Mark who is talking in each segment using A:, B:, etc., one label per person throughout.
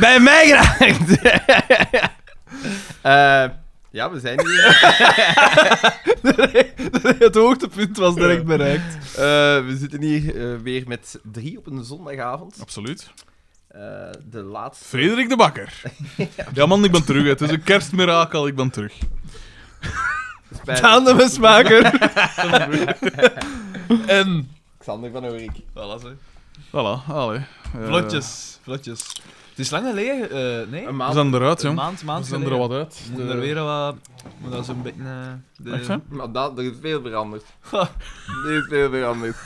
A: Bij mij geraakt. Eh, ja, we zijn hier.
B: Het hoogtepunt was direct bereikt.
A: Eh, we zitten hier eh, weer met drie op een zondagavond.
C: Absoluut.
A: Eh, de laatste.
C: Frederik de Bakker. Ja, man, ik ben terug. Het is een kerstmirakel, ik ben terug.
A: spijt-
B: Daan de mesmaker. en...
A: Xander van Oorik.
B: Voilà, zo.
C: Voilà, allee. Eh,
B: Vlotjes, vlotjes. Het is lang geleden, eh, nee?
A: Een
C: We
A: maand.
C: zijn eruit,
B: Een
C: jong.
B: maand,
C: We
B: maand
C: zijn er
B: geleden.
C: wat uit. Eh,
B: Moet er weer wat... Moet dat zo'n beetje... eh, de-
C: Echt, hè?
A: Maar dat, er is veel veranderd. er is veel veranderd.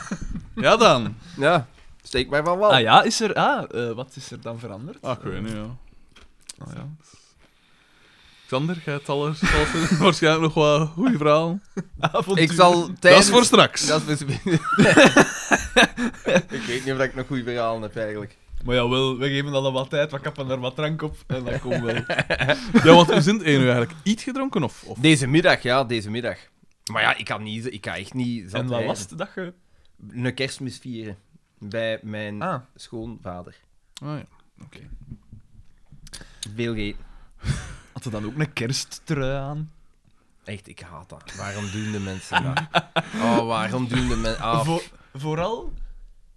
C: Ja, dan.
A: Ja, steek mij van wal.
B: Ah ja, is er... Ah, eh, wat is er dan veranderd?
C: Ah, ik weet niet, ja.
B: Ah, ja.
C: Xander, jij hebt alles, alles- waarschijnlijk nog wat goede verhaal.
A: Ik zal
C: Dat
A: tijdens...
C: is voor straks.
A: Dat is voor ik weet niet of ik nog goede verhalen heb, eigenlijk.
B: Maar jawel, we geven dan wat tijd, we kappen er wat drank op en dat komt wel.
C: Ja, want we zijn één uur eigenlijk iets gedronken, of? of...
A: Deze middag, ja, deze middag. Maar ja, ik kan, niet, ik kan echt niet... zat
B: en wat
A: rijden.
B: was het dat je...
A: Een kerstmis vieren. Bij mijn
B: Ah,
A: schoonvader.
C: Ah, ja.
A: Veel gegeten.
B: had je dan ook een kersttrui aan?
A: Echt, ik haat dat. Waarom doen de mensen dat? Oh, waarom doen de mensen... Ah,
B: Vo- vooral,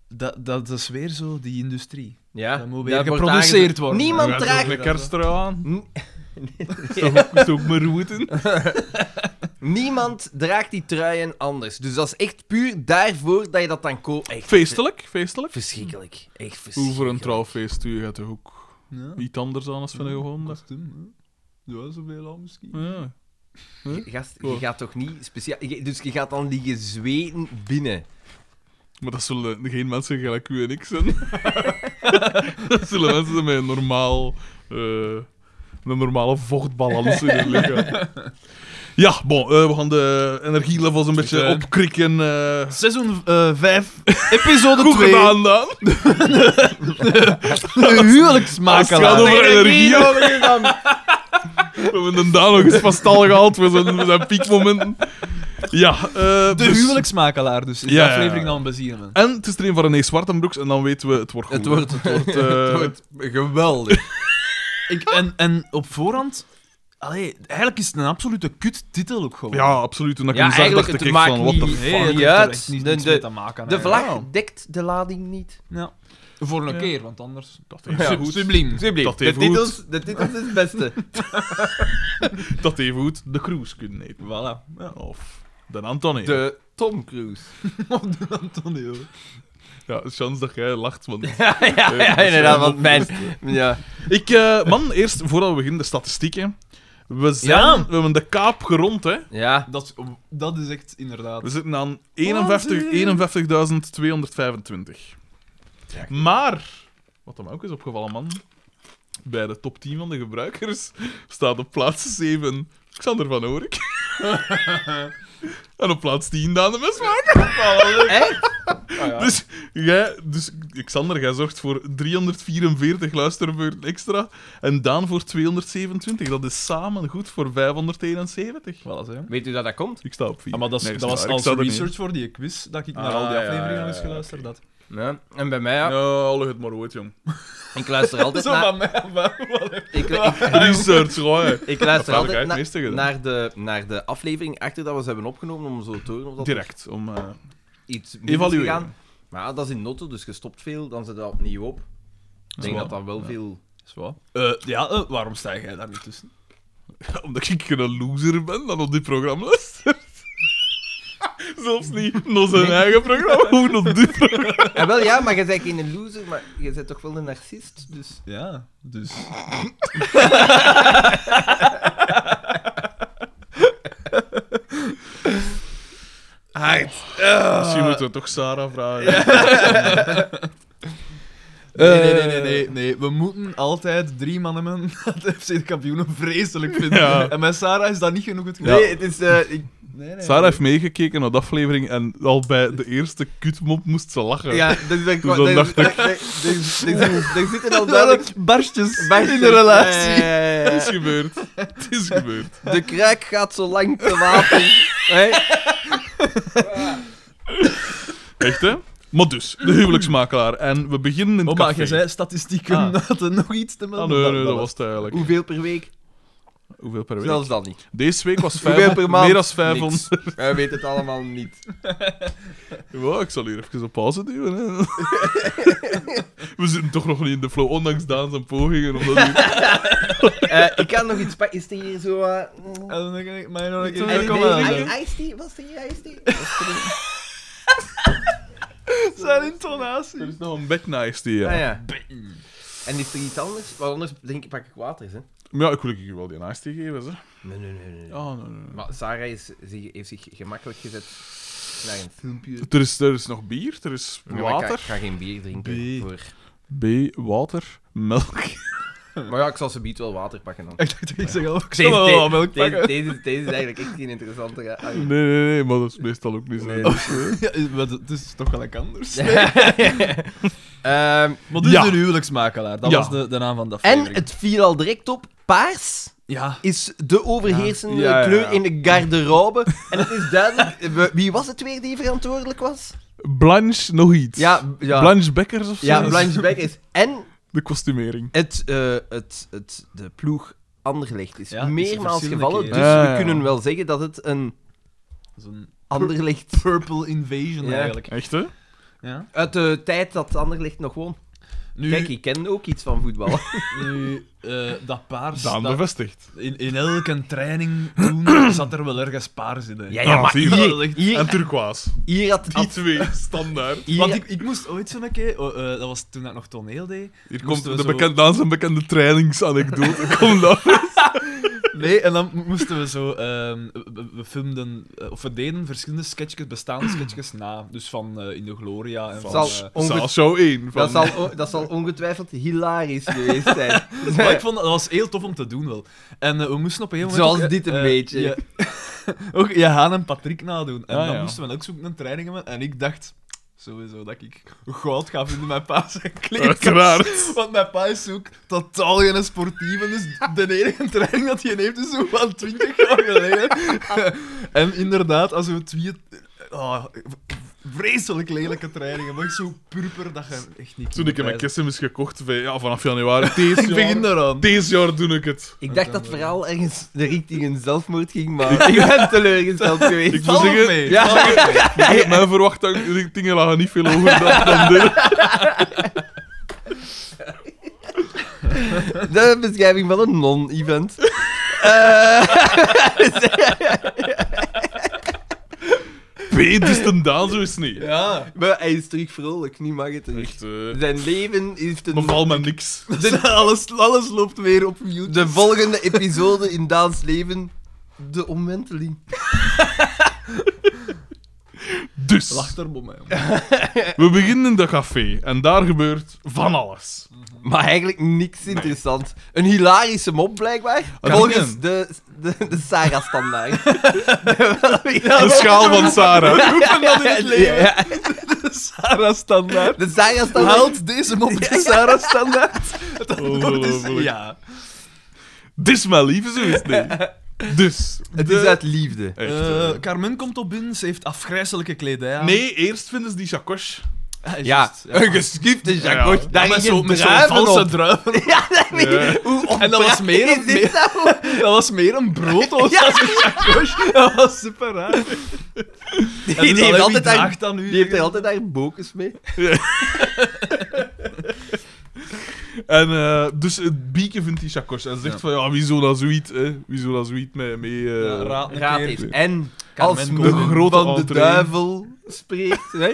B: dat, dat is weer zo die industrie.
A: ja,
B: dat moet weer
A: dat wordt
B: geproduceerd
A: aangezicht.
B: worden.
A: Niemand
C: Wij
A: draagt...
C: doen ook een kersttrui aan.
A: Nee.
C: Is toch ook- Is toch ook maar roeten?
A: Niemand draagt die truien anders. Dus dat is echt puur daarvoor dat je dat dan koopt. Echt
C: Feestelijk, feestelijk.
A: Verschrikkelijk. Echt verschrikkelijk.
C: Hoe voor een trouwfeest doe je gaat toch ook
B: Ja,
C: iets anders aan als van een gewoon dag?
B: kostuum, hè. Ja, zoveel al misschien.
C: Ja.
A: Gast, je
C: Cool.
A: gaat toch niet speciaal... je- Dus je gaat dan liggen zweten binnen.
C: Maar dat zullen geen mensen gelijk u en ik zijn. dat zullen mensen zijn met een normaal... eh, een normale vochtbalans in hun lichaam. Ja, bon, eh, we gaan de energielevels een beetje
B: Oké.
C: opkrikken. eh.
B: Seizoen 5, episode
C: Goed
B: 2.
C: gedaan, dan.
B: De
C: Als het gaat
B: huwelijksmakelaar.
C: over- energie.
A: nodig is dan.
C: We hebben de Daan nog eens van stal gehaald. We zijn, we zijn piekmomenten. Ja, eh,
B: De
C: dus-
B: huwelijksmakelaar, dus. Is
C: Ja,
B: de aflevering
C: ja, ja.
B: dan bezien, man.
C: En het is er een van René Zwartenbroeks en dan weten we, het wordt goed.
A: Het wordt, het wordt,
C: eh,
A: het wordt geweldig.
B: Ik, en, en op voorhand... Allee, eigenlijk is het een absolute kut-titel ook gewoon.
C: Ja, absoluut. En dan
A: Ja,
C: ja, zag,
A: eigenlijk,
C: dacht ik
A: het
C: echt
A: maakt
C: van, what the
A: niet-
C: fuck.
B: Nee, het heeft
A: Ja,
B: er
A: het-
B: echt niets,
A: de-
B: niets
A: de-
B: mee te maken.
A: De
B: eigenlijk.
A: vlag dekt de lading niet.
B: Ja. Voor een
C: Ja.
B: keer, want anders...
C: Dat heeft
A: Ja,
C: goed.
B: Subliem.
C: Dat
A: de,
C: heeft goed.
A: titels, de titels is het beste.
C: dat even goed de cruise kunnen nemen.
B: Voilà. Ja.
C: Of de Anthony.
A: De Tom Cruise.
B: Antonio.
C: Ja, chance dat jij lacht. Want...
A: ja, ja,
C: Eh, dat
A: ja,
C: is
A: inderdaad.
C: wel
A: Want mijn... Ja.
C: ik, eh, man, eerst voordat we beginnen, de statistieken. We, zijn,
B: Ja.
C: we hebben de kaap gerond, hè.
A: Ja.
B: Dat, dat is echt inderdaad...
C: We zitten aan 51
B: Wat?
C: 51.225.
A: Ja, goed.
C: Maar, wat dan ook is opgevallen, man. Bij de top 10 van de gebruikers staat op plaats 7 Xander van Oorik. en op plaats 10 Daan de Mesmaker.
A: Echt?
C: Dus, jij, dus Xander, jij zorgt voor 344 luisterbeurten extra. En Daan voor 227. Dat is samen goed voor 571.
B: Voilà, zo.
A: Weet u dat dat komt?
C: Ik sta op 4.
B: Ja, maar dat, is- dat was als research voor die quiz dat ik naar
C: Ah,
B: al die
C: ja,
B: afleveringen
C: ja,
B: al eens
C: ja,
B: geluisterd had.
A: Ja. En bij mij, ja.
C: Ja, al het maar ooit, jong.
A: Ik luister altijd
B: Zo
A: naar...
B: van mij, maar wat-
A: Ik, ik,
C: Research, goh.
A: ik luister
C: Dat heb ik
A: altijd
C: het
A: na-
C: meeste gedaan.
A: naar, de, naar de aflevering achter dat we ze hebben opgenomen om zo te horen of dat
C: Direct, om... eh,
A: iets meer is
C: Evalueren.
A: gegaan. Maar ja, dat is in notto, dus je stopt veel, dan zet je dat opnieuw op. Ik denk
C: Zwaar.
A: dat dat wel veel...
B: Zo. Eh, ja, eh, waarom sta jij daar niet tussen?
C: Omdat ik een loser ben dat op dit programma luistert. Zelfs niet naar zijn eigen programma, hoe op dit programma.
A: En wel, ja, maar je bent geen loser, maar je bent toch wel een narcist, dus...
B: Ja, dus... Ah.
C: Misschien moeten we toch Sarah vragen.
B: Eh. Nee, nee, nee, nee, nee, nee. We moeten altijd drie mannen man dat de FC de kampioenen vreselijk vinden.
C: Ja.
B: En met Sarah is dat niet genoeg het
A: Nee, het is... eh, ik-
B: nee, nee.
C: Sarah heeft meegekeken naar de aflevering en al bij de eerste kutmop moest ze lachen.
A: ja, dat is... dat-
C: Toen
A: dat-
C: dan dacht
A: dat-
C: ik-
A: dat- dat- dat- dat- Er zitten al duidelijk...
B: Duidelijk barstjes
A: barstjes.
B: in de relatie.
A: Ja, ja, ja, ja, ja.
C: Het is gebeurd. Het is gebeurd.
A: De kruik gaat zo lang te water. Hè?
C: Echt, hè? Maar dus, de huwelijksmakelaar. En we beginnen in het
B: Oh, maar
C: café.
B: jij zei statistieken
C: Ah.
B: dat er nog iets te
C: Ah,
B: melden
C: nee, nee,
B: was.
C: dat was het eigenlijk.
A: Hoeveel per week?
C: Hoeveel per week?
A: Zelfs dat niet.
C: Deze week was
A: Hoeveel
C: vijf,
A: per maand?
C: meer dan
A: Niks.
C: 500.
A: Wij weten het allemaal niet.
C: Wow, ik zal hier even op pauze duwen. Hè. we zitten toch nog niet in de flow, ondanks Daan zijn pogingen. Om dat hier...
A: Eh, ik kan nog iets pakken. Is er hier zo... eh,
B: Ah, dan denk ik, maar nog een keer
C: En
A: eh,
C: ik-
B: komen
C: kom wel,
A: eh,
C: eh.
B: melden.
A: i- Ice tea? Was er hier ice tea?
B: Zijn intonatie.
C: Er is nog een bednice die. Ja.
A: Ah, ja. En is er iets anders? Want anders denk ik, pak ik waters, hè.
C: Maar ja, ik wil je wel die naast die geven. Hè.
A: Nee, nee, nee. nee.
C: Ja, nee, nee, nee.
A: Maar Sarah is, zich- heeft zich gemakkelijk gezet naar een filmpje.
C: Er, is, er is nog bier, er is
A: Ja, maar Ik ga, ik
C: water.
A: ga geen bier drinken.
B: Bier.
A: Voor.
C: B, water, melk.
A: Maar ja, ik zal ze biedt wel water pakken dan.
B: Ik dacht, ik zeg al, ik
A: Deze,
B: zal wel wat melk
A: deze,
B: pakken.
A: deze, deze is eigenlijk echt geen interessante. hè. Ah,
C: Nee, nee, nee, maar dat is meestal ook niet zo.
A: Nee,
B: Ja, maar Het is toch gelijk anders.
A: Ehm,
B: Maar dus
C: Ja.
B: de huwelijksmakelaar, dat
C: Ja.
B: was de, de naam van de
A: en
B: aflevering.
A: het viel al direct op. Paars
B: Ja.
A: is de
C: Ja.
A: overheersende
C: Ja, ja, ja.
A: kleur in de garderobe. En het is duidelijk... eh, Wie was het weer die verantwoordelijk was?
C: Blanche nog iets.
A: Ja, ja.
C: Blanche Bekkers of zo.
A: Ja, Blanche Beck is... En
C: De kostumering.
A: het, eh, het, het, de ploeg Anderlecht is
B: Ja, is
A: meermaals
B: verschillende
A: gevallen.
B: keren.
A: Dus
C: Ja,
A: we
C: ja.
A: kunnen wel zeggen dat het een
B: Zo'n
A: Anderlecht...
B: purple invasion
A: Ja.
B: eigenlijk.
C: Echt, hè?
B: Ja.
A: Uit de tijd dat Anderlecht nog won.
B: Nu,
A: Kijk, ik ken ook iets van voetbal.
B: nu eh, dat paars...
C: Daan
B: dat-
C: bevestigt.
B: in, in elke training toen zat er wel ergens paars in. hè.
A: Ja,
C: Ah,
A: ja, maar
C: zie je.
B: Dat
A: hier,
B: ligt-
A: hier,
C: En turquoise.
A: hier had...
C: Die
A: had-
C: twee, standaard.
A: hier-
B: Want ik, ik moest ooit zo'n keer... oh, eh, dat was toen ik nog toneel deed.
C: Hier komt
B: Moesten we
C: de
B: zo-
C: bekend, Daan zijn bekende trainingsanekdote. Kom dan.
B: Nee, en dan mo- moesten we zo... ehm, we- we, we filmden... eh, of we deden verschillende sketchjes, bestaande sketchjes na. Dus van eh, In de Gloria en van...
A: Zal-
B: eh,
A: Onge-
C: Saal show 1. Van...
A: Dat zal, o- dat zal ongetwijfeld hilarisch geweest zijn.
B: Maar ik vond dat, dat was heel tof om te doen wel. En eh, we moesten op een gegeven moment.
A: Zoals
B: ook,
A: dit een
B: eh,
A: beetje.
B: Je, ook Jahan en Patrick nadoen. En
C: Ah,
B: dan
C: ja.
B: moesten we ook zoeken een training hebben. En ik dacht sowieso dat ik goud ga vinden met pa zijn kleedkast.
C: Uiteraard.
B: Want mijn pa is ook totaal geen sportieve. Dus de enige training dat hij heeft is zo van 20 jaar geleden. en inderdaad, als we twee. ah, vreselijk lelijke trainingen. Maar zo purper dat je echt niet.
C: Toen ik mijn
B: kunt wijzen.
C: kessem is gekocht, van- ja, vanaf januari deze
B: Ik
C: jaar,
B: begin eraan.
C: deze jaar doe ik het.
A: Ik dacht dat het verhaal ergens de richting een zelfmoord ging, maar ik ben teleurgesteld
C: Ik
A: geweest.
C: moet
B: Valt
C: zeggen,
B: mee.
A: Ja.
B: Valt mee.
C: mijn verwachtingen dingen lagen niet veel hoger dan, dan dit.
A: De beschrijving van een non-event. Eh,
C: B, dus ten Daan zo is het niet.
B: Ja.
A: maar hij is terug vrolijk, nu mag het terug.
C: Echt, eh
A: Zijn leven heeft een...
C: beval me niks.
B: Dus alles, alles loopt weer op mute.
A: De volgende episode in Daans leven, de omwenteling.
C: Dus,
B: Lacht er bij mij om. eh,
C: we beginnen in dat café en daar gebeurt van alles.
A: Maar eigenlijk niks interessant. Een hilarische mop, blijkbaar.
C: Kan
A: volgens
C: ik
A: de, de, de Sarah-standaard. De-
C: De schaal van Sarah.
B: Hoe kan dat in het leven?
A: Ja,
B: Sarah Standaard.
A: de Sarah-standaard.
B: Haalt deze mop de Sarah Standaard? Dat is-
C: Ongelooflijk.
B: ja.
C: Dit is mijn lieve, zo is het niet. Dus,
A: Het
C: de-
A: is uit liefde.
C: Echt,
B: Eh,
C: eh.
B: Carmen komt op binnen, ze heeft afgrijzelijke kledij aan.
C: Nee, eerst vinden ze die chacoche.
B: Ah, is
A: Ja,
B: juist,
A: een geschifte Jacques.
C: Ja.
A: Daar
B: met
A: is
B: zo-
A: een
B: met zo'n
A: druiven
B: valse
A: op.
B: druiven.
A: Ja, dat weet ik.
C: Ja.
A: Hoe
B: En dat was meer
A: onpraktisch
B: een-
A: is nou-
B: meer-
A: dat ook?
B: Dat was meer een brood als
A: Ja.
B: een chacoche. Dat was super raar. En
A: Die, die
B: dus dan,
A: heeft
B: hè,
A: altijd
B: wie
A: daar,
B: draagt dat nu?
A: die heeft er altijd daar bokens mee.
C: En eh, dus het bieke vindt die chacoche en zegt van ja, wie zou dat zoiets, hè? Wie zou dat zoiets mee... mee eh,
B: Ja, raad een
A: Raad
B: keer.
A: heeft. En
B: Carmen
A: als
B: komt
A: men
C: in. Grote
A: van de
C: entree.
A: duivel spreekt... hè?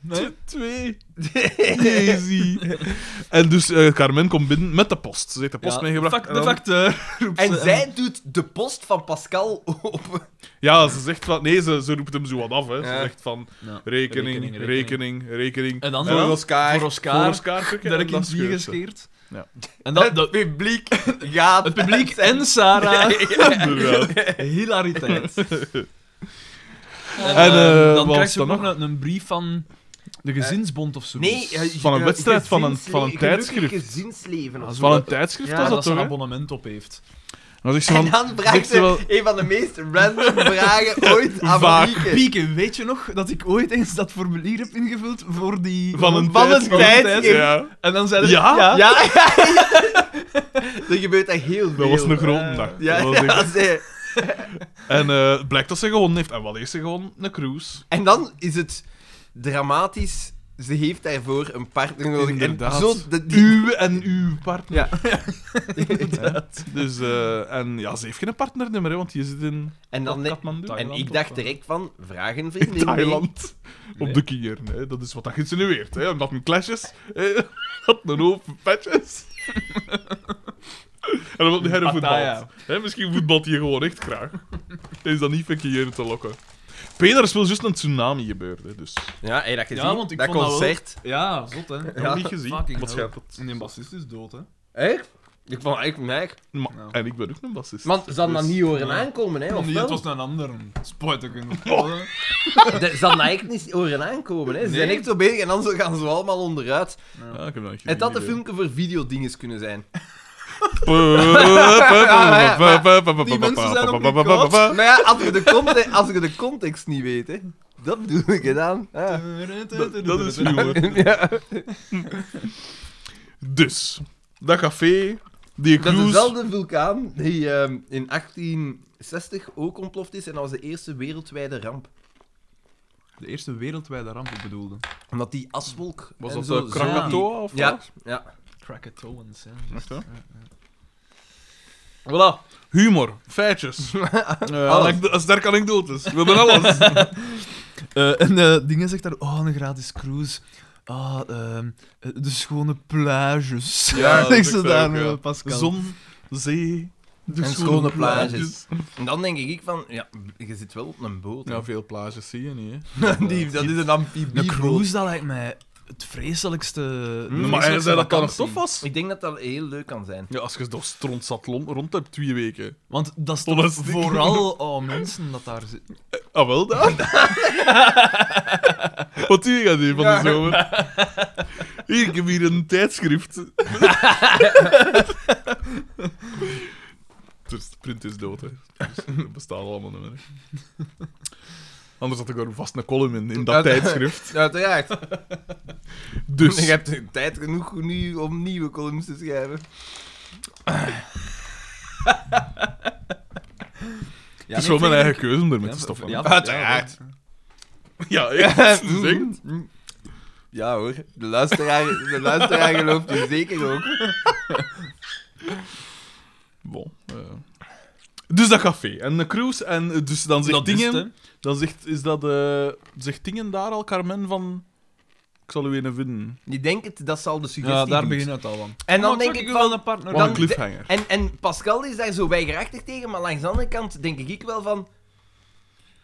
C: Nee? Twee. Jezus. En dus eh, Carmen komt binnen met de post. Ze heeft de post
B: Ja,
C: meegebracht.
B: fuck
C: en
B: de
C: dan-
B: facteur. roept
A: En
B: ze.
A: zij doet de post van Pascal op.
C: Ja, ze zegt van... Nee, ze, ze roept hem zo wat af. Hè.
A: Ja.
C: Ze zegt van
B: Ja.
C: rekening, rekening, rekening.
B: En dan
A: Voor
B: Ja.
A: Oscar.
B: Voor
C: Voor
B: Oscar.
C: Oscar kukken
B: Dat
C: en
B: ik in
C: dat
B: bier
C: scheurt ze.
B: gescheerd.
C: Ja.
B: En
A: Dat,
B: dat,
A: het publiek gaat...
B: het publiek en Sarah.
C: Inderdaad.
B: Hilariteit. En,
C: En,
B: eh,
C: eh,
B: dan
C: wat
B: krijg je
C: was dat
B: ook nog een, een brief van de gezinsbond of zo.
A: Nee, eh,
C: Van een
A: eh,
C: wedstrijd, van een-
A: gezinsle-
C: van een
A: gelukkig
C: tijdschrift.
A: gezinsleven of Ah, zo.
C: Van een tijdschrift
B: ja,
C: was
B: dat,
C: dat
B: ze
C: toch,
B: een
C: hè?
B: abonnement op heeft.
C: Dan zegt ze
A: En
C: van...
A: dan
C: zegt
A: vraagt
C: ze
A: ze
C: wel-
A: een van de meest random vragen ooit aan
C: Vaak.
A: Marieke.
B: Ah, Pieke, weet je nog dat ik ooit eens dat formulier heb ingevuld voor die...
C: Van een
B: van
C: tijd,
B: een
C: van een
B: tijd,
A: tijd,
B: in-
C: Ja,
B: En dan zeiden ze...
C: Ja?
A: Ja,
B: Ja?
A: ja, ja. Er gebeurt echt heel veel.
C: dat was een grote
B: eh,
C: dag.
A: Ja,
C: Dat was echt-
A: ja, ze-
C: En eh, het blijkt dat ze gewonnen heeft. En wat heeft ze gewonnen? Een cruise.
A: En dan is het dramatisch. Ze heeft daarvoor een partner nodig.
C: Inderdaad.
A: En zo, de, die-
C: Uw en uw partner.
A: Ja.
C: Dus, eh, en ja, ze heeft geen partnernummer, hè, want je zit in
A: en, dan,
C: Kathmandu.
A: en
C: Thailand
A: ik
C: of,
A: dacht
C: eh,
A: direct van, vraag een
C: in
A: vriendin mee.
C: Thailand. Op de kier. Hè. Dat is wat dat geïnsinueert. Hè. Omdat een clash is. Hè. Dat een hoop patches. en omdat hij voetbal.
B: Pattaya.
C: Hè, misschien voetbalt hij gewoon echt graag. Hij is dan niet verkeerd te lokken. Peter is wel juist een tsunami gebeurd. Hè, dus.
A: Ja, hey, dat gezien?
B: Ja, want ik
A: dat
B: vond dat wel-
A: concert.
B: Ja, zot, hè.
C: Ik heb hem niet gezien.
B: Fucking
C: Wat
B: hell.
C: schijnt dat?
B: En die bassist is dood, hè.
A: Echt? Ik vond eigenlijk merk.
C: Ma-
B: Nou.
C: En ik ben ook een bassist.
A: Want ze hadden dat
C: Dus-
A: niet horen
B: ja.
A: aankomen, hè? Of
B: Nee,
A: wel?
B: het was een ander. Spuiten kunnen. Oh.
A: De- Ze hadden dat echt niet horen aankomen, hè? Ze
B: Nee.
A: zijn echt zo bezig en dan zo gaan ze allemaal onderuit.
C: Ja, ik heb dat niet
A: Het had een
C: idee.
A: filmpje voor videodinges kunnen zijn.
B: Die mensen zijn ook niet kwaad.
A: Maar ja, als je de context, als je de context niet weet, hè? Dat bedoel ik gedaan. Ja.
C: Dat- dat is humor. Dus, dat café, die
A: Dat is
C: cruise...
A: dezelfde vulkaan die ehm, in 1860 ook ontploft is en dat was de eerste wereldwijde ramp.
B: De eerste wereldwijde ramp, ik bedoelde.
A: Omdat die aswolk.
C: Was
A: en
C: dat
A: zo-
C: eh, Krakatoa of
A: Ja,
C: wat?
A: ja.
B: Krakatowans, hè.
C: Echt, hè?
A: Voilà.
C: Humor, feitjes, Eh, anekdo- sterke anekdotes, we hebben alles.
B: Eh, en eh Dingen zegt daar, oh, een gratis cruise. Ah, ehm, eh, de schone plages.
C: Ja, dat
B: niks
C: is ook
B: gedaan,
C: leuk, ja.
B: eh, Pascal.
C: Zon, zee, de
A: En schone En dan denk ik van, ja, je zit wel op een boot. hè.
C: Ja, veel plages zie je niet, hè.
A: die, dat is een
B: Een
A: amfibieboot.
B: cruise, dat lijkt mij het vreselijkste... de
C: Hmm, maar hij
B: vreselijkste
C: zei dat dat nog
B: vakantie.
C: tof was.
A: Ik denk dat dat heel leuk kan zijn.
C: Ja, als je door stront zat lon- rond hebt, twee weken.
B: Want dat is
C: Oh, dat is
B: toch
C: dik.
B: vooral oh, mensen dat daar zitten.
C: Ah, wel dan. Wat doe je dan hier van
A: Ja.
C: de zomer? Hier, ik heb hier een tijdschrift. Dus de print is dood, hè. Dus dat bestaat allemaal niet meer. Anders had ik er vast een column in, in dat tijdschrift.
A: Uiteraard.
C: Dus,
A: Je hebt tijd genoeg nu om nieuwe columns te schrijven.
C: het is wel mijn eigen keuze om ermee te stoppen.
B: Ja,
C: Ja,
A: Uiteraard.
C: echt. Zeg het.
A: Ja hoor, de luisteraar, de luisteraar gelooft je zeker ook.
C: Bon, eh. Dus dat café en de cruise en eh, dus dan zegt
B: Dat is
C: dingen...
B: het, hè.
C: Dan zegt, is dat, eh zegt dingen daar al, Carmen, van... Ik zal u een vinden.
A: Die denkt dat zal de suggestie
B: Ja, daar
A: doet.
B: begint het al van.
A: En dan
B: Oh, Maar
A: denk
B: zag
A: ik
B: wel
A: van...
B: een partner.
C: Wat
A: dan-
C: een cliffhanger.
A: En, en Pascal is daar zo weigerachtig tegen, maar langs de andere kant denk ik wel van...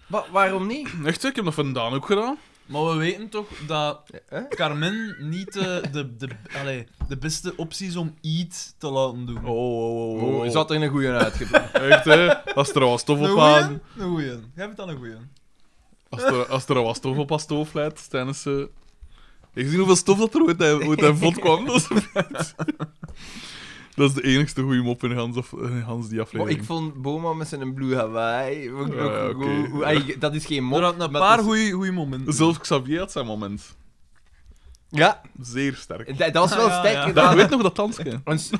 A: "Wa- waarom niet?
C: Echt, hè? ik heb dat vandaan ook gedaan.
B: Maar we weten toch dat
A: Hè?
B: Carmen niet de, de, de, allee, de beste optie is om iets te laten
C: Oh,
B: doen.
C: oh, oh,
A: Oh,
C: oh.
A: zat er een goeie uitgebracht.
C: Echt, hè? Als er al was stof
B: een
C: op
B: goeie?
C: aan...
B: Een goeie. Jij hebt dan een goeie.
C: Als er, als er al was stof op aan stof leidt, tijdens... eh Ik zie hoeveel stof dat er ooit uit ooit uit vod kwam. Dat is, dat is de enigste goede mop in Hans, of, in Hans die
A: Maar
C: aflevering.
A: ik vond Boma met zijn Blue Hawaii... vond ik
C: Ja,
A: ook
C: oké.
A: goed. Hoe- hij- dat is geen mop.
B: er had een
A: maar
B: paar
A: het is-
B: goeie, goeie momenten.
C: Zelfs Xavier had zijn moment.
A: Ja,
C: Zeer sterk.
A: dat, dat was wel
B: Ah, Ja, ja,
A: sterk
B: ja.
C: Dat,
A: gedaan.
C: je weet nog dat dansje?
A: Een, s-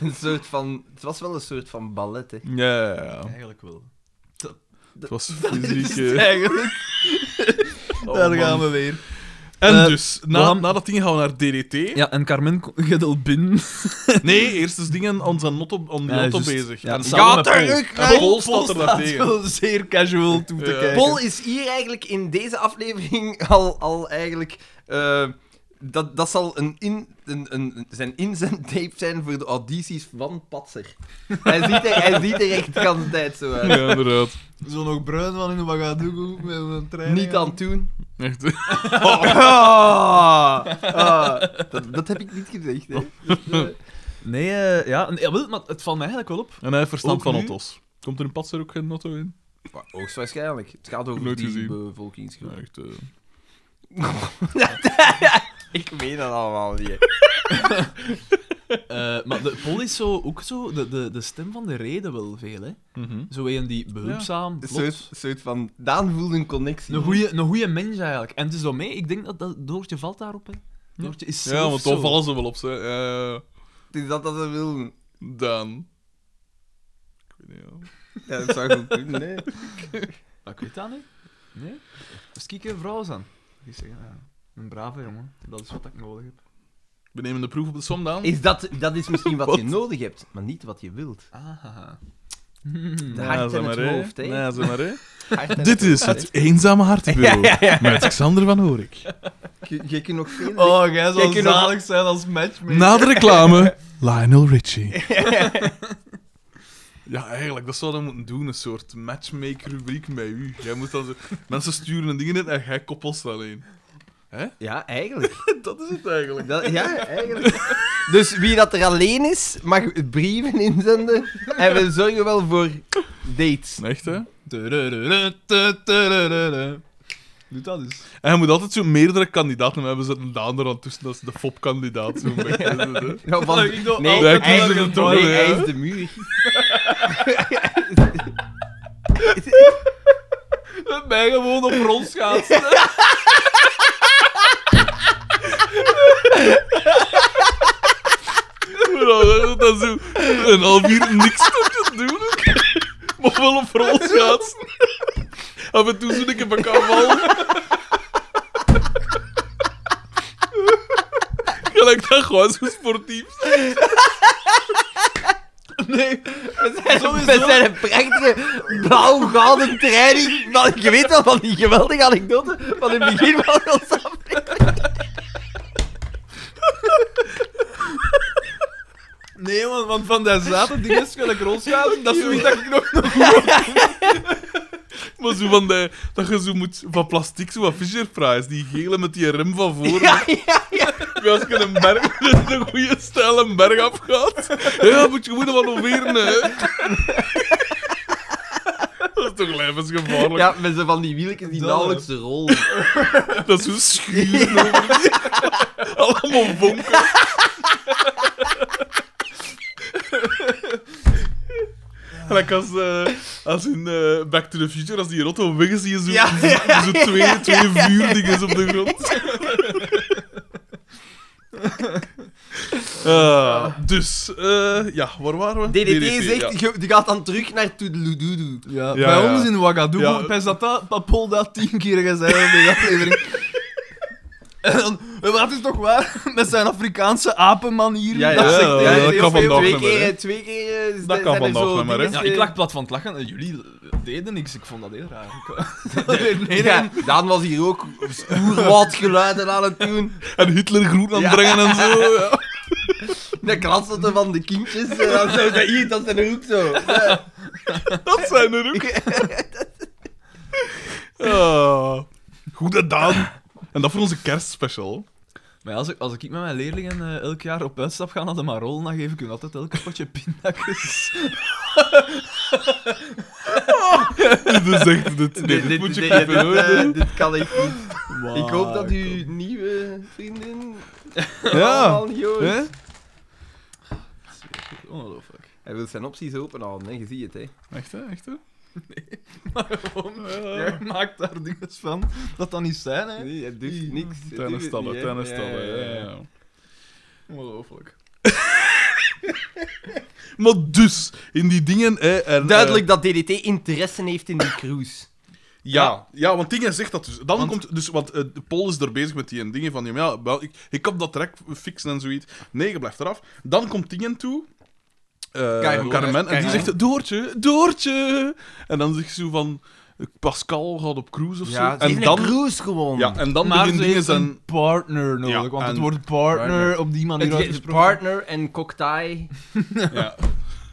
A: een soort van... Het was wel een soort van ballet, hè.
C: Ja, ja, ja.
B: Eigenlijk wel.
C: Het was fysiek... eh,
B: Eigenlijk. daar
A: man.
B: gaan we weer.
C: En
B: Eh,
C: dus, na,
B: we gaan-
C: na dat ding gaan we naar DDT.
B: Ja, en Carmen ko- gaat al binnen.
C: Nee, eerst is dingen aan zijn auto, aan die
B: Ja,
C: auto
B: juist.
C: bezig.
B: Ja,
C: en
B: en
C: samen
A: Ga
C: met Paul.
A: terug naar
C: En Paul staat er daar
B: staat
C: tegen.
B: wel zeer casual toe te
C: Ja.
B: kijken.
A: Paul is hier eigenlijk in deze aflevering al, al eigenlijk. eh, dat, dat zal een in, een, een, zijn inzendtape zijn voor de audities van Patser. Hij ziet er, hij ziet er echt de hele tijd zo uit.
C: Ja, inderdaad.
B: Zo nog bruin van in de Ouagadougou met een trein.
A: Niet aan het doen.
C: Echt. eh.
A: Ah, ah, dat, dat heb ik niet gezegd. Hè.
B: Nee, eh, ja, nee, jawel, maar het valt mij eigenlijk wel op.
C: En hij heeft verstand
B: Ook
C: van
B: nu?
C: auto's. Komt er in Patser ook geen auto in?
A: Maar hoogstwaarschijnlijk. Het gaat over
C: Nooit
A: die
C: gezien.
A: bevolkingsgroep.
C: Ja, echt, eh.
A: ik weet dat allemaal niet. hè.
B: Eh, maar de Pol is zo, ook zo de, de, de stem van de reden wel veel, hè.
C: Mhm.
B: Zo een die behulpzaam,
A: Een
B: plots.
A: soort, soort van... Daan voelde een connectie.
B: Een goede, een goeie mens eigenlijk. En het is daarmee, ik denk dat, dat Doortje valt daarop, hè. Doortje is zelf
C: Ja, want dan
B: zo.
C: vallen ze wel op, hè. Eh,
A: Het is dat dat ze wilden.
C: Daan. Ik weet niet, ja.
A: Ja, dat zou goed kunnen, hè.
B: Maar ik weet dat niet. Nee? Dus kijk een vrouw aan. Die zeggen, ja, een brave jongen. Dat is wat ik nodig heb.
C: We nemen de proef op de som, Daan.
A: Is dat, dat is misschien wat,
C: Wat?
A: je nodig hebt, maar niet wat je wilt.
B: Ah. Hmm.
A: De
C: Ja,
A: hart
C: zeg
A: en het
C: maar, hè.
A: hoofd, hè.
C: Ja, zeg maar, hè.
A: Hart en
C: Dit is
A: hoofd,
C: het Eenzame Hartenbureau
A: Ja,
C: met Xander van Horik.
A: hè. Je, je kunt nog veel...
B: Oh, jij
A: zou
B: zou
A: Kijk, je nog-
B: zalig
A: zalig
B: zijn als matchmaker.
C: Na de reclame, Lionel Richie. Ja, eigenlijk, dat zouden we moeten doen, een soort matchmaker-rubriek met u. Jij moet dan zo... Mensen sturen een ding in en jij koppelt ze alleen.
A: Ja, eigenlijk.
C: Dat is het eigenlijk.
A: Dat, ja, eigenlijk. Dus wie dat er alleen is, mag brieven inzenden. En we zorgen wel voor dates.
C: Echt, hè?
B: Doe dat eens.
C: En je moet altijd zo meerdere kandidaten hebben. Zet een Daan er aan tussen, dat is de fopkandidaat. Zo'n beetje, is het, hè.
A: Ja, van-
B: Ik doe
A: nee,
C: altijd
A: hij,
C: een
A: nee,
C: dolle,
A: hij
C: hè.
A: is de muur.
B: Met mij gewoon op rondschaatsen.
C: Maar dan is dat zo een half uur niks te doen. Maar wel op rol schaatsen. Af en toe zoen ik op elkaar vallen. Gelijk dat gewoon zo sportief.
B: Nee.
A: We zijn,
B: Sowieso.
A: we zijn een prachtige blauw-gouden training. Maar je weet wel van die geweldige anekdote van het begin van ons aflevering.
B: Nee, man, want van dat zaten ding is gelijk rondschaatsen. Dat is zoiets dat ik nog...
C: Maar zo van die, dat je zo moet van plastic, zo van Fisher Price, die gele met die rem van voren.
A: Ja, ja, ja.
C: Ja, Als je een berg, een goede stijl een berg afgaat, ja, dan moet je gewoon wat overen, hè. Dat is toch levensgevaarlijk.
A: ja, met zo van die wieltjes die
B: Dat,
A: nauwelijks rollen.
C: Dat is zo schuur. Allemaal vonken. Gelijk als, eh, als in eh, Back to the Future, als die auto weg is, zie je zo,
A: Ja, ja,
C: zo twee,
A: ja, ja,
C: twee
A: ja, ja.
C: vuurdinges op de grond. Ah, dus, eh, ja, waar waren we?
A: DDT
C: ja.
A: zegt, je- die gaat dan terug naar Toedeloedoedoe.
B: Ja,
C: Ja,
B: bij
C: ja.
B: ons in Ouagadougou,
C: Ja.
B: ja. bij Zata, Papol dat tien keer gezegd in de aflevering. En dan, wat is toch waar? Met zijn Afrikaanse apenmanier.
A: Ja, ja,
B: dat zegt
C: ja,
B: hij.
C: ja,
B: Hij
C: dat
B: is
C: kan
B: veel-
C: vandaag
A: twee
C: nog maar, hè.
A: keer, twee keer eh,
C: Dat
A: zijn
C: kan
A: er
C: vandaag
A: zo
C: nog maar, hè.
B: Ja,
A: dinges,
B: ik
A: eh,
B: lag plat van het lachen. Eh, Jullie deden niks, ik vond dat heel raar. Ik- nee, nee,
A: ja, Daan was hier ook oerwoudgeluiden aan het doen.
C: En Hitler groen aan het brengen en zo. Ja.
A: De kratsen van de kindjes. eh, Dat zo, dat hier, dat zijn er ook zo. Ja.
C: Dat zijn er ook. Ah, goed gedaan. En dat voor onze kerstspecial.
B: Maar ja, als ik, als ik met mijn leerlingen eh, elk jaar op uitstap ga naar de Marol, dan geef ik hun altijd elke potje pindakjes.
C: Dit is echt dus dit. Nee,
A: Dit-
C: dit
A: dit-
C: moet je
A: dit-
C: knippen,
A: dit,
C: hoor. Ah,
A: eh, Dit kan ik niet. Ik hoop dat
B: u
A: uw nieuwe vriendin
C: Ja.
A: allemaal niet hoort.
C: Hè?
B: Ongelooflijk.
A: Hij wil zijn opties openhouden, hè. je ziet het. Hè.
C: Echt, hè? Echt, hè?
B: Jij maakt daar dingen van dat dat niet zijn, hè?
A: Nee, hij doet niks. hij doet het
C: Tennisstallen,
A: niet, hè.
C: tennisstallen.
A: Ja, ja,
C: Ja,
A: ja.
C: ja.
B: Ongelooflijk.
C: Maar dus, in die dingen... eh, en, eh,
A: Duidelijk dat DDT interesse heeft in die cruise.
C: Ja, ja, want dingen zegt dat dus. Dan
B: Want-
C: komt dus, want eh, de Paul is er bezig met die en dingen van, ja, maar ja, wel, ik, ik kan dat direct fixen en zoiets. Nee, je blijft eraf. Dan komt dingen toe. eh,
A: Keigoed,
C: Carmen, en die
A: keigoed.
C: zegt, Doortje, Doortje! En dan zegt ze zo van, Pascal gaat op cruise of zo. En dan,
A: cruise gewoon.
C: ja, en dan
B: maar
C: beginnen
B: ze
C: dingen
B: heeft
C: zijn...
B: een partner nodig,
C: Ja,
B: want het
C: en-
B: woord partner
C: partner.
B: op die manier
A: Het
B: uitgesproken.
A: partner en cocktail.
C: Ja.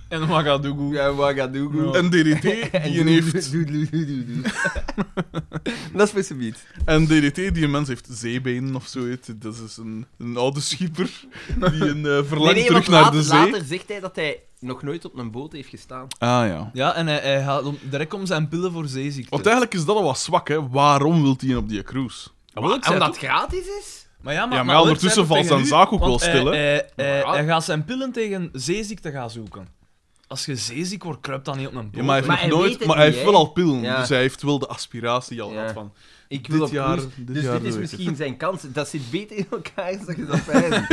B: En Ouagadougou.
A: Ja, Ouagadougou.
C: En DDT, die heeft...
A: Dat is voor ze niet.
C: En DDT, die mens heeft zeebenen of zoiets. Dat is een, een oude schipper die een eh verlangt terug naar
A: later,
C: de zee.
A: later zegt hij dat hij nog nooit op een boot heeft gestaan.
C: Ah ja.
B: Ja, en hij, hij gaat om, direct om zijn pillen voor zeeziekte.
C: Want eigenlijk is dat al wat zwak, hè. Waarom wilt hij op die cruise?
B: Ah, wel, ik zei
A: Omdat
B: het
A: het gratis is?
B: Maar ja, maar,
C: maar
B: Lurk
C: ondertussen
B: zei toch
C: valt
B: tegen
C: zijn
B: u-
C: zaak ook wel
B: want, eh,
C: stil, hè?
B: eh, eh,
A: Ja.
B: hij gaat zijn pillen tegen zeeziekte gaan zoeken. Als je zeeziek wordt, kruipt dan niet op een boot.
C: Ja, maar hij heeft,
A: Maar
C: nog
A: hij weet
C: nooit,
A: het
C: maar hij
A: niet,
C: heeft
A: hè?
C: wel al pillen,
A: Ja.
C: dus hij heeft wel de aspiratie al
A: Ja.
C: gehad van...
A: Ik
C: Dit
A: wil op
C: jaar-
A: cruise,
C: dit
A: dus
C: jaar
A: dit
C: doe
A: is
C: ik
A: misschien zijn kans. Dat zit beter in elkaar dan je dat pijn.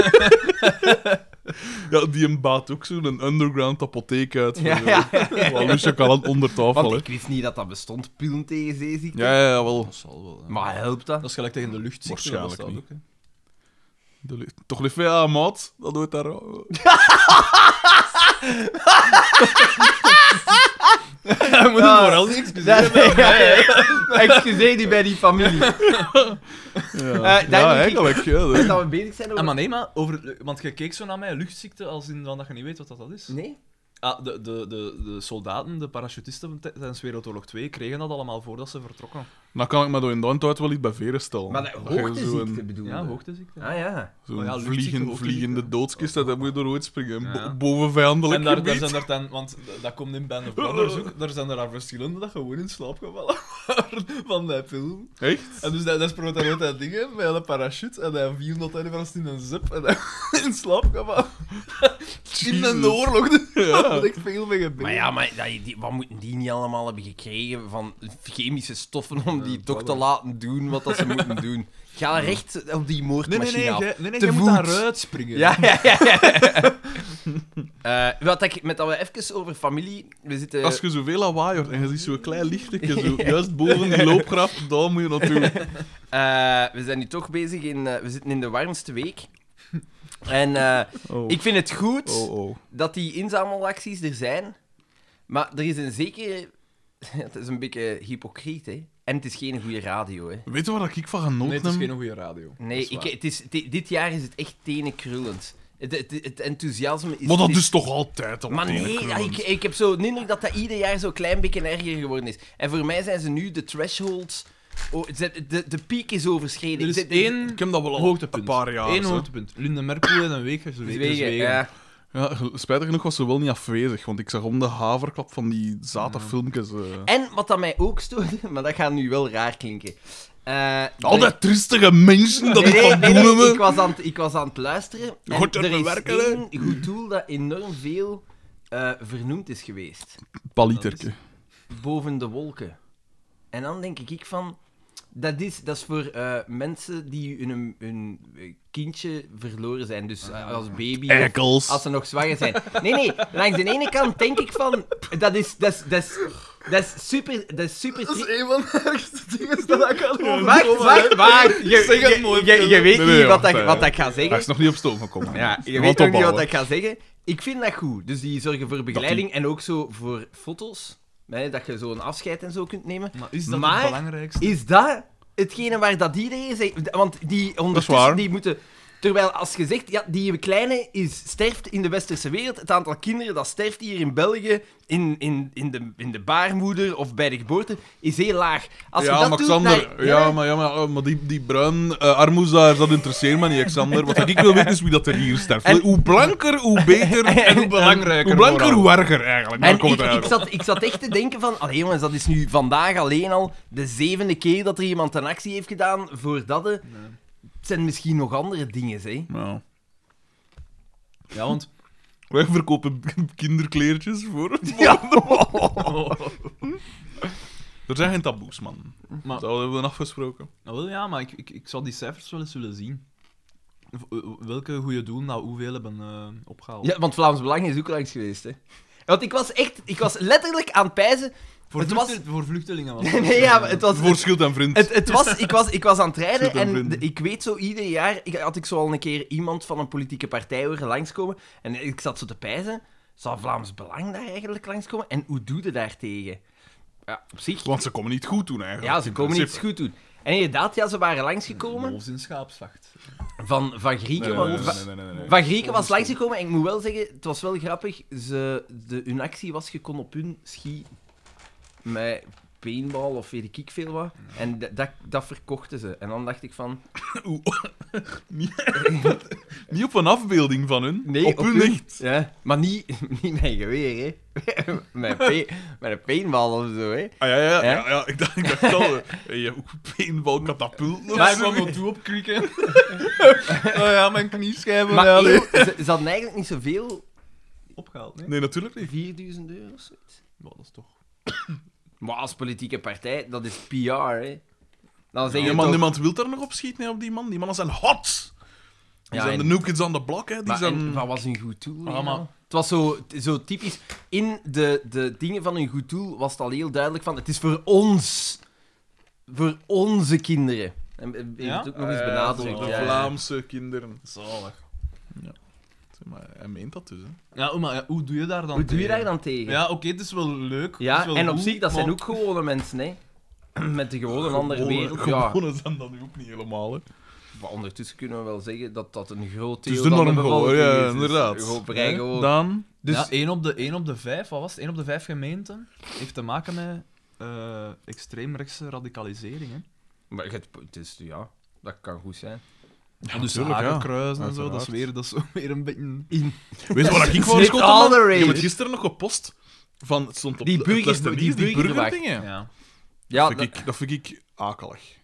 C: Ja, die hem baat ook zo'n underground apotheek uit. eh,
A: Ja,
C: Ja,
A: ja,
C: Walusje kan aan onder tafel,
A: Want
C: hè.
A: ik wist niet dat dat bestond, pillen tegen zeeziekte.
C: Ja, ja, ja, wel. Dat zal wel. hè.
A: Maar helpt dat?
B: Dat is gelijk tegen de luchtziekte.
C: Waarschijnlijk
B: dat staat
C: niet.
B: ook, hè.
C: De li- Toch de VA, maat? Dat doet daar...
B: Hij moet
A: Ja.
B: hem vooral niet excuseren.
A: Dat- Excuseer die bij die familie.
C: Ja,
A: Eh, daar
C: ja
A: moet ik-
C: eigenlijk. Ja, dat-
A: Dat we bezig zijn
B: Ah,
A: over...
B: maar nee, maar over, want je keek zo naar mij, luchtziekte, als in dan dat je niet weet wat dat, dat is.
A: Nee?
B: Ah, de, de, de, de soldaten, de parachutisten t- tijdens Wereldoorlog 2 kregen dat allemaal voordat ze vertrokken.
C: Dan kan ik me door in de hand wel iets bij veren stellen.
A: Maar dat,
C: je
A: hoogteziekte
C: Zo'n,
A: bedoel je?
B: Ja, hoogteziekte.
A: Ah ja.
C: zo'n
B: Oh ja, luchtziekte,
C: vliegen,
B: hoogteziekte.
C: vliegende doodskist, daar moet je door ooit springen.
B: Ja, ja.
C: Bo- Boven vijandelijk
B: En daar, daar
C: gebied.
B: zijn er dan, want d- dat komt in Band of Brothers ook, daar zijn er aan verschillende dat gewoon in slaap gevallen waren van die film.
C: Echt?
B: En dus dat, dat sproot dan uit dat ding, hè, met een parachute, en hij viel dat hij vast in een zip, en hij in slaap gevallen. In een
C: Jesus.
B: oorlog, dus
C: Ja.
B: dat echt veel mee gebeurd.
A: Maar ja, maar dat- die, wat moeten die niet allemaal hebben gekregen van chemische stoffen om die toch te
B: voilà.
A: laten doen wat dat ze moeten doen? Ga recht op die
B: Nee, nee,
A: moordmachine
B: nee,
A: af.
B: jij- nee, nee,
A: Te
B: jij moet
A: voet.
B: daaruit springen.
A: Ja, ja, ja. ja. Eh, wat ik, met dat we even over familie... We zitten...
C: Als je zoveel lawaai hoort en je ziet zo'n klein lichtje, zo, juist boven die loopgraaf, daar moet je naartoe.
A: Eh, we zijn nu toch bezig in... eh, we zitten in de warmste week. En eh,
C: Oh.
A: ik vind het goed
C: Oh, oh.
A: dat die inzamelacties er zijn. Maar er is een zekere... Het is een beetje hypocriet, hè. En het is geen goede radio, hè.
C: Weet je waar ik van genoten
B: Nee,
C: heb?
B: het is geen goede radio.
A: Nee,
B: Dat is
A: ik,
B: waar.
A: het is, di- dit jaar is het echt tenenkrullend. Het, het, het enthousiasme is...
C: Maar dat
A: het
C: is toch altijd al
A: Maar nee,
C: tenenkrullend?
A: ja, ik, ik heb zo de indruk dat dat ieder jaar zo'n klein beetje erger geworden is. En voor mij zijn ze nu de thresholds... Oh, ze- de, de piek is overschreden.
B: Er
A: Ik
B: is
A: zit-
B: één
C: Ik heb dat wel al
B: hoogtepunt.
C: een paar jaar.
B: Eén
C: hè.
B: hoogtepunt. Linde Merkel en een week is
A: Zwegen,
B: week.
A: ja.
C: Ja, gel- spijtig genoeg was ze wel niet afwezig, want ik zag om de haverklap van die zate filmpjes. eh.
A: En wat dat mij ook stoorde, maar dat gaat nu wel raar klinken. Eh,
C: Al
A: er-
C: die triestige mensen dat
A: Nee,
C: ik
A: nee,
C: van
A: nee,
C: doen
A: nee,
C: hebben.
A: ik, was aan het, ik was aan het luisteren. En
C: Goed te
A: er is
C: bewerken, hè.
A: één goed doel dat enorm veel eh, vernoemd is geweest.
C: Palieterke.
A: Boven de wolken. En dan denk ik van... Dat is, dat is voor eh, mensen die hun, hun kindje verloren zijn. Dus eh, als baby... of
C: Ekels.
A: als ze nog zwanger zijn. Nee, nee, langs de ene kant denk ik van... Dat is, dat is, dat is, dat is super... Dat is super...
B: Dat
A: tri-
B: is een van de ergste dingen dat ik had over.
A: Wacht, wacht, wacht. Je,
B: Zeg het
A: je-
B: mooi,
A: je- je
B: Philip.
A: weet
C: Nee, nee,
A: niet wat,
C: wacht,
A: dat,
C: eh,
A: wat dat ik ga
C: Hij is
A: zeggen.
C: nog niet op stoom gekomen.
A: Ja, je
C: Wat
A: weet ook niet
C: opbouwen.
A: wat ik ga zeggen. Ik vind dat goed. Dus die zorgen voor begeleiding en ook zo voor foto's. Hè, dat je zo een afscheid en zo kunt nemen.
B: Maar is dat
A: Maar-
B: het belangrijkste?
A: Is dat hetgene waar dat iedereen zegt? Want die ondertussen
C: waar.
A: die moeten... Terwijl als je zegt, ja, die kleine is, sterft in de westerse wereld, het aantal kinderen dat sterft hier in België, in, in, in, de, in de baarmoeder of bij de geboorte, is heel laag. Als je
C: Ja,
A: dat
C: maar
A: doet
C: Xander,
A: naar-
C: ja, maar, ja, maar, eh, maar die, die bruin eh armoes daar, dat interesseert me niet, Xander. Wat ik wil weten is wie dat er hier sterft.
A: En-
C: hoe blanker, hoe beter en hoe belangrijker. Hoe blanker,
B: vooral.
C: hoe erger eigenlijk. Daar
A: En
C: komt
A: ik,
C: Nou, het
A: ik,
C: eigenlijk. op.
A: zat, ik zat echt te denken van... Allee jongens, dat is nu vandaag alleen al de zevende keer dat er iemand een actie heeft gedaan voor dat. hè. Het zijn misschien nog andere dingen, hè.
C: Nou,
B: Ja, want...
C: wij verkopen kinderkleertjes voor.
A: Ja. Oh.
C: Er zijn geen taboes, man.
B: Maar-
C: Dat hebben we afgesproken.
B: Nou, wel, ja, maar ik, ik, ik zou die cijfers wel eens willen zien. V- eh, Welke goede doelen nou hoeveel hebben eh, opgehaald.
A: Ja, want Vlaams Belang is ook langs geweest, hè. Want ik was echt... Ik was letterlijk aan het pijzen...
B: voor,
A: het
B: vluchtel- voor vluchtelingen was het.
A: Nee, ja, maar het was...
C: Voor schild en vriend.
A: Het, het was, ik, was, ik was aan het rijden
C: Zoet en
A: en
C: vrienden.
A: de- ik weet zo, ieder jaar ik, had ik zo al een keer iemand van een politieke partij horen langskomen. En ik zat zo te pijzen, zou Vlaams Belang daar eigenlijk langskomen? En hoe doe je daartegen? Ja, op zich.
C: Want ze komen niet goed doen, eigenlijk.
A: Ja, ze komen niet goed doen. En inderdaad, ja, ze waren langsgekomen
B: Wolfs in schaapsvacht.
A: van, van Grieken.
C: Nee, nee,
A: want-
C: nee, nee,
A: va-
C: nee, nee, nee, nee.
A: Van Grieken was langsgekomen en ik moet wel zeggen, het was wel grappig. Ze, de, hun actie was gekon op hun schi met paintball of weet ik veel wat. En da- dat, dat verkochten ze. En dan dacht ik van...
C: Niet op een afbeelding van hun.
A: Nee,
C: op, hun echt.
A: Ja, maar niet, niet mijn geweer, hè. Mijn, pe- mijn paintball of zo, hè.
C: Ah, ja, ja, ja,
A: Ja?
C: ja, ik dacht, ik dacht al. eh, Je hebt ook paintball, katapult. of
D: Maar
C: zo.
D: ik kwam toe op krieken. oh ja, mijn knieschijven.
A: Maar
D: ja,
A: eeuw,
D: nee.
A: ze, ze hadden eigenlijk niet zoveel.
D: Opgehaald, nee?
C: Nee, natuurlijk niet.
A: 4000 euro of zoiets.
D: Ja, dat is toch...
A: Maar als politieke partij, dat is PR, hè. Dan zeg je
C: niemand,
A: toch-
C: niemand wil daar nog op schieten hè, op die man. Die mannen zijn hot. Die
A: Ja,
C: zijn
A: en-
C: de new kids aan de blok. Hè. Die
A: Maar
C: zijn...
A: en wat was een goed doel?
D: Ah,
A: ja?
D: maar-
A: Het was zo, zo typisch. In de, de dingen van een goed doel was het al heel duidelijk van... Het is voor ons. Voor onze kinderen. En eh, heeft
D: Ja?
A: het ook nog eens
C: Ja,
A: benadrukt.
C: De
A: ja, ja.
C: Vlaamse kinderen.
D: Zalig.
C: Zeg Maar hij meent dat dus. Hè.
D: Ja, maar ja, hoe doe je daar dan
A: Hoe doe je
D: tegen?
A: daar dan tegen?
D: Ja, oké, het is wel leuk.
A: Ja,
D: het is wel
A: en op
D: goed,
A: zich, dat zijn
D: maar-
A: ook gewone mensen, hè. Met de gewone, andere
C: Gewone-
A: wereld. Ja,
C: Gewone zijn dat nu ook niet helemaal. Hè.
A: Maar ondertussen kunnen we wel zeggen dat dat een groot
C: Het
A: deel
C: is de
A: van
C: norm geworden,
A: bevolking
C: ja,
A: is. Dus
C: inderdaad.
A: Europa rij
C: Hè,
A: gewoon.
C: Dan...
A: Dus
D: Ja, 1 op, de, één op de 5, wat was het? 1 op de 5 gemeenten heeft te maken met eh, extreemrechtse radicalisering. Hè?
A: maar het, het is, ja, dat kan goed zijn.
D: En dus
C: tuurlijk, ja.
D: hakenkruisen en zo, dat is,
C: Uiteraard.
D: weer, dat is ook weer een beetje.
C: Weet je wat ik voor
A: It's
C: geschoten
A: all
C: heb?
A: the
C: Ik heb het
A: rage.
C: gisteren nog gepost. Van, het stond op
A: Die
C: het
A: burgers-
C: Westernies,
A: die
C: die
A: burgerwacht.
C: burgerdingen.
D: Ja.
A: Ja,
C: dat,
A: dat,
C: vind ik, dat vind ik akelig.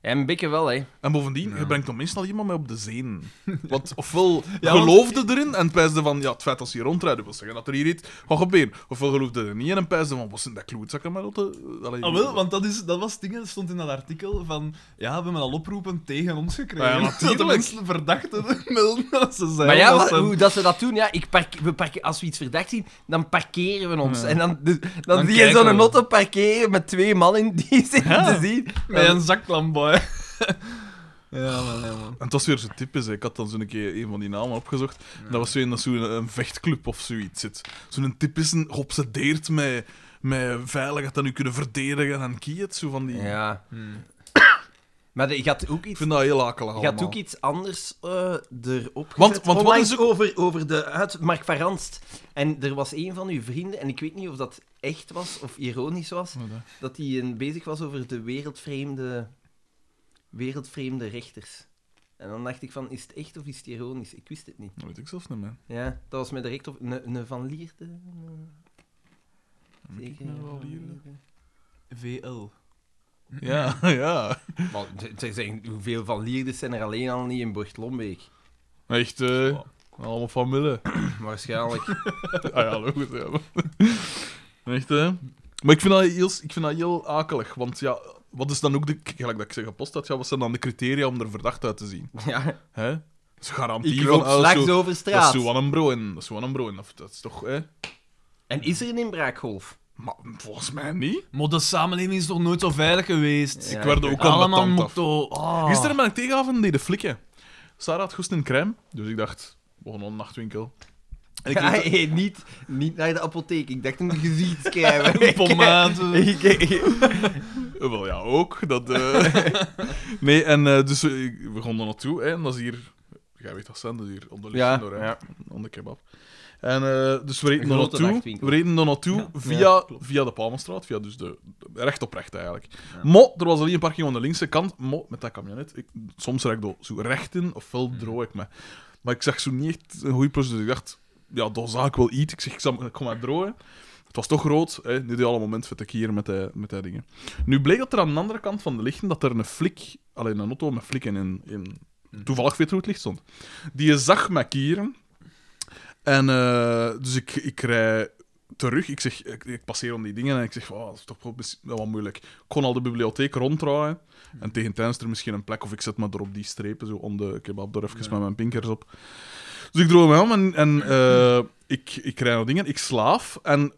A: en Bikke wel, hè.
C: En bovendien,
D: Ja.
C: je brengt dan meestal iemand mee op de zenuwen. Want ofwel
D: Ja, want-
C: geloofde erin en pijsde van ja, het feit dat ze hier rondrijden wil zeggen dat er hier iets gaat gebeuren. Ofwel geloofde er niet in en pijsde van wat zijn dat klootzakken maar dat de... Allee,
D: Ah, wel, want dat, is, dat was het ding dat stond in dat artikel van. Ja, we hebben al oproepen tegen ons gekregen.
C: Ja,
D: dat de
C: natuurlijk.
D: mensen verdachten melden dat ze zijn.
A: Maar ja,
D: dat
A: wat-
D: ze-
A: hoe dat ze dat doen, ja, ik park, we parke- als we iets verdacht zien, dan parkeren we ons.
C: Ja.
A: En dan, dus- dan,
D: Dan
A: zie je
D: kijken
A: zo'n
D: we.
A: auto parkeren met twee mannen die zitten te zien.
D: Met een zaklamp, hè. ja, man, ja, man.
C: En het was weer zo typisch. hè. Ik had dan zo'n keer een van die namen opgezocht. En dat was zo een, dat zo'n eh, een vechtclub of zoiets zit. Zo'n typische geobsedeerd met, met veiligheid dat nu kunnen verdedigen en kiet. Zo van die...
A: Ja,
D: Hmm.
A: maar de- je had ook
C: Ik
A: iets,
C: vind dat heel akelig
A: je had
C: allemaal.
A: ook iets anders eh, erop
C: Want-
A: gezet.
C: want wat
A: Onlangs
C: is ook-
A: over, over de uit Mark van Ranst. En er was een van uw vrienden, en ik weet niet of dat echt was of ironisch was,
C: Wat, hè?
A: dat hij een- bezig was over de wereldvreemde, wereldvreemde rechters. En dan dacht ik van, is het echt of is het ironisch? Ik wist het niet.
C: Dat weet ik zelfs niet meer.
A: Ja, dat was mij direct op... Ne, ne van Lierde? Ne-
C: Moet ik
A: Zeker,
C: nou
A: ja,
C: wel
A: Van
C: hier-
A: Lierde.
D: VL.
C: Ja, ja.
A: Maar ze- ze zeggen, hoeveel Van Lierdes zijn er alleen al niet in Bortlombeek?
C: Echt, eh, allemaal familie.
A: Waarschijnlijk.
C: ah ja, logisch, ja. maar- Echt, hè. Maar ik vind, dat heel, ik vind dat heel akelig, want ja, wat is dan ook de... Gelijk dat ik zeg gepost had, ja, wat zijn dan de criteria om er verdacht uit te zien?
A: ja,
C: Hè? Dat is garantie
A: ik
C: van...
A: loop
C: ah,
A: straks
C: zo-
A: over
C: Dat is
A: straat.
C: zo aan een broen. Dat is zo aan een broen. Of Dat is toch, hè?
A: En is er een inbraakgolf?
C: Maar volgens mij niet.
D: Maar de samenleving is toch nooit zo veilig geweest?
A: Ja,
C: ik werd ook aan
D: Allemaal
C: mijn tand af.
D: motto. Ah.
C: Gisteren ben ik tegenavond die de flikken. Sarah had goed in crème, dus ik dacht, we gaan naar een nachtwinkel. En ik
A: Ja,
C: reed-
A: hey, niet, niet naar de apotheek. Ik dacht een gezichtskrijgen.
D: Pomade.
A: Ik- ik-
C: Eh, Wel ja, ook. Dat, eh. nee, en eh, dus eh, we gaan er naartoe. Hè, en dat is hier... Jij weet wat zijn, dat is hier onder de
A: Ja,
C: door, hè.
A: ja.
C: Onder kebab. En eh, dus we reden
A: Een
C: er
A: grote
C: naartoe.
A: nachtwinkel.
C: We reden er naartoe
D: Ja.
C: via,
D: Ja, klopt.
C: via de Palmenstraat. Via dus de, recht op recht, eigenlijk.
D: Ja.
C: Mo, er was alleen een parking aan de linkse kant. Mo, met dat kamionet. Ik, soms rijd ik door zo recht in, ofwel
D: Mhm.
C: droog ik me. Maar ik zag zo niet echt een goede plus, dus ik dacht... Ja, daar zag ik wel iets. Ik zeg, ik, zal, ik kom maar drogen. Het was toch rood, hè? het ideale moment vind ik hier met die, met die dingen. Nu bleek dat er aan de andere kant van de lichten dat er een flik, alleen een auto met flikken in, in
D: Mhm.
C: toevallig weet hoe het licht stond. Die zag mij kieren. En eh, dus ik, ik rij terug. Ik, zeg, ik, ik passeer om die dingen en ik zeg, "Wauw, dat is toch wel bes- wel wat moeilijk. Ik kon al de bibliotheek ronddraaien. En tegen tijd is er misschien een plek of ik zet me er op die strepen, zo om de kebab er even met mijn pinkers op. Dus ik droog me om en, en eh, ik, ik rij naar dingen. Ik slaaf en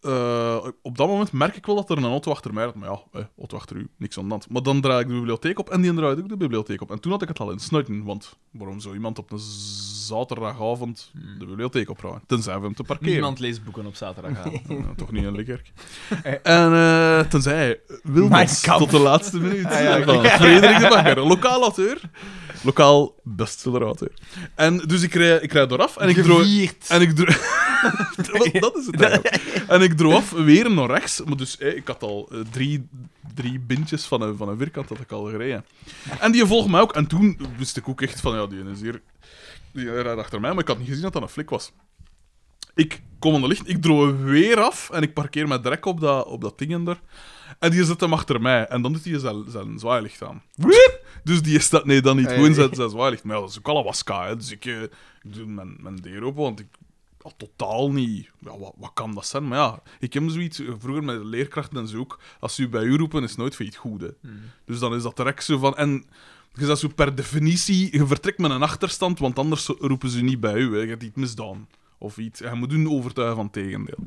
C: eh, op dat moment merk ik wel dat er een auto achter mij rijdt. Maar ja, eh, auto achter u, niks aan de hand. Maar dan draai ik de bibliotheek op en die draait ook de bibliotheek op. En toen had ik het al in snuiten, want waarom zou iemand op een zaterdagavond de bibliotheek opruimen? Tenzij we hem te parkeren.
D: Niemand leest boeken op zaterdagavond.
C: Nou, toch niet een Likkerk. En eh tenzij Wilmans
A: Mijn kamp.
C: tot de laatste minuut
A: Ah, ja, oké.
C: van Frederik de Bakker, lokaal auteur. Lokaal bestseller auteur. En dus ik rij, ik rij dooraf en ik droog...
A: Gevierd.
C: En ik droog... Wat- dat is het eigenlijk. En ik droeg af weer naar rechts. Maar dus, eh, ik had al eh, drie, drie bintjes van een, van een vierkant dat ik al gereden. En die volgt mij ook. En toen wist ik ook echt van, ja, die is hier... Die rijdt achter mij, maar ik had niet gezien dat dat een flik was. Ik kom aan de licht, ik droog weer af en ik parkeer mij direct op dat, op dat ding daar. En die zet hem achter mij. En dan doet hij zijn, zijn zwaailicht aan. Dus die is dat... Nee, dan niet.
A: Ah, ja.
C: Gewoon zijn, zijn zwaailicht. Maar ja, dat is ook alabaska, hè. Dus ik, eh, ik doe mijn, mijn deur open, want ik had totaal niet... Ja, wat, wat kan dat zijn? Maar ja, ik heb zoiets... eh, Vroeger met leerkrachten en zo ook. Als ze u bij u roepen, is het nooit voor iets goed, hè. Dus dan is dat direct zo van... En je zegt zo per definitie... Je vertrekt met een achterstand, want anders roepen ze niet bij u, hè. Je hebt iets misdaan. Of iets. Je moet hun overtuigen van het tegendeel.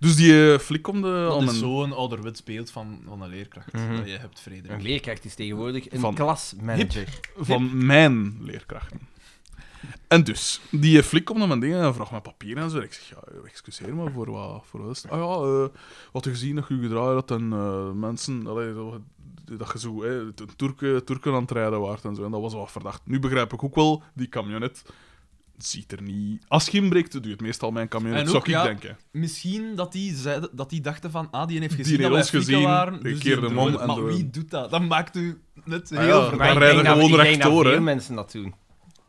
C: Dus die eh, flik om de...
D: Dat
C: aan
D: is
C: mijn-
D: zo'n ouderwets beeld van, van een leerkracht
A: Mhm.
D: dat je hebt, Frederik.
A: Een leerkracht is tegenwoordig een
C: Van-
A: klasmanager.
C: van mijn leerkrachten. En dus, die flik komt naar mijn ding en vraagt mij papier en zo. Ik zeg, ja, excuseer me, voor wat, voor wat is het? Ah ja, eh, wat je gezien dat je gedraaid had en eh, mensen, allee, dat, we- dat je zo eh, de Turken, Turken aan het rijden waart en zo. En dat was wel verdacht. Nu begrijp ik ook wel, die camionet ziet er niet... Als je inbreekt, doet het meestal mijn camionet,
D: En
C: zou
D: ook,
C: ik
D: ja,
C: denken.
D: Misschien dat die, zeiden, dat die dachten van, ah, die heeft
C: Die
D: gezien
C: heeft
D: dat wij
C: ons
D: frieken
C: gezien,
D: waren.
C: die
D: Dus
C: keerde
D: die
C: hem om
D: doen het.
C: en
D: Maar
C: doen
D: wie
C: het.
D: doet dat? Dat maakt u net
C: Ah,
D: heel
C: ja.
D: ver-
C: Maar
A: ik
C: dan rijden
A: denk dat-
C: gewoon
A: ik denk
C: rechtdoor, hè.
A: dat veel mensen dat doen.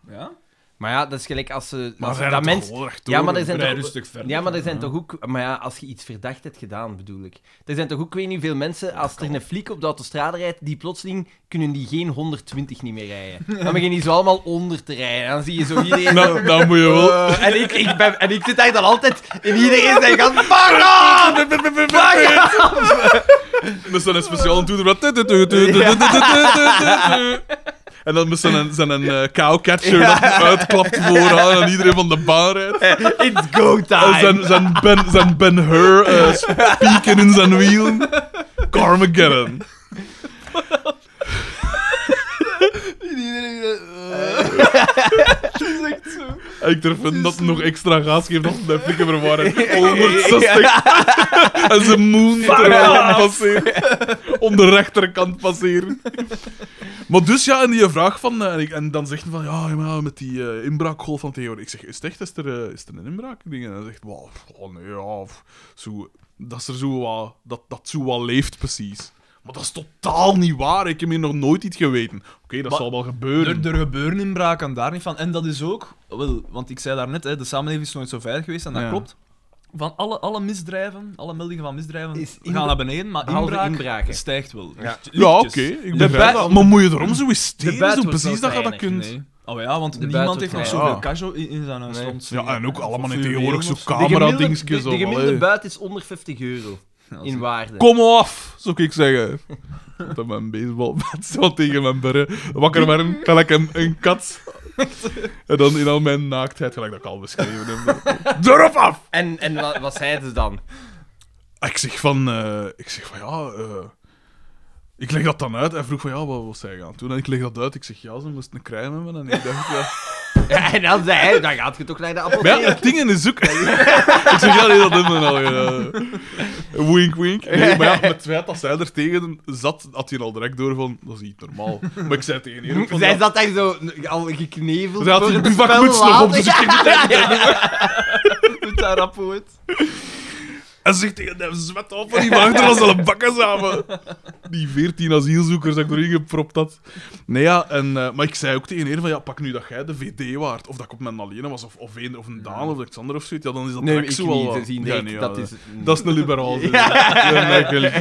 D: Ja?
A: Maar ja, dat is gelijk als ze...
C: Maar
A: als
C: zij rijden
A: Nou, dat mens...
C: toch wel rechtdoor,
A: Ja, maar
C: hè?
A: er zijn
D: Rij
A: toch...
D: rustig verder.
A: Ja, maar er zijn toch ook... Maar ja, als je iets verdacht hebt gedaan, bedoel ik. Er zijn toch ook, weet niet hoeveel mensen, als er een fliek op de autostrade rijdt, die plotseling kunnen die geen 120 niet meer rijden. Dan beginnen die zo allemaal onder te rijden. Dan zie je zo iedereen... zo,
C: Nou, dan moet je wel...
A: eh, en, ik, ik ben, en ik zit daar dan altijd in iedereen zijn gang... Fuck off! Fuck off!
C: Met zo'n speciaal toeter. En dan met zo'n zo'n eh, cowcatcher dat hem uitklapt vooraan en iedereen van de baan rijdt.
A: It's go
C: En
A: time!
C: zijn, zijn, ben, zijn ben Hur eh, spieken in zijn wielen. Carmageddon. Eh,
D: Dat is echt zo.
C: En ik durf hem dat nog extra gas geeft dat de flikken verwarren. 160. en zijn moon terwijl hem passeert. Om de rechterkant passeren. Maar dus ja, en die vraag van... eh, En, ik- en dan zegt hij van, ja, ja, met die eh, inbraakgolf van tegenwoordig. Ik zeg, is het echt, is er, eh, is er een inbraak? Ding? En hij zegt, wow, oh nee, ja, pff, zo, dat is er zo wat... Dat, dat zo wat leeft precies. Maar dat is totaal niet waar. Ik heb hier nog nooit iets geweten. Oké, dat
D: Maar-
C: zal wel gebeuren.
D: Er, er gebeuren inbraken daar niet van. En dat is ook, wel, want ik zei daarnet, hè, de samenleving is nooit zo veilig geweest en dat
C: Ja.
D: klopt. Van alle, alle misdrijven, alle meldingen van misdrijven
A: Is inbra-
D: gaan naar beneden, maar
A: Behalve
D: inbraak
A: inbraken.
D: stijgt wel.
A: Ja.
D: Dus
C: Ja, oké.
D: lichtjes.
C: ik
A: De
C: begrijp
A: bui-
C: dat. Maar moet je erom zo eens tegen,
A: buit
C: zo
A: wordt
C: precies
A: wel
C: dat je dat
A: te
C: kunt.
D: Nee. Oh ja, want
A: buiten
D: niemand heeft nog
A: ook
C: niet.
D: zoveel
C: Ah.
D: cash in, in zijn huis
A: Nee.
D: rond.
C: Ja, en ook allemaal in
D: Vuurwerk
C: tegenwoordig
D: of
C: zo'n
D: zo.
A: De gemiddelde-
C: camera-dingetjes.
A: de- De gemiddelde
C: allemaal, hè.
A: buit is onder 50 euro. In waarde.
C: Kom af, zou ik zeggen. Dat mijn baseballbat zo tegen mijn berren. Wakker werden, gelijk een, een kat. En dan in al mijn naaktheid, gelijk dat ik al beschreven heb. Durf af!
A: En, en wat, wat zeiden ze dan?
C: Ik zeg van, eh, ik zeg van ja, eh, ik leg dat dan uit. Hij vroeg van ja, wat was hij gaan doen? En ik leg dat uit. Ik zeg ja, ze moest een crème hebben. En ik dacht ja.
A: Ja, en dan zei hij, dan gaat je toch naar de
C: Maar ja,
A: apotheek.
C: het ding in de zoek. ik zeg, ja, nee, dat hebben we al gedaan. Wink, wink. Nee, maar ja, met het feit dat zij er tegen zat, had hij al direct door van, dat is niet normaal. Maar ik zei tegen hem van...
A: Zij
C: ja,
A: zat daar zo al gekneveld.
C: Ze had
A: voor
C: die
A: het
C: bivakmuts
A: spel
C: nog op,
A: laten.
C: dus ik ging niet
A: Ja, ja, ja.
D: Met dat rapport.
C: En ze zegt tegen hem, zwet op van die wachter als alle bakken samen. Die veertien asielzoekers dat ik erin gepropt had. Nee, ja, en, eh, maar ik zei ook tegen haar van, ja, pak nu dat jij de VD waard. Of dat ik op mijn alleen was, of, of een, of een Daan, of Alexander of zoiets. Ja, dan is dat
A: Nee,
C: direct
A: ik
C: zo wel
A: niet.
C: wat.
A: Ze zien
C: Ja,
A: direct,
C: nee, ja,
A: dat is...
C: Mm. Dat is een liberaal. zeg. Ja, nee, ik wil niet.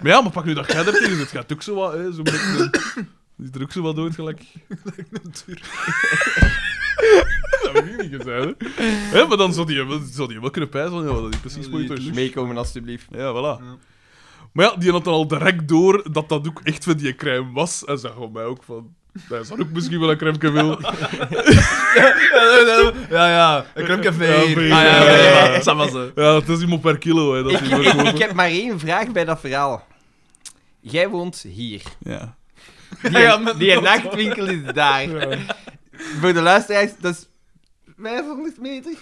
C: Maar ja, maar pak nu dat jij er tegen zit. Gaat ook zo wat, hè? Zo beetje, eh, die drukt zo wat dood, gelijk. dat heb ik niet gezegd, hè? hè maar dan zou die, wel- zou die wel kunnen pijzen van, ja, wat dat is precies
D: Ja,
C: voor je
D: die
C: toch-
A: Meekomen, alstublieft.
C: Ja, voilà.
D: Ja.
C: Maar ja, die had dan al direct door dat dat ook echt van die crème was. En zag op mij ook van... Dat is ook misschien wel een crème wil.
D: Ja, ja, een krumpje
C: Ja,
D: veer.
C: veer.
D: Ah, ja, ja,
C: Ja,
D: ja,
C: ja.
D: ja. Dat was het.
C: Ja, dat is iemand per kilo, hè. Dat is
A: Ik,
C: iemand
A: ik,
C: per
A: ik heb maar één vraag bij dat verhaal. Jij woont hier.
C: Ja.
A: Die,
D: Ja, met
A: die
D: een auto.
A: nachtwinkel is daar. Voor de luisteraars, dat is 500 meter.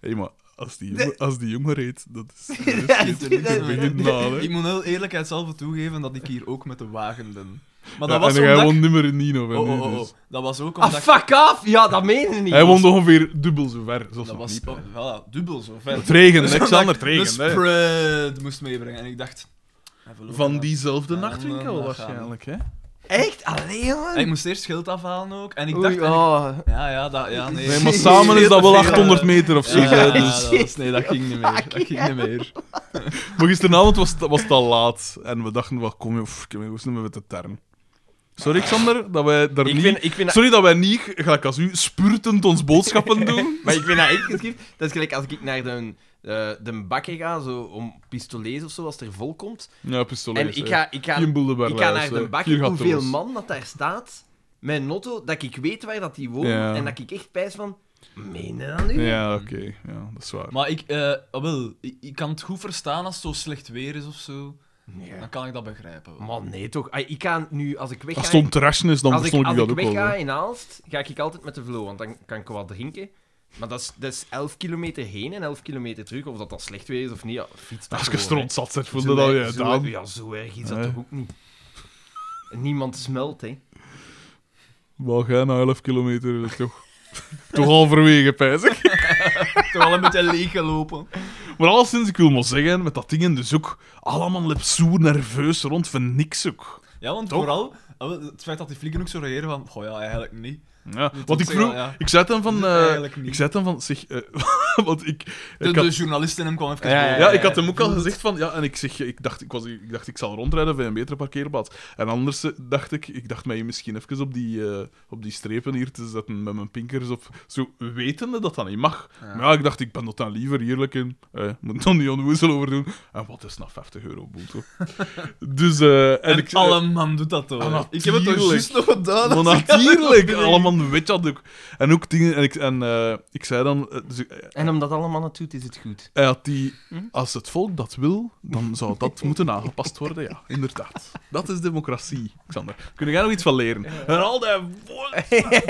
C: Hé, maar als die jongen, als die jongen reed, dat is... Dat is
A: Ja,
C: niet
A: dat-
C: te beginnen aan, hè.
D: Ik moet heel eerlijkheidshalve toegeven dat ik hier ook met de wagen ben.
B: Maar
C: Ja,
B: dat was
C: en hij
B: omdat
C: won
B: ik-
C: nummer in Nino. hè,
B: Oh, oh,
C: nee,
B: oh, oh.
C: dus.
B: Dat was ook
A: Ah,
B: omdat ik-
A: fuck af! Ja, dat meen je niet.
C: Hij won ongeveer dubbel zo ver. Zelfs
B: Dat
C: nog
B: was
C: niet.
B: oh, voilà, dubbel zo ver.
C: Het regende,
B: Dus omdat
C: Alexander,
B: ik
C: het regende,
B: De
C: hè.
B: spread moest meebrengen. En ik dacht... hij verloor
C: Van
B: dat.
C: diezelfde
B: Ja,
C: nachtwinkel
B: dan, eh,
C: waarschijnlijk, hè?
A: Echt? Alleen, man?
B: En ik moest eerst schild afhalen ook. En ik
A: Oei,
B: dacht... en ik-
A: ah.
B: Ja, ja, dat... Ja, nee.
C: Nee, maar samen is dat wel
B: Ja,
C: 800 meter of zo.
B: Ja,
C: hè,
B: ja,
C: dus-
B: dat was- nee, dat ging niet meer. Dat ging niet meer.
C: Maar gisteravond was, het- was het al laat. En we dachten, wel, kom, joh, ik heb niet meer met de term. Sorry, Xander, dat wij daar
A: Ik
C: niet...
A: vind, ik vind dat,
C: Sorry dat wij niet, gelijk als u, spurtend ons boodschappen doen.
A: maar ik vind dat echt geschikt. Dat is gelijk als ik naar de, eh de bakker ga, zo, om pistolets of zo, als het er vol komt.
C: Ja, pistolet.
A: En ik ga, ik ga,
C: Geen boel de
A: ik ga
C: barlijs,
A: naar
C: hè.
A: de
C: Hier
A: bakker,
C: gaat
A: hoeveel
C: los.
A: man dat daar staat, mijn notto, dat ik weet waar dat die woont,
C: Ja.
A: en dat ik echt pijs van... Meen je dat nu?
C: Ja, oké. Ja, dat is waar.
B: Maar ik, eh, ah, wel, ik, ik kan het goed verstaan als het zo slecht weer is of zo.
A: Nee.
B: Dan kan ik dat begrijpen. wel.
A: Man, nee toch. Ai, Ik ga nu, als ik wegga...
C: Als het om te rassen is, dan
A: als ik,
C: verstond ik,
A: als
C: dat
A: ik
C: ook wel.
A: wegga
C: hè.
A: in Aalst, ga ik altijd met de flow, want dan kan ik wat drinken. Maar dat is, dat is 11 kilometer heen en 11 kilometer terug. Of dat dan slecht weer is of niet, ja, fiets dat
C: Als je
A: gewoon,
C: stront zat zet,
A: hè.
C: voelde
A: Zo
C: dat
A: erg-
C: je
A: zo-
C: gedaan.
A: Ja, zo erg is dat
C: Nee.
A: toch ook niet. Niemand smelt, hè.
C: Wel, jij na 11 kilometer eh, toch... toch halverwege, pijs ik.
B: Toch wel een beetje leeggelopen.
C: Maar alleszins, ik wil maar zeggen, met dat dingen dus ook... Allemaal liep zo nerveus rond van niks ook.
B: Ja, want
C: Toch?
B: vooral ah, wel, het feit dat die flikken ook zo reageren van... Goh ja, eigenlijk niet.
C: Ja,
B: Moet
C: want
B: ik
C: ik vroeg...
B: zeggen, ja.
C: Ik zei dan
B: Is
C: van...
B: het
C: eh,
B: eigenlijk niet?
C: ik zei dan van... Zeg, eh, want ik...
B: De,
C: ik had-
B: de journalist in hem kwam even
A: Ja, ja,
B: boven.
C: ja, ik had hem ook al
B: Voelde
C: gezegd van... Ja, en ik, zeg, ik, dacht, ik, was, ik dacht, ik zal rondrijden bij een betere parkeerplaats. En anders eh, dacht ik... Ik dacht mij misschien even op die, eh, op die strepen hier te zetten met mijn pinkers op. Zo wetende dat dat niet mag.
B: Ja.
C: Maar ja, ik dacht, ik ben dat dan liever eerlijk in. Eh, moet er niet onwoezel over doen. En wat is nou 50 euro boete? dus... eh, en
B: En
C: ik,
B: alle man doet dat toch.
C: Ah,
B: ik heb het toch
C: natuurlijk.
B: juist nog gedaan.
C: Maar
B: als ik-
C: natuurlijk, allemaal weet dat ook. En ook dingen, en ik, en, eh, ik zei dan, eh, dus, ik- eh,
A: En omdat allemaal het doet, is het goed.
C: hij had die,
A: Hm?
C: als het volk dat wil, dan zou dat moeten aangepast worden. Ja, inderdaad. Dat is democratie, Xander. Kun jij nog iets van leren? En al die woorden.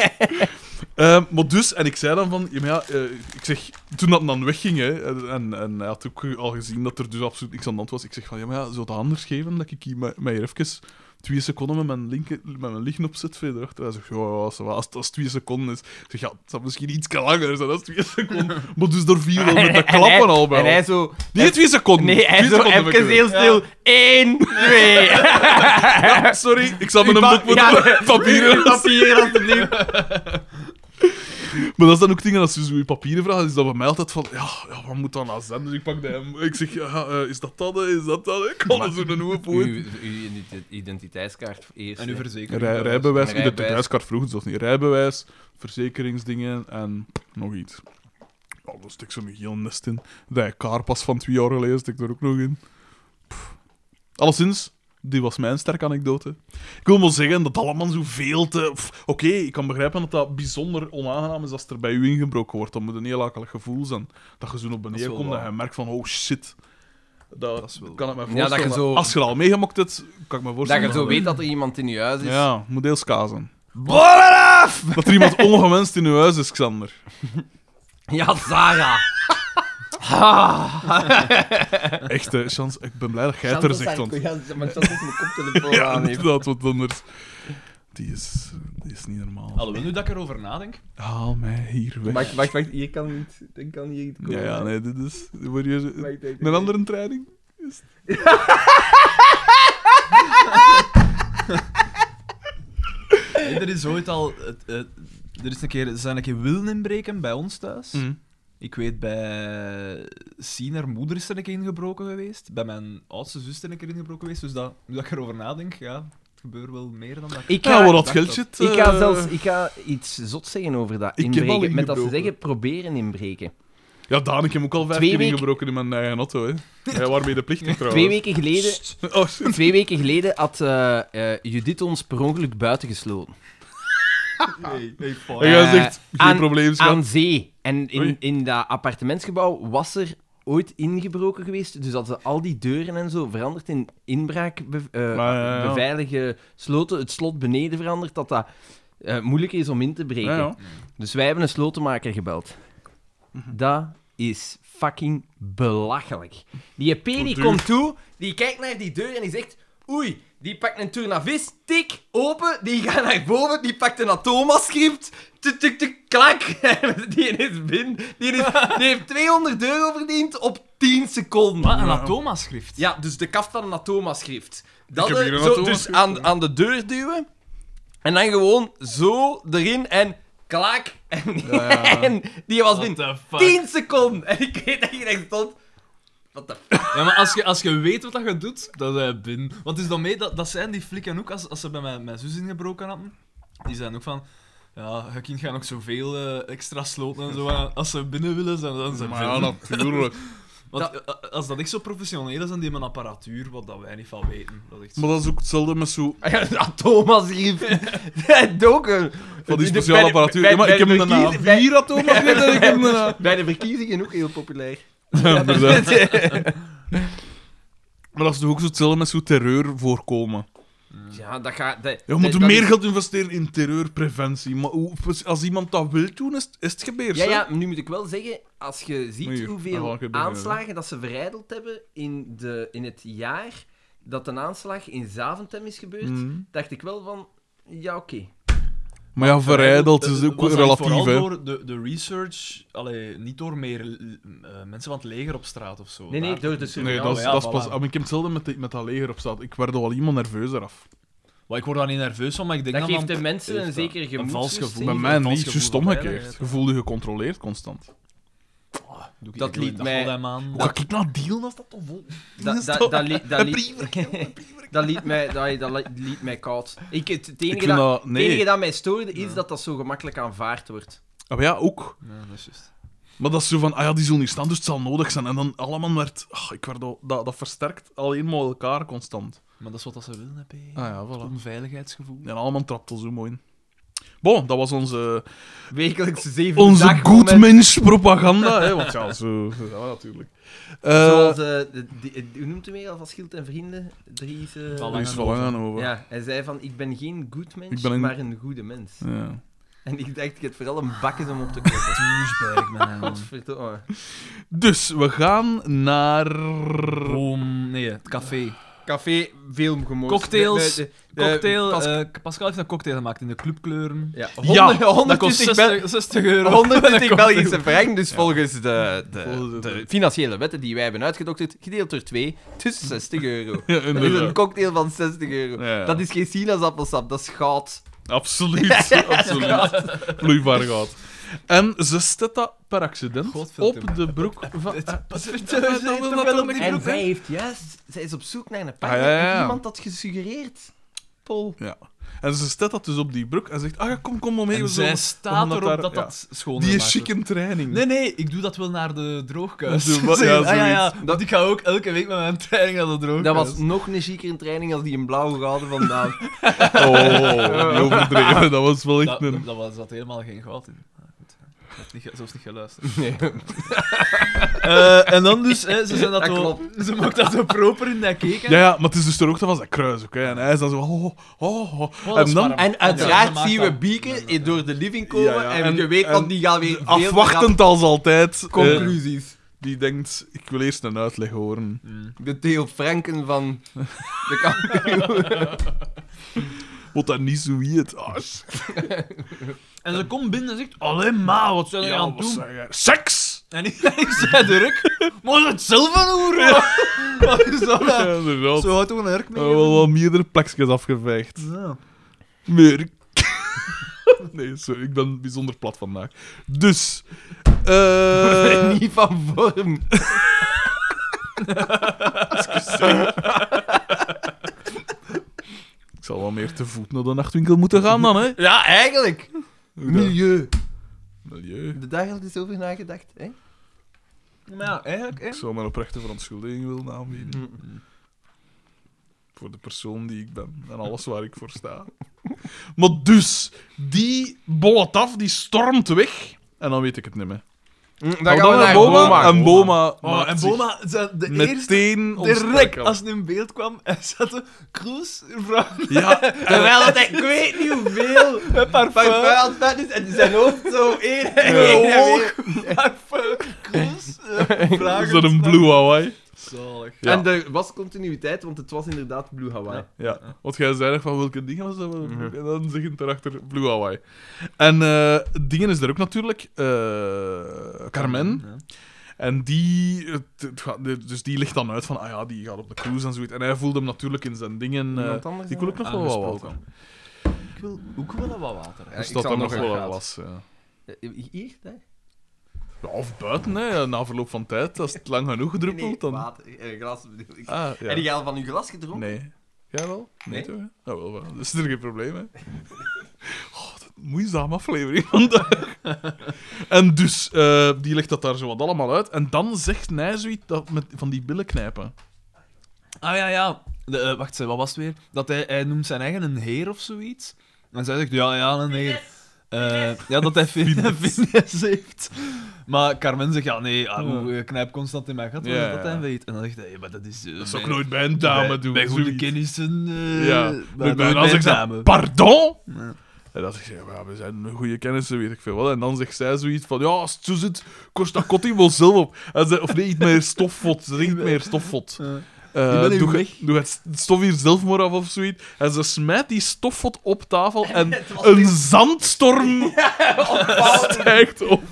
C: Eh, maar dus, en ik zei dan van, ja, maar ja, eh, ik zeg, toen dat dan wegging, hè, en, en hij had ook al gezien dat er dus absoluut niks aan de hand was, ik zeg van, ja, maar ja, zou dat anders geven dat ik hier mij mij hier even twee seconden met mijn, linker, met mijn lichaam opzet verder achter. Hij zegt, ja, ja, ça va, als, het- als het twee seconden is. Ik zeg, ja, het zal misschien iets langer zijn als twee seconden. Maar dus daar viel wel met de klappen al bij.
A: En hij
C: al.
A: zo...
C: Niet twee seconden.
A: Nee, hij
C: twee
A: zo
C: seconden
A: even
C: weg.
A: heel stil. 1, 2.
C: Ja, sorry, ik zat met
A: Uw
C: een
A: ba-
C: boek moeten
A: ja.
C: papieren.
A: Papier, alsjeblieft.
C: Maar dat is dan ook dingen als ze zo je papieren vragen, is dat bij mij altijd van, ja, ja wat moet dat nou zijn? Dus ik pak de hem. Ik zeg, ja, eh, is dat dat? eh, Is dat dat? Ik kan er zo'n nieuwe poot.
A: Uw identiteitskaart eerst.
B: En u verzekerd.
C: Rij, rijbewijs,
A: Rijbewijs.
C: de thuiskaart vroeg het zelfs niet. Rijbewijs, verzekeringsdingen en nog iets. Ja, daar stik zo'n heel nest in. De kaarpas van twee jaar geleden stik er ook nog in. Pff. Alleszins, die was mijn sterke anekdote. Ik wil maar zeggen dat allemaal zo veel te... pff, Oké, ik kan begrijpen dat dat bijzonder onaangenaam is als het er bij u ingebroken wordt. Dat moet een heel akelig gevoel zijn. Dat je zo naar
B: is
C: beneden
B: wel
C: komt en
B: waar.
C: je merkt van, oh shit. Dat,
B: Dat is wel
C: kan ik me
A: Ja, dat je
C: voorstellen.
A: zo-
C: Als je er al meegemaakt hebt, kan ik me
A: Dat
C: voorstellen.
A: je zo weet dat er iemand in je huis is.
C: Ja, moet deels kazen.
A: Bollen af!
C: Dat er iemand ongewenst in uw huis is, Xander.
A: Ja, Zara.
C: Echt, hè, Chans, ik ben blij dat jij het er zegt. Want...
A: Ja, maar dat is mijn koptelefoon
C: Ja,
A: aan heeft.
C: inderdaad, want anders... Die is, die is niet normaal.
B: Alhoewel, nu dat ik erover nadenk...
C: Haal mij hier weg.
A: Wacht, wacht, wacht. Hier kan niet. Dan kan hier niet
C: Ja, ja, nee, dit is... Word je...
A: Wacht, wacht,
C: Een
A: wacht.
C: andere training? Is-
B: Hey, er is ooit al... het- het- er is een keer, ze zijn een keer willen inbreken bij ons
C: Mhm.
B: thuis. Ik weet, bij Sien, haar moeder is er een keer ingebroken geweest. Bij mijn oudste zus is er een keer ingebroken geweest. Dus dat, nu dat ik erover nadenk, ja, het gebeurt wel meer dan dat ik...
A: Ik
C: Ja,
A: ga,
C: wat dat
B: dacht
C: geld
B: dat.
C: zit...
A: ik ga
C: eh,
A: zelfs ik ga iets zot zeggen over dat
C: heb al
A: inbreken. Met dat ze
C: ingebroken.
A: zeggen, proberen inbreken.
C: Ja, Daan, ik heb ook al vijf
A: Twee
C: keer
A: weken-
C: ingebroken in mijn eigen auto, hè. Jij waarmee de plicht trouwens.
A: Twee weken geleden,
C: Oh, shit.
A: twee weken geleden had eh, eh, Judith ons per ongeluk buitengesloten.
B: Nee, nee, fuck.
C: En jij
A: Eh,
C: zegt, geen
A: aan-
C: probleem, schat.
A: Aan zee. En
C: Oei.
A: in, in dat appartementsgebouw was er ooit ingebroken geweest. Dus dat ze al die deuren en zo veranderd in inbraak be- eh,
C: Maar ja, ja.
A: beveilige sloten. Het slot beneden veranderd, dat dat eh, moeilijk is om in te breken.
C: Ja, ja.
A: Dus wij hebben een slotenmaker gebeld.
B: Mhm.
A: Dat is fucking belachelijk. Die EP die
C: duur.
A: komt toe, die kijkt naar die deur en die zegt... Oei, die pakt een tournavis. Tik, open. Die gaat naar boven. Die pakt een atoomascript. Tuk, tuk, tuk, klak. Die is binnen. Die, is, die heeft 200 euro verdiend op 10 seconden.
B: Wat, een atomaschrift?
A: Ja, dus de kaft van een atoomascrift. Dat
C: heb
A: eh,
C: hier een
A: zo, dus
C: atoomascrift,
A: aan, aan de deur duwen. En dan gewoon zo erin en klak. En, en die was
B: What
A: binnen.
B: the fuck?
A: 10 seconden. En ik weet dat je echt stond. Wat de fuck?
B: Ja, maar als je, als je weet wat dat je doet, dan ben je binnen. Want het is dan mee, dat, dat zijn die flikken ook, als, als ze bij mijn, mijn zus ingebroken hadden, die zijn ook van... Ja, je kind gaat nog zoveel eh, extra sloten en zo. En als ze binnen willen, dan dan zijn ze
C: Maar ja,
B: binnen.
C: natuurlijk.
B: Want eh, als dat echt zo professioneel is, dan die hebben een apparatuur wat dat wij niet van weten. Dat is echt zo.
C: Maar dat is ook hetzelfde met zo...
A: Ja, een atoomascrift. Dat ook een...
C: Van die
A: de-
C: speciale
A: bij de-
C: apparatuur.
A: bij-
C: Ja, maar
A: bij
C: ik heb
A: de
C: hem daarna
A: verkiezing- bij-
C: vier atoomascripten en ik heb hem daarna...
A: Bij de verkiezingen ook heel populair.
C: Ja, inderdaad. Maar dat is toch ook zo hetzelfde met zo terreur voorkomen.
A: Ja, dat gaat... dat-
C: Ja, we moeten
A: dat-
C: meer geld investeren in terreurpreventie. Maar hoe- als iemand dat wil doen, is, het- is het gebeurd.
A: Ja,
C: hè?
A: ja, nu moet ik wel zeggen, als je ziet
C: Maar hier, dan ga
A: hoeveel
C: ik het beginnen.
A: aanslagen dat ze verijdeld hebben in, de, in het jaar dat een aanslag in Zaventem is gebeurd,
C: Mhm.
A: dacht ik wel van, ja, oké.
C: Maar ja, verrijdeld is
B: Eh,
C: ook
B: was dat
C: relatief,
B: Vooral
C: hè.
B: door de, de research, allee, niet door meer eh, mensen van het leger op straat of zo.
A: Nee, nee,
B: Daar-
A: door de
C: Nee,
A: surveillance.
C: dat is,
B: ja,
C: dat is
B: voilà.
C: pas... ah, maar ik heb hetzelfde met, die- met dat leger op staat. Ik werd al iemand nerveus eraf.
B: Maar ik word daar niet nerveus van, maar ik denk
A: Dat
B: dat
A: geeft
B: dan-
A: de mensen
B: heeft
A: een dus
B: dat.
A: zekere
B: Een vals
A: gemoedsrust,
B: gevoel.
A: hè?
C: Bij
B: Een
C: mij
B: vals
C: niet,
B: gevoel
C: juist
B: van
C: omgekeerd.
B: veiligheid.
C: Je voelde gecontroleerd constant.
B: Oh, Doe ik
A: Dat
B: een keer
A: liet
B: een
A: mij-
B: dagvoordem aan.
C: Hoe ga ik nou dealen als dat toch vol...
A: Dat, dat, dat, li- dat, liet, dat, liet mij, dat, dat li- liet mij koud. Ik, het, het
C: Ik
A: enige
C: vind
A: dat,
C: dat...
A: het enige
C: Nee.
A: dat mij stoorde is dat dat zo gemakkelijk aanvaard wordt.
C: Ah, maar ja, ook.
B: Ja, dat is juist.
C: Maar dat is zo van, ah ja, die zullen hier staan, dus het zal nodig zijn. En dan allemaal werd... ah, ik werd al- dat, dat versterkt alleen maar elkaar constant.
B: Maar dat is wat dat ze willen, hè, P.
C: Ah ja,
B: Het
C: voilà.
B: onveiligheidsgevoel.
C: En allemaal trapt al zo mooi in. Bon, dat was onze,
A: Wekelijks zeven
C: onze
A: dag
C: good
A: moment,
C: mens propaganda. hè, want ja, zo... Ja, natuurlijk. Eh,
A: Zoals, eh, de, die- hoe noemt u mij al van Schild en Vrienden? Dries... eh,
B: Van
C: er is wel lang aan over.
A: Ja, hij zei van, ik ben geen goed mens,
C: Ik ben een-
A: maar een goede mens.
C: Ja.
A: En ik dacht, ik heb vooral een bakken om op te kopen.
B: Douchebag, man.
A: Godverdomme.
C: Dus, we gaan naar...
B: Boom. Nee, het café.
A: Café, film gemoord.
B: Cocktails,
A: De- de- de-
B: Cocktail.
A: Pas-
B: eh, Pascal heeft een cocktail gemaakt in de clubkleuren.
A: ja,
C: Ja,
A: honderd-
B: Dat kost
A: 120 Bel-
B: 60, 60 euro.
A: 120
B: Dat kost-
A: Belgische frank, dus volgens de, de,
C: Volgens de-
A: de financiële wetten die wij hebben uitgedokterd, gedeeld door 2, dus 60 euro.
C: Ja,
A: Dat is
C: inderdaad.
A: een cocktail van 60 euro.
C: Ja, ja.
A: Dat is geen sinaasappelsap, dat is goud.
C: Absoluut, absoluut. Vloeibaar goud. En ze stet dat per accident
B: Godverdomme.
C: op de broek van...
B: is toch wel op die
A: En zij heeft juist, zij is op zoek naar een partner.
C: Ah, ja, ja.
A: en Iemand had gesuggereerd. Paul.
C: Ja. En ze stet dat dus op die broek en zegt, ah ja, kom, kom omheen.
B: En
C: we
B: zij
C: zullen-
B: staat
C: omdat
B: erop
C: daar-
B: dat
C: ja.
B: dat schoon
C: Die is
B: gemaakt
C: chic in training.
B: Nee, nee, ik doe dat wel naar de droogkuis.
C: Zo, wat- ja,
B: Zeg, ah, ja, ja,
C: zoiets.
B: want ik ga ook elke week met mijn training naar de droogkuis.
A: Dat was nog een chiquer in training als die een blauwe gouden vandaan.
C: Oh, niet overdreven. Dat was wel echt
B: Dat,
C: een...
B: dat was, zat helemaal geen goud in. Maar goed, ja. Ik heb niet, ge- zelfs niet geluisterd. Eh, en dan dus, hè, ze, zijn dat
A: Dat
B: wel- ze maakt dat zo proper in dat cake. hè.
C: Ja, ja, maar het is dus er ook dat was dat kruis, oké. En hij is dan zo... Oh, oh, oh, oh.
B: dat
C: en
B: is
C: dan
B: warm.
A: En
B: ze
A: uiteraard
B: maakt
A: zien we
B: dat-
A: Bieke in- door de living komen
C: Ja, ja.
A: en,
C: En-
A: je weet
C: en
A: van die gaan weer veel te
C: afwachtend als altijd.
A: rap- conclusies.
C: eh, die denkt, ik wil eerst een uitleg horen.
B: Mm.
A: De Theo Franken van de kampioen.
C: Wat dat niet zo heet. Ah,
B: En ze komt binnen en zegt, allee ma, wat zijn we aan het
C: wat
B: doen?
C: zeg jij? Seks!
B: En ik, ik zei druk, maar ze het zelf aan hoeren? Wat is dat?
C: Ja,
B: nou?
C: inderdaad.
B: Zo houdt toch een herk
C: We
B: mee?
C: hebben wel wat meerdere plekjes afgeveegd.
B: Ja.
C: Merk. nee, sorry, ik ben bijzonder plat vandaag. Dus. eh
A: Niet van vorm.
C: ik zal wel meer te voet naar de nachtwinkel moeten gaan dan, hè?
A: Ja, eigenlijk. Milieu.
C: Milieu.
A: De dag al eens over nagedacht. Hè?
B: Maar ja, eigenlijk, hè.
C: Ik zou mijn oprechte verontschuldiging willen aanbieden.
A: Mm.
C: Voor de persoon die ik ben en alles waar ik voor sta. Maar dus, die bollet af, die stormt weg. En dan weet ik het niet meer.
A: Dan gaan
C: Nou,
A: we naar
C: Boma.
A: Boma.
C: En Boma.
B: Oh, en Boma, ze- de eerste...
C: meteen
B: Direct
C: ontstaken.
B: als het in beeld kwam, en zat de Kroes vrouw
C: Ja,
A: Terwijl het echt, ik weet niet hoeveel
B: met
A: parfum
B: parfum.
A: aan het vet is en zijn hoofd zo één en
B: Ja.
A: één en één.
B: Parfum, Kroes, eh,
C: dat
B: vragen.
C: is een blue Hawaii.
B: Zalig.
C: Ja.
A: En er was continuïteit, want het was inderdaad Blue Hawaii.
C: Ja, want jij zei nog van welke dingen was dat? En dan zeg je daarachter Blue Hawaii. En eh, dingen is er ook natuurlijk. eh, Carmen.
B: Ja.
C: En die, het, het gaat- dus die legt dan uit van, ah ja, die gaat op de cruise en zoiets. En hij voelde hem natuurlijk in zijn dingen. eh,
A: Iemand anders
C: ik wil ook nog wel wat water.
B: Aangesproken. Ik wil ook wel wat water.
A: Ja,
C: Dus
A: ik
C: dat
A: zal
C: er nog
A: nog
C: wel
A: een
C: wat
A: graad.
C: was. Ja.
A: Eh, Hier? Daar?
C: Ja, of buiten, hè, na verloop van tijd. Als het lang genoeg druppelt,
A: Nee,
C: dan...
A: water. Eh, glas bedoel ik.
C: Ah, ja.
A: Heb je al van uw glas gedronken?
C: Nee. Jij wel?
A: Nee?
C: toch? hè? Nou, wel, wel. Dus is er geen probleem, hè? Oh, dat moeizame aflevering vandaag. en dus, eh, die legt dat daar zo wat allemaal uit. En dan zegt hij zoiets dat met, van die billen knijpen.
B: Ah ja, ja. De, eh, wacht, wat was het weer? Dat hij, hij noemt zijn eigen een heer of zoiets. En zij zegt, ja, ja, een heer. Eh, ja, dat hij fitness heeft. Maar Carmen zegt, ja, nee, ah, hoe, eh, knijp constant in mijn gat, wat
C: Oh. Ja,
B: is dat
C: ja.
B: hij weet. En dan zegt hij, ja, maar dat is... eh,
C: Dat
B: bij-
C: zou ik nooit bij een dame
B: bij,
C: doen.
B: Bij goede
C: zoiets.
B: kennissen, eh,
C: Ja, bij
B: maar nooit
C: dan
B: bij
C: zegt ze,
B: dame.
C: pardon?
B: Ja.
C: En dan zegt ze, ja, we zijn een goede kennissen, weet ik veel wat. En dan zegt zij zoiets van, ja, als het zo zit, kost dat kot wel zelf op. En ze, of nee, iets meer stofvot. Ze drinkt meer stofvot.
B: Ja.
C: Eh,
B: Ik ben even
C: doe,
B: weg.
C: doe het stof hier zelf maar af of zoiets. En ze smijt die stofvot op tafel en
A: was
C: een
A: niet-
C: zandstorm stijgt op.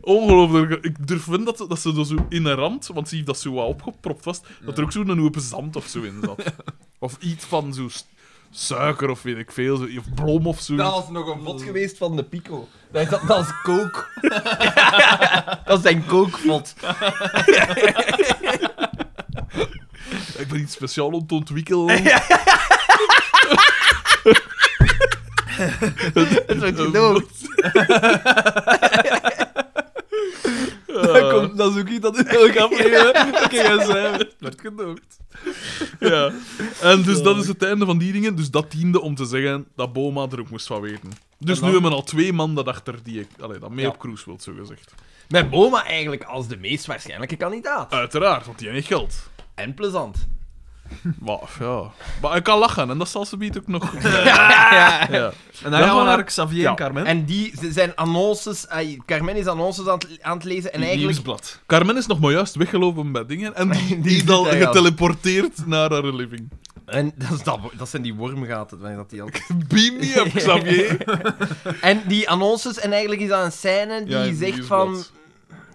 C: Ongelooflijk. Ik durf wel dat, dat ze er zo in een rand, want ze heeft dat zo wat opgepropt vast, dat er ook zo'n hoop zand of zo in zat. Of iets van zo s- suiker of weet ik veel, zo- of brom of zo.
A: Dat was nog een vod geweest van de Pico. Dat, dat, dat is kook. dat is zijn kookvod.
C: Ik ben iets speciaal om te ontwikkelen.
A: Dat wordt gedoopt.
C: Eh,
B: Dat, komt, dat is ook iets dat in elke aflevering... Oké, jij zei het. Werd gedoopt.
C: Ja. En dus dat is het einde van die dingen. Dus dat diende om te zeggen dat Boma er ook moest van weten. Dus
B: En dan-
C: nu hebben we al twee man dat achter die ik... Allee, dat mee
A: Ja.
C: op cruise wilt, zo gezegd.
A: Met Boma eigenlijk als de meest waarschijnlijke kandidaat.
C: Uiteraard, want die heeft geld.
A: En plezant.
C: Maar, ja. Maar ik kan lachen, en dat zal ze biedt ook nog... ja.
B: En
C: Dan
B: dan gaan
C: gaan
B: we
C: we
B: naar
C: naar-
B: Xavier
C: Ja.
B: en Carmen.
A: En die ze zijn annonces... eh, Carmen is annonces aan het, aan het lezen en
B: Het
A: eigenlijk...
B: nieuwsblad.
C: Carmen is nog maar juist weggelopen bij dingen en die,
A: Die
C: die is
A: zit
C: al
A: daar al.
C: geteleporteerd naar haar living.
A: En dat, is dat, dat zijn die wormgaten. wanneer Dat die al...
C: Beam me up, Xavier.
A: en die annonces en eigenlijk is dat een scène die
C: Ja, in
A: zegt van...
C: nieuwsblad.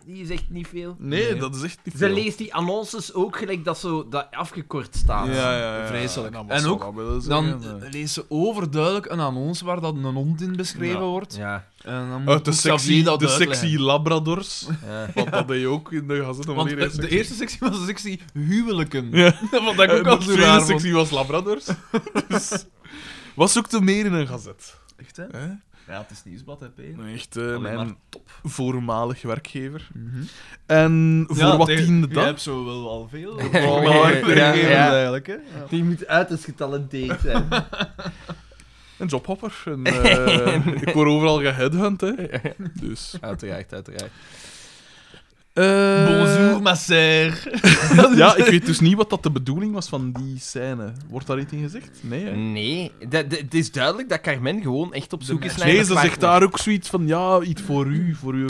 A: Die zegt niet veel.
C: Nee,
B: Nee.
C: dat is echt niet
A: Ze
C: veel.
A: leest die annonces ook gelijk dat zo dat afgekort staat.
C: Ja, ja, ja, ja.
B: Vreselijk.
C: Nou,
B: En
C: zal
B: ook
C: dat willen
B: Dan
C: zeggen, maar-
B: eh, leest ze overduidelijk een annonce waar dat een hond in beschreven
C: Ja.
B: wordt.
A: Ja,
B: En dan
C: Uit de
B: moet Xavier
C: sexy,
B: dat
C: de
B: uitleggen.
C: sexy labradors.
A: ja.
C: Want dat deed je ook in de gazette.
B: Want de, de eerste sectie was de sectie huwelijken.
C: Ja.
B: Wat ik ook
C: de
B: al zo
C: tweede
B: raar vond.
C: sectie was labradors. dus, wat zoekt er meer in een gazet?
B: Echt, hè?
C: Hè?
B: Ja, het is nieuwsblad, hè, P.
C: Echt eh,
B: Alleen maar
C: mijn voormalig werkgever. En voor
B: Mhm. Ja,
C: wat
B: tegen-
C: tiende
B: Jij
C: dat?
B: hebt zo wel al veel.
A: ja, ja.
B: eigenlijk, hè.
C: Eh.
B: Ja.
A: Die moet uiterst getalenteerd zijn.
C: Een jobhopper. En, eh, Ik word overal geheadhunt, hè. Dus...
A: uiteraard, uiteraard.
C: eh,
B: Bonjour, ma sœur.
C: Ja, ik weet dus niet wat dat de bedoeling was van die scène. Wordt daar iets in gezegd? Nee, hè?
A: Nee, de- de- het is duidelijk dat Carmen gewoon echt op zoek is naar
C: Nee,
A: een
C: ze zegt
A: partner.
C: daar ook zoiets van, ja, iets voor u, voor, u,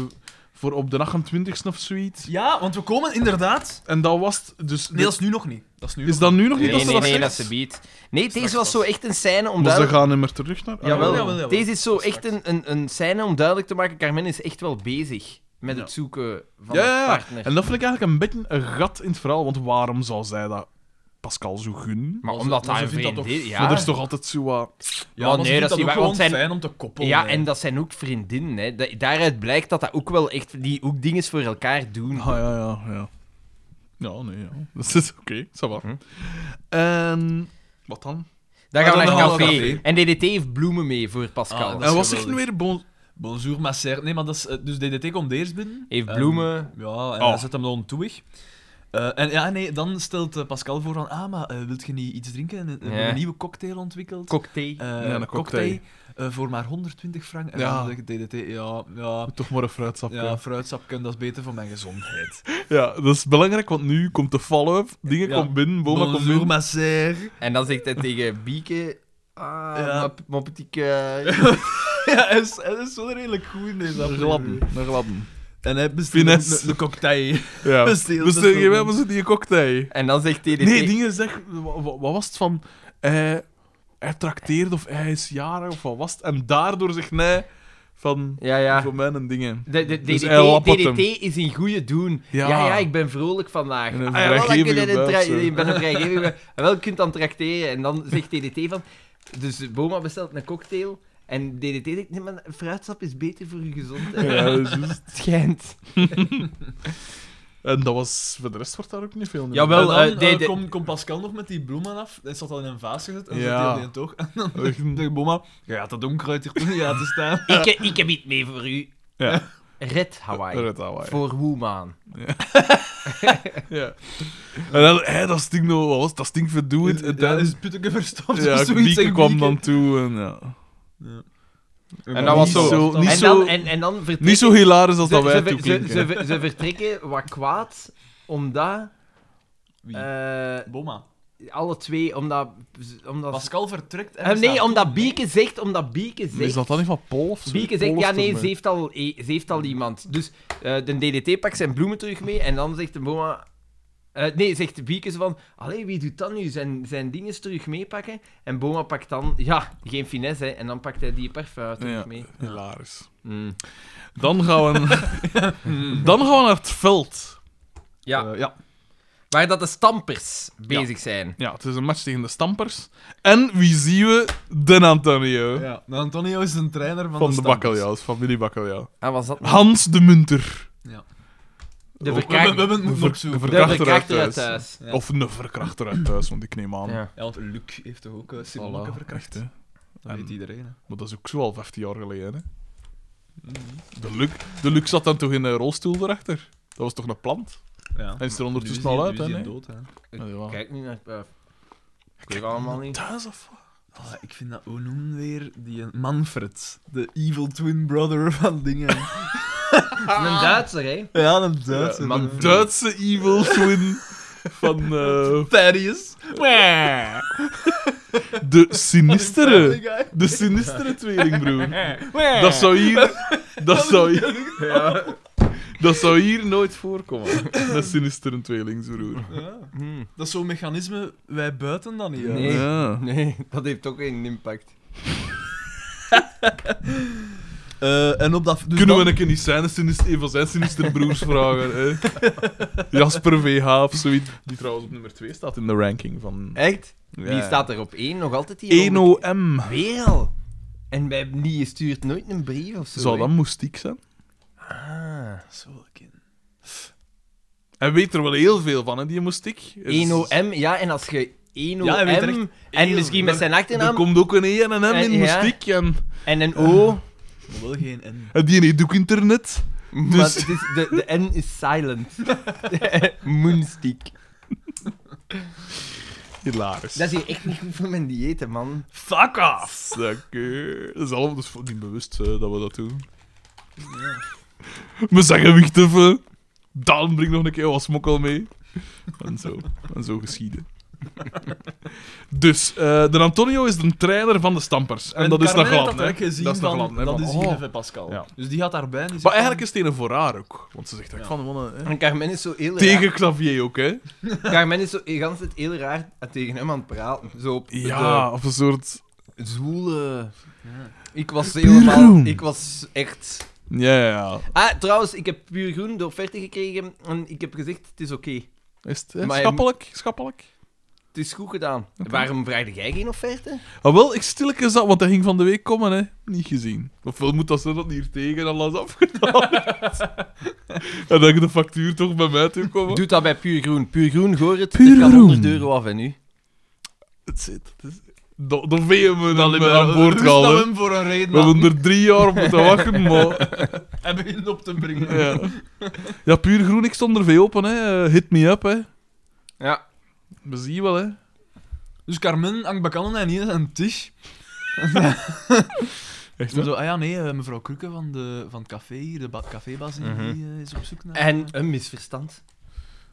C: voor op de 28e of zoiets.
B: Ja, want we komen inderdaad...
C: En dat was het, dus...
B: Nee, dat is nu nog niet. Dat is nu
C: Is dat nu nog niet
A: Nee,
C: als
A: nee,
C: dat
A: nee,
C: zegt?
A: dat ze biedt. Nee, deze was
B: Straks
A: zo echt een scène om
C: Maar ze
A: duidelijk...
C: gaan niet meer terug naar... Ah,
A: Jawel,
B: Jawel, jawel, jawel.
A: Deze is zo
B: Straks.
A: echt een, een, een scène om duidelijk te maken, Carmen is echt wel bezig met het zoeken van
C: Ja, ja,
A: een
C: ja.
A: partner.
C: En dat vind ik eigenlijk een beetje een gat in het verhaal, want waarom zou zij dat Pascal zo gunnen?
A: Maar
B: Maar
A: omdat
B: ze- maar
A: hij
B: ze
A: een
B: vindt dat
A: vriendin...
B: toch-
A: ja.
C: Want er is toch altijd zo wat...
A: Maar
B: Ja, maar ze
A: Oh, nee, dat
B: vindt
A: is
B: dat
A: niet
B: ook
A: waar,
B: gewoon
A: want zijn-
B: fijn om te koppelen.
A: ja,
B: hè.
A: en dat zijn ook vriendinnen. Hè. Da- Daaruit blijkt dat dat ook wel echt... Die ook dingen voor elkaar doen.
C: Ah, ja, ja, ja. Ja, nee, ja. Dat is oké, ça va.
A: Hm.
C: En... Wat dan?
A: Dan
B: Maar
A: gaan we
B: dan
A: naar
B: gaan we
A: café.
B: naar café.
A: En DDT heeft bloemen mee voor Pascal.
B: Ah, dat is
C: En wat zegt nu
B: geweldig.
C: weer? Bon...
B: Bonjour, ma sœur. Nee, maar dat is... eh, Dus DDT komt eerst binnen.
A: Heeft
B: Ehm,
A: bloemen.
B: Ja, en
C: Oh.
B: hij zet hem dan toe weg. Eh, en ja, nee, dan stelt eh, Pascal voor van, ah, maar eh, wilt je niet iets drinken? En, eh, we hebben
A: Ja.
B: Een nieuwe cocktail ontwikkeld.
A: cocktail.
B: Eh,
C: Ja, een cocktail.
B: eh, voor maar 120 frank. En
C: Ja.
B: dan zegt DDT, ja, ja,
C: Toch maar een fruitsap.
B: ja, fruitsapje, dat is beter voor mijn gezondheid.
C: Ja, dat is belangrijk, want nu komt de follow-up. Dingen
B: Ja.
C: komt binnen, Boma komt
B: Bonjour,
C: binnen.
B: ma sœur.
A: En dan zegt hij tegen Bieke... Ah,
B: Ja.
A: ma, ma petite coeur.
B: ja, hij is, hij is wel redelijk goed in deze
C: Een
B: aflevering.
C: gladden, een gladden.
D: En hij bestelde een,
C: Finesse.
D: een cocktail.
C: Ja. Dus
D: Bestel-
C: tegen
D: bestel-
C: mij was het die cocktail.
A: En dan zegt TDT...
C: Nee, dingen zeg, wa- wa- wat was het van. Hij, hij trakteert of hij is jarig of wat was het? En daardoor zegt nee van.
A: Ja, ja.
C: Voor mij en dingen.
A: De, de,
C: Dus
A: DDT,
C: hij lappert
A: DDT
C: hem.
A: is in goede doen.
C: Ja.
A: Ja. ja, ik ben vrolijk vandaag.
C: En een
A: Ah, ja, wel, dan kun je
C: vrijgevige
A: een tra-
C: buik, zo.
A: ik ben een vrijgevige buik. Ah, Wel, je kunt dan tracteren. En dan zegt DDT van... Dus Boma bestelt een cocktail. En DDT zegt, nee, maar fruitsap is beter voor je gezondheid.
C: Ja, dat is juist.
A: Het schijnt.
C: En dat was. Voor de rest wordt daar ook niet veel. in.
A: Jawel. Wel,
B: en
A: eh,
B: dan
A: die-
B: eh,
A: die-
B: Kom, komt Pascal nog met die bloemen af. Hij zat al in een vaas gezet en
C: Ja.
B: zat die op die toog. En dan zegt Boma, je gaat dat onkruid hier toch niet laten staan.
A: Ik, eh, ik heb iets mee voor u.
C: Ja.
A: Red Hawaii.
C: Red Hawaii.
A: Voor Woeman.
C: Ja. En dan, hé, dat stinkt nog wel eens, dat stinkt verdoe het. En
B: En daar
C: dan,
B: is Putteke verstopt.
C: ja,
B: of zoiets.
C: Bieke
B: en
C: kwam
B: Bieke-
C: dan toe en ja.
A: En dat was
C: niet
A: zo.
C: Niet
A: en,
C: zo-
A: dan, en, en dan vertrekken...
C: Niet zo hilarisch als
A: ze,
C: dat wij
A: ze,
C: toe
A: ze, ze,
C: klinken.
A: ver- ze vertrekken wat kwaad, omdat...
B: Wie?
A: eh,
B: Boma.
A: alle twee, omdat... omdat
B: Pascal vertrekt en
A: Eh, nee,
B: staat-
A: omdat Bieke zegt, omdat Bieke
C: is
A: zegt...
C: dat dan niet van Paul of zo?
A: Bieke
C: Paul
A: zegt,
C: is
A: ja
C: er
A: nee,
C: mee.
A: ze heeft al, e- ze heeft al iemand. Dus eh, de DDT pakt zijn bloemen terug mee en dan zegt de Boma... eh, nee, zegt Bieke zo van, allee, wie doet dat nu? Zijn, zijn dingen terug meepakken? En Boma pakt dan, ja, geen finesse, hè, en dan pakt hij die parfum terug
C: Ja.
A: mee.
C: Hilarisch.
A: Hmm.
C: Dan gaan, we, dan gaan we naar het veld.
A: Ja,
B: Eh, ja.
A: waar dat de stampers bezig zijn.
C: Ja, het is een match tegen de Stampers. En wie zien we? Den Antonio.
B: ja. Nou, Antonio is een trainer van, dus
C: Van de,
B: Stampers.
C: Bakkeljauws, familie Bakkeljauw.
A: En Ah, was dat
C: Hans de Munter.
A: de
C: Oh,
B: We hebben,
A: verkrachter
B: we hebben het moeten
C: ver-
B: opzoeken.
C: de
A: de
C: verkrachter
A: verkrachter
C: uit
A: uit
C: thuis.
A: thuis.
B: Ja.
C: Of een verkrachter uit thuis, want ik neem aan.
A: Ja.
B: Ja, want Luc heeft toch ook uh, Simonneke
C: Voilà,
B: verkracht?
C: echt, hè.
B: Dat
C: En-
B: weet iedereen. Hè.
C: Maar dat is ook zo al 15 jaar geleden. Hè?
A: Mhm.
C: De, Luc, de Luc zat dan toch in een rolstoel daarachter? Dat was toch een plant?
B: Ja.
C: Hij is er ondertussen al uit, hè? nee? Ah,
B: dood, hè.
C: Ja, ja.
A: Kijk nu naar het buif. Ik weet allemaal niet.
C: Thuis of wat?
B: Ah, ik vind dat, hoe noemen weer? Die eh, Manfred. De evil twin brother van dingen.
A: Een Duitser, hè?
B: ja, een Duitse.
A: Ja,
C: Een
A: Manfred.
C: Duitse evil twin van eh,
B: Thaddeus.
C: de sinistere. De sinistere tweelingbroer. Dat zou hier... Dat zou hier, dat zou hier nooit voorkomen. De sinistere tweelingbroer.
B: Ja.
A: Hmm.
B: Dat is zo'n mechanisme, wij buiten dan niet. hè.
A: Nee.
C: Ja.
A: Nee, dat heeft ook geen impact.
B: Eh, en op dat... dus
C: Kunnen
B: dan-
C: we een keer niet zijn, sinis- een van zijn sinistere broers vragen? Hè? Jasper VH of zoiets. Die trouwens op nummer 2 staat in de ranking van.
A: Echt?
C: Ja.
A: Wie Eh, staat er op één? Nog altijd hier?
C: 1OM.
A: Weer al? En bij die stuurt nooit een brief of zo.
C: Zou
A: hè?
C: dat moestiek zijn?
A: Ah.
B: Zo, kind.
C: Hij weet er wel heel veel van, hè, die moestiek. Er is-
A: 1OM, ja, en als je 1OM
B: Ja, hij weet er echt
A: en
B: heel
A: misschien met
B: veel.
A: zijn
C: Er
A: achternaam
C: komt Ah. ook een E en een M
A: En-
C: in
A: Eh, ja. Oh.
C: moestiek. En,
A: en een O,
B: Maar wel geen N.
C: en die heeft ook internet.
A: maar
C: Dus
A: het is, de, de N is silent. Moonstick.
C: hilarisch.
A: Dat is hier echt niet goed voor mijn dieet, hè, man.
C: Fuck off! Zeker. Dat is allemaal dus niet bewust eh, dat we dat doen. We zeggen wicht even. Dan breng nog een keer wat smokkel mee. En zo. En zo geschieden. Dus, eh, de Antonio is de trainer van de Stampers. En, dat is nog
B: Carmen
C: glad,
B: had dat
C: hè?
B: ook gezien
C: Dat is nog
B: van-
C: glad, hè,
B: Dat
C: van-
B: is
C: oh.
B: hier even Pascal.
C: Ja.
B: Dus die gaat daarbij en die zegt
C: Maar
B: van-
C: eigenlijk is het een voor haar ook. Want ze zegt echt
B: Ja.
C: van, mannen, hè.
A: En Carmen is zo heel
C: Tegen Xavier ook, hè?
A: raar. Carmen is zo de hele tijd heel raar tegen hem aan het praten. Zo op
C: Ja, of een soort...
A: de zwoele...
B: Ja.
A: Ik was helemaal...
C: groen.
A: Ik was echt...
C: Ja, ja, ja.
A: Ah, trouwens, ik heb puur groen de offerte gekregen en ik heb gezegd, het is oké.
C: Is het hè?
A: Maar je-
C: schappelijk? Schappelijk?
A: Het is goed gedaan. Waarom vraagde jij geen offerte?
C: Ah, wel, ik stilke zat, want dat ging van de week komen, hè. Niet gezien. Ofwel moet dat ze dat hier tegen alles afgedaan. heeft. en dan de factuur toch bij mij toe komen.
A: Doe dat bij puur groen. Puur groen, hoor het.
C: Puur
A: het kan
C: Groen.
A: 100 euro af en nu.
C: Het zit. het is- Dan dan veen we hem eh, aan boord
B: Rust dat
C: gehaald,
B: we
C: hè.
B: hem voor een reden
C: We hebben er drie jaar op moeten wachten, maar...
B: Hij begint op te brengen.
C: Ja. ja, puur groen, ik stond er veel open, hè. Eh, Hit me up, hè.
A: Ja.
C: We zien wel, hè.
B: Dus Carmen hangt bakannen en hier een tisch.
C: Echt,
B: Zo, ah ja, nee, eh, mevrouw Krukke van, de, van het café hier, de ba- cafébaas hier,
A: Mhm.
B: die eh, is op zoek naar...
A: En een misverstand.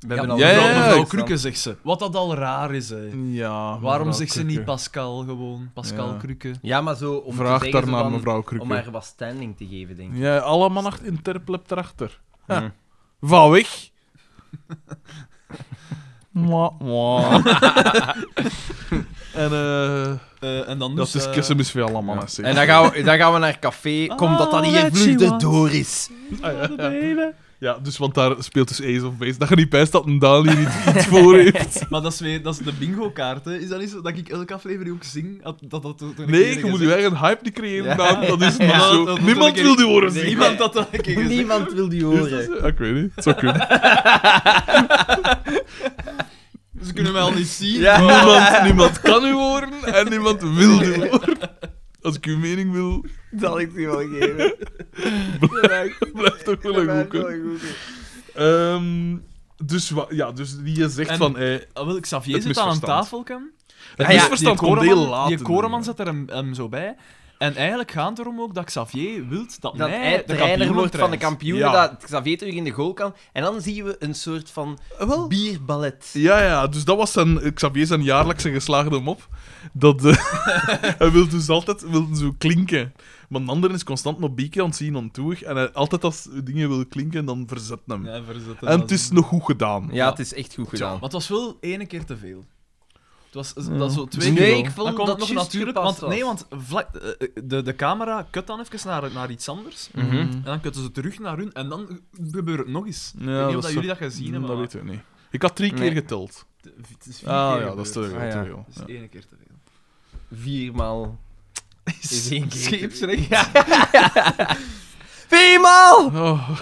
A: We
B: ja,
A: hebben
B: mevrouw,
C: ja,
A: al een
C: ja,
A: groot
C: ja,
B: mevrouw
A: misverstand.
B: Krukke, zegt ze. Wat dat al raar is, hè.
C: Ja.
B: Waarom
C: mevrouw
B: zegt ze
C: Krukke.
B: niet Pascal gewoon? Pascal
C: Ja.
B: Krukke.
A: Ja, maar zo om
C: Vraag
A: te
C: daar
A: zeggen zo
C: naar
A: van-
C: mevrouw
A: Om
C: Krukke.
A: haar wat standing te geven, denk ik. Hm.
C: Ja, alle mannen achter- interplep erachter. Ja. Van weg. Mwah, mwah. en eh,
B: Eh, en dan dus,
C: dat is
B: eh,
C: Kessem is Oh, veel allemaal. hè, zeg.
A: En dan gaan we, dan gaan we naar café. Kom dat dat hier
E: that she
A: vlug
E: wants.
A: door is.
C: Ah, Ja, dus want daar speelt dus Ace of Base. Dat je niet bijst dat een Daan hier iets, iets voor heeft.
B: Maar dat is, weer, dat is de bingo-kaart, hè. Is dat niet zo dat ik elke aflevering ook zing? Dat, dat, dat, dat- dat-
C: Nee, je moet je eigen hype niet creëren,
A: Ja.
C: Daan. Dat is nog
B: Ja,
C: zo.
B: dat moet
C: Niemand
B: ik een
C: wil
B: keer-
C: die horen
B: Nee,
C: zingen.
B: Niemand dat dat ik gezegd.
A: Niemand wil die
C: Dus dat is-
A: horen.
C: ja, ik weet niet. Het zou kunnen.
B: Ze kunnen mij al niet zien.
A: Ja.
C: Niemand, niemand kan u horen en niemand wil u horen. Als ik uw mening wil,
A: Zal ik die wel geven?
C: blijft toch wel een goeke. Ehm, dus, wa- ja, dus die zegt
B: En-
C: van... eh,
B: Ah, wel, Xavier
C: Het
B: zit aan een
C: misverstand.
B: tafel, Cam.
C: het
A: ja,
C: misverstand
B: die
C: komt heel
B: Koreman-
C: laat.
B: Die
C: in.
B: Koreman zet er hem, hem zo bij. En eigenlijk gaat het erom ook dat Xavier wil dat,
A: Dat
B: hij
A: hij
B: de
A: trainer
B: kampioen
A: wordt van de
B: kampioen.
A: kampioen,
C: Ja.
A: dat Xavier terug in de goal kan. En dan zien we een soort van
C: Eh, wel,
A: bierballet.
C: Ja, ja, dus dat was zijn, Xavier zijn jaarlijkse geslaagde mop. Dat, eh, hij wil dus altijd wil zo klinken. Maar een ander is constant maar bieken aan het zien aan toe. En hij, altijd als dingen wil klinken, dan verzet hem.
B: Ja, verzetten
C: en
B: dat
C: het is nog goed gedaan.
A: Ja, het is echt goed gedaan.
B: Maar het was wel ene keer te veel. Het was dat zo twee
A: nee,
B: keer.
A: ik vond
B: Dan
A: dat,
B: komt nog
A: juist
B: natuurlijk.
A: gepast
B: Want, nee,
A: was.
B: want vlak, eh, eh, de, de camera kut dan even naar, naar iets anders. En dan kutten ze terug naar hun en dan gebeurt het nog eens. ik weet niet of dat jullie dat gezien hebben.
C: Dat
B: maar
C: weten we niet. Ik had drie
A: Nee.
C: keer geteld.
B: het- Het is vier
C: Ah
B: keer
C: ja, dat is te
B: gebeurd.
C: veel.
A: Ah, ja.
C: te veel.
B: Dat is
C: Ja.
B: ene keer te veel.
A: Viermaal. Is één keer.
B: Scheepsrecht.
A: Viermaal!
C: Oh.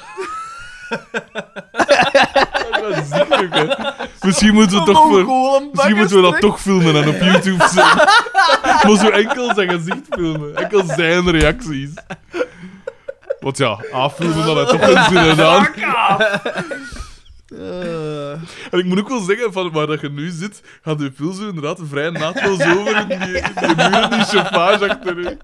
C: Ik ben ziek, hè. Misschien moeten we toch voor... Misschien moeten we dat toch filmen en op YouTube zetten. maar zo enkel zijn gezicht filmen. Enkel zijn reacties. Want ja, affilmen dat had toch geen zin in aan.
B: Eh.
C: En ik moet ook wel zeggen, van waar dat je nu zit, gaat je pil zo inderdaad vrij naadloos over in die, in die muren, die chauffage achter je.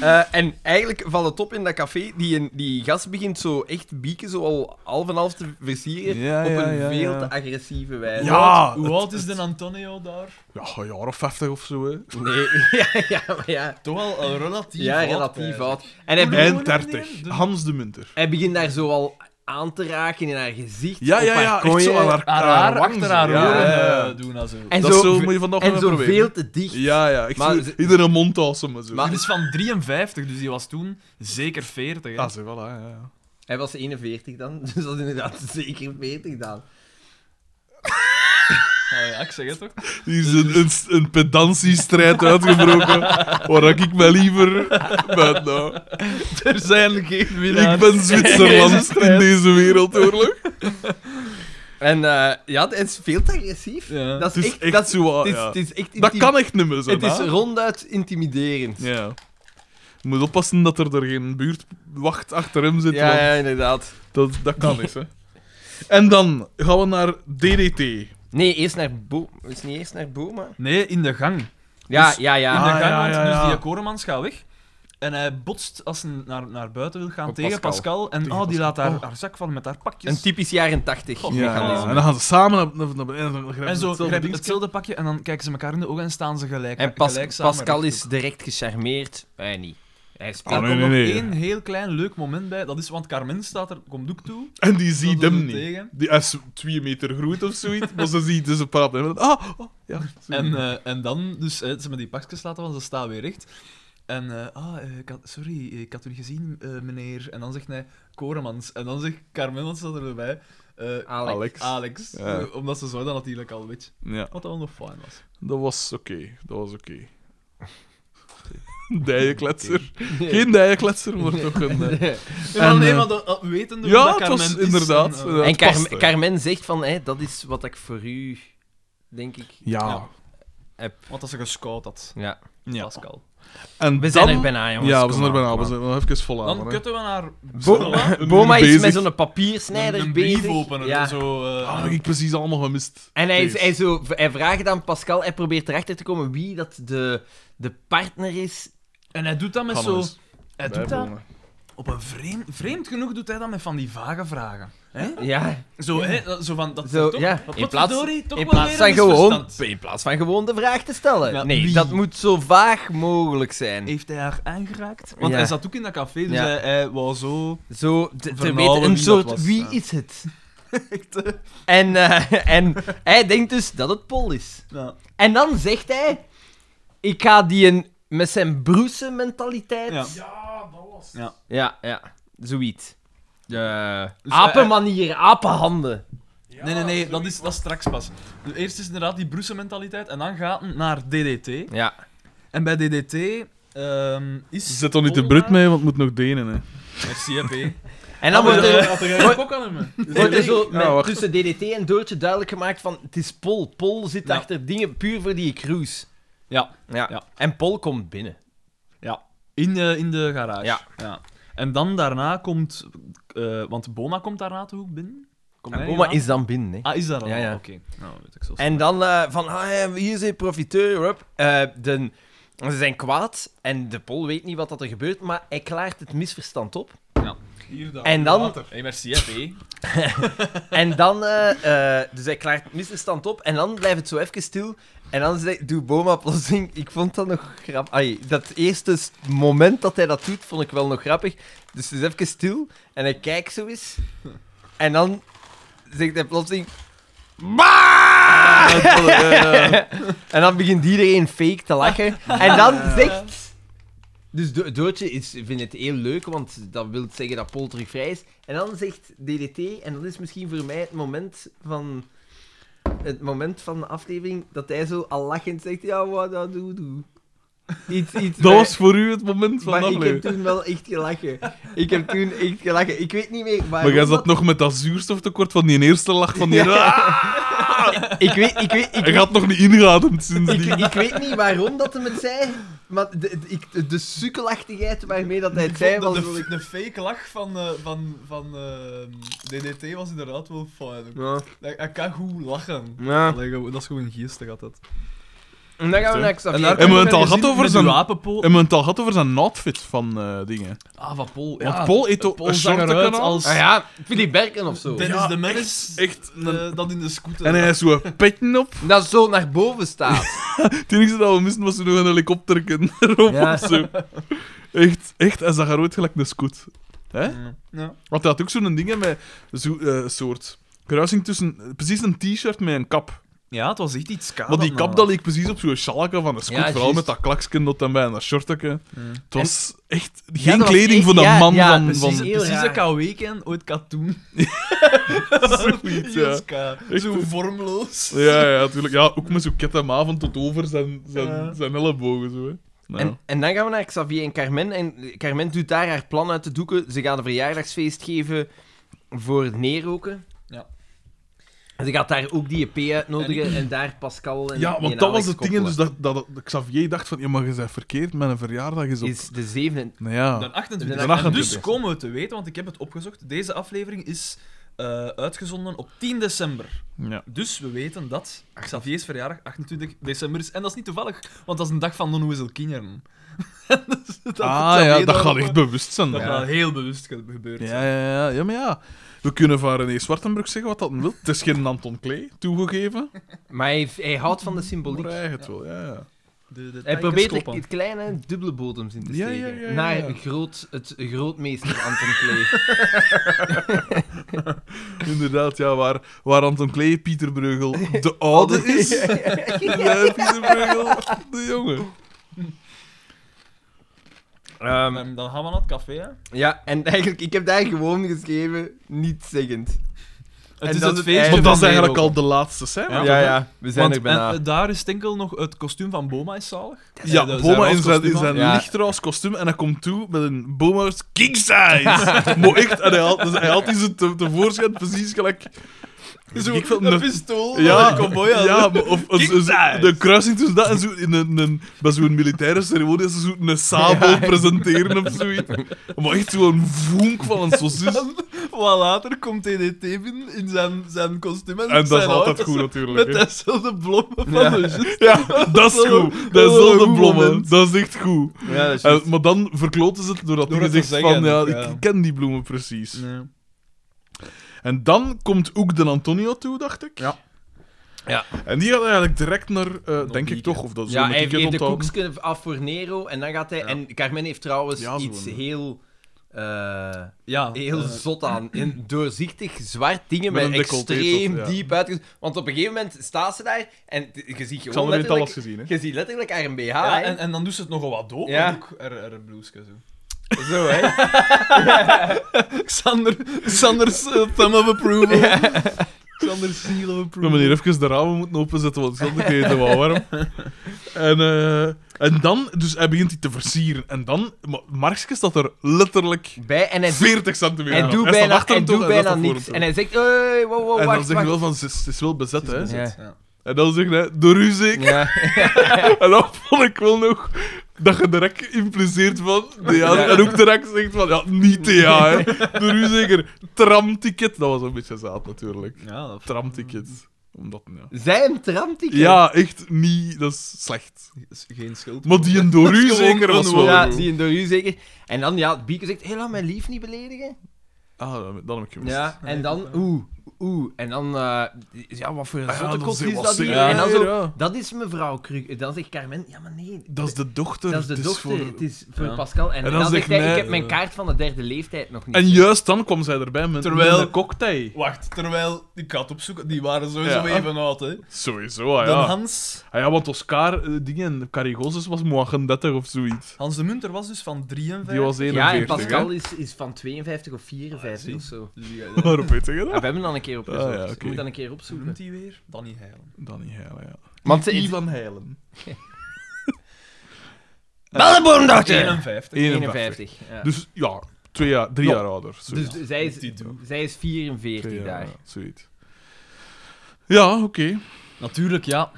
A: Eh, en eigenlijk valt het op in dat café. Die, een- die gast begint zo echt bieken, zo al half en half te versieren.
C: Ja,
A: op
C: ja,
A: een
C: ja,
A: veel
C: ja.
A: te agressieve wijze.
C: Ja,
B: Hoe
C: het-
B: oud is de Antonio daar?
C: Ja, een jaar of 50 of zo, hè.
A: Nee, ja, ja, maar ja.
B: Toch al eh, relatief
A: Ja,
B: oud,
A: relatief
B: eigenlijk.
A: oud. En hij, begint-
C: En 30. Hans de Munter.
A: hij begint daar zo al aan te raken in haar gezicht.
C: Ja,
A: op
C: ja,
A: haar
C: ja. Echt
A: kooien.
C: zo aan haar,
B: Haar haar
C: wang
B: Ah, achter
C: Eh, zo.
B: haar
C: ja,
B: oren
C: ja, ja.
B: eh, doen. als zo.
A: En
C: Dat
A: zo,
C: zo moet je vandaag
A: en
C: wel
A: zo
C: proberen.
A: veel te dicht.
C: Ja, ja. Ik
A: Maar
C: zie
A: ze-
C: iedere mond tassen, zo.
A: Maar-
B: Die is van 53, dus die was toen zeker 40. Hè?
C: Ah, zo, voilà, ja, ja.
A: Hij was 41 dan, dus dat is inderdaad zeker 40 dan.
B: Ah, ja, ik zeg het toch?
C: Die is een, een, een pedantiestrijd uitgebroken, waar ik mij liever buiten hou.
B: Er zijn geen
C: Ik ben Zwitserland in deze wereldoorlog.
A: En eh, ja, het is veel te agressief.
B: Ja.
A: Dat
C: Het is echt
A: dat,
C: zo, ah,
A: het is,
C: ja.
A: het is echt
C: Dat
A: intim-
C: kan echt niet meer zijn,
A: Het is
C: hè?
A: ronduit intimiderend.
C: Ja. Je moet oppassen dat er, er geen buurtwacht achter hem zit,
A: Ja,
C: want
A: ja, inderdaad.
C: Dat, dat kan niet, hè. En dan gaan we naar DDT.
A: Nee, eerst naar Bo. Is niet eerst naar Boma?
B: Nee, in de gang.
A: Ja,
B: Dus-
A: ja, ja.
B: in de
C: Ah,
B: gang,
C: ja,
B: want
C: ja, ja.
B: dus die Koremans gaat weg. En hij botst als hij naar, naar buiten wil gaan
A: Op
B: tegen
A: Pascal.
B: Pascal. En
C: Tegen
B: oh, die
C: Pascal.
B: laat haar,
C: Oh.
B: haar zak vallen met haar pakjes.
A: Een typisch jaren 80
B: Ja,
A: mechanisme.
C: En dan gaan ze samen naar, naar, naar beneden en dan grijpen
B: en
C: ze
B: zo
C: hetzelfde
B: grijpen
C: ding.
B: hetzelfde pakje en dan kijken ze elkaar in de ogen en staan ze gelijk.
A: En Pas-
B: gelijk samen
A: Pascal
B: rechtop.
A: is direct gecharmeerd. Wij niet. Hij
B: Er
A: speelt.
C: Ah,
B: komt
C: nee, nee, nee.
B: nog één heel klein leuk moment bij. Dat is, want Carmen staat er, komt ook toe.
C: En die ziet
B: Dat
C: hem
B: doen ze
C: niet.
B: tegen.
C: Die hij is twee meter groot of zoiets, maar ze ziet dus een paar en dan, Ah, oh, ja.
B: En, eh, en dan, dus, eh, ze met die pakjes laten, want ze staan weer recht. En, eh, ah, eh, ik had- sorry, eh, ik had u gezien, eh, meneer. En dan zegt hij Koremans. En dan zegt Carmen, want ze staat erbij. eh,
A: Alex.
C: Alex.
B: Alex.
C: Ja.
B: Eh, Omdat ze zo dan natuurlijk al weet.
C: Ja,
B: Wat dat wel nog fijn was.
C: dat was oké. Dat was oké. Dijenkletser. Geen dijenkletser, maar toch een... eh,
B: Ja,
C: En,
B: nee,
C: eh,
B: maar dat, dat wetende
C: ja,
B: hoe
C: het
B: dat Carmen
C: was
B: is,
C: inderdaad,
B: en, eh,
C: eh,
A: En
C: het
A: Car-
C: paste.
A: Carmen zegt van, hé, dat is wat ik voor u, denk ik,
C: ja.
B: want dat ze gescout had,
A: Ja.
C: ja.
B: Pascal.
C: En
A: We zijn
C: dan-
A: er bijna, jongens.
C: Ja, we
A: Kom
C: zijn er
A: aan,
C: bijna.
A: kom
C: We
A: aan.
C: zijn nog even vol aan.
B: Dan kutten we naar
A: Bo-
C: Een
A: Boma
C: uur
A: is met
C: bezig.
A: zo'n papiersnijder
B: een
A: bezig.
B: brief openen.
A: Ja.
B: Zo, eh,
C: Ah, ik precies allemaal gemist.
A: En hij, is,
C: Kees.
A: hij, zo, hij vraagt aan Pascal, hij probeert erachter te komen wie dat de, de partner is.
B: En hij doet dat met
C: Gaan we
B: zo...
C: eens
B: Hij doet dat
C: bijwonen.
B: op een vreemd, vreemd genoeg doet hij dat met van die vage vragen. Hè?
A: Ja,
B: Zo, hè, dat- zo van dat
A: Zo,
B: toch,
A: ja.
B: wat
A: In plaats-
B: potverdorie, toch
A: in
B: wel
A: plaats,
B: weer
A: van
B: een
A: gewoon,
B: misverstand.
A: in plaats van gewoon de vraag te stellen.
B: Ja,
A: nee,
B: wie?
A: dat moet zo vaag mogelijk zijn.
B: Heeft hij haar aangeraakt? Want
A: Ja.
B: hij zat ook in dat café, dus
A: Ja.
B: hij, hij wou zo...
A: Zo, te- te,
B: Vernauwen
A: weten,
B: wie
A: een
B: dat
A: soort
B: was,
A: wie
B: ja.
A: is het? En, eh, en hij denkt dus dat het Paul is.
B: Ja.
A: En dan zegt hij: Ik ga die een, met zijn broese mentaliteit.
B: Ja.
C: Ja, dat was
B: Ja.
A: ja, ja, zoiets. Eh
B: Dus
A: apenmanier, apenhanden.
B: Nee, nee, nee, dat is, dat is straks pas. Dus Eerst is inderdaad die Brusse mentaliteit en dan gaat het naar DDT.
A: Ja.
B: En bij DDT ehm, is.
C: Zet dan niet de
B: Ola-
C: Brut mee, want het moet nog Denen, hè.
B: Merci, hè, P.
A: En dan wordt er,
C: had er ook aan hem.
A: wordt er zo met-
C: Ja, wacht.
A: tussen DDT en Doortje duidelijk gemaakt van het is Pol. Pol zit
B: Ja.
A: achter dingen puur voor die cruise.
B: Ja,
A: Ja.
B: Ja.
A: En Pol komt binnen.
B: in, eh, in de garage.
A: Ja.
B: En dan daarna komt. eh, want Boma komt daarna toch ook binnen? Komt hij
A: Oma
B: hierna?
A: is dan binnen. Hè.
B: Ah, is dat al?
A: Ja, ja.
B: Oké. Nou, weet ik zo.
A: En dan eh, van, ah, ja, hier zijn profiteur, hup. Eh, de, ze zijn kwaad en de pol weet niet wat dat er gebeurt, maar hij klaart het misverstand op.
C: Hier dan.
A: En dan,
B: Hey, merci, hè, P.
A: en dan eh, eh, dus hij klaart het misverstand op en dan blijft het zo even stil. En dan zegt, doe Boma plotseling, ik vond dat nog grappig. Ai, dat eerste s- moment dat hij dat doet, vond ik wel nog grappig. Dus het is even stil en hij kijkt zo eens. En dan zegt hij plotseling,
B: Ah, dat- eh,
A: En dan begint iedereen fake te lachen. En dan zegt... Dus Do- Doortje is, vindt het heel leuk, want dat wil zeggen dat Pol terug vrij is. En dan zegt DDT, en dat is misschien voor mij het moment van... Het moment van de aflevering dat hij zo al lachend zegt, ja, wat dat doe, doe. Iets, iets
C: Dat
A: met-
C: was voor u het moment van
A: Maar
C: de
A: ik heb
C: aflevering.
A: toen wel echt gelachen. Ik heb toen echt gelachen. Ik weet niet meer waarom
C: Maar jij
A: dat-
C: zat nog met dat zuurstoftekort van die eerste lach van die...
A: Ik weet, ik weet, ik
C: Hij gaat nog niet ingeademd sindsdien.
A: Ik, ik weet niet waarom dat hem het zei, maar de, de, ik- de, sukkelachtigheid waarmee dat hij het zei was...
B: de,
A: wel-
B: de, de fake lach van, eh, van, van eh, DDT was inderdaad wel fijn.
A: Ja.
B: Hij, hij kan goed lachen. Allee, gewoon- dat is gewoon geestig, had dat.
A: En dan gaan we
C: Zo.
A: naar Xavier.
B: En daar-
C: Hebben we het al gehad
B: Met
C: over
B: uw
C: zijn...
B: wapenpoot?
C: Hebben we het al gehad over zijn outfit van eh, dingen?
B: Ah, van Paul.
C: Want
B: Ja.
C: Paul eet ook
B: Paul
C: een
B: zag
C: shorten
B: eruit
C: kanaal.
B: als-
A: Ah ja, Philip Berken of zo.
B: Dennis
C: Ja,
B: de Menace.
C: Echt een...
B: eh, dat in de scooter.
C: En hij is zo petten op.
A: Dat zo naar boven staat.
C: Het enige dat we misten was nog een helikopter erop
A: Ja.
C: of zo. Echt, echt, hij zag eruit gelijk een scoot.
B: Ja. Ja.
C: Want hij had ook zo'n ding hè, met zo'n soort kruising tussen... eh, Precies een t-shirt met een kap.
B: ja, het was echt iets koud.
C: Maar die kap dat leek precies op zo'n schalke van de scoot.
A: Ja,
C: vooral
A: juist.
C: met dat klaksken dat hem bij en dat shortje. Het was echt
A: Ja,
C: geen
A: dat was
C: kleding
A: echt-
C: van de
A: ja,
C: man
A: ja,
C: van...
A: precies.
C: van
A: Heel
B: Precies
A: raar.
B: een KW-ken, ooit katoen.
C: Zoiets, ja. Echt.
B: Zo vormloos.
C: Ja, ja, natuurlijk. Ja, ook met zo'n kettenmaven tot over zijn, zijn,
B: Ja.
C: zijn ellebogen. Zo, hè. Nou.
A: En, en dan gaan we naar Xavier en Carmen. En Carmen doet daar haar plan uit de doeken. Ze gaan een verjaardagsfeest geven voor het neerroken.
B: Ja.
A: En ze gaat daar ook die EP uitnodigen en, daar Pascal en
C: ja,
A: die en
C: want dat
A: Alex
C: was het ding. hè,
A: koppelen.
C: Dus dat, dat, dat Xavier dacht van, ja, maar je bent verkeerd, mijn verjaardag is op...
A: Is de zevende...
C: Nou ja.
B: Dan 28.
A: Dan
B: En
C: 28.
B: dus komen we te weten, want ik heb het opgezocht. Deze aflevering is eh, uitgezonden op 10 december.
C: ja.
B: Dus we weten dat Xavier's verjaardag 28 december is. En dat is niet toevallig, want dat is een dag van non whistle kinderen. Dus dat-
C: ah ja,
B: Xavier
C: dat gaat
B: daarop-
C: echt bewust zijn.
B: Dat
C: Ja.
B: gaat heel bewust ge- gebeurd zijn.
C: Ja, ja, ja, ja, maar ja. We kunnen van René Zwartenbrug zeggen wat dat wil. Het is geen Anton Klee, toegegeven.
A: Maar hij, hij houdt van de
C: Maar
A: symboliek.
C: hij eigen het wel, ja. ja.
B: De, de
A: Hij probeert het,
B: tijgerskoppen.
A: het kleine dubbele bodems in te
C: Ja,
A: steken.
C: ja, ja, ja,
A: Naar
C: ja.
A: Groot, het grootmeester Anton Klee.
C: Inderdaad, ja, waar, waar Anton Klee Pieter Breugel de oude is. En wij Pieter Breugel de jonge.
A: Ehm,
B: Ehm, dan gaan we naar het café. Hè.
A: ja, en eigenlijk, ik heb daar gewoon geschreven, niet zeggend. En
B: Het is
A: dat
B: het
A: het
B: feestje.
C: Maar
A: einde
B: van
C: dat is
B: de
C: eigenlijk
B: wereld.
C: al de laatste scène.
B: Ja,
C: toch, hè?
A: we
B: Want, en, eh, daar is enkel nog het kostuum van Boma is zalig.
C: Ja,
B: Eh, de-
C: Boma in
B: roze
C: zijn, in
B: kostuum
C: zijn
B: aan.
A: Ja.
C: lichtroos kostuum en hij komt toe met een Boma's king size. maar echt, en hij haalt, dus hij haalt die zo te, tevoorschijn precies gelijk
B: Zo,
C: Ik vind
B: een
C: dat-
B: pistool
C: Ja,
B: ja, een cowboy aan.
C: Ja, maar of, of-
B: Kijk
C: zo-
B: daar.
C: de kruising tussen dat en zo in een, een, bij zo'n militaire ceremonie, als ze zo een sabel presenteren of zoiets. Maar echt zo'n vonk van een sausis.
B: Wat later komt DDT binnen in zijn, zijn kostuum en,
C: En dat is
B: zijn
C: altijd
B: auto,
C: goed,
B: zo,
C: natuurlijk.
B: Met
C: hè.
B: dezelfde blommen
A: Ja.
B: van de just.
C: Ja, dat is
B: wel-
C: goed.
B: dat
C: Dat
B: is
C: is
B: wel
C: wel
B: een
C: de
B: goed
C: blommen.
B: moment.
C: Dat is echt goed.
A: Ja, dat is
C: En,
A: juist.
C: Eh, maar dan verkloten ze het doordat
B: Door
C: hij
B: het te
C: zegt
B: zeggen,
C: van, ja,
B: ja.
C: ik ken die bloemen precies. En dan komt ook de Antonio toe, dacht ik.
D: Ja.
A: Ja.
C: En die gaat eigenlijk direct naar, eh, denk ik
B: niet,
C: toch, of dat zo
A: Ja,
C: moet
A: hij
C: ik het
A: geeft de
C: onthouden.
A: koekjes af voor Nero en dan gaat hij... En Carmen heeft trouwens
C: Ja, zo
A: iets
C: een-
A: heel... eh,
B: Ja,
A: heel
B: eh,
A: zot aan. Een doorzichtig zwart dingen
C: Met
A: met,
C: een decolleté
A: extreem
C: tot, ja.
A: diep uitge... Want op een gegeven moment staat ze daar en t- je ziet
C: Ik zal er niet
A: gewoon Oh, letterlijk...
C: alles gezien, hè.
A: Je ziet letterlijk haar een BH,
B: ja,
A: hè.
B: en, en dan doet ze het nogal wat dood.
A: Ja.
B: Ja. Ook, er, er een blouse zo.
A: Zo, hè.
B: Xander, Xander's eh, thumb of approval. Xander's seal of
C: Maar
B: approval.
C: meneer, even de ramen moeten openzetten, want zonder keer te wel warm. En, eh, en dan, dus hij begint die te versieren. En dan, maar Markske staat er letterlijk
A: Bij, en hij doet,
C: 40 centimeter
A: hij
C: af.
A: doet
C: staat
A: bijna,
C: achter
A: hij
C: hem
A: doet
C: toch,
A: bijna
C: staat voor
A: niks.
C: hem
A: En
C: toch.
A: hij zegt, hey, wow, wow,
C: En dan
A: wacht,
C: zeg je
A: wacht.
C: wel van, ze is, ze is wel bezet, hè.
A: bezet.
B: Ja.
C: En dan zeg hij, door u zeker.
A: Ja.
C: En dan vond ik wel nog dat je direct impliceert van DA. En ook direct zegt van, ja, niet DA, hè. Door u zeker, tramticket. Dat was een beetje zaad, natuurlijk.
B: Ja, dat
C: Tramticket. Omdat, ja.
A: Zijn tramticket.
C: Ja, echt niet. Dat is slecht.
B: is geen schuld.
C: Maar die een door u
B: gewoon
C: zeker was wel
A: Ja,
C: goed.
A: zie je door u zeker. En dan, ja, Bieke zegt, hé, laat mijn lief niet beledigen.
C: Ah, dan, dan heb ik gemist.
A: Ja, en dan, oeh, oeh. En dan, eh, ja, wat voor een
C: Ah, ja,
A: zotte
C: dan
A: kot
C: zegt-
A: is
C: wat
A: dat
C: zegt
A: hier?
C: hij?
A: En dan
C: Ja,
A: zo,
C: ja.
A: dat is mevrouw Kruk. Dan zegt Carmen, ja, maar nee.
C: Dat is de dochter.
A: Dat is de
C: het
A: dochter,
C: voor-
A: het is voor
B: Ja.
A: Pascal. En,
C: En
A: dan, zegt hij,
C: mij,
A: ik heb mijn
C: eh,
A: kaart van de derde leeftijd nog niet.
C: En juist dan kwam zij erbij met,
B: Terwijl-
C: met een cocktail.
B: Wacht, terwijl ik had opzoeken, die waren sowieso
C: Ja.
B: even oud, hè.
C: Sowieso, ah,
B: Dan
C: ja.
B: Hans,
C: Ah, ja. Want Oscar, eh, dingen, Carigozes was 38 of zoiets.
B: Hans de Munter was dus van 53.
C: Die was 41.
A: ja, en
C: hè.
A: Pascal is, is van 52 of 54
B: Ah,
A: of zo.
B: Dus die-
C: Waarom weet je
A: Ah,
C: dat?
A: we hebben dan een keer opgezocht.
C: Ah, ja,
A: Ik
C: oké.
A: moet dan een keer
B: Hoe noemt
A: opzoeken.
B: hij weer? Danny Heilen.
C: Danny Heilen, ja.
A: Mm. Want
C: Ivan Heilen.
A: Bellenboomdochter!
B: 51.
A: 51. ja.
C: Dus ja, twee jaar, drie
A: Ja.
C: jaar ouder.
A: Dus,
C: zoiets.
A: d- zij, is,
B: Die doe.
A: zij is 44
C: Twee jaar,
A: daar.
C: ja, zoiets. Ja, oké.
B: Natuurlijk, ja.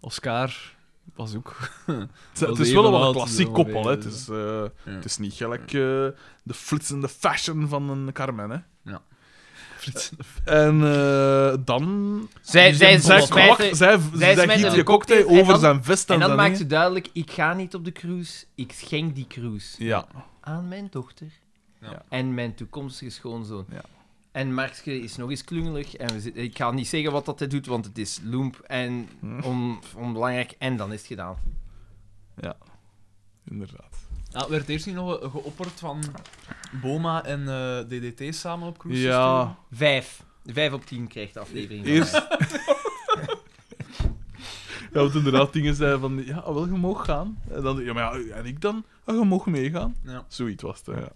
B: Oscar was ook.
C: Het is-
B: Dat
C: Het
B: is
C: is wel
B: even
C: een
B: oud,
C: klassiek
B: zo
C: koppel, hè. Het
B: ongeveer,
C: is, eh, het is niet gelijk eh, de flitsende fashion van een Carmen, hè.
B: Ja.
C: En eh, dan...
A: Zij, zij,
C: zij,
A: zij smijt
C: kwakt-
A: er-
C: zij,
A: zij
C: zij
A: smijten
C: giet
A: de
C: je cocktail
A: cocktail en
C: over
A: dan-
C: zijn vest en,
A: En dan
C: zijn
A: maakt
C: dingen.
A: ze duidelijk, ik ga niet op de cruise, ik schenk die cruise
C: Ja.
A: aan mijn dochter
B: Ja.
A: en mijn toekomstige schoonzoon.
C: Ja.
A: En Markske is nog eens klungelig en we zit- ik ga niet zeggen wat dat hij doet, want het is loemp en
C: Hm.
A: on, onbelangrijk en dan is het gedaan.
C: Inderdaad.
B: Ja, werd eerst niet nog geopperd van Boma en eh, DDT samen op cruise te
C: Ja.
A: Vijf. Vijf op tien krijgt de aflevering. van
C: Eerst...
A: mij.
C: Ja, want inderdaad, dingen zeiden van, ja, wel, je mag gaan. En dan, ja, maar ja, en ik dan? Ah, je mag meegaan.
B: sturen? Ja.
C: Zoiets was het, hè, ja.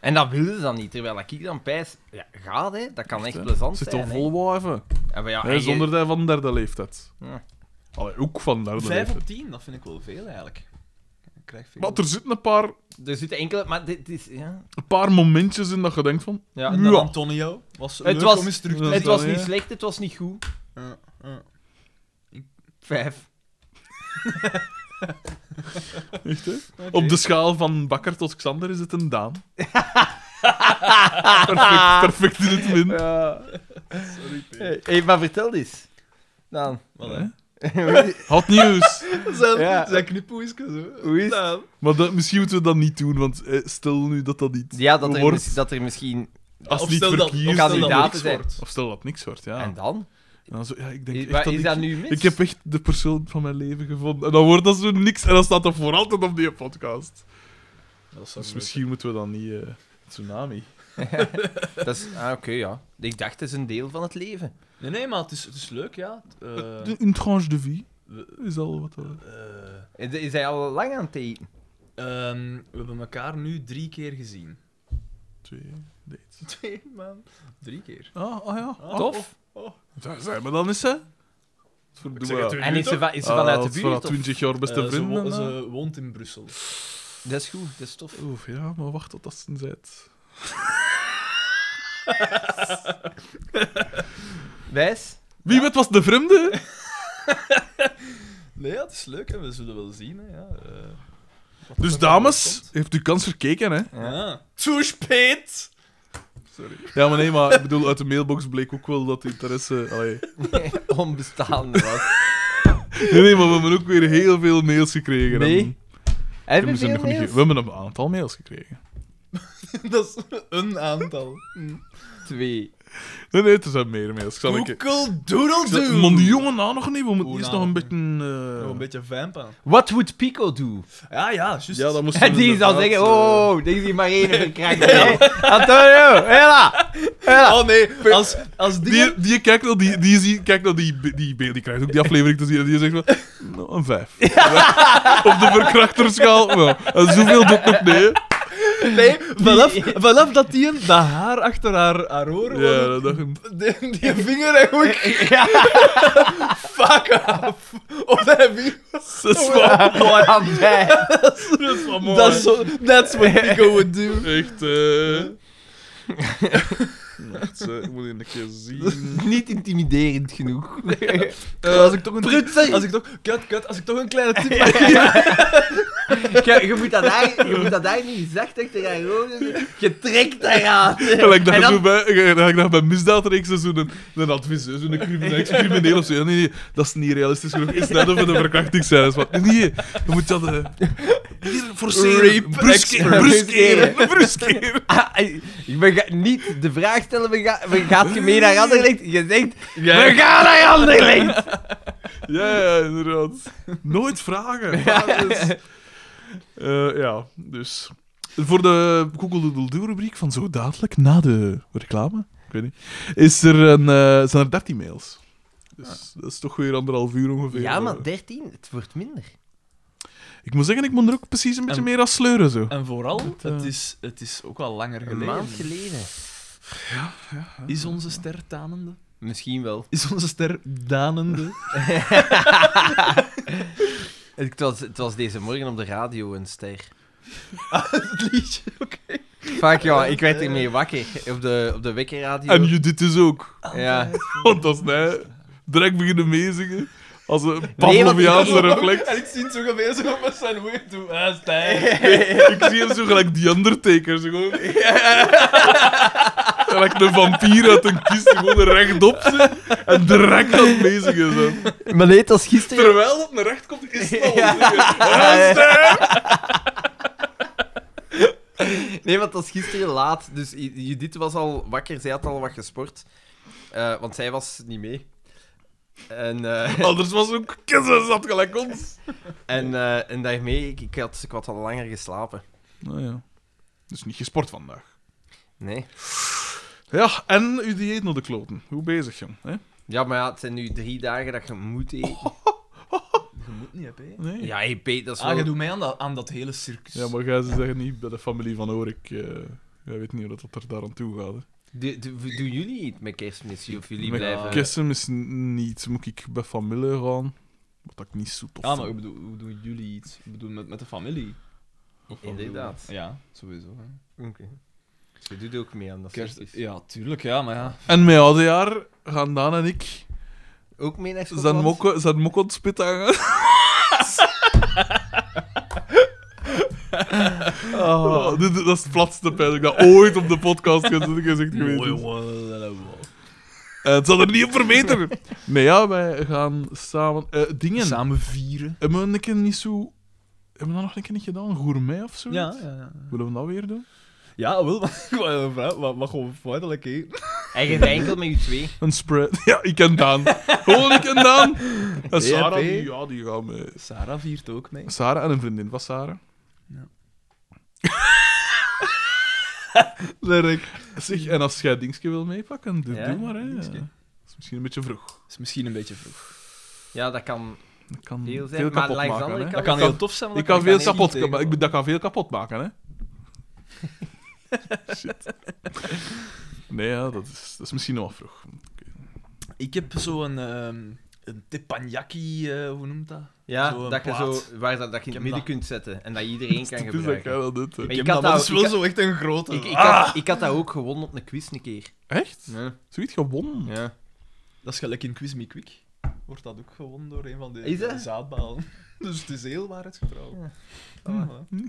A: En dat wilde ze dan niet, terwijl ik dan pijs... Ja, gaat hè, dat kan echt
C: hè.
A: plezant
C: Zit
A: zijn.
C: toch
A: hè.
C: vol wou even.
A: En we- ja,
C: Hè,
A: en je-
C: zonder dat van derde leeftijd.
A: Ja.
C: Allee, ook van derde
B: Vijf op
C: leeftijd.
B: tien, dat vind ik wel veel eigenlijk. Ik krijg veel.
C: Maar er zitten een paar,
A: eh, Er zitten enkele... Maar dit is... Ja.
C: een paar momentjes in dat je denkt van...
A: Ja.
B: En dan
C: Ja.
B: Antonio was
A: Het
B: leuk
A: was-
B: om eens terug te
C: Dat
A: Het
C: wel,
A: was
C: ja.
A: niet slecht, het was niet goed.
B: Ja, ja.
A: Vijf.
C: Echt, hè? Op de schaal van Bakker tot Xander is het een Daan. perfect, perfect in het min.
A: Ja. Sorry, hey, maar vertel eens. Dan.
B: Wat, hè?
C: Hot nieuws.
B: Zijn,
A: Ja.
B: zijn knipoeisken zo.
A: Hoe is
B: Nou,
C: Maar dat, misschien moeten we dat niet doen, want eh, stel nu dat dat niet
A: Ja, dat er,
C: wordt.
A: mis- dat er misschien...
C: als
B: of
C: niet
B: stel dat- of
C: verkiezd,
B: stel dat
A: kandidaten
B: niks
A: zijn.
B: wordt.
C: Of stel dat niks wordt, ja.
A: En dan?
C: En dan zo, ja, Ah. ik denk
A: Is,
C: echt
A: waar,
C: dat
A: is
C: ik,
A: dat nu mis?
C: ik heb echt de persoon van mijn leven gevonden. En dan wordt dat zo niks en dan staat dat voor altijd op die podcast.
B: Dat zou
C: Dus
B: ik
C: misschien moeten we dan niet... eh, tsunami.
A: Dat is... Ah, oké, ja. Ik dacht, het is een deel van het leven.
B: weten. Nee, nee, maar het is, het is leuk, ja. Eh,
C: De- Een tranche de vie
B: we-
C: is al wat... eh,
B: eh,
A: Is, is hij al lang aan het eten?
B: ehm, we hebben elkaar nu drie keer gezien.
C: twee dates.
B: Twee man. Drie keer.
C: Ah, ah ja. Ah,
A: Tof.
C: Daar zijn we dan eens, hè? Verdoe,
B: zeg het u.
A: En is ze, va- Oh, is ze
C: Ah,
A: vanuit
C: dat
A: de
C: vanaf
A: buurt? of-
C: 20 jaar beste
B: Eh, ze, wo-
C: vrienden. hè?
B: ze woont in Brussel.
A: Dat is goed, dat is tof.
C: Oef, ja, maar wacht tot dat ze zijn.
A: Wijs?
C: Wie weet was de vreemde?
B: Nee, ja, het is leuk en we zullen wel zien. Hè, ja. eh, wat er
C: Dus
B: nog
C: dames,
B: komt.
C: heeft u kans verkeken, hè?
B: Ja. Too spät!
C: Ja, maar nee, maar ik bedoel, uit de mailbox bleek ook wel dat de interesse... Allee.
A: Onbestaande was.
C: Nee, nee, maar we hebben ook weer heel veel mails gekregen.
A: Nee.
C: En-
A: Heb
C: we,
A: je
C: zijn
A: veel
C: dus nog niet ge-
A: mails?
C: we hebben een aantal mails gekregen.
B: Dat is een aantal.
A: Twee.
C: Nee, nee, er zijn meer mails. Ik zal een keer...
B: Google Doodle
C: Ik zal-
B: Doo!
C: Man, die jongen na nog niet. We moeten
B: Oeh,
C: eerst
B: na
C: nog een
B: nog
C: beetje... eh,
B: Nog een beetje vamp aan.
A: What would Pico do?
B: Ja, ja, juist.
C: Ja, dat moesten
A: En die zal
C: inderdaad,
A: zeggen,
C: eh,
A: oh, deze is maar één verkracht. hè. Antonio, hela! Hela!
B: Oh nee, als, als die...
C: Die, die kijkt naar die, die, zie- kijkt naar die, be- die beeld, die krijgt ook die aflevering te zien en die zegt van, nou, een vijf. Op de verkrachterschaal, nou, en zoveel doet nog nee. hè.
B: Nee, vanaf, vanaf dat die een- dat haar achter haar, haar oren
C: Ja, dat
B: worden,
C: dacht ik.
B: die, die vinger en ook
A: Ja,
B: fuck af. Of dat vinger...
C: Dat is wel mooi.
A: aan mij.
C: Dat is wel mooi.
B: Oh, Dat is zo- That's what Pico would do.
C: Echt, eh... Wacht, eh, ik moet hier een keer zien.
A: Nou, Niet intimiderend genoeg.
B: Eh, als ik toch een...
A: Prutser!
B: Als ik toch... Kut, kut. Als ik toch een kleine tip mag
A: Je, je moet dat daar, je moet dat daar niet zacht achter haar ogen doen. Je trekt daaraan.
C: Gelijk dat
A: En
C: ik
A: dan-
C: doe bij, eh, gelijk dat ik bij misdaadreeksen zo'n een adviseur, zo'n crimineel, crimineel of zo. Ja, Nee, nee, dat is niet realistisch genoeg. Is net over de verkrachtingscijfers. Maar nee, dan moet dat... eh, hier forceren.
B: Rape
C: Bruskeren.
A: expert.
C: Bruskeren. Bruskeren.
A: Ah, eh, we ga- niet de vraag stellen, we, ga- we gaat je mee naar Anderlecht? Je zegt,
B: Ja.
A: we gaan naar Anderlecht!
C: Ja, ja, inderdaad. Nooit vragen. Maar dus- Eh, ja, dus... Voor de Google Doodle Doo rubriek van zo dadelijk, na de reclame, ik weet niet, is er een, eh, zijn er 13 mails. Dus dat is toch weer anderhalf uur ongeveer.
A: Ah. Ja,
C: eh.
A: maar 13, het wordt minder.
C: Ik moet zeggen, ik moet er ook precies een beetje
B: En-
C: meer aan sleuren, zo.
B: En vooral,
C: eh,
B: het is, het is ook al langer
A: Een
B: geleden.
A: maand geleden.
B: Is onze ster tanende?
A: Misschien wel.
B: Is onze ster danende?
A: Het was, het was deze morgen op de radio een ster. Ah,
B: Het liedje, oké.
A: Vaak ja, ik werd ermee wakker op de, op de wekkerradio.
C: En Judith is ook.
A: Ja.
C: Want als hij direct beginnen meezingen, als een
A: Nee, want-
C: Pavloviaanse reflex.
B: En ik zie het zo geweest zo met zijn hoed toe. Ah, Stijn.
C: Ik zie hem zo gelijk die Undertaker, zo gewoon... Gelijk een vampier uit een kist, gewoon rechtop zit en direct aan het meezingen. Zo.
A: Maar nee, het was gisteren.
C: Terwijl dat naar recht komt, is het al
A: Ja.
C: zingen. Ah, ster!
A: Nee, want dat is gisteren laat. Dus I- Judith was al wakker, zij had al wat gesport. Eh, want zij was niet mee. En, eh,
C: Anders was het ook kissen zat gelijk ons.
A: en, eh, en daarmee, ik, ik, had, ik had al langer geslapen.
C: Nou ja. Dus niet gesport vandaag.
A: Nee.
C: Ja, en uw dieet naar de kloten. Hoe bezig, jong? Hè?
A: Ja, maar ja, het zijn nu drie dagen dat je moet eten.
B: Je moet niet, hè, P.
C: Nee.
A: Ja, hey, Pete, dat is wel...
B: Ah, je doet mij aan dat, aan dat hele circus.
C: Ja, maar ga ze zeggen niet bij de familie van Orik. eh jij weet niet hoe dat er daar aan toe gaat. hè.
A: Doe- doe- doen jullie iets met kerstmis? Of jullie
C: Met
A: blijven...
C: Kersem is n- niet. Moet ik bij familie gaan? Wat ik niet zo tof
B: Ja, maar ik
C: vind.
B: bedoel, hoe doen jullie iets? Ik bedoel, met, met de familie. Of wat
A: Inderdaad.
B: bedoel je? Ja, sowieso. Hè.
A: Dus je doet ook mee aan dat
B: Kerst,
A: circus.
B: ja, tuurlijk, ja, maar ja.
C: En mijn oudejaar gaan Daan en ik
A: Ook mee naar
C: zijn
A: Schotland?
C: mok, zijn mok aan het spit hangen. Ah, dit, dat is het platste pijn dat ik dat ooit op de podcast heb gezegd geweest. is. Eh, het zal er niet op verbeteren. Nee, ja, wij gaan samen... eh, dingen.
B: Samen vieren.
C: Hebben we een keer niet zo... Hebben we dat nog een keer niet gedaan? Gourmet of zo?
B: Ja, ja, ja.
C: Willen we dat weer doen?
B: Ja, wel, maar ik wou een vraag, wat, wat gewoon feitelijk eten.
A: En je bent enkel met je twee.
C: Een spread. Ja, ik en Daan. Gewoon ik en Daan. En Sarah,
B: hè?
C: die, ja, die gaan mee.
B: Sarah viert ook mee.
C: Sarah en een vriendin van Sarah.
B: Leuk.
C: Zeg, en als jij dingetje wil meepakken, doe,
A: Ja,
C: doe maar. Hè. Ja.
B: dingetje.
C: Dat is misschien een beetje vroeg.
B: Is misschien een beetje vroeg.
A: Ja, dat kan...
C: Dat kan
A: Veel
C: veel,
A: zijn, maar
C: kapot
A: langs de
C: maken.
A: andere
C: hè.
A: kant- Ik
B: Dat kan
A: kan-
B: heel tof zijn, maar
C: Ik
B: dat
C: kan veel
B: ik dan
C: kapot,
B: niet tegen.
C: ik, dat kan veel kapot maken, hè? Shit. Nee, ja, dat, is, dat is misschien nog wel vroeg.
B: Ik heb zo'n ehm een teppanyaki, eh, hoe noemt dat?
A: Ja,
B: Zo'n
A: dat je,
B: plaat.
A: zo, waar dat, dat je in
B: heb
A: het midden
B: dat.
A: kunt zetten en dat iedereen kan
C: Het is dat jij
A: gebruiken.
C: dat doet. hè.
A: Maar
D: Ik
A: ik
D: heb
A: had
D: dat, dat
A: dat-
D: is
A: ik
D: wel
A: had-
D: zo echt een grote.
A: Ik, ik,
D: Ah!
A: had, ik had dat ook gewonnen op een quiz een keer.
C: Echt?
A: Ja.
C: Zoiets gewonnen?
A: Ja.
B: Dat is gelijk in Quiz Me Quick. Wordt dat ook gewonnen door een van de,
A: Is dat?
B: de zaadbalen. Dus het is heel waarheidsgetrouw.
A: Ja. Hmm.
B: Ah,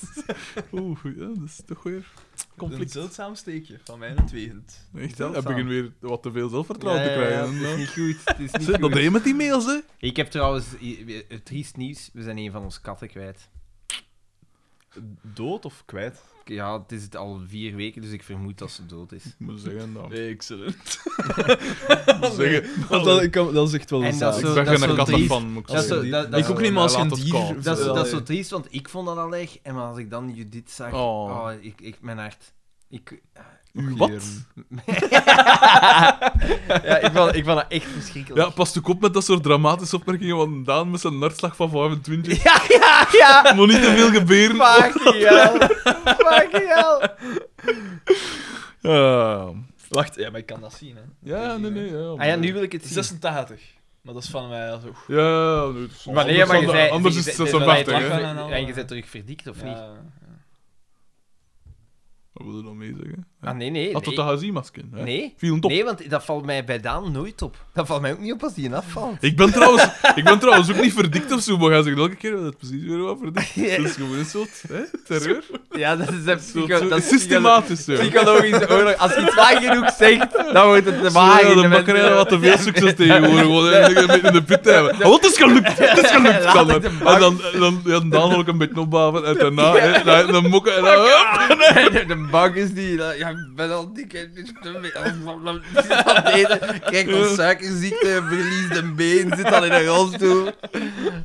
B: voilà.
C: Oeh, ja, dat is toch weer
B: Een
C: conflict.
B: zeldzaam steekje van mijn tweehend.
C: Echt, hè?
A: zeldzaam.
C: Hij begint weer wat te veel zelfvertrouwen te
A: het
C: krijgen.
A: is
C: hè.
A: niet goed. Het is niet
C: Zeg, Dat
A: goed.
C: deed je met die mails, hè?
A: Ik heb trouwens i- i- triest nieuws. We zijn een van onze katten kwijt.
B: Dood of kwijt?
A: Ja, het is het al vier weken, dus ik vermoed dat ze dood is.
C: Ik moet zeggen, dan.
B: Oh. Nee, excellent.
C: Zeggen,
B: Want dat, ik kan, dat is echt wel
A: En
B: een
A: dat
B: zaak.
A: zo-
C: ik ben geen
A: zo
C: katten
A: triest.
C: van, moet ik
A: Dat
C: zeggen.
A: zo- dat- dat
B: Ik
A: zo-
B: ook niet, maar als je een
C: Laat het
B: dier...
C: koud.
A: Dat is,
B: Ja,
A: dat is
B: ja.
A: zo triest, want ik vond dat al erg. En maar als ik dan Judith zag...
C: Oh.
A: Oh, ik, ik, mijn hart. Ik,
C: Uw Wat?
A: ja, ik vond, ik vond dat echt verschrikkelijk.
C: Ja, pas ook op met dat soort dramatische opmerkingen, want Daan met zijn hartslag van 25
A: ja, ja, ja.
C: moet niet te veel gebeuren.
A: Fucking hell. Fucking hell.
C: Ah.
B: Wacht, ja, maar ik kan dat zien, hè.
C: ja, nee, nee. Ja,
A: Ah ja, nu wil ik het zien.
B: 86. Maar dat is van mij al zo.
C: Ja, nu, het is-
A: Maar nee, maar je
C: anders-
A: zei...
C: Anders
A: je
C: is het
A: zei-
C: 56,
A: je
C: hè?
A: zei-
B: lachen. hè?
A: En je bent terug verdikt, of niet?
B: eh, Ja.
C: Wat wil je dan mee zeggen?
A: Ah, nee, nee.
C: Had dat
A: nee.
C: de hazimmasken? hè?
A: Nee.
C: Viel hem top.
A: Nee, want dat valt mij bij Daan nooit op. Dat valt mij ook niet op als die in afvalt.
C: Ik ben, trouwens, ik ben trouwens ook niet verdikt of zo, maar ga zeggen elke keer dat het precies weer wat verdikt.
A: Ja.
C: Dat is gewoon een soort hè, terreur.
A: Ja, dat is, echt
C: Zo, zo, systematisch. zo.
A: psychologische oorlog. Als je het waar genoeg zegt, dan wordt het de
C: Zo,
A: waarheid.
C: ja, de
A: mensen-
C: bakkerij wat te veel succes tegenwoordig. Gewoon hè, een beetje in de put te hebben. Oh, het is gelukt! Het is gelukt!
A: Laat
C: Kan het.
A: het de
C: En
A: bak-
C: dan, en dan, ja, dan ook een beetje opbouwen. En daarna, hè, dan, dan mokken. En dan, hup.
A: De- De bank is die. eh, Ja, ik ben al dik. en ik zit al- zit al eten, Krijg al suikerziekte, verlies een been, zit al in een rolstoel.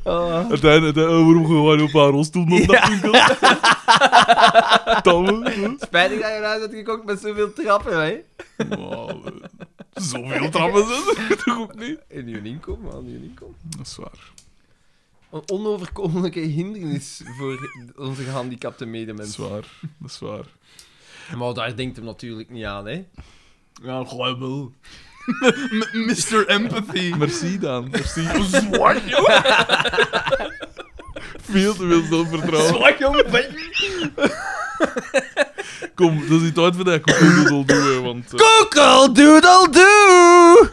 A: Oh.
C: Uiteindelijk, hè, waarom gewoon op haar rolstoel nog dat winkel? Dan, hè.
A: Spijtig dat je eruit hebt gekocht met zoveel trappen, hè?
C: Wow, eh, Zoveel trappen zijn er toch ook niet?
A: In je inkomen, man, in je inkomen.
C: Dat is waar.
A: Een onoverkomelijke hindernis voor onze gehandicapte
C: Dat is
A: medemensen.
C: waar. Dat is waar.
A: Maar daar denkt hem natuurlijk niet aan, hè?
B: Ja, gooi wel. M- Mr. Empathy.
C: Merci, Daan. Merci. Zwak, joh. Veel te veel zelfvertrouwen.
B: Zwak, jong, baby.
C: Kom, dat is niet uit voor dat ik ook een doodle doe, hè, want... eh,
A: Google Doodle Doo!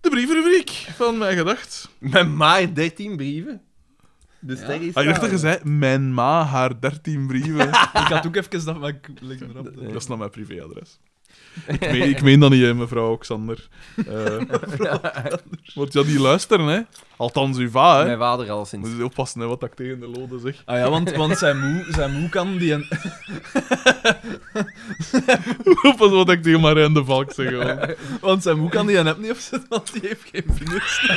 C: de brievenrubriek van Mijn Gedacht.
A: Met maar 13 brieven. Dus
B: Ja.
A: daar is
C: Hij dacht dat Ah, je
A: dat.
C: zei, mijn ma, haar 13 brieven.
B: Ik had ook even dat, maar ik leg me erop.
C: dat is naar mijn privéadres. Ik meen, ik meen dat niet, hè, mevrouw Xander. Eh, want ja, die luisteren, hè. Althans, uw va, hè.
A: Mijn vader al sinds.
C: Moet je oppassen, hè, wat ik tegen de lode zeg.
B: Ah ja, want, want zijn, moe, zijn moe kan die een...
C: Oppassen wat ik tegen Marijn de Valk zeg, hoor.
B: Want zijn moe kan die een app niet opzetten, want die heeft geen vingers.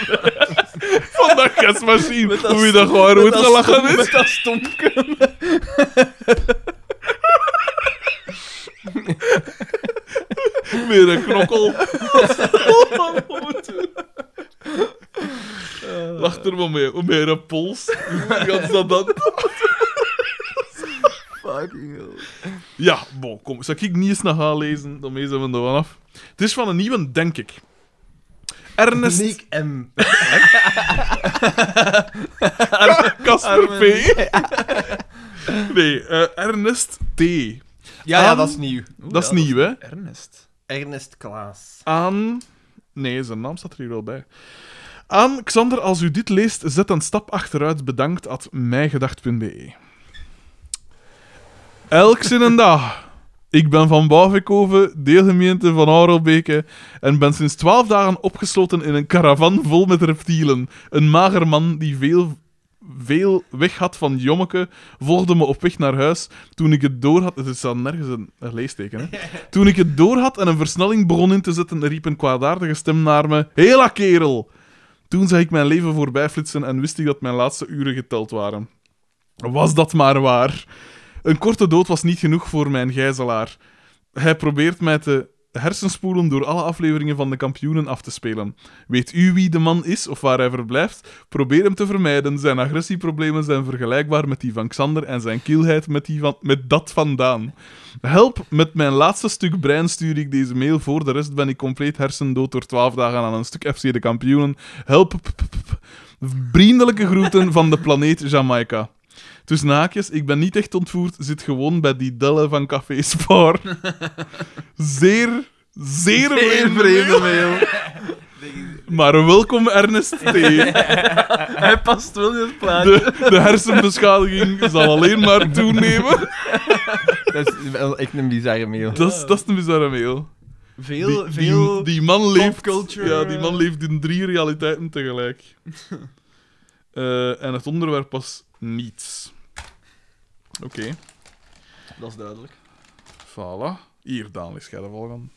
C: Van dat gasmachine.
B: Met dat
C: Hoe je dat gewoon
B: Met
C: rood
B: dat
C: gelachen
B: stom-
C: is.
B: Met dat stompje.
C: Weer een knokkel. Lach er maar mee. Om meer een pols. Hoe gaat dat dan?
B: Fucking hell.
C: Ja, bon, kom. Zal ik niet eens nog gaan lezen? Dan zijn we er vanaf. Het is van een nieuwe, denk ik. Ernest
A: Nick M.
C: Kasper P. Nee, eh, Ernest T.
A: Ja, ja,
C: Aan-
A: dat is nieuw.
C: Dat is nieuw, hè?
B: Ernest.
A: Ernest Klaas.
C: Aan. Nee, zijn naam staat er hier wel bij. Aan Xander, als u dit leest, zet een stap achteruit. Bedankt at mijgedacht.be. Elk zin en dag. Ik ben van Bouwvikoven, deelgemeente van Aurelbeke, en ben sinds twaalf dagen opgesloten in een caravan vol met reptielen. Een mager man die veel, veel weg had van Jommeke, volgde me op weg naar huis. Toen ik het door had... Er staat nergens een, een leesteken, hè? Toen ik het door had en een versnelling begon in te zetten, riep een kwaadaardige stem naar me... Hela, kerel! Toen zag ik mijn leven voorbij flitsen en wist ik dat mijn laatste uren geteld waren. Was dat maar waar. Een korte dood was niet genoeg voor mijn gijzelaar. Hij probeert mij te... hersenspoelen door alle afleveringen van de kampioenen af te spelen. Weet u wie de man is of waar hij verblijft? Probeer hem te vermijden. Zijn agressieproblemen zijn vergelijkbaar met die van Xander en zijn kielheid met, die van, met dat vandaan. Help, met mijn laatste stuk brein stuur ik deze mail. Voor de rest ben ik compleet hersendood door 12 dagen aan een stuk FC de kampioenen. Help, p- p- p- vriendelijke groeten van de planeet Jamaica. Tussen haakjes, ik ben niet echt ontvoerd, zit gewoon bij die dellen van Café Spar. Zeer, zeer vreemde mail. Maar welkom Ernest T.
B: Hij past wel in het plaatje.
C: De, de hersenbeschadiging zal alleen maar toenemen.
A: Dat is wel echt een bizarre mail.
C: Dat is, dat is een bizarre mail.
B: Veel,
C: die,
B: veel...
C: die, die man leeft,
B: popculture.
C: Ja, die man leeft in drie realiteiten tegelijk. Eh, en het onderwerp was niets. Oké,
B: Dat is duidelijk.
C: voilà. Hier, Daan, is jij de volgende.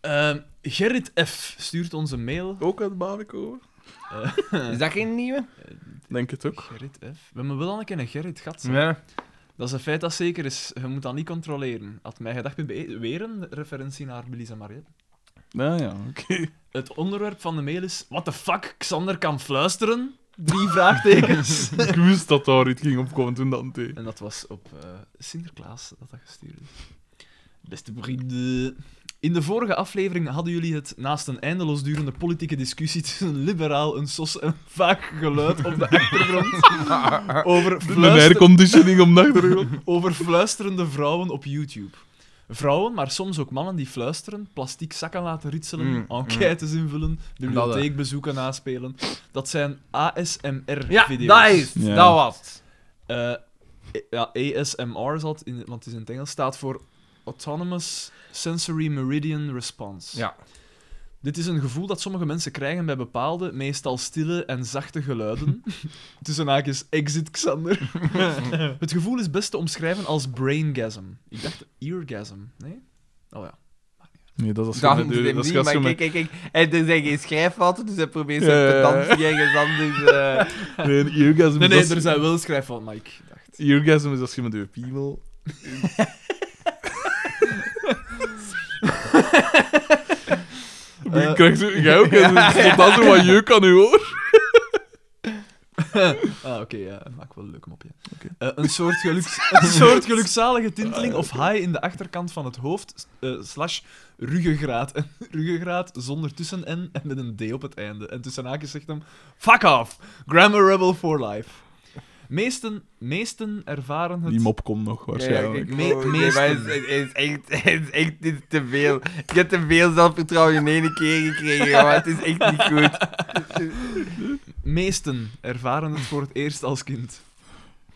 B: Ehm, Gerrit F. stuurt ons een mail. Eh,
C: Ook uit Bavico?
A: Is dat geen nieuwe?
C: Denk het ook.
B: Gerrit F. We hebben wel al een keer een Gerrit gehad. zeg.
A: Ja.
B: Dat is een feit dat zeker is. Je moet dat niet controleren. Had mij gedacht, weer een referentie naar Belisa Mariette.
C: Nou ja, oké.
B: Het onderwerp van de mail is... What the fuck, Xander kan fluisteren? Drie vraagtekens.
C: Ik wist dat daar iets ging opkomen toen dat deed.
B: En dat was op eh, Sinterklaas dat dat gestuurd is. Beste vrienden. In de vorige aflevering hadden jullie het naast een eindeloos durende politieke discussie tussen een liberaal, een sos en een vaag geluid op de achtergrond over,
C: Een
B: fluister-
C: airconditioning om de achtergrond.
B: over fluisterende vrouwen op YouTube. Vrouwen, maar soms ook mannen die fluisteren, plastic zakken laten ritselen,
A: Mm,
B: enquêtes invullen, bibliotheekbezoeken naspelen. Dat zijn
A: Ja,
B: ASMR-video's.
A: dat is het.
C: Ja.
A: Dat was het.
B: Eh, eh, ja, ASMR zat, in, want het is in het Engels, staat voor Autonomous Sensory Meridian Response.
A: Ja.
B: Dit is een gevoel dat sommige mensen krijgen bij bepaalde, meestal stille en zachte geluiden. Tussen haakjes exit Xander. het gevoel is best te omschrijven als braingasm. Ik dacht eargasm, nee? Oh ja.
C: Nee, dat is
A: Dan
C: als je
A: moet
C: met-
A: hem
C: dat is
A: niet,
C: als je
A: maar
C: met-
A: kijk, kijk, kijk. En er zijn geen schrijffouten, dus hij probeert ze
C: Ja,
A: te
C: ja, ja.
A: dansen ergens anders. eh.
C: Nee, een orgasm
B: Nee,
C: is
B: nee,
C: als-
B: er zijn wel schrijffouten, maar ik dacht...
C: een orgasm is als je met je piemel...
B: Eh,
C: Ik krijg zo... Jij ook, hè? Stond dat er wat jeuk aan je oor?
B: Ah, oké, ja, maak wel leuk hem op, ja. Eh, een, soort geluks, een soort gelukzalige tinteling of
C: Ah,
B: haai in de achterkant van het hoofd, eh, slash ruggengraat. Een ruggengraat zonder tussen N en met een D op het einde. En tussen haakjes zegt hem, fuck off, grammar rebel for life. Meesten, meesten ervaren het...
C: Die mop komt nog,
A: Ja,
C: waarschijnlijk.
A: kijk,
B: Me-
A: oh, nee, maar het is, het is echt, het is echt dit is te veel. Ik heb te veel zelfvertrouwen in één keer gekregen, maar het is echt niet goed.
B: Meesten ervaren het voor het eerst als kind.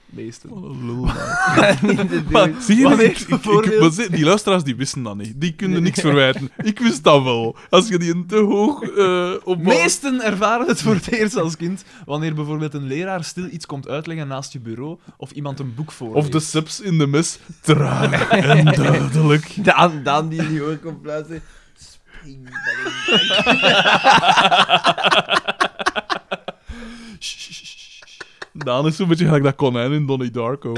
B: Meesten.
C: Wat een Oh, lul, man.
A: niet te doen.
C: Zie je,
B: Wanneer
C: ik, ik- ik-
B: bijvoorbeeld-
C: maar zie- die luisteraars die wisten dat niet. Die kunnen niks verwijten. Ik wist dat wel. Als je die een te hoog eh op...
B: Meesten ervaren het voor het eerst als kind wanneer bijvoorbeeld een leraar stil iets komt uitleggen naast je bureau of iemand een boek voorleest.
C: Of de subs in de mes, traag en duidelijk.
A: Daan, Daan die niet hoor komt plaatsen. Spring van een bank.
C: Daan is zo'n beetje gelijk dat konijn in Donnie Darko.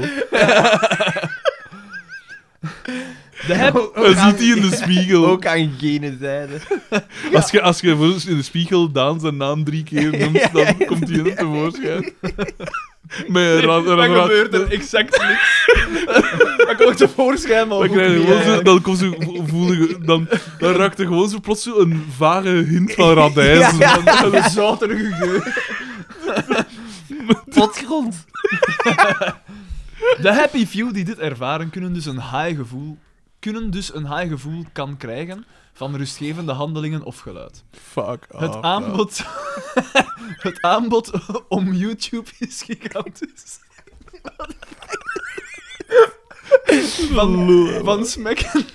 B: De heb-
C: Hij ziet die in de spiegel.
A: Ook aan gene zijde.
C: Als je, als je voor- in de spiegel Daan zijn naam drie keer noemt, dan komt hij in tevoorschijn. Met een ra- ra- ra-
B: exact niks. dat komt tevoorschijn, maar
C: dan
B: ook
C: krijg je
B: niet,
C: gewoon zo,
B: eigenlijk.
C: dan komt zo, vo- voel je, dan, dan raakt er gewoon zo plots zo een vage hint van radijs.
A: Ja.
B: Dat is een zouterige geur.
A: Potgrond.
B: De happy few die dit ervaren kunnen dus een high gevoel, kunnen dus een high gevoel kan krijgen van rustgevende handelingen of geluid.
C: Fuck
B: het
C: off,
B: aanbod, het aanbod om YouTube is gigantisch. Van, van, smekken,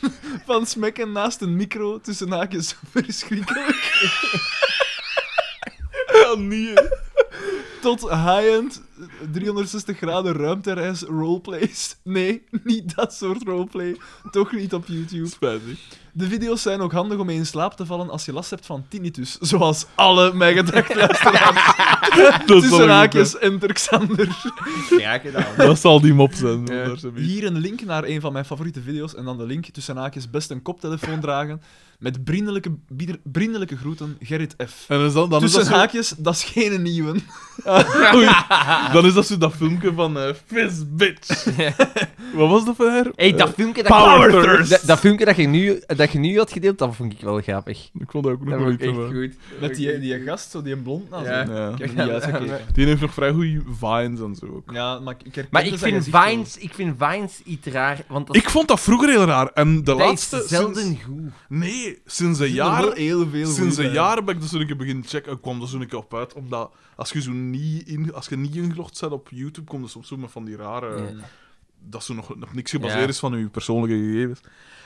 B: van smekken naast een micro tussen haakjes verschrikkelijk.
C: Daan. Ja, nee.
B: tot high-end
D: 360 graden ruimtereis roleplays. Nee, niet dat soort roleplay. Toch niet op YouTube.
C: Spijtig.
D: De video's zijn ook handig om mee in slaap te vallen als je last hebt van tinnitus. Zoals alle mijn gedachtluisteraars.
C: Dat zal,
D: Tussen
C: een
D: haakjes, enter Xander.
A: Ja, gedaan.
C: goed- dat zal die mop zijn.
D: Ja.
C: daar zijn we.
D: Hier een link naar een van mijn favoriete video's en dan de link tussen haakjes best een koptelefoon dragen met vriendelijke, bieder- vriendelijke groeten Gerrit F.
C: En is dat, dan, is
D: tussen
C: dat zo,
D: haakjes, dat is geen nieuwe.
C: Oei. dan is dat zo dat filmpje van eh Fizz Bitch. Wat was dat van haar?
A: Hey, dat filmpje dat,
C: Power
A: je,
C: Thirst.
A: dat, dat filmpje dat, je nu, dat je nu had gedeeld, dat vond ik wel grappig.
C: Eh, Ik vond dat ook nog
A: Dat
C: wel
A: vond
C: iets
A: ik echt
C: van.
A: goed.
D: Met die, die gast, zo die blond na. zo.
A: Ja.
C: Ja.
D: Ik heb hem niet uitgekeken.
C: Die heeft nog vrij goede vines en zo ook.
D: Ja, maar ik herken
A: Maar
D: dus
A: ik
D: dat
A: vind,
D: gezicht wel.
A: Vines, ik vind Vines iets raar, want dat,
C: Ik vond dat vroeger heel raar. En de
A: dat
C: laatste...
A: is zelden
C: sinds-
A: goed.
C: nee, sinds een
D: Er zitten wel
C: jaar...
D: heel veel
C: Sinds
D: goeie
C: een
D: bij.
C: jaar ben ik dat zo'n keer beginnen checken. Ik kwam er zo'n keer op uit, omdat als je zo niet, in, als je niet ingelogd bent op YouTube, komt er soms zo met van die rare...
A: Ja.
C: Dat zo nog, nog niks gebaseerd
A: Ja.
C: is van je persoonlijke gegevens.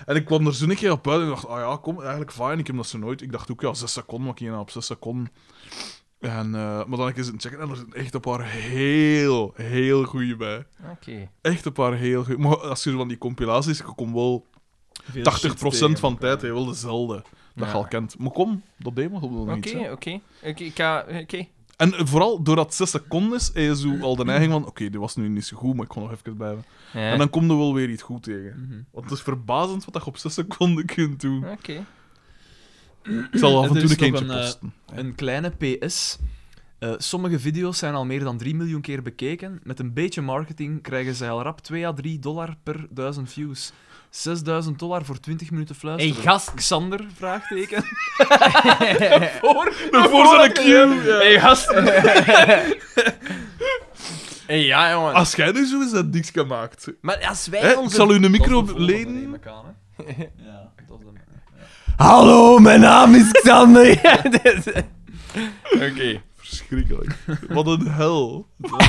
C: En ik kwam er zo'n keer op uit en ik dacht, ah ja, kom, eigenlijk fijn. Ik heb dat zo nooit... Ik dacht ook, ja, zes seconden, maar ik ging op zes seconden. En, eh, maar dan heb ik eens een checken en er zijn echt een paar heel, heel goede bij.
A: Oké.
C: Echt een paar heel goeie. Maar als je zo van die compilaties, ik kom wel 80%
B: Veel shit
C: van de tijd, hè, wel dezelfde. Dat
A: Ja.
C: je al kent. Maar kom, dat deed maar gewoon nog niet.
A: Oké,
C: hè.
A: oké. Oké, ik ga... Oké.
C: En eh, vooral doordat het 6 seconden is, heb je zo al de neiging van: oké, dit was nu niet zo goed, maar ik kon nog even blijven.
A: Ja.
C: En dan komt er wel weer iets goed tegen.
B: Mhm.
C: Want het is verbazend wat je op 6 seconden kunt doen.
A: Oké.
C: Ik zal af en
B: Er
C: toe
B: is
C: een
B: nog
C: kindje
B: een, eh,
C: posten.
B: Een kleine PS. Eh, sommige video's zijn al meer dan 3 miljoen keer bekeken. Met een beetje marketing krijgen zij al rap 2 à 3 dollar per 1000 views. 6000 dollar voor 20 minuten
A: Hey,
B: fluisteren.
A: gast.
B: Xander? Vraagteken.
C: De voorzet cue!
A: Hey, gast. hey, ja, jongen.
C: Als jij nu zo eens dat niks gemaakt.
A: Maar als wij
C: Hè, ik
A: onze...
C: zal u een micro
B: Dat neem
C: lenen.
B: ik aan, hè. Ja, dat is de-
A: Hallo, mijn naam is Xander. Oké.
C: Verschrikkelijk. Wat een hel.
A: Wat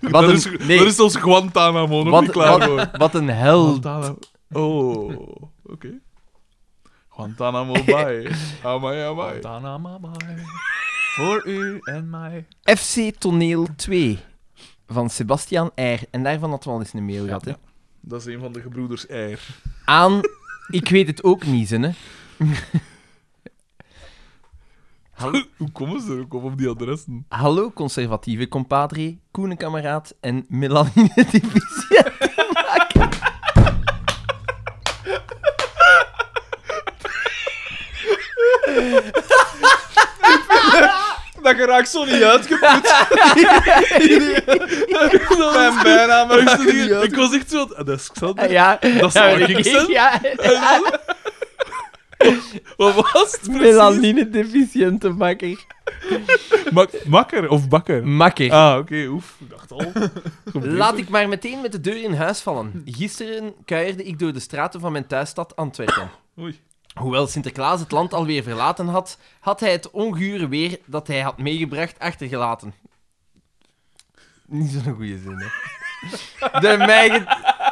C: dat,
A: een-
C: is,
A: nee.
C: dat is ons Guantanamo nog
A: Wat,
C: niet klaar voor.
A: wat, wat een hel.
C: Guantanamo. Oh, oké. Guantanamo Bay. Amai, amai.
B: Montana Mama. Voor u en mij.
A: FC Toneel 2 van Sebastian R. En daarvan hadden we al eens een mail gehad. hè.
C: Dat is een van de gebroeders Eier.
A: Aan, ik weet het ook niet, hè. Hallo,
C: Hoe komen ze er ook op, op die adressen?
A: hallo conservatieve compadre, koenenkameraad en Melanie de divisie.
D: Dat geraakt zo niet uitgeput. Mijn bijnaam
C: Maar ik,
D: raakt
C: zat
D: niet
C: hier- ik
D: uit.
C: was echt zo... aan- Ah, Dat is Xander.
A: Ja,
C: Dat zou
A: weet
C: ik zijn.
A: Ja,
C: Wat was het precies?
A: Melanine deficiënte makker.
C: Mak- makker of bakker?
A: Makker.
C: Ah, oké, oef. Ik dacht al.
A: Eh, Laat ik maar meteen met de deur in huis vallen. Gisteren kuierde ik door de straten van mijn thuisstad Antwerpen.
C: Oei.
A: Hoewel Sinterklaas het land alweer verlaten had, had hij het ongure weer dat hij had meegebracht achtergelaten. Niet zo'n goede zin, hè? De mij,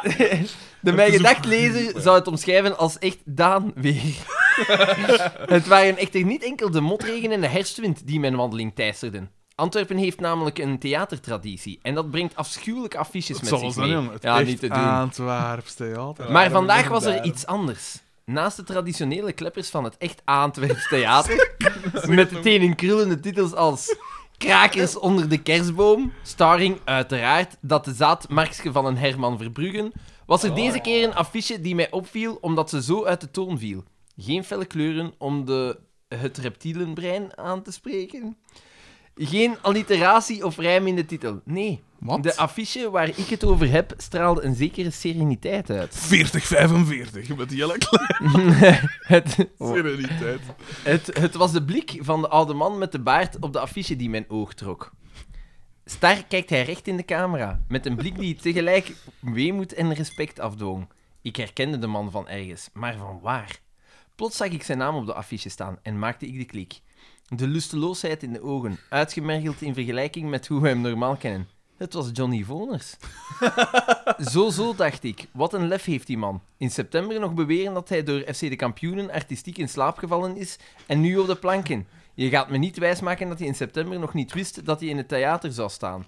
A: ge- de mij
C: is een
A: gedachtlezer zou het omschrijven als echt Daan weer. het waren echter niet enkel de motregen en de herfstwind die mijn wandeling teisterden. Antwerpen heeft namelijk een theatertraditie en dat brengt afschuwelijke affiches
C: Het
A: met
C: zal wel
A: zich
C: zijn,
A: mee.
C: jongen. Het
A: ja,
C: echt
A: niet te doen.
C: Antwerps theater.
A: Maar vandaag was er iets anders. Naast de traditionele kleppers van het echt Aantwerps theater, met meteen in krullende titels als Krakers onder de kerstboom, starring uiteraard dat de zaadmarksje van een Herman Verbruggen, was er deze keer een affiche die mij opviel omdat ze zo uit de toon viel. Geen felle kleuren om de, het reptielenbrein aan te spreken. Geen alliteratie of rijm in de titel. Nee.
C: Wat?
A: De affiche waar ik het over heb straalde een zekere sereniteit uit.
C: 40-45 met die hele kleine
A: Het,
C: Oh. sereniteit.
A: het, het was de blik van de oude man met de baard op de affiche die mijn oog trok. Star kijkt hij recht in de camera, met een blik die tegelijk weemoed en respect afdwong. Ik herkende de man van ergens, maar van waar? Plots zag ik zijn naam op de affiche staan en maakte ik de klik. De lusteloosheid in de ogen, uitgemergeld in vergelijking met hoe we hem normaal kennen. Het was Johnny Voners. zo, zo dacht ik. Wat een lef heeft die man. In september nog beweren dat hij door FC de kampioenen artistiek in slaap gevallen is en nu op de planken. Je gaat me niet wijsmaken dat hij in september nog niet wist dat hij in het theater zou staan.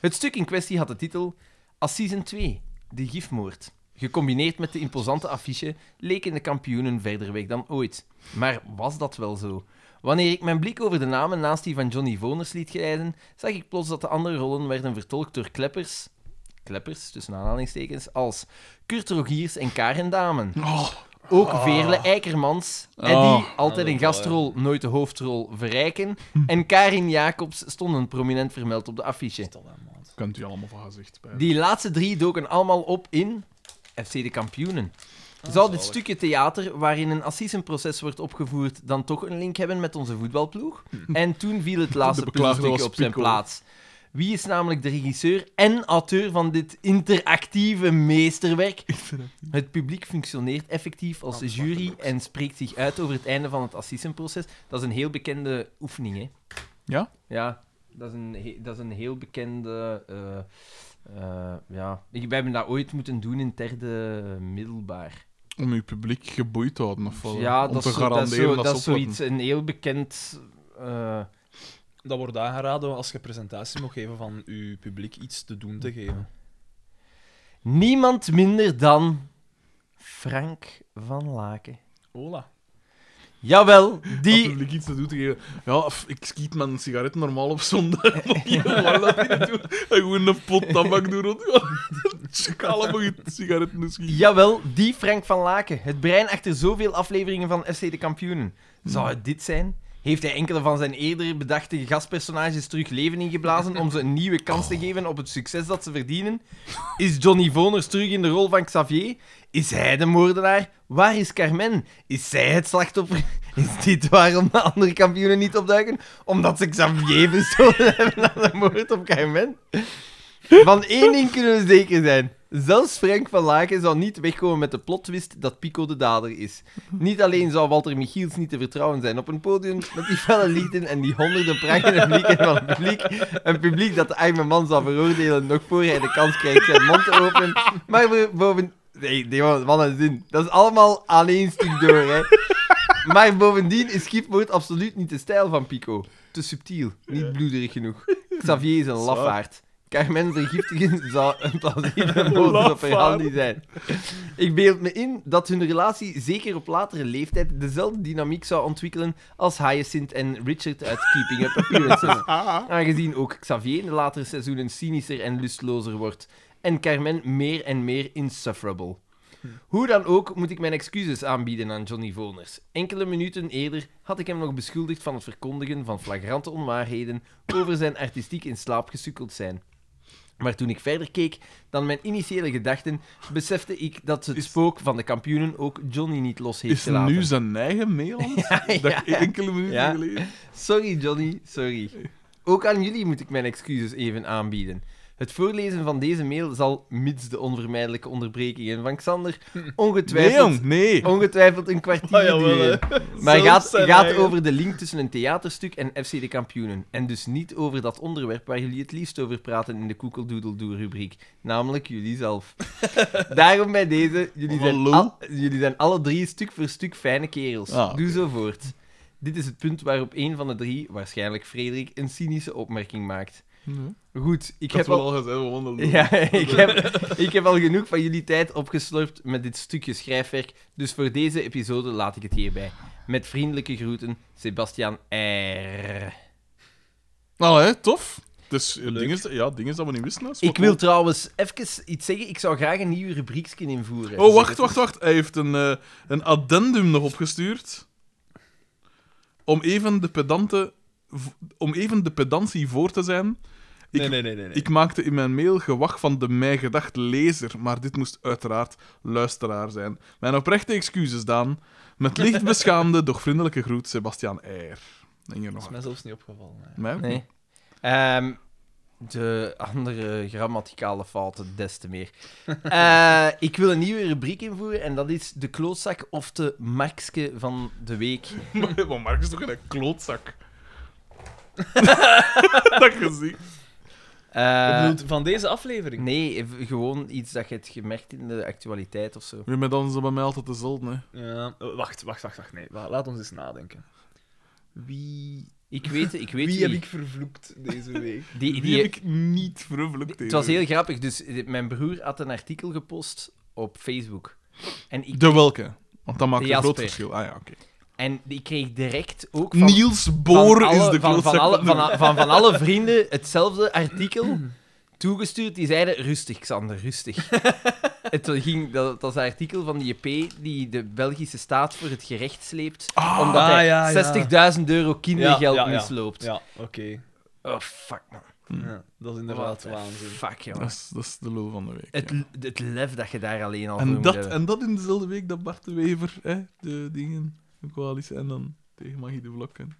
A: Het stuk in kwestie had de titel Assisen 2, de gifmoord. Gecombineerd met de imposante affiche leken de kampioenen verder weg dan ooit. Maar was dat wel zo? Wanneer ik mijn blik over de namen naast die van Johnny Voners liet glijden, zag ik plots dat de andere rollen werden vertolkt door kleppers, kleppers tussen aanhalingstekens, als Kurt Rogiers en Karen Damen. Ook Veerle Eikermans, Eddie,
C: Oh.
A: altijd een gastrol, nooit de hoofdrol, verrijken. En Karin Jacobs stonden prominent vermeld op de affiche.
C: Kunt u allemaal van gezegd bij.
A: Die laatste drie doken allemaal op in FC de Kampioenen. Zou dit stukje theater, waarin een assissenproces wordt opgevoerd, dan toch een link hebben met onze voetbalploeg? En toen viel het laatste
C: Hm. beklaagde
A: puzzelstukje
C: was
A: op zijn
C: Pico.
A: plaats. Wie is namelijk de regisseur en auteur van dit interactieve meesterwerk? Het publiek functioneert effectief als jury en spreekt zich uit over het einde van het assissenproces. Dat is een heel bekende oefening, hè?
C: Ja?
A: Ja, dat is een, he- dat is een heel bekende. eh, eh, ja. Ik- Wij hebben dat ooit moeten doen in het derde middelbaar.
C: Om uw publiek geboeid te houden, of wat?
A: ja,
C: om
A: dat
C: te
A: is, zo- dat, is
C: garanderen
A: zo,
C: dat,
A: dat is
C: ze opletten.
A: zoiets, een heel bekend. eh,
B: Dat wordt aangeraden als je presentatie mag geven van je publiek iets te doen te geven.
A: niemand minder dan Frank van Laken.
B: Hola.
A: Jawel,
C: Die...
A: die.
C: publiek iets te doen te geven. Ja, f- ik skiet mijn sigaret normaal op zondag. Nog niet lang dat ik dat doe. En gewoon een pot tabak doen rond. Ik allemaal sigaretten dus schieten.
A: Jawel, die Frank van Laken. Het brein achter zoveel afleveringen van FC de Kampioenen. Zou het dit zijn? Heeft hij enkele van zijn eerder bedachte gastpersonages terug leven ingeblazen om ze een nieuwe kans
C: Oh.
A: te geven op het succes dat ze verdienen? Is Johnny Voners terug in de rol van Xavier? Is hij de moordenaar? Waar is Carmen? Is zij het slachtoffer? Is dit waarom de andere kampioenen niet opduiken? Omdat ze Xavier bestolen hebben aan de moord op Carmen? Van één ding kunnen we zeker zijn. Zelfs Frank van Laken zou niet wegkomen met de plotwist dat Pico de dader is. Niet alleen zou Walter Michiels niet te vertrouwen zijn op een podium met die felle lichten en die honderden prangende blikken van het publiek. Een publiek dat de arme man zou veroordelen nog voor hij de kans krijgt zijn mond te openen. Maar we- boven... Nee, nee, wat wat een zin. Dat is allemaal aan één stuk door, hè. Maar bovendien is Schipmoord absoluut niet de stijl van Pico. Te subtiel, niet bloederig genoeg. Xavier is een lafaard. Carmen vergiftigen zou een plausibele motor op haar hand niet zijn. Ik beeld me in dat hun relatie zeker op latere leeftijd dezelfde dynamiek zou ontwikkelen als Hyacinth en Richard uit Keeping Up Appearances. Aangezien ook Xavier in de latere seizoenen cynischer en lustlozer wordt en Carmen meer en meer insufferable.
C: Hm.
A: Hoe dan ook moet ik mijn excuses aanbieden aan Johnny Voners. Enkele minuten eerder had ik hem nog beschuldigd van het verkondigen van flagrante onwaarheden over zijn artistiek in slaap gesukkeld zijn. Maar toen ik verder keek dan mijn initiële gedachten, besefte ik dat het spook van de kampioenen ook Johnny niet los heeft
C: Is
A: gelaten.
C: nu zijn eigen mail aan het- Dat ik enkele minuten
A: Ja.
C: geleden...
A: Sorry, Johnny, sorry. Ook aan jullie moet ik mijn excuses even aanbieden. Het voorlezen van deze mail zal, mits de onvermijdelijke onderbrekingen van Xander,
C: Nee,
A: ongetwijfeld,
C: jong, nee.
A: ongetwijfeld een kwartier
B: Ah, jawel, hè.
A: duren. Oh, Maar
B: Zelfs
A: gaat,
B: zijn
A: gaat
B: eigen.
A: over de link tussen een theaterstuk en FC de kampioenen. En dus niet over dat onderwerp waar jullie het liefst over praten in de Koekeldoedeldoe-rubriek. Namelijk jullie zelf. Daarom bij deze, jullie zijn,
C: Hallo?
A: al- jullie zijn alle drie stuk voor stuk fijne kerels.
C: Ah,
A: Doe zo voort. Dit is het punt waarop een van de drie, waarschijnlijk Frederik, een cynische opmerking maakt.
C: Nee.
A: Goed, ik
C: Ik heb
A: heb
C: wel
A: al...
C: al gezegd, we wandelen.
A: Ja, ik heb, ik heb al genoeg van jullie tijd opgeslurpt met dit stukje schrijfwerk, dus voor deze episode laat ik het hierbij. Met vriendelijke groeten, Sebastian R.
C: Nou, hè, tof. Dus eh, dingen, ja, dingen dat we niet wisten. hè.
A: Ik wil trouwens even iets zeggen, ik zou graag een nieuw rubriekje invoeren. Dus
C: Oh, wacht, wacht, wacht. Hij heeft een, eh, een addendum nog opgestuurd. Om even de pedante... v- Om even de pedantie voor te zijn. Ik,
B: Nee, nee, nee, nee. nee.
C: ik maakte in mijn mail gewacht van de mij gedacht lezer, maar dit moest uiteraard luisteraar zijn. Mijn oprechte excuses, Daan. Met licht beschaamde, doch vriendelijke groet, Sebastian Eier. En hier
B: Dat is
C: nog
B: mij zelfs niet opgevallen. hè.
C: mij ook niet.
A: Nee. Ehm, de andere grammaticale fouten, des te meer. Eh, ik wil een nieuwe rubriek invoeren en dat is de klootzak of de markske van de week.
C: Maar, maar Mark is toch een klootzak? dat gezicht.
B: Ik
A: Eh,
B: bedoel, van deze aflevering.
A: nee, eh, v- gewoon iets dat je hebt gemerkt in de actualiteit of zo.
C: Wie met ons bij mij altijd dezelfde, hè.
B: Ja, eh, wacht, wacht, wacht, wacht. Nee, wa- laat ons eens nadenken.
D: Wie,
A: Ik weet, ik
D: wie,
A: weet wie.
D: heb ik vervloekt deze week?
A: Die,
C: Die,
A: die-
C: heb ik niet vervloekt.
A: het was heel grappig. Dus eh, mijn broer had een artikel gepost op Facebook. En ik,
C: De welke? Want dat maakt
A: De
C: een groot
A: Jasper.
C: verschil. Ah ja, oké.
A: en ik kreeg direct ook van,
C: Niels
A: van
C: Boor
A: alle-
C: is de
A: van, van,
C: klootzak
A: alle,
C: van,
A: van, a- van, van alle vrienden hetzelfde artikel toegestuurd. Die zeiden, rustig Xander, rustig. het ging, dat, dat was een artikel van de JP die de Belgische staat voor het gerecht sleept. omdat
B: ah,
A: hij
B: ja, ja.
A: 60.000 euro kindergeld
B: Ja, ja, ja.
A: misloopt.
B: Ja, oké.
A: Oh, fuck man.
B: Ja, dat is inderdaad
A: Wat een
B: waanzin.
A: Fuck,
C: Dat
A: jongen.
C: is, dat is de lul van de week.
A: Het,
C: ja.
A: het lef dat je daar alleen al voor
C: en,
A: moet
C: dat,
A: hebben.
C: en dat in dezelfde week dat Bart de Wever hè, de dingen, de coalitie, en dan tegen Maggie de Vlak. en-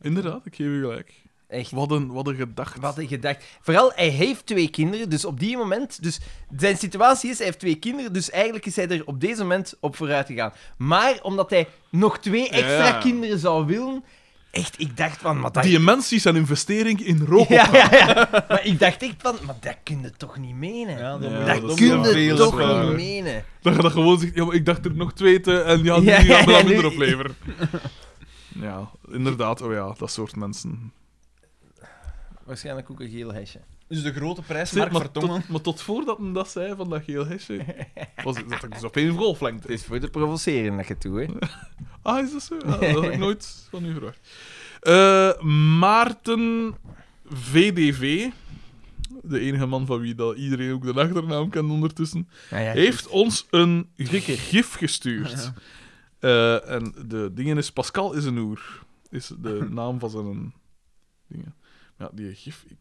C: Inderdaad, ik geef u gelijk.
A: Echt.
C: Wat een, wat een gedachte.
A: Wat een gedacht. Vooral, hij heeft twee kinderen, dus op die moment... Dus zijn situatie is, hij heeft twee kinderen, dus eigenlijk is hij er op deze moment op vooruit gegaan. Maar omdat hij nog twee extra
C: Ja.
A: kinderen zou willen... Echt, ik dacht van... Maar dat...
C: Die mensen zijn investering in rook.
A: ja, ja, ja. Maar ik dacht echt van... Maar dat kun je toch niet menen?
B: Ja,
C: Ja,
B: moet-
A: dat
C: dat is
A: kun
C: wel
A: je
C: veel
A: toch
C: zwaar.
A: niet menen?
C: Dat je dat gewoon zegt, ja, maar ik dacht er nog twee te, en ja, die
A: Ja,
C: gaan me
A: ja,
C: dat
A: nu-
C: minder opleveren. Ja, inderdaad, oh ja, dat soort mensen.
A: Waarschijnlijk ook een geel hesje.
B: Dus de grote prijs,
C: Zeg,
B: Mark
C: maar,
B: Vertongen.
C: tot, maar tot voordat men dat zei, van dat geel hesje, was, zat ik dus op één golflengte.
A: is voor te provoceren dat je toe, hè?
C: Ah, is dat zo? Ah, dat had ik nooit van u verwacht. Eh, Maarten VDV, de enige man van wie dat iedereen ook de achternaam kent ondertussen,
A: Ja, ja,
C: heeft ons een gekke gif gestuurd. Eh, en de dingen is Pascal is een oer, is de naam van zijn dingen. Ja, die gif. ik-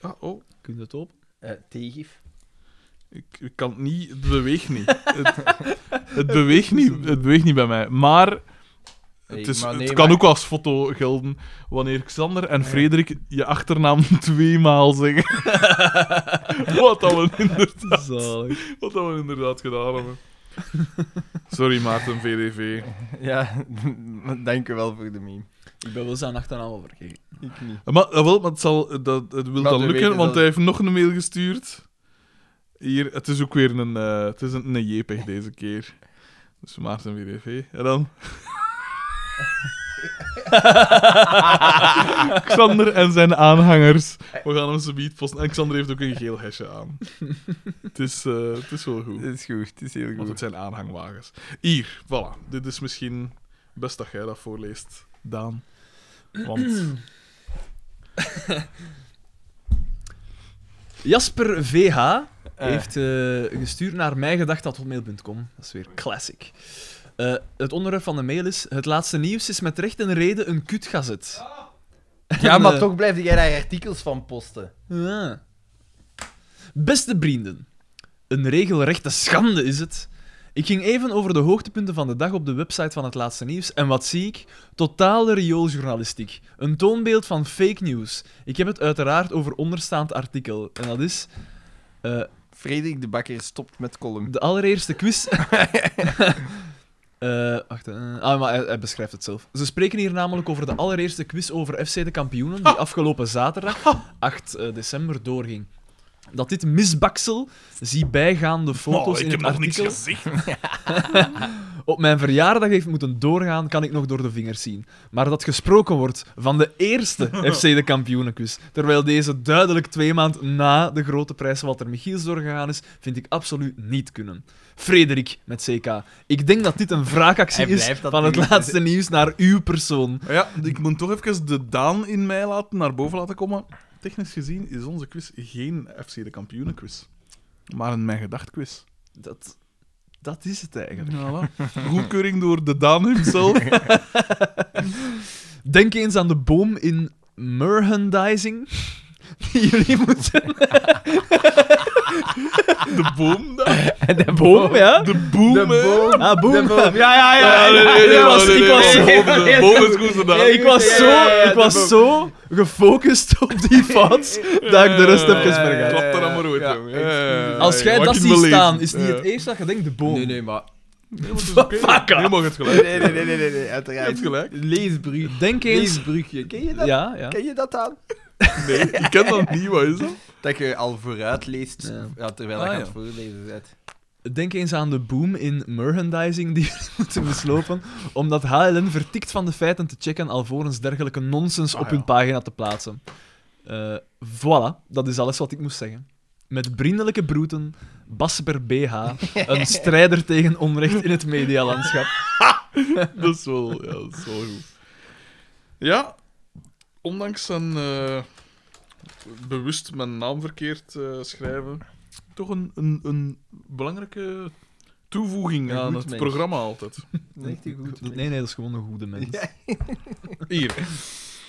C: ah, oh,
B: Kun je dat op?
A: Eh, tegif.
C: ik, ik kan het niet, het beweegt niet. het, het beweegt niet. Het beweegt niet bij mij. Maar
A: Nee,
C: het, is,
A: maar nee,
C: het kan
A: maar-
C: ook als foto gelden wanneer Xander en Frederik je achternaam tweemaal zeggen. wat, dat we inderdaad,
B: Zalig.
C: wat dat we inderdaad gedaan hebben. Sorry Maarten, VDV.
A: Ja, dank u wel voor de meme.
B: Ik ben wel zijn achternaam al vergeten.
A: Ik niet.
C: Maar, ah, wel, maar het, zal, dat, het wil
A: Maar
C: dan
A: we
C: lukken,
A: weten
C: want
A: dat-
C: hij heeft nog een mail gestuurd. Hier, het is ook weer een, eh, het is een, een JPEG deze keer. Dus Maarten WDV. En dan... Xander en zijn aanhangers. We gaan hem zo beat posten. En Xander heeft ook een geel hesje aan. het, is, eh, het is wel goed.
A: Het is goed, het is heel
C: Want het zijn aanhangwagens. Hier, voilà. Dit is misschien best dat jij dat voorleest, Daan. Want...
B: Jasper VH heeft eh, gestuurd naar mijgedacht.hotmail.com. Dat is weer classic. Eh, het onderwerp van de mail is: Het laatste nieuws is met recht en reden een kutgazet.
A: Ja,
B: En,
A: maar
B: eh,
A: toch blijf jij daar artikels van posten.
B: Ja. Beste vrienden, een regelrechte schande is het. Ik ging even over de hoogtepunten van de dag op de website van het laatste nieuws en wat zie ik? Totale riooljournalistiek. Een toonbeeld van fake news. Ik heb het uiteraard over onderstaand artikel. En dat is eh,
A: Frederik de Bakker stopt met column.
B: de allereerste quiz. Eh, wacht, eh, ah, maar hij, hij beschrijft het zelf. Ze spreken hier namelijk over de allereerste quiz over FC de kampioenen, die afgelopen zaterdag, 8 eh, december, doorging. Dat dit misbaksel, zie bijgaande foto's
C: Oh, ik
B: in
C: heb
B: het
C: nog niks
B: artikel,
C: gezegd.
B: op mijn verjaardag heeft moeten doorgaan, kan ik nog door de vingers zien. Maar dat gesproken wordt van de eerste FC de kampioenenquiz, terwijl deze duidelijk twee maanden na de grote prijs Walter Michiels doorgegaan is, vind ik absoluut niet kunnen. Frederik met CK, ik denk dat dit een wraakactie
A: Hij
B: is
A: blijft dat
B: van het
A: doen.
B: laatste nieuws naar uw persoon.
C: Maar Ja, ik moet toch even de Daan in mij laten, naar boven laten komen. Technisch gezien is onze quiz geen FC de kampioenen quiz. Maar een mijn gedacht quiz.
B: Dat, dat is het eigenlijk.
C: Voilà. Goedkeuring door de Daan himself.
B: Denk eens aan de boom in merchandising. Die jullie moeten...
C: De boom daar.
B: De boom, ja?
C: De boom,
A: De
C: hè.
A: boom.
B: Ah, boom.
A: De boom.
B: Ja, ja, ja.
C: Ah, nee, nee, nee,
B: Ik was-
C: nee, nee,
B: ik
C: nee,
B: was-
C: nee, nee, boom, de boom is goed gedaan.
B: Ja, ik was,
A: Ja,
B: zo,
A: ja, ja, ja,
B: ik was
A: dat-
B: zo gefocust op die fout dat ik de rest
C: Ja,
B: heb
C: ja, ja,
B: vergaan.
C: Klap er dan maar uit,
A: Ja,
C: jongen. Ja, ja, ja, ja.
B: Als jij
C: Wat
B: dat
C: ik
B: ziet
C: wil lezen.
B: staan, is het niet
C: Ja.
B: het eerste dat je denkt de boom.
A: Nee, nee, maar...
C: Nee, maar het is oké.
B: Fuck
C: Nee,
B: off.
C: maar je hebt gelijk.
A: Nee, nee, nee, nee, nee, nee,
C: Je
A: uiteraard.
C: hebt gelijk.
A: Leesbrug.
B: Denk eens.
A: Leesbrugje. Ken je dat?
B: Ja, ja.
A: Ken je dat aan?
C: Nee, ik ken dat niet, wat is dat?
A: Dat je al vooruit leest,
B: Ja.
A: ja, terwijl
C: Ah,
A: je aan
C: ja.
A: het voorlezen bent.
D: Denk eens aan de boom in merchandising die we moeten beslopen, omdat HLN vertikt van de feiten te checken alvorens dergelijke nonsens
C: Ah,
D: op hun
C: ja.
D: pagina te plaatsen. Eh, voilà, dat is alles wat ik moest zeggen. Met vriendelijke broeten, Basper BH, een strijder tegen onrecht in het medialandschap.
C: dat is wel, ja, dat is wel goed. Ja, ondanks zijn eh, bewust mijn naam verkeerd eh, schrijven, toch een, een, een belangrijke toevoeging
A: Een
C: aan
A: goed
C: het
A: mens.
C: programma altijd.
A: Echt een goed.
D: Nee, nee, dat is gewoon een goede mens.
C: Hier,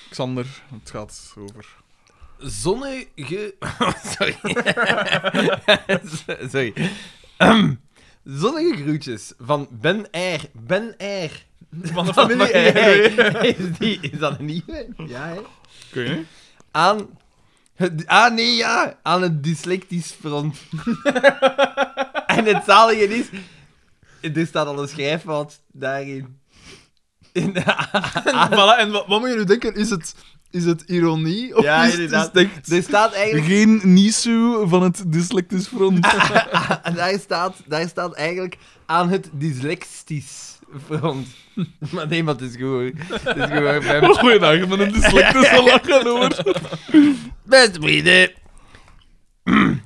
C: Xander, het gaat over.
A: Zonnige. Sorry. Sorry. Ehm, zonnige groetjes van Ben R. Ben R.
B: Van de familie.
A: R. Is, die, is dat een nieuwe? Ja, hè?
C: Kun je?
A: Aan. Het, ah, nee, ja. Aan het dyslectisch front. en het zalige is. Er staat al een schrijffout daarin. In
D: Ah, Voilà, en wat, wat moet je nu denken? Is het, is het ironie? Of
A: ja,
D: is het-
A: inderdaad.
D: is het echt-
A: Er staat eigenlijk.
C: Geen Nisu van het Dyslectisch Front.
A: En daar staat, daar staat eigenlijk aan het dyslectisch front. Maar nee, maar het is goed. hoor. Het is goed. hoor. Bij-
C: Goeie dag, met een dyslectische lachen hoor.
A: Beste vrienden.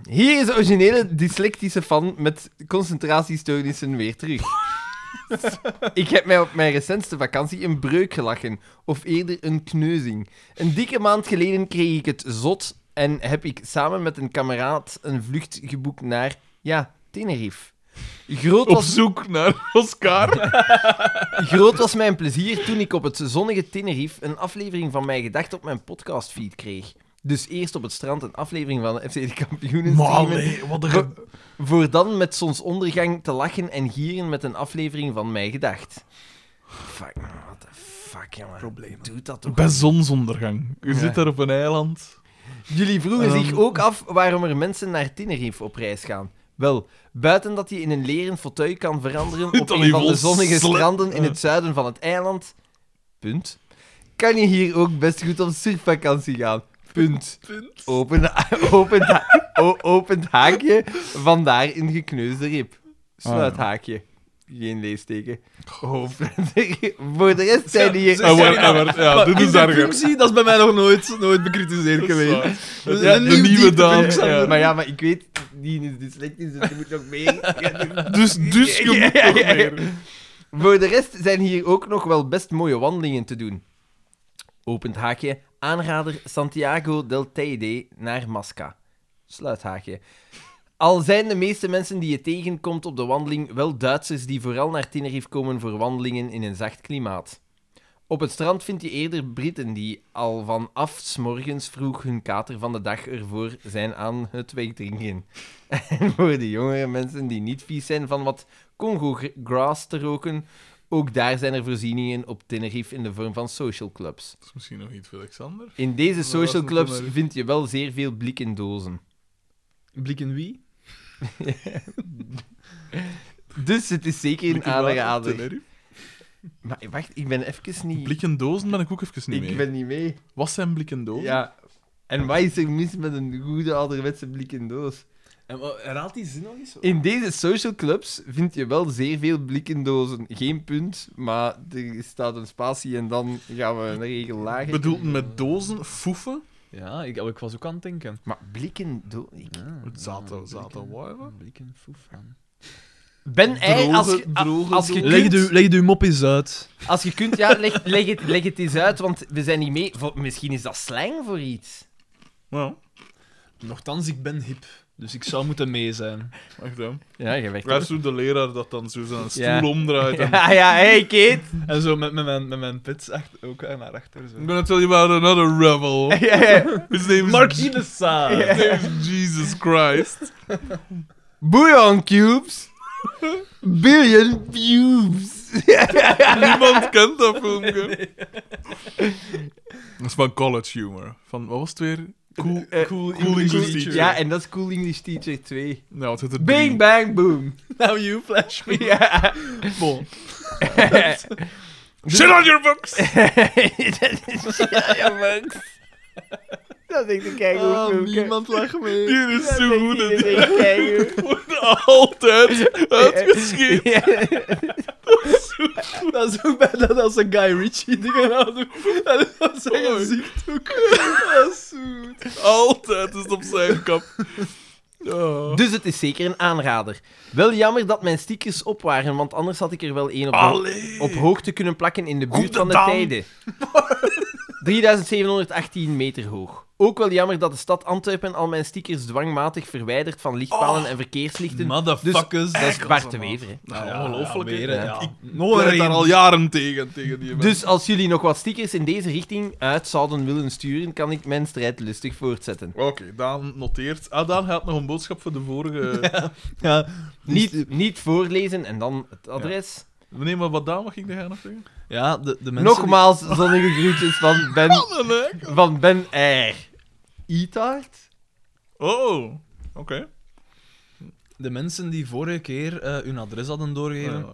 A: Hier is de originele dyslectische fan met concentratiestoornissen weer terug. Ik heb mij op mijn recentste vakantie een breuk gelachen, of eerder een kneuzing. Een dikke maand geleden kreeg ik het zot en heb ik samen met een kameraad een vlucht geboekt naar, ja, Tenerife. Groot
C: Op
A: was
C: zoek naar Oscar.
A: Groot was mijn plezier toen ik op het zonnige Tenerife een aflevering van mijn gedacht op mijn podcastfeed kreeg. Dus eerst op het strand een aflevering van de FC de Kampioenen streamen,
C: wat
A: ge- voor dan met zonsondergang te lachen en gieren met een aflevering van mijn gedacht. Fuck, man, what the fuck, jongen. Probleem. Doet dat toch?
C: Bij zonsondergang. U zit daar op een eiland.
A: Jullie vroegen
C: Ehm.
A: zich ook af waarom er mensen naar Tenerife op reis gaan. Wel, buiten dat je in een leren fauteuil kan veranderen op
C: Dan
A: een
C: die
A: van de
C: vol
A: zonnige
C: sle-
A: stranden in
C: Ja.
A: het zuiden van het eiland. Punt. Kan je hier ook best goed op surfvakantie gaan. Punt. Open, open, ha- o- opent haakje, vandaar een gekneusde rib. Sluit
C: Ah, ja.
A: haakje. Geen leesteken. Voor de rest zijn die
B: Ze- ze-
A: hier...
C: En waar-
B: Ja,
C: en waar- ja,
D: Maar
C: dit
D: in
C: is
D: de
C: erger.
D: functie, dat is bij mij nog nooit, nooit bekritiseerd geweest.
C: Dat is waar. De nieuwe Daan.
A: Ja,
C: ja.
A: maar ja, maar ik weet, die is dyslectisch, dus er moet nog meer. Ja,
C: Dus, dus je moet
A: Ja,
C: nog
A: ja, ja.
C: meer.
A: Voor de rest zijn hier ook nog wel best mooie wandelingen te doen. Opent haakje, aanrader Santiago del Teide naar Masca. Sluit haakje. Al zijn de meeste mensen die je tegenkomt op de wandeling wel Duitsers die vooral naar Tenerife komen voor wandelingen in een zacht klimaat. Op het strand vind je eerder Britten die al vanaf 's morgens vroeg hun kater van de dag ervoor zijn aan het wegdrinken. En voor de jongere mensen die niet vies zijn van wat Congo-grass te roken, ook daar zijn er voorzieningen op Tenerife in de vorm van social clubs.
C: Dat is misschien nog iets voor Alexander.
A: In deze
D: was het
A: social
D: nog
A: clubs
D: maar.
A: vind je wel zeer veel blikken dozen.
D: Blik in wie?
A: Dus het is zeker een
C: Blikken water,
A: aanrader.
C: Tenerife.
A: Maar wacht, ik ben even niet...
C: Blikken dozen ben ik ook even niet mee.
A: ik ben niet mee.
C: Wat zijn blikken dozen?
A: Ja. En wat is er mis met een goede ouderwetse blikken doos?
B: En, wa- herhaalt die zin nog eens?
A: In deze social clubs vind je wel zeer veel blikken dozen. Geen punt, maar er staat een spatie en dan gaan we een regel lager.
C: Bedoelt met dozen, foefen?
D: Ja, ik, ik was ook aan het denken.
A: Maar blikken doos... ik-
C: Zaten, zaten, wuiven?
D: Blikken foef aan.
A: Ben ei,
C: Droge-
A: als je, a-
C: droge
A: als je
C: doos.
D: Leg
A: kunt...
D: de, leg de mop eens uit.
A: Als je kunt, ja, leg, leg, het, leg het eens uit, want we zijn niet mee. Vo- misschien is dat slang voor iets.
C: Nou,
B: Nochtans, ik ben hip.
D: Dus ik zou moeten mee zijn.
C: wacht dan.
A: Ja, je weg.
C: Waar is zo de leraar dat dan zo zijn stoel
A: Ja.
C: omdraait? En...
A: Ja, Ah, ja, hey kid.
D: En zo met, met, mijn, met mijn pits achter, ook aan haar achter. Zo.
C: I'm gonna tell you about another rebel.
A: Ja, ja.
C: His name is,
D: de Saar.
C: his name is Jesus Christ.
A: Bouillon cubes. Billion pubes.
C: Niemand kent dat filmpje. Dat is van college humor. Van, wat was het weer? Cool,
A: Eh,
C: cool, English, teacher.
A: Ja, en dat is Cool English Teacher 2.
C: Nou, wat heet er?
A: Bing, bang, boom.
D: Now you flash me.
A: Ja.
D: Bon.
C: Shit on your books!
A: Dat is- ja, ja, Max.
E: Dat is echt een keigoed
D: Ah,
E: filmpje.
D: niemand lacht mee.
C: Hier is
E: Dat
C: zo goed.
E: is
C: Het
E: echt keigoed.
C: wordt altijd uitgeschreven.
D: Dat is ook bij dat als een Guy Ritchie dingen aan doen. Dat is echt een zicht ook. Dat is zoet.
C: Altijd is het op zijn kap. Ja.
A: Dus het is zeker een aanrader. Wel jammer dat mijn stickers op waren, want anders had ik er wel één op, ho-
C: Allee.
A: op hoogte kunnen plakken in de buurt van de
C: Goedendag.
A: tijden. 3718 meter hoog. Ook wel jammer dat de stad Antwerpen al mijn stickers dwangmatig verwijdert van lichtpalen
D: Oh.
A: en verkeerslichten.
B: Motherfuckers.
A: dat is Bart de Wever. hè.
C: Nou, ongelooflijk.
B: Ja,
C: hè.
B: weer, hè, ja.
C: Ik pleit daar al jaren tegen, tegen die mensen.
A: Dus als jullie nog wat stickers in deze richting uit zouden willen sturen, kan ik mijn strijd lustig voortzetten.
C: Oké, Daan noteert. Ah, Daan gaat nog een boodschap voor de vorige...
D: Ja,
A: Niet, niet voorlezen en dan het adres.
C: Nee, maar wat Daan, wat ging jij nog zeggen?
B: Ja, de, de mensen...
A: Nogmaals zonnige groetjes van Ben,
C: Oh, nee, nee.
A: van ben R. Itaart?
C: Oh, oké.
B: Die, de mensen die vorige keer eh, hun adres hadden doorgegeven,
C: Ja,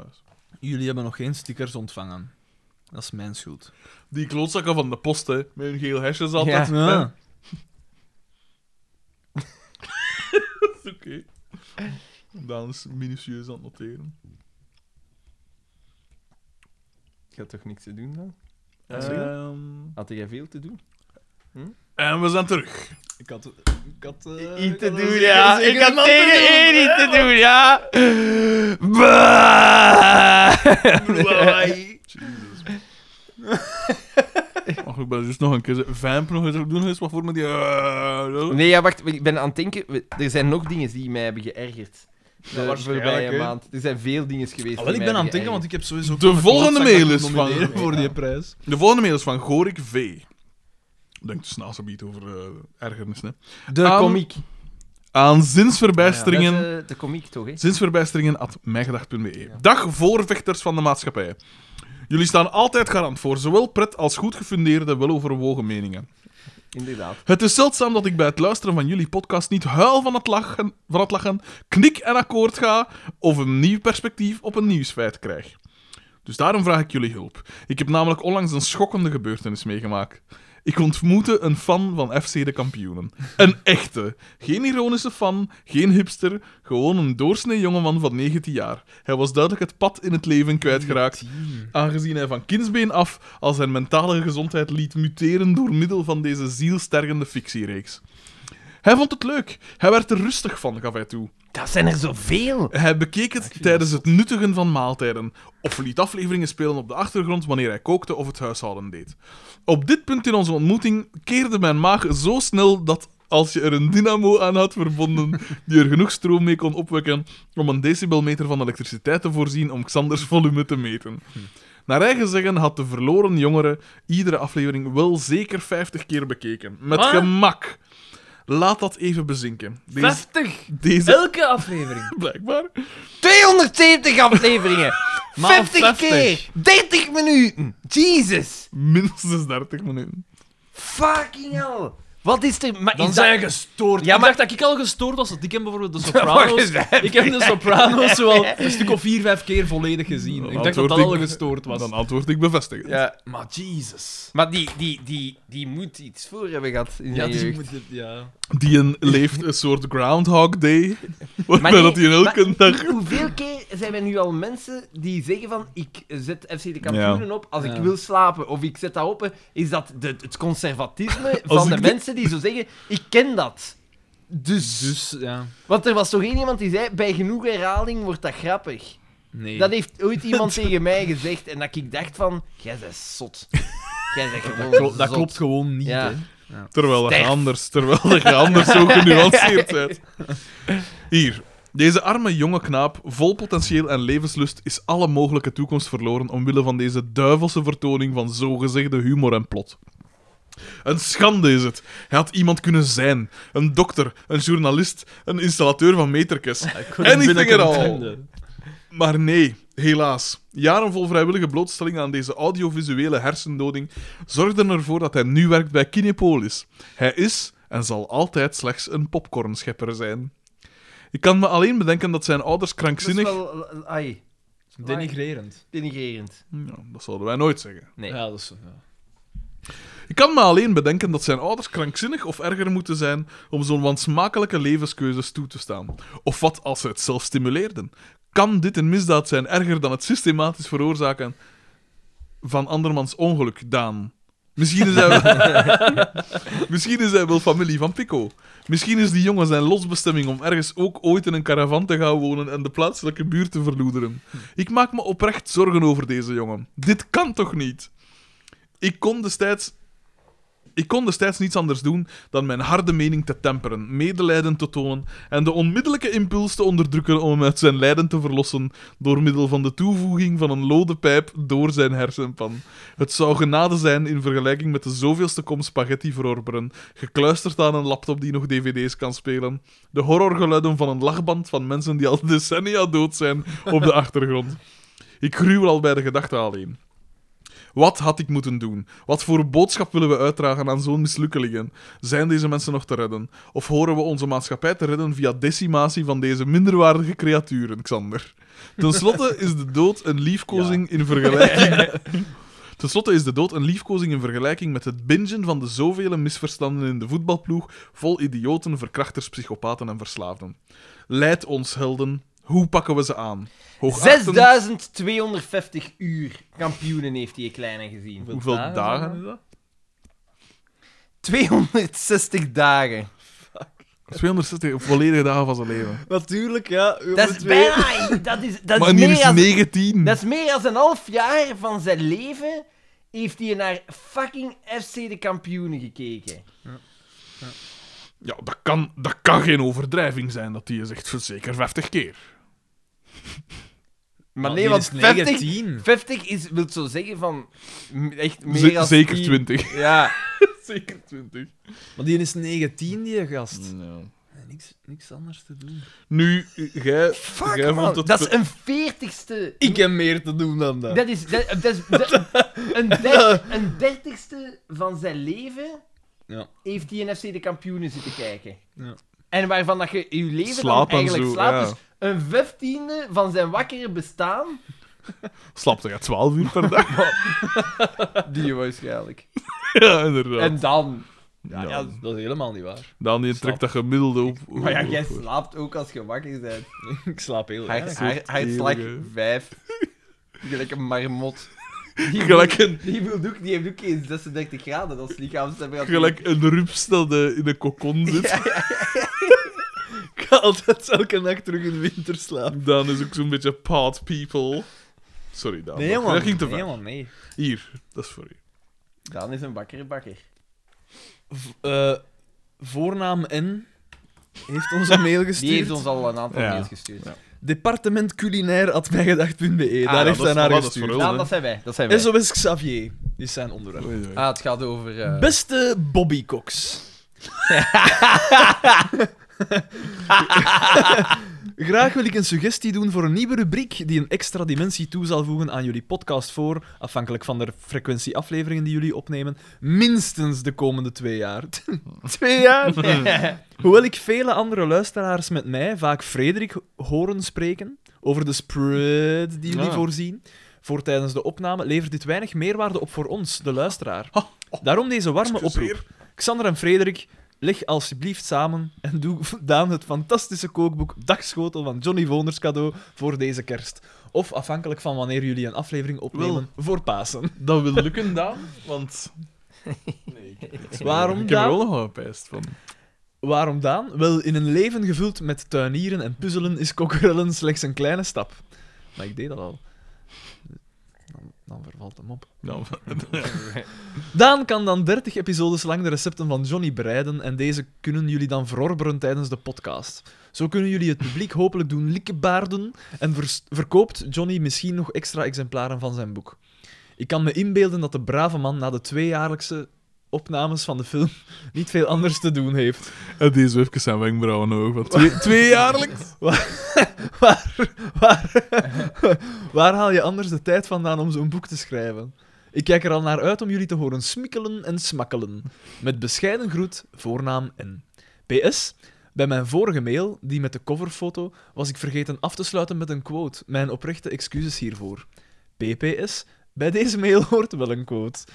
B: jullie hebben nog geen stickers ontvangen. Dat is mijn schuld.
C: Die klootzakken van de post, hè. Met hun geel hesjes altijd.
A: Ja.
C: Ja. Oké. Daan is minutieus aan het noteren.
A: Ik had toch niks te doen dan?
C: Ehm,
A: Had jij veel te doen?
C: en we zijn terug.
B: Ik had... Ik had...
A: Iets te doen, ja. Ik had tegen één iets te doen, ja.
C: Jesus. Mag ik bij dus nog een keer zeggen, vamp nog eens ook doen? Is wat voor me die... eh,
A: Nee, ja, wacht. Ik ben aan het denken. we- Er zijn nog dingen die mij hebben geërgerd. De
B: waarschijnlijk,
A: voorbije
B: hè.
A: maand. Er zijn veel dingen geweest.
B: Ah, wel, ik ben aan het denken, want ik heb sowieso...
C: De volgende mail is van-
B: van... voor die prijs.
C: De volgende mail is van Gorik V. Denk dus naast een beetje over eh ergernis, hè.
A: De
C: Aan-
A: komiek.
C: Aan
A: Dat
C: zinsverbijsteringen...
A: is, eh, de komiek toch, hè?
C: Zinsverbijsteringen at mijgedacht.be. E. Dag voorvechters van de maatschappij. Jullie staan altijd garant voor zowel pret als goed gefundeerde, weloverwogen meningen.
A: Inderdaad.
C: Het is zeldzaam dat ik bij het luisteren van jullie podcast niet huil van het lachen, van het lachen knik en akkoord ga of een nieuw perspectief op een nieuwsfeit krijg. Dus daarom vraag ik jullie hulp. Ik heb namelijk onlangs een schokkende gebeurtenis meegemaakt. Ik ontmoette een fan van FC de Kampioenen. Een echte. Geen ironische fan, geen hipster, gewoon een doorsnee jongeman van 19 jaar. Hij was duidelijk het pad in het leven kwijtgeraakt, aangezien hij van kindsbeen af al zijn mentale gezondheid liet muteren door middel van deze zielstergende fictiereeks. Hij vond het leuk. Hij werd er rustig van, gaf hij toe.
A: Dat zijn er zoveel.
C: Hij bekeek het tijdens het nuttigen van maaltijden. Of liet afleveringen spelen op de achtergrond wanneer hij kookte of het huishouden deed. Op dit punt in onze ontmoeting keerde mijn maag zo snel dat als je er een dynamo aan had verbonden die er genoeg stroom mee kon opwekken om een decibelmeter van elektriciteit te voorzien om Xanders volume te meten. Naar eigen zeggen had de verloren jongere iedere aflevering wel zeker 50 keer bekeken. Met gemak. Laat dat even bezinken. Deze,
E: 50!
C: deze
E: Elke aflevering.
C: blijkbaar.
A: 270 afleveringen.
B: Maal
A: 50,
B: 50.
A: keer. 30 minuten. Jesus.
C: Minstens 30 minuten.
A: Fucking hell. Wat is er... Maar
B: Dan
A: is dat...
B: zijn je gestoord.
A: Ja,
B: ik
A: maar-
B: dacht dat ik al gestoord was. Dat ik heb bijvoorbeeld de
A: mag
B: Sopranos...
A: je zijn.
B: ik heb de Sopranos wel een stuk of vier, vijf keer volledig gezien. Ik dacht dat dat al gestoord was.
C: Dan antwoord ik bevestigend.
A: Ja,
B: Maar Jesus.
A: maar die, die, die, die moet iets voor hebben gehad in
B: Ja,
A: zijn
B: die
A: jeugd.
B: moet dit... Ja.
C: Die een, leeft een soort Groundhog Day.
A: Maar
C: Waarbij
A: nee,
C: dat hij elke
A: maar
C: dag...
A: Hoeveel keer zijn er nu al mensen die zeggen van ik zet FC de kampioenen op als ik
B: Ja.
A: wil slapen of ik zet dat op? Is dat de, het conservatisme
C: Als
A: van de
C: ik de-
A: mensen die zo zeggen ik ken dat? Dus,
B: Dus, ja.
A: Want er was toch één iemand die zei bij genoeg herhaling wordt dat grappig.
B: Nee.
A: Dat heeft ooit iemand tegen mij gezegd en dat ik dacht van jij bent zot. Jij bent gewoon
B: Klo- dat
A: zot.
B: klopt gewoon niet,
A: Ja.
B: hè.
C: Terwijl dat je
A: Sterf.
C: anders, terwijl dat je anders zo genuanceerd bent. Hier. Deze arme jonge knaap, vol potentieel en levenslust, is alle mogelijke toekomst verloren omwille van deze duivelse vertoning van zogezegde humor en plot. Een schande is het. Hij had iemand kunnen zijn. Een dokter, een journalist, een installateur van meterkes. Anything at all. Maar nee, helaas. Jaren vol vrijwillige blootstelling aan deze audiovisuele hersendoding zorgden ervoor dat hij nu werkt bij Kinepolis. Hij is en zal altijd slechts een popcornschepper zijn. Ik kan me alleen bedenken dat zijn ouders
A: Dat is
C: krankzinnig...
A: wel, ai,
B: Denigrerend.
A: denigrerend.
C: Ja, dat zouden wij nooit zeggen.
A: Nee.
B: Ja, dat is... Ja.
C: Ik kan me alleen bedenken dat zijn ouders krankzinnig of erger moeten zijn om zo'n wansmakelijke levenskeuzes toe te staan. Of wat als ze het zelf stimuleerden? Kan dit een misdaad zijn erger dan het systematisch veroorzaken van andermans ongeluk, Daan? Misschien is, hij... Misschien is hij wel familie van Pico. Misschien is die jongen zijn losbestemming om ergens ook ooit in een caravan te gaan wonen en de plaatselijke buurt te verloederen. Ik maak me oprecht zorgen over deze jongen. Dit kan toch niet? Ik kon destijds ik kon destijds niets anders doen dan mijn harde mening te temperen, medelijden te tonen en de onmiddellijke impuls te onderdrukken om hem uit zijn lijden te verlossen door middel van de toevoeging van een lode pijp door zijn hersenpan. Het zou genade zijn in vergelijking met de zoveelste kom spaghetti verorberen, gekluisterd aan een laptop die nog dvd's kan spelen, de horrorgeluiden van een lachband van mensen die al decennia dood zijn op de achtergrond. Ik gruwel al bij de gedachte alleen. Wat had ik moeten doen? Wat voor boodschap willen we uitdragen aan zo'n mislukkelingen? Zijn deze mensen nog te redden? Of horen we onze maatschappij te redden via decimatie van deze minderwaardige creaturen, Xander? Ten slotte is de dood een liefkozing in vergelijking. Ten slotte is de dood een liefkozing in vergelijking met het bingen van de zoveel misverstanden in de voetbalploeg, vol idioten, verkrachters, psychopaten en verslaafden. Leid ons, helden. Hoe pakken we ze aan? Hoogachtend-
A: 6250 uur kampioenen heeft die kleine gezien.
C: Hoeveel
B: dagen
C: dagen
B: zijn
C: is dat?
A: 260 dagen.
C: 260 volledige dagen van zijn leven.
D: Natuurlijk, ja.
A: Dat is bijna... Dat is, dat
C: maar
A: is
C: nu
A: meer
C: is
A: dan-
C: 19.
A: Dat is meer dan een half jaar van zijn leven heeft hij naar fucking FC de kampioenen gekeken.
C: Ja, dat kan, dat kan geen overdrijving zijn dat die zegt voor zeker 50 keer.
A: Maar
B: die
A: nee, want
B: is
A: 50,
B: 19.
A: 50 is, wil zo zeggen van m- echt meer
C: Ze-
A: dan
C: zeker
A: 10.
C: 20.
A: Ja,
C: zeker 20.
B: Maar die is 19, die gast.
A: Mm.
B: Niks, niks anders te doen.
C: Nu, jij,
A: fuck
C: jij
A: man.
C: vond het...
A: Dat is een veertigste.
B: Ik heb meer te doen dan dat.
A: Dat is, dat, dat is dat- een, der- een dertigste van zijn leven
B: Ja.
A: heeft hij in FC de kampioenen zitten kijken.
B: Ja.
A: En waarvan dat je je leven
C: Slaap en
A: dan eigenlijk
C: zo,
A: slaapt.
C: ja.
A: Dus een vijftiende van zijn wakkere bestaan.
C: Slaapt hij 12 uur per dag?
A: Die waarschijnlijk.
C: ja, inderdaad.
A: En dan...
C: ja,
B: Ja, dat is helemaal niet waar.
C: Dan die trekt dat gemiddelde op.
A: Maar ja, jij slaapt ook als je wakker bent.
B: Ik slaap heel
A: Haar-
B: erg.
A: haar- Hartslag
C: eeuwige.
A: 5. Gelijk een marmot. Die,
C: Gelijk een-
A: wil- die, wil ook, die heeft ook geen 36 graden als lichaamstemperatuur.
C: Gelijk een rups dat eh, in een kokon zit.
B: Ik ga altijd elke nacht terug in de winter slapen.
C: Dan is ook zo'n beetje part people. Sorry, Daan.
B: Nee,
C: dat-
B: man.
C: Dat ging te ver.
B: nee, man, nee.
C: Hier, dat is voor u.
A: Dan is een wakkere bakker.
B: V- eh, voornaam N heeft ons een mail gestuurd.
A: Die heeft ons al een aantal
C: Ja.
A: mails gestuurd.
C: Ja.
B: Departement culinair at mijgedacht.be.
A: Ah,
B: E. Daar
A: ja,
C: dat
B: heeft hij
C: is-
B: naar
C: dat is
B: gestuurd.
C: voor
A: Ja, dat zijn wij. Dat zijn wij.
B: SOS Xavier is zijn onderwerp.
A: Ah, het gaat over... eh,
B: Beste Bobby Cox. Graag wil ik een suggestie doen voor een nieuwe rubriek die een extra dimensie toe zal voegen aan jullie podcast voor, afhankelijk van de frequentie afleveringen die jullie opnemen, minstens de komende twee jaar. twee jaar? Hoewel ik vele andere luisteraars met mij, vaak Frederik, horen spreken over de spread die jullie
C: Ah.
B: voorzien voor tijdens de opname, levert dit weinig meerwaarde op voor ons, de luisteraar. Daarom deze warme
C: excuseer.
B: oproep. Xander en Frederik, leg alsjeblieft samen en doe Daan het fantastische kookboek Dagschotel van Johnny Voners cadeau voor deze kerst. Of afhankelijk van wanneer jullie een aflevering opnemen voor Pasen.
C: Dat wil lukken, Daan, want...
B: Waarom
C: Ik heb er
B: Daan?
C: wel nog wel een pijst van.
B: Waarom Daan? Wel, in een leven gevuld met tuinieren en puzzelen is kokerellen slechts een kleine stap. Maar ik deed dat al. Dan, dan vervalt hem op.
C: Nou,
B: Daan kan dan 30 episodes lang de recepten van Johnny bereiden en deze kunnen jullie dan verorberen tijdens de podcast. Zo kunnen jullie het publiek hopelijk doen likkebaarden en vers- verkoopt Johnny misschien nog extra exemplaren van zijn boek. Ik kan me inbeelden dat de brave man na de tweejaarlijkse opnames van de film niet veel anders te doen heeft.
C: en die zweepjes zijn wenkbrauwen ook. Want twee, tweejaarlijks?
B: Waar, waar, waar haal je anders de tijd vandaan om zo'n boek te schrijven? Ik kijk er al naar uit om jullie te horen smikkelen en smakkelen. Met bescheiden groet, voornaam N. PS. Bij mijn vorige mail, die met de coverfoto, was ik vergeten af te sluiten met een quote. Mijn oprechte excuses hiervoor. PPS. Bij deze mail hoort wel een quote.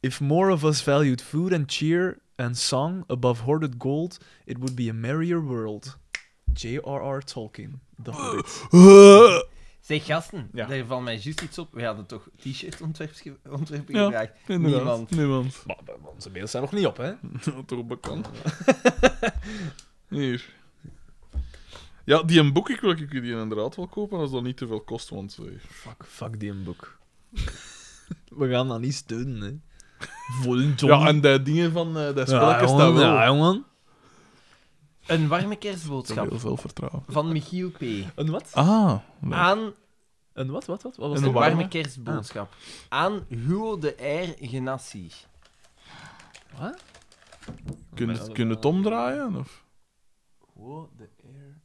D: If more of us valued food and cheer and song above hoarded gold, it would be a merrier world. J.R.R. Tolkien, The Hobbit.
A: Zeg, gasten,
D: Ja.
A: daar valt mij juist iets op. We hadden toch t-shirt-ontwerpen ontwerpen
C: Ja.
A: gevraagd?
C: Inderdaad.
A: Niemand.
C: Niemand.
D: Maar maar onze mails zijn nog niet op, hè?
C: Toch bekend. Hier. Ja, die een boek, ik wil ik die inderdaad wel kopen als dat niet te veel kost, want... eh,
D: Fuck, fuck die een boek. We gaan dat niet steunen, hè? Vol John.
C: Ja, en die dingen van eh dat
D: ja,
C: spelletjes, dat
D: jongen,
C: wel.
D: ja, jongen.
A: Een warme
C: Dat is heel
A: kerstboodschap
C: veel vertrouwen.
A: van Michiel P.
D: Een wat?
C: Ah.
A: Aan
D: Een wat, wat, wat? Wat was
C: Een
D: dat?
A: een
C: warme?
A: warme kerstboodschap. Aan Hugo de R. Genassi.
D: Wat?
C: Kun je het, kun je het omdraaien? Of?
B: Wow, de air.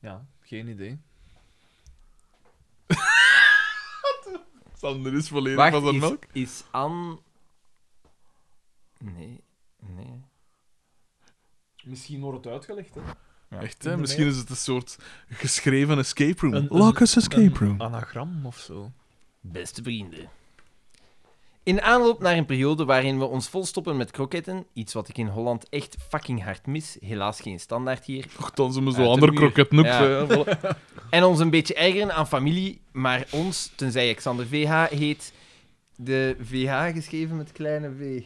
B: Ja, geen idee.
C: Sander is volledig
A: Wacht,
C: van zijn
A: is,
C: melk.
A: is aan... Nee, nee.
B: Misschien wordt het uitgelegd, hè?
C: Echt, hè? Misschien is het een soort geschreven escape room.
D: Een-
C: Een,
D: een-
C: escape room.
D: Anagram of zo.
A: Beste vrienden. In aanloop naar een periode waarin we ons volstoppen met kroketten, iets wat ik in Holland echt fucking hard mis, helaas geen standaard hier,
C: Nochtans, om
A: Ja,
C: zo ander
A: te
C: kroket noek.
A: Ja.
C: hè, voilà.
A: en ons een beetje ergeren aan familie, maar ons, tenzij Xander VH heet, de VH geschreven met kleine V.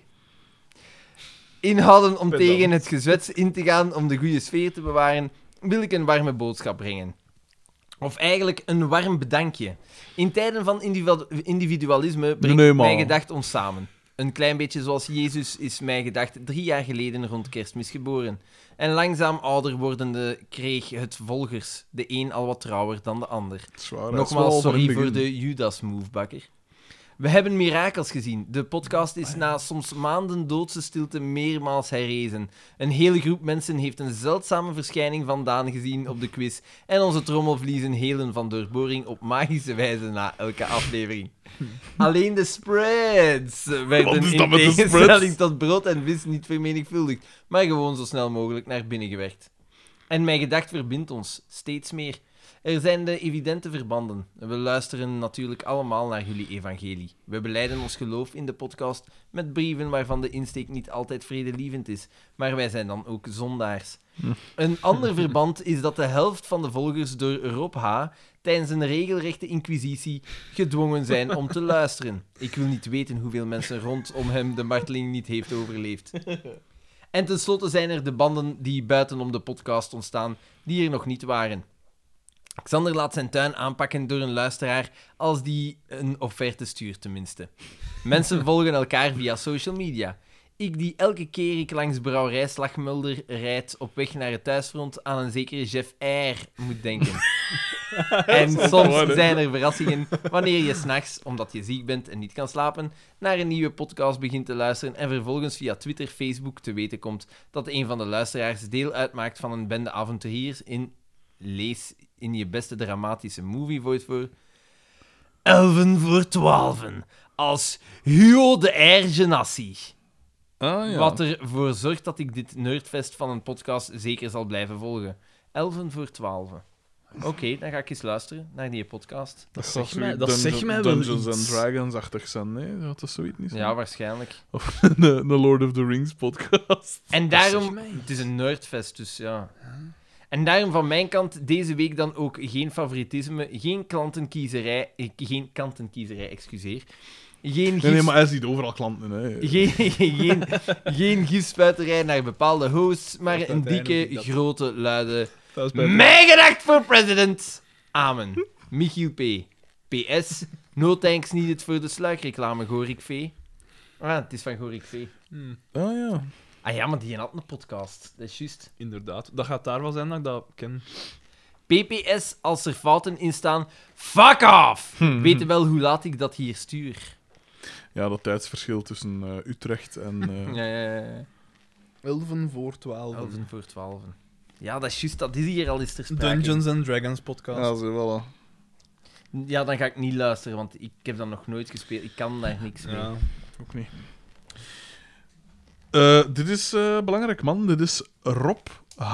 A: Inhouden om
D: Pedant.
A: tegen het gezwets in te gaan om de goede sfeer te bewaren, wil ik een warme boodschap brengen. Of eigenlijk een warm bedankje. In tijden van individu- individualisme brengt
C: Nee, man.
A: mijn gedacht ons samen. Een klein beetje zoals Jezus is mijn gedacht drie jaar geleden rond kerstmis geboren. En langzaam ouder wordende kreeg het volgers, de een al wat trouwer dan de ander.
C: Zwaar, hè.
A: Nogmaals,
C: Zwaar in
A: sorry
C: het
A: voor
C: begin.
A: de Judas-move, bakker. We hebben mirakels gezien. De podcast is na soms maanden doodse stilte meermaals herrezen. Een hele groep mensen heeft een zeldzame verschijning vandaan gezien op de quiz. En onze trommelvliezen helen van doorboring op magische wijze na elke aflevering. Alleen de spreads
C: Wat
A: werden
C: is
A: in
C: dat met de
A: tegenstelling
C: spreads?
A: tot brood en vis niet vermenigvuldigd, maar gewoon zo snel mogelijk naar binnen gewerkt. En mijn gedacht verbindt ons steeds meer. Er zijn de evidente verbanden. We luisteren natuurlijk allemaal naar jullie evangelie. We beleiden ons geloof in de podcast met brieven waarvan de insteek niet altijd vredelievend is, maar wij zijn dan ook zondaars. Een ander verband is dat de helft van de volgers door Rob H. tijdens een regelrechte inquisitie gedwongen zijn om te luisteren. Ik wil niet weten hoeveel mensen rondom hem de marteling niet heeft overleefd. En tenslotte zijn er de banden die buitenom de podcast ontstaan, die er nog niet waren. Xander laat zijn tuin aanpakken door een luisteraar, als die een offerte stuurt tenminste. Mensen volgen elkaar via social media. Ik die elke keer ik langs brouwerij Slagmulder rijd op weg naar het thuisfront aan een zekere Jeff R. moet denken. en
C: waar,
A: soms
C: hè?
A: zijn er verrassingen wanneer je s'nachts, omdat je ziek bent en niet kan slapen, naar een nieuwe podcast begint te luisteren en vervolgens via Twitter, Facebook te weten komt dat een van de luisteraars deel uitmaakt van een bende avonturiers in lees in je beste dramatische movie voice voor Elven voor Twaalfen als Hugo de Ergenassie.
C: Ah, ja.
A: Wat ervoor zorgt dat ik dit nerdfest van een podcast zeker zal blijven volgen. Elven voor Twaalfen. Oké, dan ga ik eens luisteren naar die podcast.
D: Dat
C: zou
D: zegt mij,
C: zoiets
D: dat
C: Dungeons-
D: zegt mij wel
C: Dungeons
D: iets.
C: and Dragons-achtig zijn, nee? Dat is zoiets niet.
A: Ja, waarschijnlijk.
C: Of een, een Lord of the Rings podcast.
A: En
D: Dat zegt
A: daarom...
D: mij
A: Het is een nerdfest, dus ja. En daarom van mijn kant deze week dan ook geen favoritisme, geen klantenkiezerij... eh, Geen kantenkiezerij, excuseer. Geen
C: Nee, nee,
A: gif-
C: maar hij ziet overal klanten, hè.
A: Geen, geen, geen gifspuiterij naar bepaalde hosts, maar een dikke, grote, luide...
D: Dat is bij-
A: Mijn gedacht voor president! Amen. Michiel P. PS. No thanks niet het voor de sluikreclame, Gorik V. Ah, het is van Gorik V.
B: Hm,
C: Ah, ja.
A: Ah ja, maar die had een podcast. Dat is juist.
B: Inderdaad. Dat gaat daar wel zijn dat ik dat ken.
A: PPS, als er fouten in staan, fuck off! Weet je wel hoe laat ik dat hier stuur?
C: Ja, dat tijdsverschil tussen eh, Utrecht en... eh,
A: Ja, ja, ja, ja.
D: 11 voor 12.
A: Elven voor twaalfen. Ja, dat is juist, dat is hier al eens ter sprake.
B: Dungeons and Dragons podcast.
C: Ja, zo, voilà.
A: Ja, dan ga ik niet luisteren, want ik heb dat nog nooit gespeeld. Ik kan daar niks mee.
B: Ja.
C: Ook niet. Eh, dit is eh, belangrijk, man. Dit is Rob H.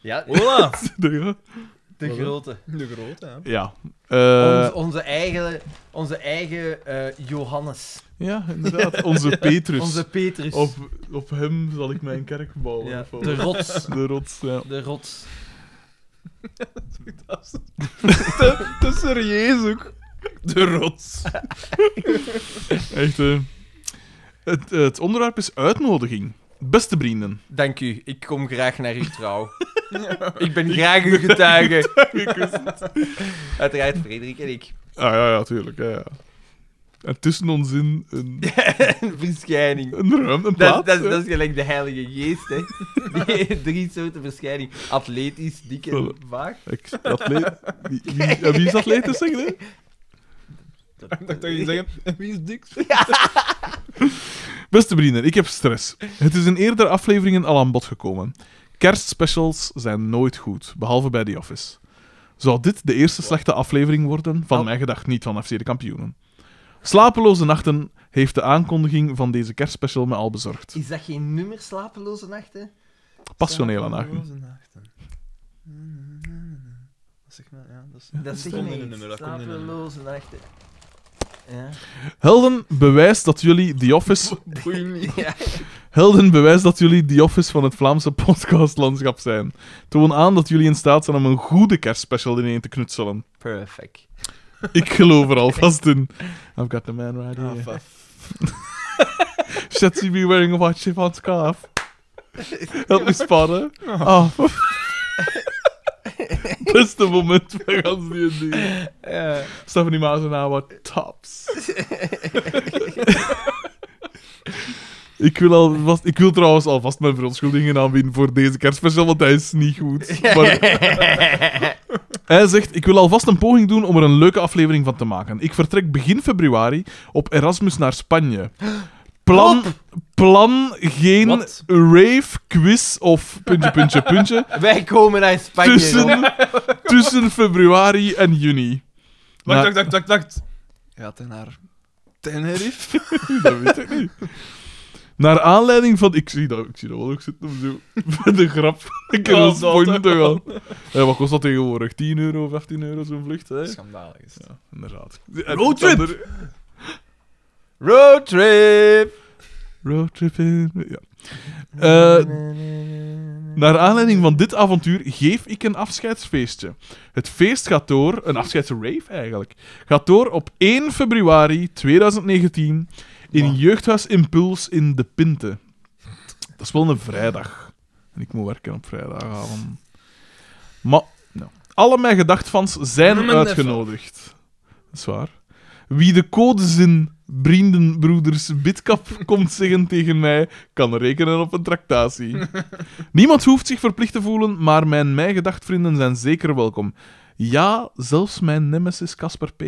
A: Ja,
B: Hola!
C: Ja.
A: De
C: Wat?
A: grote.
B: De grote, hè.
C: Ja. Eh,
A: Ons- onze eigen, onze eigen eh, Johannes.
C: Ja, inderdaad. Onze Petrus.
A: Onze Petrus.
C: Dus- Op, op hem zal ik mijn kerk bouwen.
A: Ja,
C: of wat.
A: de rots.
C: De rots, ja.
A: De rots.
C: Te serieus ook. De rots. Echt, eh, het, het onderwerp is uitnodiging. Beste vrienden.
A: Dank u. Ik kom graag naar uw trouw. ik ben graag uw getuige. Uiteraard Frederik en ik.
C: Ah ja, ja, tuurlijk. Ja, ja. En tussen ons in een,
A: Een verschijning.
C: een ruim, een plaats.
A: Dat, dat,
C: hè.
A: dat is gelijk de heilige geest, hè. Die- Drie soorten verschijning. Atletisch, dik en vaag.
C: Ik, atleet, wie, wie, en wie is atleet, dus, zeg je?
B: Ik dacht dat je zeggen, en wie is dik?
C: Beste vrienden, ik heb stress. Het is in eerdere afleveringen al aan bod gekomen. Kerstspecials zijn nooit goed, behalve bij The Office. Zou dit de eerste slechte aflevering worden? Van
A: Al-
C: mijn gedacht niet van FC de Kampioenen. Slapeloze nachten heeft de aankondiging van deze kerstspecial me al bezorgd.
A: Is dat geen nummer slapeloze nachten?
C: Passionele nachten.
B: Dat zeg maar, ja, dat is...
A: Dat zegt
B: komt in
A: mij
B: een
A: iets.
B: nummer, dat komt in een
A: Slapeloze nachten. Ja.
C: Helden bewijst dat jullie The Office...
A: Ja.
C: Helden bewijst dat jullie The Office van het Vlaamse podcastlandschap zijn. Toon aan dat jullie in staat zijn om een goede kerstspecial ineen te knutselen.
A: Perfect.
C: Ik geloof er alvast in. I've got the man right
B: Ah,
C: here. Should she be wearing a white chiffon scarf? Help me spotten. Oh. Beste moment van gans die en Stephanie Maas en haar wat tops. ik, wil alvast, ik wil trouwens alvast mijn verontschuldigingen aanbieden voor deze kerstspecial, want hij is niet goed. Maar hij zegt, ik wil alvast een poging doen om er een leuke aflevering van te maken. Ik vertrek begin februari op Erasmus naar Spanje. Plan, plan geen
B: Wat?
C: rave, quiz of puntje, puntje, puntje.
A: Wij komen naar Spanje. Rob.
C: tussen, tussen februari en juni.
B: Wacht,
C: Nou,
B: wacht, wacht, wacht, wacht. Gaat hij naar Tenerife?
C: dat weet ik niet. Naar aanleiding van... Ik zie dat, ik zie dat wel ook zitten. om Zo, met de grap. Ik kan
B: Oh,
C: ons
B: dat,
C: pointen
B: hè.
C: wel. Eh, wat kost dat tegenwoordig? 10 euro, 15 euro zo'n vlucht? Hè?
B: Schandalig is het.
C: Ja, inderdaad.
B: Roadtrip!
C: Alexander-
A: Roadtrip!
C: Roadtripping. Ja. Eh, naar aanleiding van dit avontuur geef ik een afscheidsfeestje. Het feest gaat door, een afscheidsrave eigenlijk, gaat door op 1 februari 2019 in Jeugdhuis Impuls in De Pinte. Dat is wel een vrijdag. En ik moet werken op vrijdagavond. Maar, nou, alle mijn gedachtvans zijn
B: Noemen
C: uitgenodigd. Dat is waar. Wie de codezin vrienden, broeders, bidkap komt zeggen tegen mij, kan rekenen op een tractatie. Niemand hoeft zich verplicht te voelen, maar mijn mij gedacht vrienden zijn zeker welkom. Ja, zelfs mijn nemesis Casper P.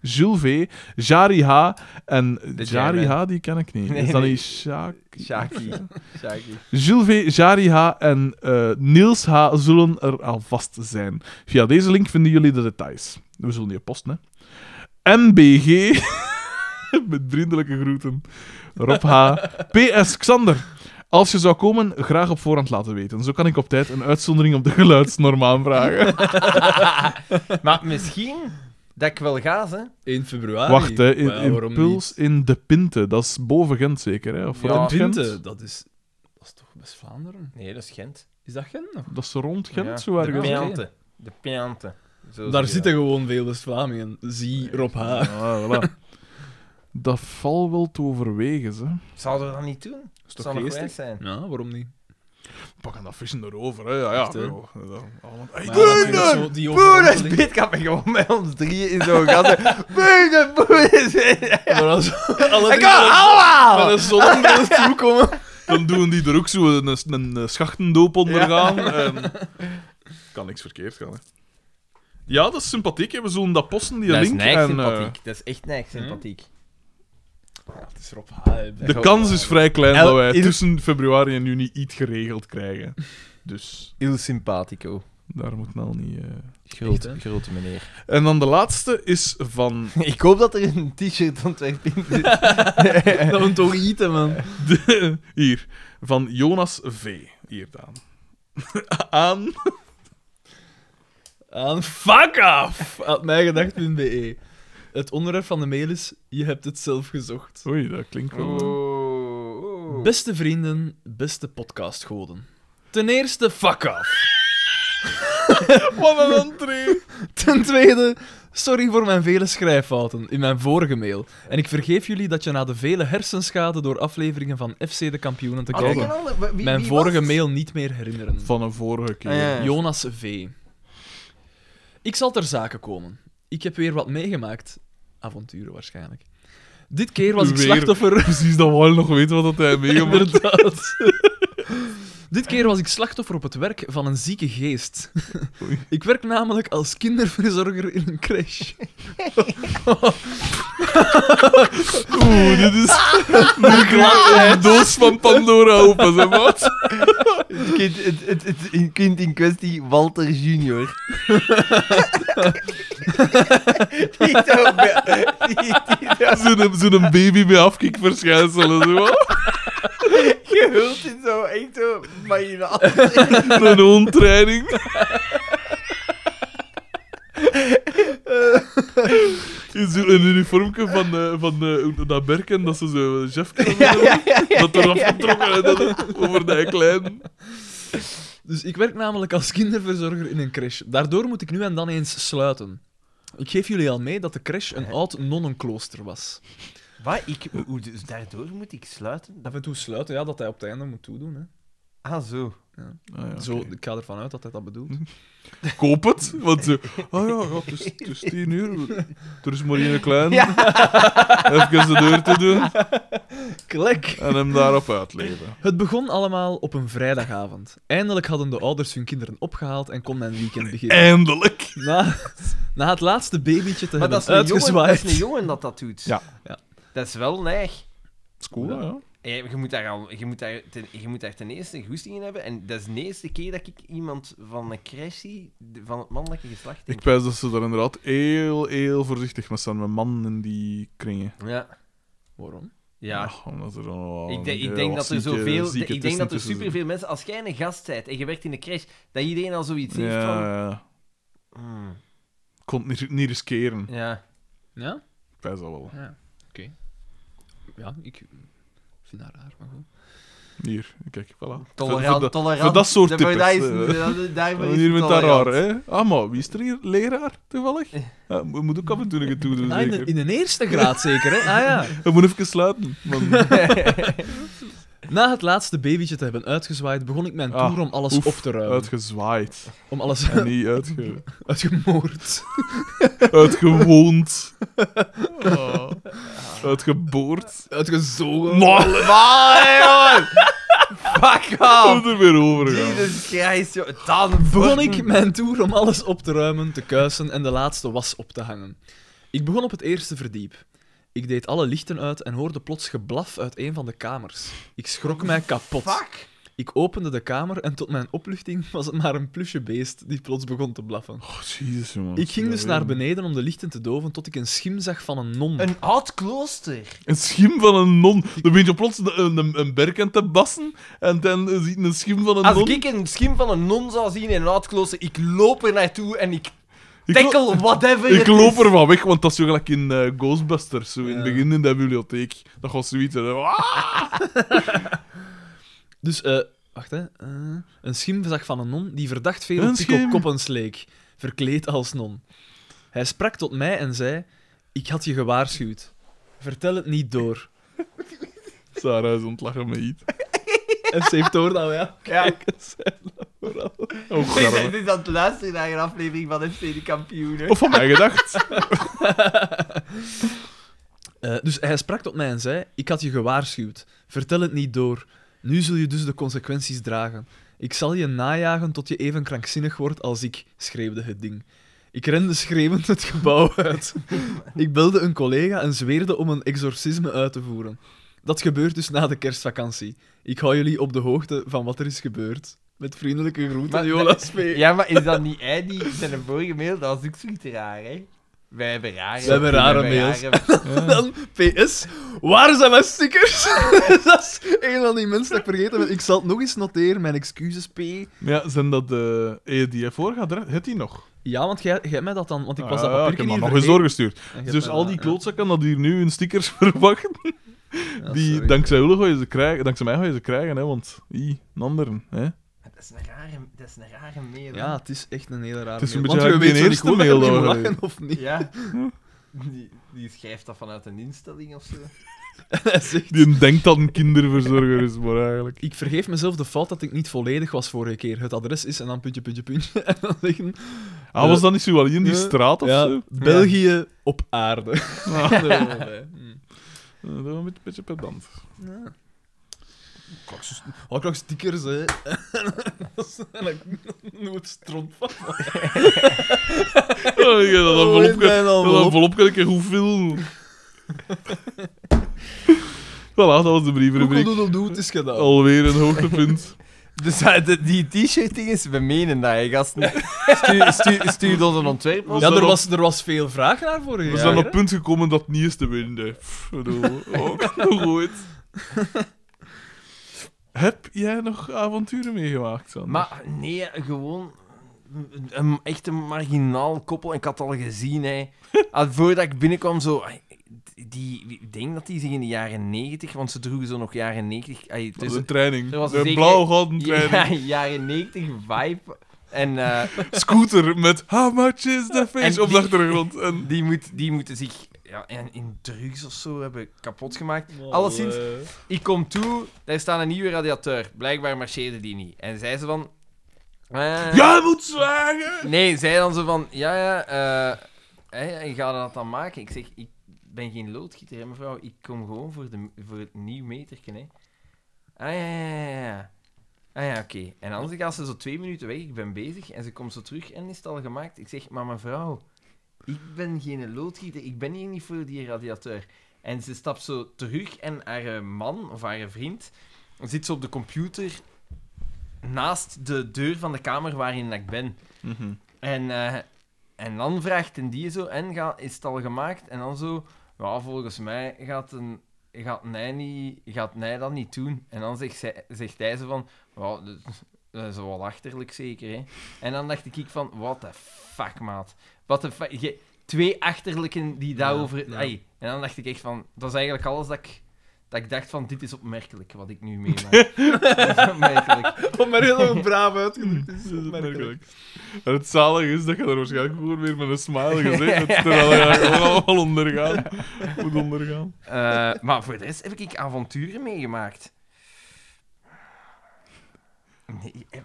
C: Jules V, Jari H en
A: De
C: Jari
A: Jaren.
C: H, die ken ik niet.
A: Nee,
C: Is dat
A: nee.
C: niet Sjaak?
A: Shaki. Shaki.
C: Jules V, Jari H en eh, Niels H zullen er alvast zijn. Via deze link vinden jullie de details. We zullen je posten, hè. MBG. Met vriendelijke groeten. Rob H. PS Xander. Als je zou komen, graag op voorhand laten weten. Zo kan ik op tijd een uitzondering op de geluidsnorm aanvragen.
A: maar misschien dat ik wel ga, hè?
B: 1 februari.
C: Wacht, hè. In,
B: Maar ja, waarom
C: impuls in de Pinte. Dat is boven Gent zeker, hè? Of
B: niet? Ja,
C: rond Gent?
B: Twente, dat is... Dat is toch best Vlaanderen?
A: Nee, dat is Gent.
B: Is dat Gent nog?
C: Dat is rond Gent,
A: Ja.
C: zo ergens.
A: de
B: Ja.
A: Piante. De Piante. Zo
B: Daar
A: zie je
B: zitten gewoon veel West-Vlamingen. Zie Rob H.
C: Ah, voilà. Dat valt wel te overwegen, ze.
A: dat. Zouden we dat niet doen?
B: Is
A: Zou nog wijs zijn.
B: Ja, waarom niet?
C: Pakken dat vissen erover, hè. Ja, ja.
B: Echt, hè?
C: joh. Ja, dat- allemaal- Hey,
B: Maar ja,
C: doe
B: natuurlijk
C: dat!
B: zo die
A: Boeren,
B: overhandeling.
A: Spitkap en gewoon met ons drieën in zo'n gat. Boeren, boeren.
B: Maar als alle
A: Ik
B: drie
A: kan allemaal!
B: met een zonnebril toekomen...
C: Dan doen die er ook zo een, een, een schachtendoop onder gaan. en- Kan niks verkeerd gaan, hè. Ja, dat is sympathiek. Hè. We zullen dat posten, die
A: Dat is
C: link.
A: nijg
C: en, eh,
A: sympathiek. Dat is echt nijg sympathiek.
B: Het is Rob H. hè.
C: eh, de kans is vrij klein
A: El-
C: dat wij
A: il-
C: tussen februari en juni iets geregeld krijgen. Dus
A: Il simpatico.
C: daar moet nou niet... eh.
A: Groot,
B: Echt, hè?
A: grote meneer.
C: En dan de laatste is van
A: Ik hoop dat er een t-shirt ontwerp in zit.
B: Dat moet toch eten, man.
C: De- hier, van Jonas V. Hier dan. Aan
B: aan fuckoff.mijgedacht.be. E. Het onderwerp van de mail is: Je hebt het zelf gezocht.
C: Oei, dat klinkt wel. eh.
A: Oh, oh.
B: Beste vrienden, beste podcastgoden. Ten eerste, fuck off.
C: Oh, Wat een entree!
B: Ten tweede, sorry voor mijn vele schrijffouten in mijn vorige mail. En ik vergeef jullie dat je na de vele hersenschade door afleveringen van FC de Kampioenen te
A: Ah, die
B: kijken,
A: ken al- wie- wie
B: mijn
A: was
B: vorige
A: het?
B: mail niet meer herinneren.
C: Van een vorige keer.
A: Ah, ja.
B: Jonas V. Ik zal ter zake komen. Ik heb weer wat meegemaakt. Avonturen waarschijnlijk. Dit keer was ik
C: Weer.
B: slachtoffer.
C: Precies, dat we nog weten wat dat hij meegemaakt heeft.
B: Inderdaad. Dit keer was ik slachtoffer op het werk van een zieke geest.
C: Oei.
B: Ik werk namelijk als kinderverzorger in een crash.
C: Oeh, dit is... Nu klapt een doos van Pandora open, zeg maar.
A: Het kind, het, het, het, het kind in kwestie, Walter Junior. die zo... Die, die zo
C: Zo'n zo'n baby met afkikverschijnselen, zo.
A: gehuld in zo... Echt zo... marginaal.
C: Een hondtraining. In zo'n uniformke van, eh, van eh, dat Berken, dat ze zo chef Dat eraf getrokken en dat over de klein.
B: Dus ik werk namelijk als kinderverzorger in een crash. Daardoor moet ik nu en dan eens sluiten. Ik geef jullie al mee dat de crash een oud nonnenklooster was.
A: Wat? Ik, hoe, dus daardoor moet ik sluiten?
B: Af en toe sluiten, ja, dat hij op het einde moet toedoen. Hè.
A: Ah, zo.
C: Ah, ja,
B: Zo,
C: oké.
B: ik ga ervan uit dat hij dat bedoelt.
C: Koop het, want ze... Ah ja, ja, het, is, het is tien uur. Er is maar één klein. Even de deur te doen
B: Klek!
C: en hem daarop uitleven.
B: Het begon allemaal op een vrijdagavond. Eindelijk hadden de ouders hun kinderen opgehaald en kon mijn weekend
C: Eh.
B: beginnen.
C: Eindelijk.
B: Na, na het laatste babytje te
A: Maar dat
B: hebben
A: is, een jongen, dat
B: uitgezwaaid.
A: is een jongen dat dat doet.
C: Ja.
B: Ja.
A: Dat is wel neig.
C: Het is cool, hè, ja.
A: Ja, Je moet, daar al, je, moet daar ten, je moet daar ten eerste een goesting in hebben. En dat is de eerste keer dat ik iemand van een crash zie, de- van het mannelijke geslacht.
C: Ik
A: Denk.
C: pijs dat ze daar inderdaad heel, heel voorzichtig mee zijn, met mannen in die kringen.
A: Ja.
B: Waarom?
A: Ja.
C: Ach, omdat er dan wel
A: Ik, denk-
C: een
A: ik denk
C: wat
A: Oh, dat er
C: zieke-
A: zoveel...
C: zieke
A: Ik denk dat er
C: tussen zitten.
A: superveel mensen... Als jij een gast bent en je werkt in een crash, dat iedereen al zoiets heeft
C: Ja,
A: van...
C: ja. Ik
A: hmm,
C: kon het niet, niet riskeren.
A: ja.
B: Ja?
C: Ik pijs dat wel.
B: Ja. Oké. Ja, ik vind haar raar, maar goed.
C: Hier, kijk, voilà. Voor- voor
A: Tolerant,
C: de-
A: tolerant.
C: voor dat soort
A: Daarvoor-
C: types,
A: daar is-
C: eh.
A: daar- Daarvoor is
C: Hier
A: het
C: bent daar
A: tolerant.
C: raar, hè? Ah, maar wie is er hier? Leraar, toevallig? Ja, we moeten ook af en toe een toe doen,
B: Ah, in, de,
C: zeker.
B: in de eerste graad zeker, hè? Ah ja.
C: We moeten even sluiten. Man.
B: Na het laatste babytje te hebben uitgezwaaid, begon ik mijn
C: Ah,
B: toer om alles
C: oef,
B: op te ruimen.
C: Uitgezwaaid.
B: Om alles
C: En niet uitge...
B: uitgemoord.
C: uitgewoond. Ah. Uitgeboord.
B: Uitgezogen.
A: Maar, joh! Fuck
B: Ah.
C: We
A: off!
C: moeten er weer over gaan.
A: Jesus Christ, joh. Dan
B: Begon ik mijn toer om alles op te ruimen, te kuisen en de laatste was op te hangen. Ik begon op het eerste verdiep. Ik deed alle lichten uit en hoorde plots geblaf uit een van de kamers. Ik schrok mij kapot.
A: Fuck!
B: Ik opende de kamer en tot mijn opluchting was het maar een plusje beest die plots begon te blaffen.
C: Oh, jezus, man.
B: Ik ging dus
C: Ja,
B: naar
C: weer.
B: beneden om de lichten te doven tot ik een schim zag van een non.
A: Een oud klooster.
C: Een schim van een non. Dan ben je plots een, een, een berk aan te bassen. En dan ziet je een schim van een
A: Als
C: non.
A: ik een schim van een non zou zien in een oud klooster, ik loop er naartoe en ik
C: Ik lo-
A: tackle whatever
C: Ik
A: het
C: loop
A: is.
C: er van weg, want dat is zo gelijk in eh, Ghostbusters, zo in het begin in de bibliotheek. Dat gaat zoiets. hè. Ah!
B: Dus, eh, wacht hè. Eh, een schim zag van een non die verdacht veel
C: Een
B: op Pico
C: schim.
B: Koppens leek, verkleed als non. Hij sprak tot mij en zei: Ik had je gewaarschuwd. Vertel het niet door.
C: Sarah is ontlachen met iets.
B: En ze heeft door dat wij aan
A: Ja.
B: het kijken zijn. Vooral.
C: Oh,
A: Ik ben
C: garme.
A: dus aan het luisteren naar een aflevering van FC de Kampioenen.
C: Of van mij gedacht.
B: Eh, dus hij sprak tot mij en zei: Ik had je gewaarschuwd. Vertel het niet door. Nu zul je dus de consequenties dragen. Ik zal je najagen tot je even krankzinnig wordt als ik, schreeuwde het ding. Ik rende schreeuwend het gebouw uit. Ik belde een collega en zweerde om een exorcisme uit te voeren. Dat gebeurt dus na de kerstvakantie. Ik hou jullie op de hoogte van wat er is gebeurd. Met vriendelijke groeten,
A: Maar-
B: Jonas P.
A: Ja, maar is dat niet hij die zijn vorige mail? Dat was ook zoiets raar, hè? Wij hebben rare
D: We hebben rare
A: wij
D: mails.
A: rare-
D: Dan, PS, waar zijn mijn stickers? dat is een van die mensen dat ik vergeten ben. Ik zal het nog eens noteren, mijn excuses, P.
C: Ja, zijn dat de E EDF voor gaat? er- Het die nog?
B: Ja, want jij, jij hebt mij dat dan... Want ik
C: Ah,
B: was dat
C: ja,
B: papier
C: ik heb
B: niet
C: dat nog eens doorgestuurd.
B: vergeten. En jij
C: Dus
B: hebt
C: al
B: mij
C: die
B: dat-
C: klootzakken dat hier nu hun stickers verwachten,
B: ja,
C: die
B: sorry.
C: dankzij Ulle gooien ze krijgen, dankzij mij gooien ze krijgen, hè, want i, een anderen. Hè.
A: Dat is een rare, dat is een rare mail. hè.
B: Ja, het is echt een hele rare...
C: Het is een
B: mail.
C: beetje
D: we
C: eigenlijk
D: weten
C: die
D: niet
C: eerste
D: goed dat je
C: mail dat
D: niet
C: we
D: mag
C: hebben.
D: lachen of niet.
A: Ja. Die, die schrijft dat vanuit een instelling of zo.
D: Hij zegt,
C: Die denkt dat een kinderverzorger is, maar eigenlijk.
B: Ik vergeef mezelf de fout dat ik niet volledig was vorige keer. Het adres is en dan puntje, puntje, puntje. En dan zeggen...
C: Ah, was dat niet zo wel in die
D: Ja.
C: straat of
D: ja,
C: zo?
D: België op aarde.
C: Eh, Dat was een beetje pedant.
D: Oh, ik nog stickers, hè. en dan noem het stront van.
C: Oh, ja, dat envelop kan-
D: mijn
C: dat
D: envelop.
C: envelop kan ik echt goed veel. Voilà, dat was de brievenrubriek.
D: Koekeldoedeldoe, het is
B: Oh.
D: gedaan.
C: Alweer een hoogtepunt.
A: Dus eh, de- die t-shirt-ding is, we menen dat, hè, gasten. Stuur, stuur, stuur ons een ontwerp op.
C: Ja,
B: Ja,
C: er
B: er
C: op-
B: was, er was veel vragen naar vorige
C: We
B: keer.
C: zijn op
B: hè?
C: het punt gekomen dat het niet is te winnen. Pff, bedoel, Ook nog ooit. Heb jij nog avonturen meegemaakt, Sander?
A: Maar nee, gewoon een, een, echt een marginaal koppel. Ik had het al gezien, hè. Al Voordat ik binnenkwam, zo... ai, Die, ik denk dat die zich in de jaren negentig... Want ze droegen zo nog jaren negentig... ai,
C: dat is
A: tussen-
C: een training.
A: er was
C: een
A: zeker-
C: blauw gouden training.
A: ja, jaren negentig vibe. En eh,
C: Scooter met How much is the
A: En
C: face
A: die-
C: op de achtergrond. En...
A: die, moet, die moeten zich ja, in, in drugs of zo hebben kapot gemaakt. Alleszins,
C: Oh,
A: ik kom toe, daar staat een nieuwe radiateur. Blijkbaar marcheerde die niet. En zei ze van... eh,
C: Jij moet zwagen!
A: Nee, zij dan zo van, ja, ja, eh, hè, en ga dat dan maken? Ik zeg, ik ben geen loodgieter, hè, mevrouw. Ik kom gewoon voor, de, voor het nieuw meterken, hè. Ah, ja, ja, ja, ja. Ah, ja, oké. En anders gaat ze zo twee minuten weg, ik ben bezig, en ze komt zo terug en is het al gemaakt. Ik zeg, maar mevrouw, ik ben geen loodgieter, ik ben hier niet voor die radiateur. En ze stapt zo terug en haar eh, man, of haar vriend, zit zo op de computer naast de deur van de kamer waarin dat ik ben. En, eh, en dan vraagt een die zo, en ga, is het al gemaakt? En dan zo, ja, volgens mij gaat een... Gaat hij, niet, gaat hij dat niet doen? En dan zegt, zij, zegt hij zo van... "Ja, dat- dat is wel achterlijk zeker, hè? En dan dacht ik van... What the fuck, maat? Wat de fuck? Je- Twee achterlijken die daarover...
B: ja.
A: ai. En dan dacht ik echt van... Dat is eigenlijk alles dat ik... Dat ik dacht van, dit is opmerkelijk, wat ik nu meemaak. Dat is opmerkelijk.
D: Om maar heel braaf uitgedrukt. is
C: Merkelijk. En het zalige is dat je daar waarschijnlijk gewoon weer met een smile gezicht hebt, terwijl je gewoon allemaal ondergaan. Moet ondergaan.
A: Eh, maar voor de rest heb ik avonturen meegemaakt. Nee, heb,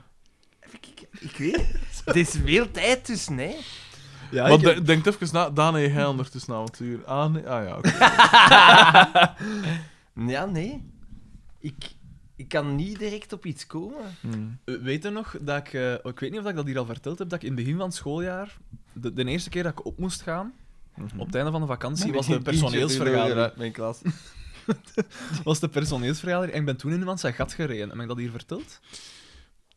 A: heb ik, ik... Ik weet het. Het is veel tijd tussen, hè.
D: Ja,
C: Want
D: ik heb-
C: de- denk even na, Daan, heb jij ondertussen een avontuur? Ah, nee. ah ja, oké.
A: Ja, nee. Ik, ik kan niet direct op iets komen.
C: Hmm.
B: Eh, Weet je nog dat ik... eh, ik weet niet of ik dat hier al verteld heb, dat ik in het begin van het schooljaar, de, de eerste keer dat ik op moest gaan, op het einde van de vakantie, was de personeelsvergadering.
A: Mijn klas.
B: Was de personeelsvergadering en ik ben toen in iemand zijn gat gereden. Heb ik dat hier verteld?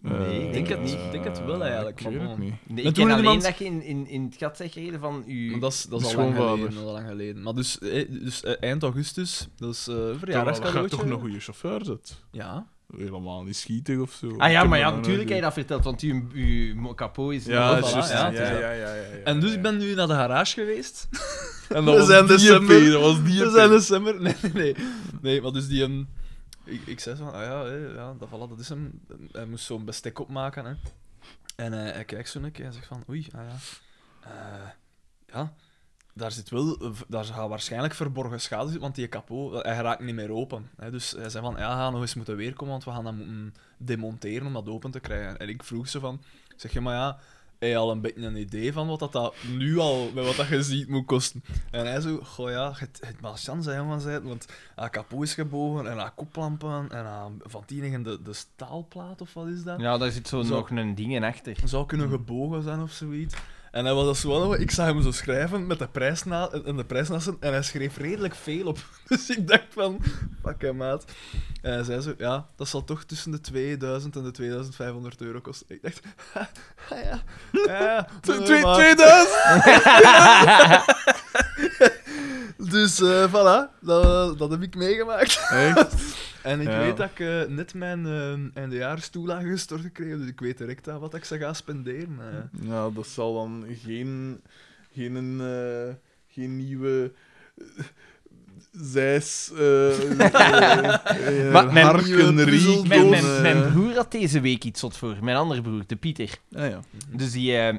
A: Nee, ik denk
C: Eh,
A: het niet. Ik
B: denk het wel eigenlijk,
C: Ik weet
B: maar
C: het
B: bon.
C: niet.
A: Nee,
B: Maar
A: ik
B: toen
A: ken alleen
B: iemand-
A: dat je in, in, in het gat zegt gereden van u.
B: Maar dat is, dat is
C: De
B: al, lang
C: schoonvader.
B: geleden, dat is al lang geleden. Maar dus, eh, dus eh, eind augustus, dat is eh een
C: Terwijl je
B: verjaardagscadeautje.
C: toch een goede chauffeur zit.
B: Ja.
C: Helemaal niet schietig of zo.
A: Ah
C: Ik
A: ja,
C: heb
A: maar
C: dat
A: ja,
C: nog
A: natuurlijk
C: nooit
A: heb je dat verteld, want uw, uw kapot is...
C: gezien. Ja,
B: voilà,
C: juist.
B: ja,
C: Ja,
B: het is
C: ja,
B: dat.
C: ja, ja, ja.
B: En dus
C: ja.
B: ik ben nu naar de garage geweest.
C: En
D: We
C: dat
D: zijn
C: was die EP,
D: december.
C: dat was die E
D: We
C: EP.
D: zijn december.
B: Nee, nee, nee. Nee, maar dus die... ehm, ik, ik zei zo van, ah ja, hé, ja dat, voilà, dat is hem. Hij moest zo'n bestek opmaken, hè. En eh, hij kijkt zo een keer en zegt van, oei, ah ja. Eh, ja, daar zit wel... eh, v- Daar gaat waarschijnlijk verborgen schade zitten, want die kapot, eh, hij raakt niet meer open. Hè. Dus hij zei van, ja, ga nog eens moeten weerkomen, want we gaan dat moeten demonteren om dat open te krijgen. En ik vroeg ze van, zeg je maar ja... Heb je al een beetje een idee van wat dat, dat nu al, met wat dat je ziet, moet kosten? En hij zo, goh ja, het, het maar chance hè, jongens, hè, want haar kapot is gebogen en haar koplampen en haar van tienigen de, de staalplaat of wat is dat?
A: Ja, daar zit zo,
B: Zo.
A: nog een ding in achter.
B: Zou kunnen gebogen zijn of zoiets. En hij was dat zo aan, ik zag hem zo schrijven met de prijs na, en de prijsnassen en hij schreef redelijk veel op. Dus ik dacht van, fuck hem maat. En hij zei zo, ja, dat zal toch tussen de 2000 en de 2500 euro kosten. Ik dacht, ha, ha, ja, ja, ja,
C: Tw-
B: eh,
C: tw-
B: maar-
C: 2000!
B: Dus eh, voilà, dat, dat heb ik meegemaakt.
C: Echt?
B: En ik
C: Ja.
B: weet dat ik eh, net mijn eh, eindejaarstoelage gestort gekregen, dus ik weet direct aan wat ik ze ga spenderen. eh.
C: Nou, dat zal dan geen, geen, eh, geen nieuwe. eh, Zes. eh eh, eh,
A: Maar mijn
C: harken,
D: nieuwe
C: riek.
D: puzzeldoos-
C: eh.
D: Mijn-
A: Mijn, mijn, mijn broer had deze week iets zot voor. Mijn andere broer, de Pieter.
C: Ah, ja.
A: Dus die... eh,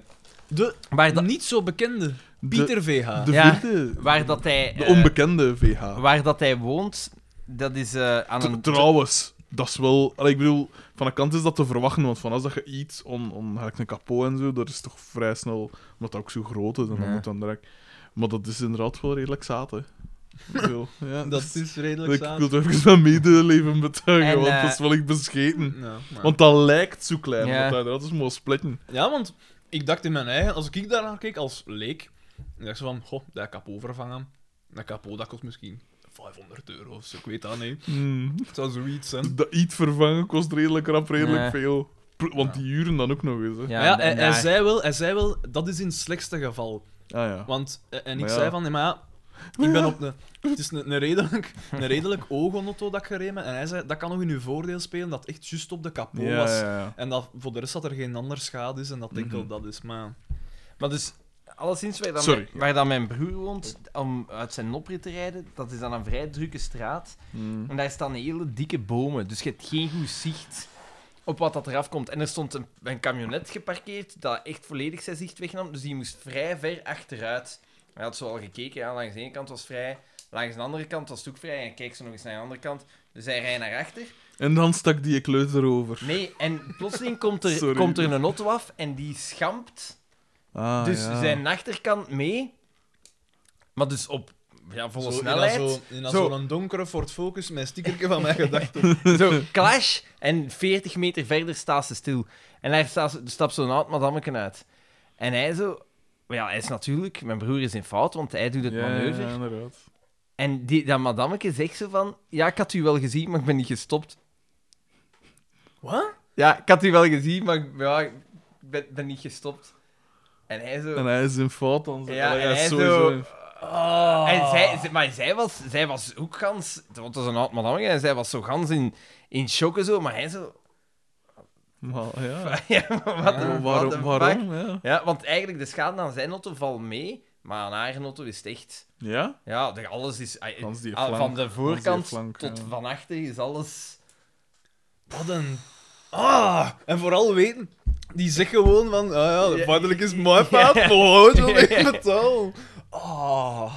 B: De
A: waar, dat-
B: niet zo bekende
C: De-
B: Pieter VH.
C: De
A: Ja.
C: vierde.
A: waar dat hij...
C: De
A: eh,
C: onbekende VH.
A: waar dat hij woont, dat is eh, aan
C: T-
A: een...
C: Trouwens, dat is wel. Allee, ik bedoel, van een kant is dat te verwachten, want van als dat je iets on, on gelijk een kapot en zo, dat is toch vrij snel, omdat dat ook zo groot is en dan
A: Ja.
C: moet dan direct. Maar dat is inderdaad wel redelijk zaad, hè. Ik bedoel, ja,
B: Dat
C: dus-
B: is redelijk
C: ik
B: saai.
C: wil het even mijn medeleven betuigen,
A: En,
C: want
A: eh,
C: dat is wel ik bescheten.
B: Ja, maar-
C: Want dat lijkt zo klein,
A: Ja.
C: want dat inderdaad is mooi splitten.
B: ja, want ik dacht in mijn eigen, als ik daarnaar keek als leek, ik dacht zo van, goh, dat kapot vervangen. Dat kapot, dat kost misschien 500 euro of zo, ik weet dat niet.
C: Hmm.
B: Het zou zoiets zijn.
C: Dus dat iets vervangen kost redelijk rap, redelijk
A: Ja.
C: veel. Pr- Want die uren dan ook nog eens, hè.
B: Maar ja,
A: en
B: hij, hij
A: daar-
B: zei wel, hij zei wel, dat is in het slechtste geval.
C: Ah ja.
B: Want, eh, en ik
C: Maar ja.
B: zei van, nee, maar ja, ik ben op een... Het is een, een redelijk, een redelijk oogonotto dat ik gereden ben. En hij zei, dat kan nog in uw voordeel spelen, dat het echt juist op de kapot
C: Ja,
B: was.
C: ja, ja.
B: En dat voor de rest dat er geen ander schade is en dat
A: Mhm.
B: enkel dat is. Maar
A: Maar dus, alleszins waar dan,
C: Sorry.
A: waar dan mijn broer woont, om uit zijn oprit te rijden, dat is dan een vrij drukke straat.
C: Hmm.
A: En daar staan hele dikke bomen, dus je hebt geen goed zicht op wat dat eraf komt. En er stond een, een camionet geparkeerd dat echt volledig zijn zicht wegnam, dus die moest vrij ver achteruit. Hij had zo al gekeken, ja, langs de ene kant was vrij, langs de andere kant was het ook vrij, en kijk zo nog eens naar de andere kant. Dus hij rijdt naar achter.
C: En dan stak die kleut erover.
A: Nee, en plotseling komt er,
C: Sorry.
A: komt er een auto af en die schampt
C: Ah,
A: dus
C: ja.
A: zijn achterkant mee. Maar dus op ja, volle
B: zo,
A: snelheid.
B: In dat zo- in dat
A: Zo.
B: zo'n donkere Ford Focus, mijn stickerke van mijn gedachten.
A: Zo, clash. En 40 meter verder staat ze stil. En daar staat ze- stapt zo'n oud madammeken uit. En hij zo... maar Ja, hij is natuurlijk... Mijn broer is in fout, want hij doet het
C: ja,
A: manoeuvre.
C: Ja, inderdaad.
A: En die, dat madammeke zegt zo van... Ja, ik had u wel gezien, maar ik ben niet gestopt.
B: Wat?
A: Ja, ik had u wel gezien, maar ik- ja, ik ben, ben niet gestopt. En hij zo...
C: En hij is in fout dan. zo.
A: Ja,
C: Allee,
A: en
C: hij is
A: hij
C: sowieso
A: zo-
C: in-
A: En zij, zij- maar zij was, zij was ook gans... Want dat is een oud madame, en zij was zo gans in, in shock en zo, maar hij zo...
C: Maar ja.
A: ja, maar wat,
B: Ja,
A: what the
C: waarom?
A: fuck?
C: waarom ja.
A: Ja, want eigenlijk, de schade aan zijn auto valt mee, maar aan haar auto is het echt...
C: ja?
A: Ja, de- alles is... ah,
C: Gans die
A: ah,
C: flank,
A: van de voorkant
C: flank,
A: tot
C: ja.
A: van achter is alles...
B: Wat een... Ah! En vooral weten, die zegt gewoon van... Ah ja, de
A: Ja,
B: vaderlijk is
A: ja,
B: mooi, paap.
A: ja.
B: Gewoon zo in
A: Ja.
B: betaal. Ah...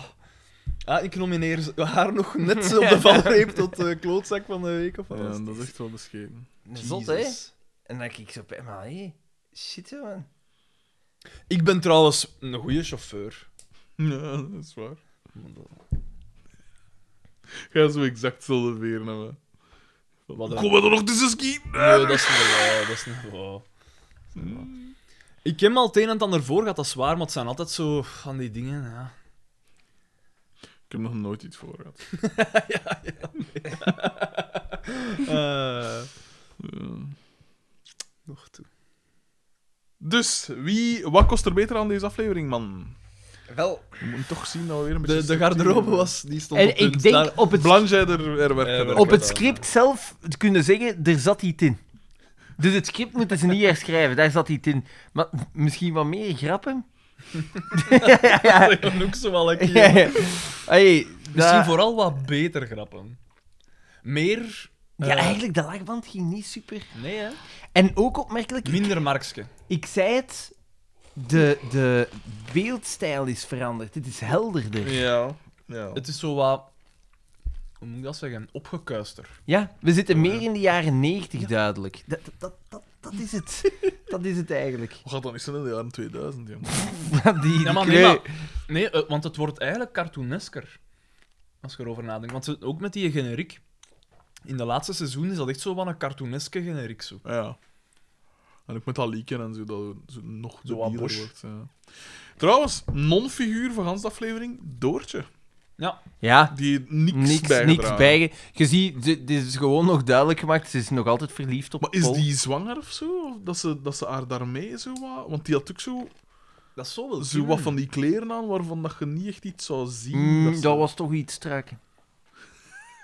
B: Ah, ik nomineer z- haar nog net zo op de valreep tot eh, klootzak van de week of wat. was
C: Ja,
B: het?
C: dat is echt wel bescheten.
A: Zot, hè?
B: Jezus.
A: En dan kijk ik zo op hem, maar hé, shit, hè, man.
B: Ik ben trouwens een goede chauffeur.
C: Ja, dat is waar. Ga zo exact hetzelfde weer naar me.
B: Wat een-
C: Kom maar dan nog tussen ski.
B: Nee, dat is niet waar, dat is niet waar. Ik heb al het een en het ander voor gehad, dat is waar, maar het zijn altijd zo van die dingen, ja.
C: Ik heb nog nooit iets voor gehad.
B: Eh,
C: Ja.
B: nog toe.
C: Dus, wie, wat kost er beter aan deze aflevering, man?
A: Wel,
C: We moeten toch zien dat we weer een beetje...
B: De, de garderobe was, die stond op
A: en ik
B: punt. Daar-
A: denk op het,
C: Blanche, er, er werkt
B: Eh,
C: verder.
A: op het
B: Ja.
A: script zelf te kunnen zeggen, er zat iets in. Dus het script moeten ze niet herschrijven, daar zat iets in. Maar misschien wat meer grappen?
B: Dat kan ook zo wel een keer.
A: Ja, ja. Hey,
B: Misschien
A: dat-
B: vooral wat beter grappen. Meer...
A: Ja,
B: eh,
A: eigenlijk, de lachband ging niet super.
B: Nee, hè?
A: En ook opmerkelijk, ik,
B: Minder Markske.
A: ik zei het, de, de beeldstijl is veranderd. Het is helderder.
C: Ja. ja.
B: Het is zo wat... Hoe moet ik dat zeggen? Opgekuister.
A: Ja, we zitten meer in de jaren 90 duidelijk. Dat, dat, dat, dat, dat is het. Dat is het eigenlijk.
C: Hoe gaat dat niet zijn in de jaren 2000, jongen?
A: Die, die
B: Ja, maar nee,
A: kleur-
B: maar- nee eh, want het wordt eigenlijk cartoonesker. Als je erover nadenkt. Want ze- ook met die generiek. In de laatste seizoen is dat echt zo van een cartooneske generiek. Zo.
C: Ja. Ah, En ook met dat lieken en zo, dat zo nog
F: Zo wat
C: debieler
F: bosch.
C: wordt. Ja. Trouwens, non-figuur van Hans de aflevering, Doortje.
G: Ja,
C: Die niks,
G: Ah. niks,
C: bijgedragen.
G: niks bij. Je ziet, dit dit is gewoon nog duidelijk gemaakt. Ze is nog altijd verliefd op
C: Maar is
G: Paul.
C: die zwanger of zo? Of dat ze, dat ze haar daarmee zo wat... Want die had ook zo,
B: Dat is zo wel.
C: zo wat van die kleren aan waarvan dat je niet echt iets zou zien.
G: Mm,
C: ze-
G: dat was toch iets strak.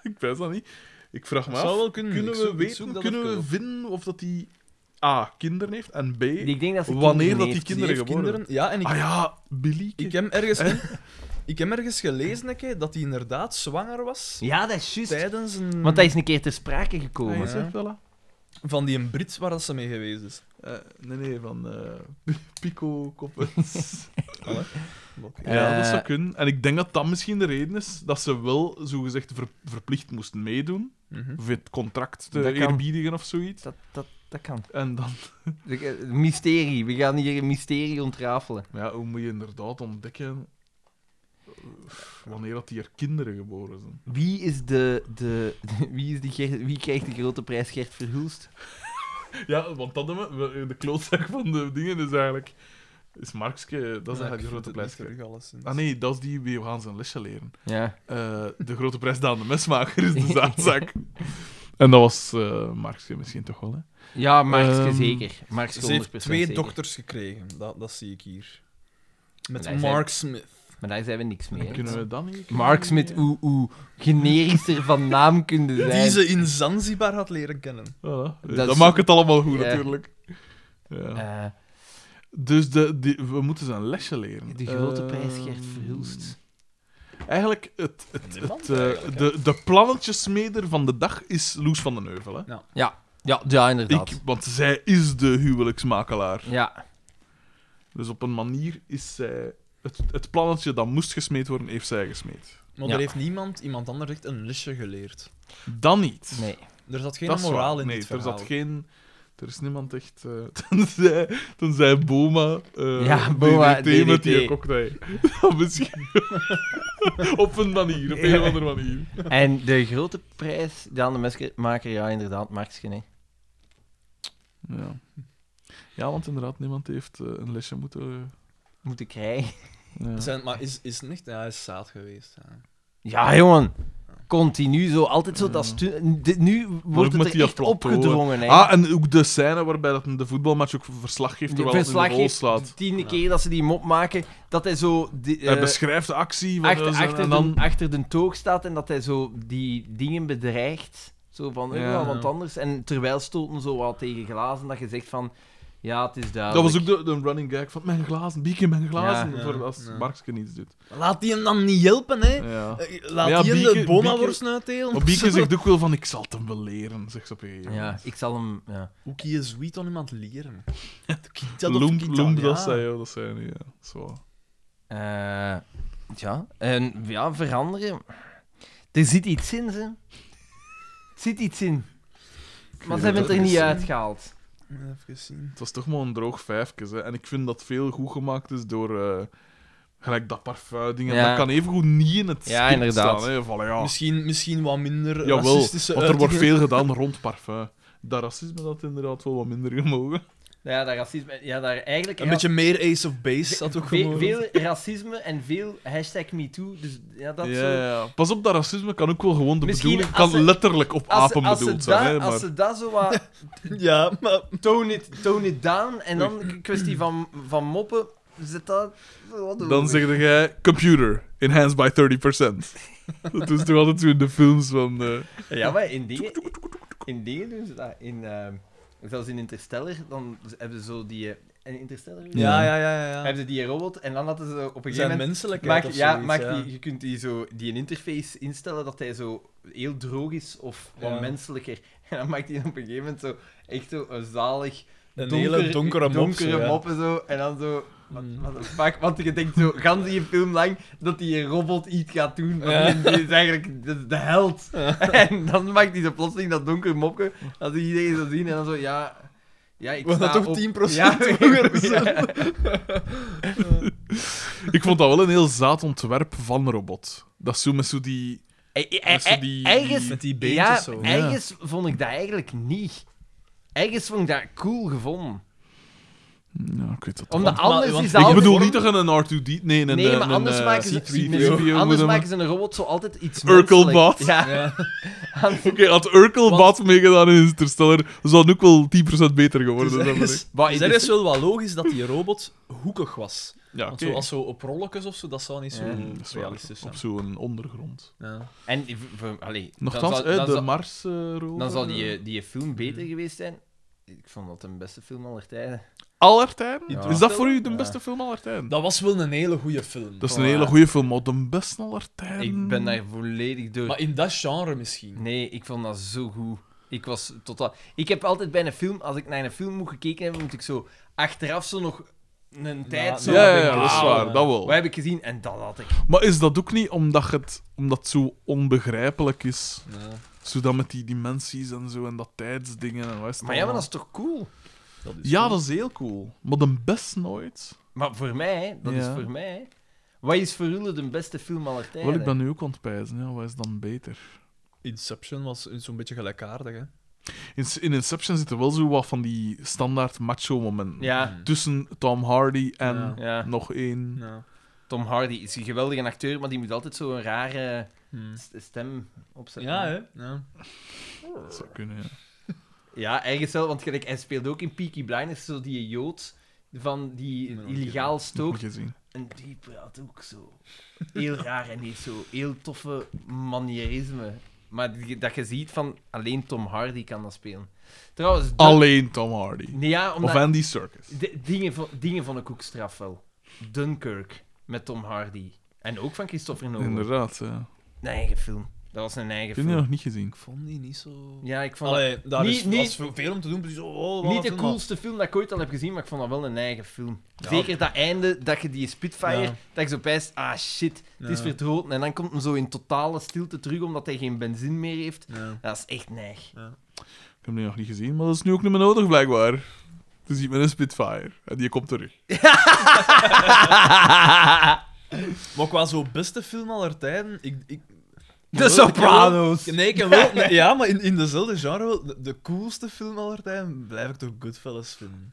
C: Ik weet dat niet. Ik vraag me
B: Dat zou
C: af,
B: wel kunnen.
C: kunnen
B: Ik
C: we
B: zoek- ik
C: weten,
B: zoek dat
C: kunnen
B: even
C: we
B: op.
C: vinden of dat die A, kinderen heeft en B...
G: Ik denk dat ze
C: Wanneer
G: kinderen
C: dat
G: heeft.
C: die kinderen
B: Die heeft
C: geboren.
B: Ja, en ik,
C: Ah ja, Billy.
B: ik, heb ergens, ik heb ergens gelezen een keer, dat hij inderdaad zwanger was
G: Ja, dat is juist.
B: tijdens een...
G: Want dat is een keer ter sprake gekomen.
C: Hij
B: ja.
C: zegt wel, hè.
B: Van die een Brit waar dat ze mee geweest is.
C: Eh, nee, nee, van eh, Pico Koppens. ja,
G: Eh.
C: dat zou kunnen. En ik denk dat dat misschien de reden is dat ze wel zogezegd ver- verplicht moesten meedoen.
B: Mhm.
C: Of het contract te
G: Dat kan.
C: eerbiedigen of zoiets.
G: Dus Dat, dat, dat kan.
C: En dan,
G: eh, Mysterie. We gaan hier een mysterie ontrafelen.
C: ja, hoe moet je inderdaad ontdekken eh, wanneer dat hier kinderen geboren zijn?
G: Wie is de... de wie, is die Ger- wie krijgt de grote prijs Gert Verhulst?
C: Ja, want dat hebben we, de klootzak van de dingen is eigenlijk. Is Markske, dat is
B: Ja,
C: eigenlijk
B: ik
C: de
B: vind
C: grote
B: het
C: prijs.
B: niet terug, alleszins.
C: Ah nee, dat is die wie we gaan zijn lesje leren.
G: Ja.
C: Eh, de grote prijs Daan de Mesmaker is de zaadzak. en dat was eh Markske misschien toch wel, hè?
G: Ja, Markske
C: Ehm,
G: zeker. Markske
B: Ze heeft
G: 100%
B: twee
G: zeker.
B: dochters gekregen, dat, dat zie ik hier. Met
G: Nee, zij-
B: Mark Smith.
G: Maar daar zijn we niks mee. hè.
C: Kunnen we dan niet?
G: Mark Smith, hoe, hoe generischer van naam kunnen zijn.
B: Die ze in Zanzibar had leren kennen.
C: Voilà. Eh,
G: Dat
C: Dat,
G: is-
C: maakt het allemaal goed,
G: Ja.
C: natuurlijk. Ja.
G: Eh,
C: Dus de, die- we moeten zijn lesje leren.
G: de grote
C: Eh,
G: prijs Gert Verhulst.
C: Eigenlijk, het, het,
B: Niemand
C: het, eh,
B: eigenlijk, hè?
C: de, de plannetjesmeder van de dag is Loes van den Heuvel. Hè?
G: Ja, ja inderdaad.
C: Ik, want zij is de huwelijksmakelaar.
G: Ja.
C: Dus op een manier is zij... Het, het plannetje dat moest gesmeed worden, heeft zij gesmeed.
B: Maar
G: Ja.
B: er heeft niemand, iemand anders echt een lesje geleerd.
C: Dan niet.
G: Nee.
B: Er zat geen
C: Dat is
B: moraal
C: waar.
B: in
C: nee,
B: dit
C: er
B: verhaal.
C: zat geen... Er is niemand echt... eh tenzij, tenzij Boma... eh
G: Ja, Boma,
C: DDT met die
G: DDT.
C: cocktail. Dat Misschien. op een manier, op een of andere manier.
G: En de grote prijs, Daan de Mesmaker, ja, inderdaad, Markske, nee.
C: Ja. ja, want inderdaad, niemand heeft eh, een lesje moeten...
G: Moeten krijgen.
C: ja. Ah,
B: Zijn, maar is, is het niet? Ja, hij is zaad geweest. Ja.
G: Ja, jongen. Continu zo, altijd zo dat stu- dit- Nu wordt
C: met
G: het er
C: die
G: echt
C: plateau,
G: opgedrongen, hè.
C: Ah, en ook de scène waarbij dat de voetbalmatch ook verslag geeft
G: De
C: terwijl het in de
G: verslag
C: goal
G: heeft
C: slaat.
G: de tiende keer dat ze die mop maken, dat hij zo... Die, eh,
C: Hij beschrijft de actie van
G: achter,
C: eh, zo-
G: achter,
C: en dan...
G: de, achter de toog staat en dat hij zo die dingen bedreigt. Zo van, eh,
C: Ja.
G: ja, want anders. En terwijl stoten zo wat tegen glazen, dat je zegt van... Ja, het is
C: Dat
G: duidelijk.
C: was ook de, de running gag van mijn glazen, bieken mijn glazen,
B: Ja, ja,
C: voor als
B: ja.
C: Markske niets doet.
B: Laat die hem dan niet helpen, hè?
C: Ja.
B: Eh, Laat
C: Ja,
B: die hem
C: Bieke-
B: de boma-worst uitdelen.
C: Maar Bieke zegt ook wel van, ik zal het hem wel leren, zegt ze op een gegeven
G: Ja,
C: moment.
G: ik zal hem... Ja.
B: Hoe kun je zoiets aan iemand leren?
C: Ja, loemp, loemp, dat zei joh, dat zei hij, ja. Zo.
G: Eh, ja. En ja, veranderen... Er zit iets in, ze. Er zit iets in. Maar ze hebben het er niet uitgehaald.
B: Even zien.
C: Het was toch maar een droog vijfje, hè. En ik vind dat veel goed gemaakt is door... eh, gelijk dat parfum-ding. en
G: Ja.
C: Dat kan evengoed niet in het
G: Ja,
C: script
G: inderdaad.
C: staan, hè. Van, ja,
B: Misschien, misschien wat minder
C: Ah. jawel,
B: racistische
C: want er wordt
B: uitingen.
C: veel gedaan rond parfum. Dat racisme dat inderdaad wel wat minder gemogen.
G: Ja, dat racisme... Ja, daar eigenlijk...
B: Een beetje meer Ace of Base dat ook
G: Ve-
B: gewoon.
G: veel racisme en veel hashtag MeToo. Dus ja, dat
C: Ja,
G: zo...
C: ja. Pas op, dat racisme kan ook wel gewoon de
G: Misschien
C: bedoeling...
G: als
C: Kan
G: ze-
C: letterlijk op apen
G: als
C: bedoeld
G: ze
C: zijn,
G: dat-
C: hè. Maar...
G: Als ze dat zo wat...
B: Ja, maar
G: Tone it, tone it down. En dan een kwestie van, van moppen. Zet dat... Wat doen
C: Dan
G: we?
C: zeg jij computer, enhanced by 30%. dat is toch altijd zo in de films van. eh,
G: Ja, maar in dingen... In dingen doen ze dat. In, ehm, zelfs in Interstellar, dan hebben ze zo die... eh, In Interstellar?
B: Ja, ja, ja, ja. ja.
G: Hebben ze die robot en dan hadden ze op een gegeven
B: Zijn
G: moment...
B: menselijk.
G: Maak, ja, maak Die, je kunt die, zo, die een interface instellen dat hij zo heel droog is of wat
B: Ja.
G: menselijker. En dan maakt hij op een gegeven moment zo echt zo een zalig
B: Een
G: donker-
B: hele donkere mop.
G: donkere
B: zo, ja.
G: mop en zo. En dan zo... Wat,
B: Mm.
G: wat een fuck, want je denkt zo, gans in je film lang, dat die robot iets gaat doen. want
B: Ja.
G: Die die is eigenlijk de, de held. En dan maakt hij zo plotseling dat donker mopje, als iedereen zo zien en dan zo, ja... Ja, ik
B: We hadden
G: sta
B: toch
G: op...
B: 10%
G: hoger
C: ik vond dat wel een heel zaad ontwerp van robot. Dat is zo met zo die.
A: Eh,
C: met zo die...
G: Ergens
B: Met die beentjes
G: ja,
B: zo.
G: ergens vond ik dat eigenlijk niet. Ergens vond ik dat cool gevonden.
C: Ja, ik weet dat
A: Omdat
C: toch.
A: anders
B: want-
A: is dat
C: Ik
A: altijd
C: bedoel
A: vorm-
C: niet dat je een R2D... Nee, een,
A: Nee,
C: een,
A: maar anders,
C: een, eh,
A: maken, ze,
C: C3PO
A: nee,
C: moet
A: anders
C: hem-
A: maken ze een robot zo altijd iets
C: Urkelbot.
A: menselijk. Ja.
B: Ja.
C: Oké, had Urkel
B: Want-
C: Bad meegedaan in Interstellar, zou het ook wel 10% beter geworden
B: Dus
C: zijn.
B: er
C: denk
B: is,
C: ik.
A: Maar
B: dus
A: in
B: er is wel wat logisch dat die robot hoekig was.
C: Ja,
B: Want
C: oké.
B: zo, als zo op rolletjes of zo, dat zou niet zo
A: Ja,
C: Dat is waar,
B: realistisch zijn.
C: Op zo'n ondergrond.
B: Ja.
A: En v- v- allee, dan
C: Nochtans,
A: zou,
C: hè,
A: dan
C: de
A: zou-
C: Mars eh, rover,
A: dan zou
C: eh,
A: die, die film beter geweest zijn. Ik vond dat de beste film aller tijden.
C: Aller tijden?
A: Ja.
C: Is dat voor u de
A: Ja.
C: beste film aller tijden?
B: Dat was wel een hele goede film.
C: Dat is
A: Voilà.
C: een hele goede film, maar de beste aller tijden...
A: Ik ben daar volledig door.
B: Maar in dat genre misschien.
A: Nee, ik vond dat zo goed. Ik was totaal... Ik heb altijd bij een film, als ik naar een film moet gekeken hebben, moet ik zo achteraf zo nog een tijd zo...
C: Ja, ja,
A: denk
C: ja,
A: ik,
C: dat is
A: wauw,
C: waar,
B: eh,
C: dat wel.
A: Wat heb ik gezien? En dat had ik.
C: Maar is dat ook niet omdat het, omdat het zo onbegrijpelijk is?
B: Ja,
C: Zodat met die dimensies en zo en dat tijdsdingen en wat is het
A: Maar ja, maar
C: allemaal?
A: dat is toch cool?
B: dat is
C: Ja,
B: goed.
C: dat is heel cool. Maar de best nooit.
A: Maar voor mij, hè, dat
C: Ja.
A: is voor mij. hè. Wat is voor jullie de beste film aller tijden?
C: Wel, ik ben nu ook aan het pijzen, ja, wat is dan beter?
B: Inception was zo'n beetje gelijkaardig, hè.
C: In, in Inception zitten wel zo wat van die standaard macho-momenten.
A: Ja,
C: Tussen Tom Hardy en
B: Ja.
A: ja,
C: nog één.
B: Ja.
A: Tom Hardy is een geweldige acteur, maar die moet altijd zo'n rare
B: Hm.
A: s- stem opzetten.
B: Ja, hè. Ja.
C: Dat zou kunnen, ja.
A: Ja, ergens wel, want gelijk, hij speelde ook in Peaky Blinders zo die jood van
B: Ik
A: die
B: ben nog
A: illegaal
C: Ook
A: stookt.
C: gezien.
A: En die praat ook zo heel raar en heeft zo heel toffe manierisme. Maar die- dat je ziet van alleen Tom Hardy kan dat spelen. Trouwens, dat-
C: Alleen Tom Hardy.
A: Nee, ja,
C: Of
A: omdat
C: Andy Serkis.
A: de- dingen, van, dingen van de koekstraf wel. Dunkirk met Tom Hardy. En ook van Christopher Nolan.
C: Inderdaad, ja.
A: Een eigen film. Dat was een eigen
C: Ik heb die
A: film.
C: nog niet gezien.
B: Ik vond die niet zo...
A: Ja, ik vond dat
B: Allee, daar
A: Niet-
B: is
A: niet-
B: was veel om te doen. precies, oh, oh, wat
A: niet de
B: een film,
A: coolste film dat ik ooit al heb gezien, maar ik vond dat wel een eigen film.
B: Ja.
A: Zeker dat einde, dat je die Spitfire,
B: Ja.
A: dat je zo pijst, ah shit, het is
B: Ja.
A: verdroten. En dan komt hem zo in totale stilte terug, omdat hij geen benzine meer heeft.
B: maar- Ja.
A: Dat is echt neig.
C: Ik heb die nog niet gezien, maar dat is nu ook niet meer nodig, blijkbaar. Je ziet met een Spitfire en die komt terug.
B: Maar qua zo'n beste film aller tijden... Ik, ik,
A: De Sopranos!
B: Nee, ik heb wel... nee, ja, maar in, in dezelfde genre wel. De, de coolste film aller tijden blijf ik toch Goodfellas vinden.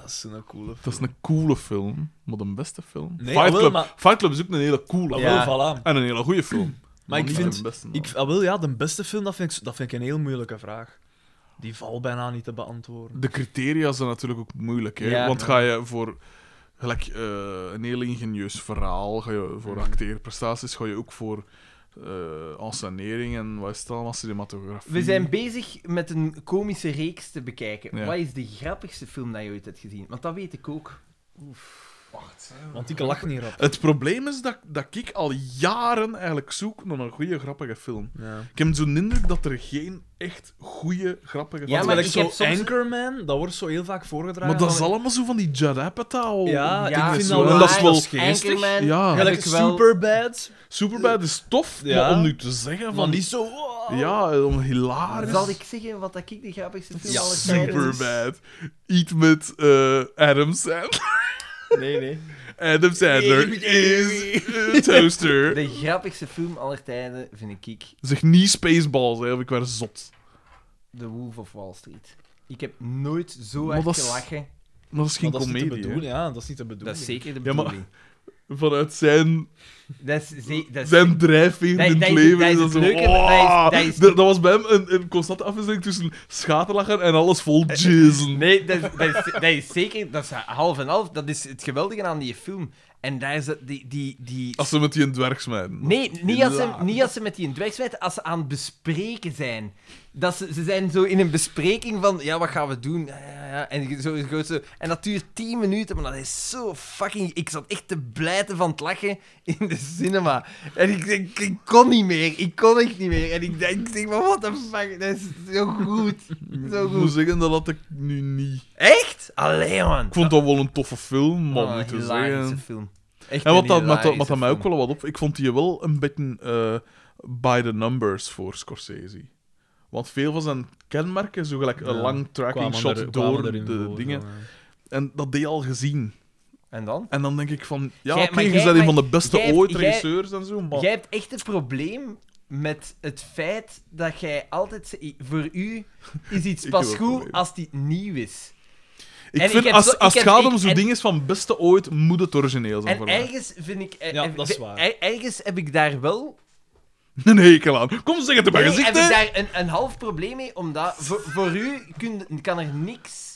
B: Dat is een coole
C: Dat
B: film.
C: is een coole film, maar de beste film.
B: Nee,
C: Fight,
B: jawel,
C: Club.
B: maar-
C: Fight Club is ook een hele coole
B: Ah,
C: film.
A: Ja.
B: wel, voilà.
C: En een hele goede film.
B: Maar ik
C: niet
B: vind...
C: de beste,
B: Ik, ah, wel, ja, de beste film, dat vind, ik, dat vind ik een heel moeilijke vraag. Die valt bijna niet te beantwoorden.
C: De criteria zijn natuurlijk ook moeilijk, hè?
A: Ja.
C: want
B: Ja.
C: ga je voor gelijk, eh, een heel ingenieus verhaal, ga je voor
B: Mhm.
C: acteerprestaties, ga je ook voor eh ensenering en wat is het allemaal, cinematografie.
A: We zijn bezig met een komische reeks te bekijken.
C: Ja.
A: Wat is de grappigste film
G: nou,
A: dat je ooit hebt gezien? Want dat weet ik ook.
B: Want ik lach niet rap.
C: Het probleem is dat, dat ik al jaren eigenlijk zoek naar een goede, grappige film.
B: Ja.
C: Ik heb zo'n indruk dat er geen echt goede, grappige
A: Ja,
C: films
A: maar
B: maar
A: ik
B: zo
A: heb soms-
B: Anchorman, dat wordt zo heel vaak voorgedragen.
C: Maar dat
B: dan-
C: is allemaal zo van die Judd Apatow.
B: Ja,
A: Ja,
B: ik vind
C: zo.
B: dat
C: En
B: wel...
C: dat is wel
A: geestig. Anchorman,
C: Ja.
A: heb
B: Gelijk
A: ik wel-
B: Superbad,
C: Superbad is tof,
B: Ja.
C: maar om nu te zeggen
B: van
C: van...
B: die zo...
C: Ja, om hilarisch.
A: Zal ik zeggen wat dat ik de grappigste film
B: Ja,
A: aller tijden vind?
C: Superbad. Eat met eh, Adam Sandler.
B: Nee, nee.
C: Adam Sandler is een toaster.
A: De grappigste film aller tijden vind ik
C: Zeg niet Spaceballs, hè, of ik werd zot.
A: The Wolf of Wall Street. Ik heb nooit zo
C: Maar
A: hard
C: dat is-
A: gelachen.
C: Maar dat is geen
B: Maar dat is niet te
C: comedie, hè.
B: bedoelen, ja. Dat is niet te bedoelen.
A: Dat is zeker de
C: Ja, maar-
A: bedoeling.
C: Vanuit zijn,
A: Dat is, ze- dat is-
C: zijn drijfveer
A: Dat-
C: in
A: dat
C: het
A: is-
C: leven.
A: dat is
C: dat
A: het
C: zo,
A: leuke, dat is-
C: "Oh."
A: dat is-
C: Dat- dat was bij hem een, een constante afwisseling tussen schaterlachen en alles vol
A: Eh,
C: jizzen.
A: Nee, dat is, dat, is, dat is zeker... Dat is half en half. Dat is het geweldige aan die film. En daar is dat... Die, die, die...
C: Als ze met die een dwerg smijten.
A: Nee, niet als, ze,
C: Laag.
A: niet als ze met die in dwerg zwijten, als ze aan het bespreken zijn. Dat ze, ze zijn zo in een bespreking van, ja, wat gaan we doen? Ja, ja, ja. En, je- zo, je hoort zo, en dat duurt 10 minuten, maar dat is zo fucking... Ik zat echt te blijten van het lachen in de cinema. En ik, ik, ik kon niet meer, ik kon echt niet meer. En ik denk, ik denk van, what the fuck, dat is zo goed. Zo
C: Ik moet
A: goed.
C: zeggen, dat had ik nu niet.
A: Echt? Allee, man.
C: Ik vond dat wel een toffe film, maar
A: Oh,
C: om
A: een
C: niet te
A: hilarische
C: zeggen.
A: film. Echt
C: En
A: een
C: wat dat, wat, dat-
A: hilarische
C: wat dat mij ook
A: film.
C: wel wat op... Ik vond die wel een beetje eh, by the numbers voor Scorsese. Want veel van zijn kenmerken, zo gelijk een
B: Ja,
C: lang tracking shot door de dingen... En dat deed je al gezien.
A: En dan?
C: En dan denk ik van... Ja,
A: Jij-
C: oké,
A: maar
C: je
A: jij-
C: bent een
A: maar
C: van de beste
A: jij-
C: ooit
A: jij-
C: regisseurs en zo, maar...
A: Jij hebt echt een probleem met het feit dat jij altijd... ze- Voor u is iets
C: Ik
A: pas
C: heb ook
A: goed
C: problemen.
A: als die nieuw is.
C: Ik
A: En ik
C: vind,
A: heb
C: als,
A: zo-
C: als
A: ik
C: het
A: heb-
C: gaat om
A: ik-
C: zo'n
A: en-
C: ding is van beste ooit, moet het origineel zijn
A: En
C: voor mij.
A: ergens vind ik... eh,
B: Ja,
A: eh,
B: dat is
A: eh,
B: waar.
A: eh, Ergens heb ik daar wel...
C: Een hekel aan. Kom, zeg het in mijn
A: Nee,
C: gezicht,
A: heb ik
C: hè.
A: daar een, een half probleem mee, omdat voor, voor u kun, kan er niks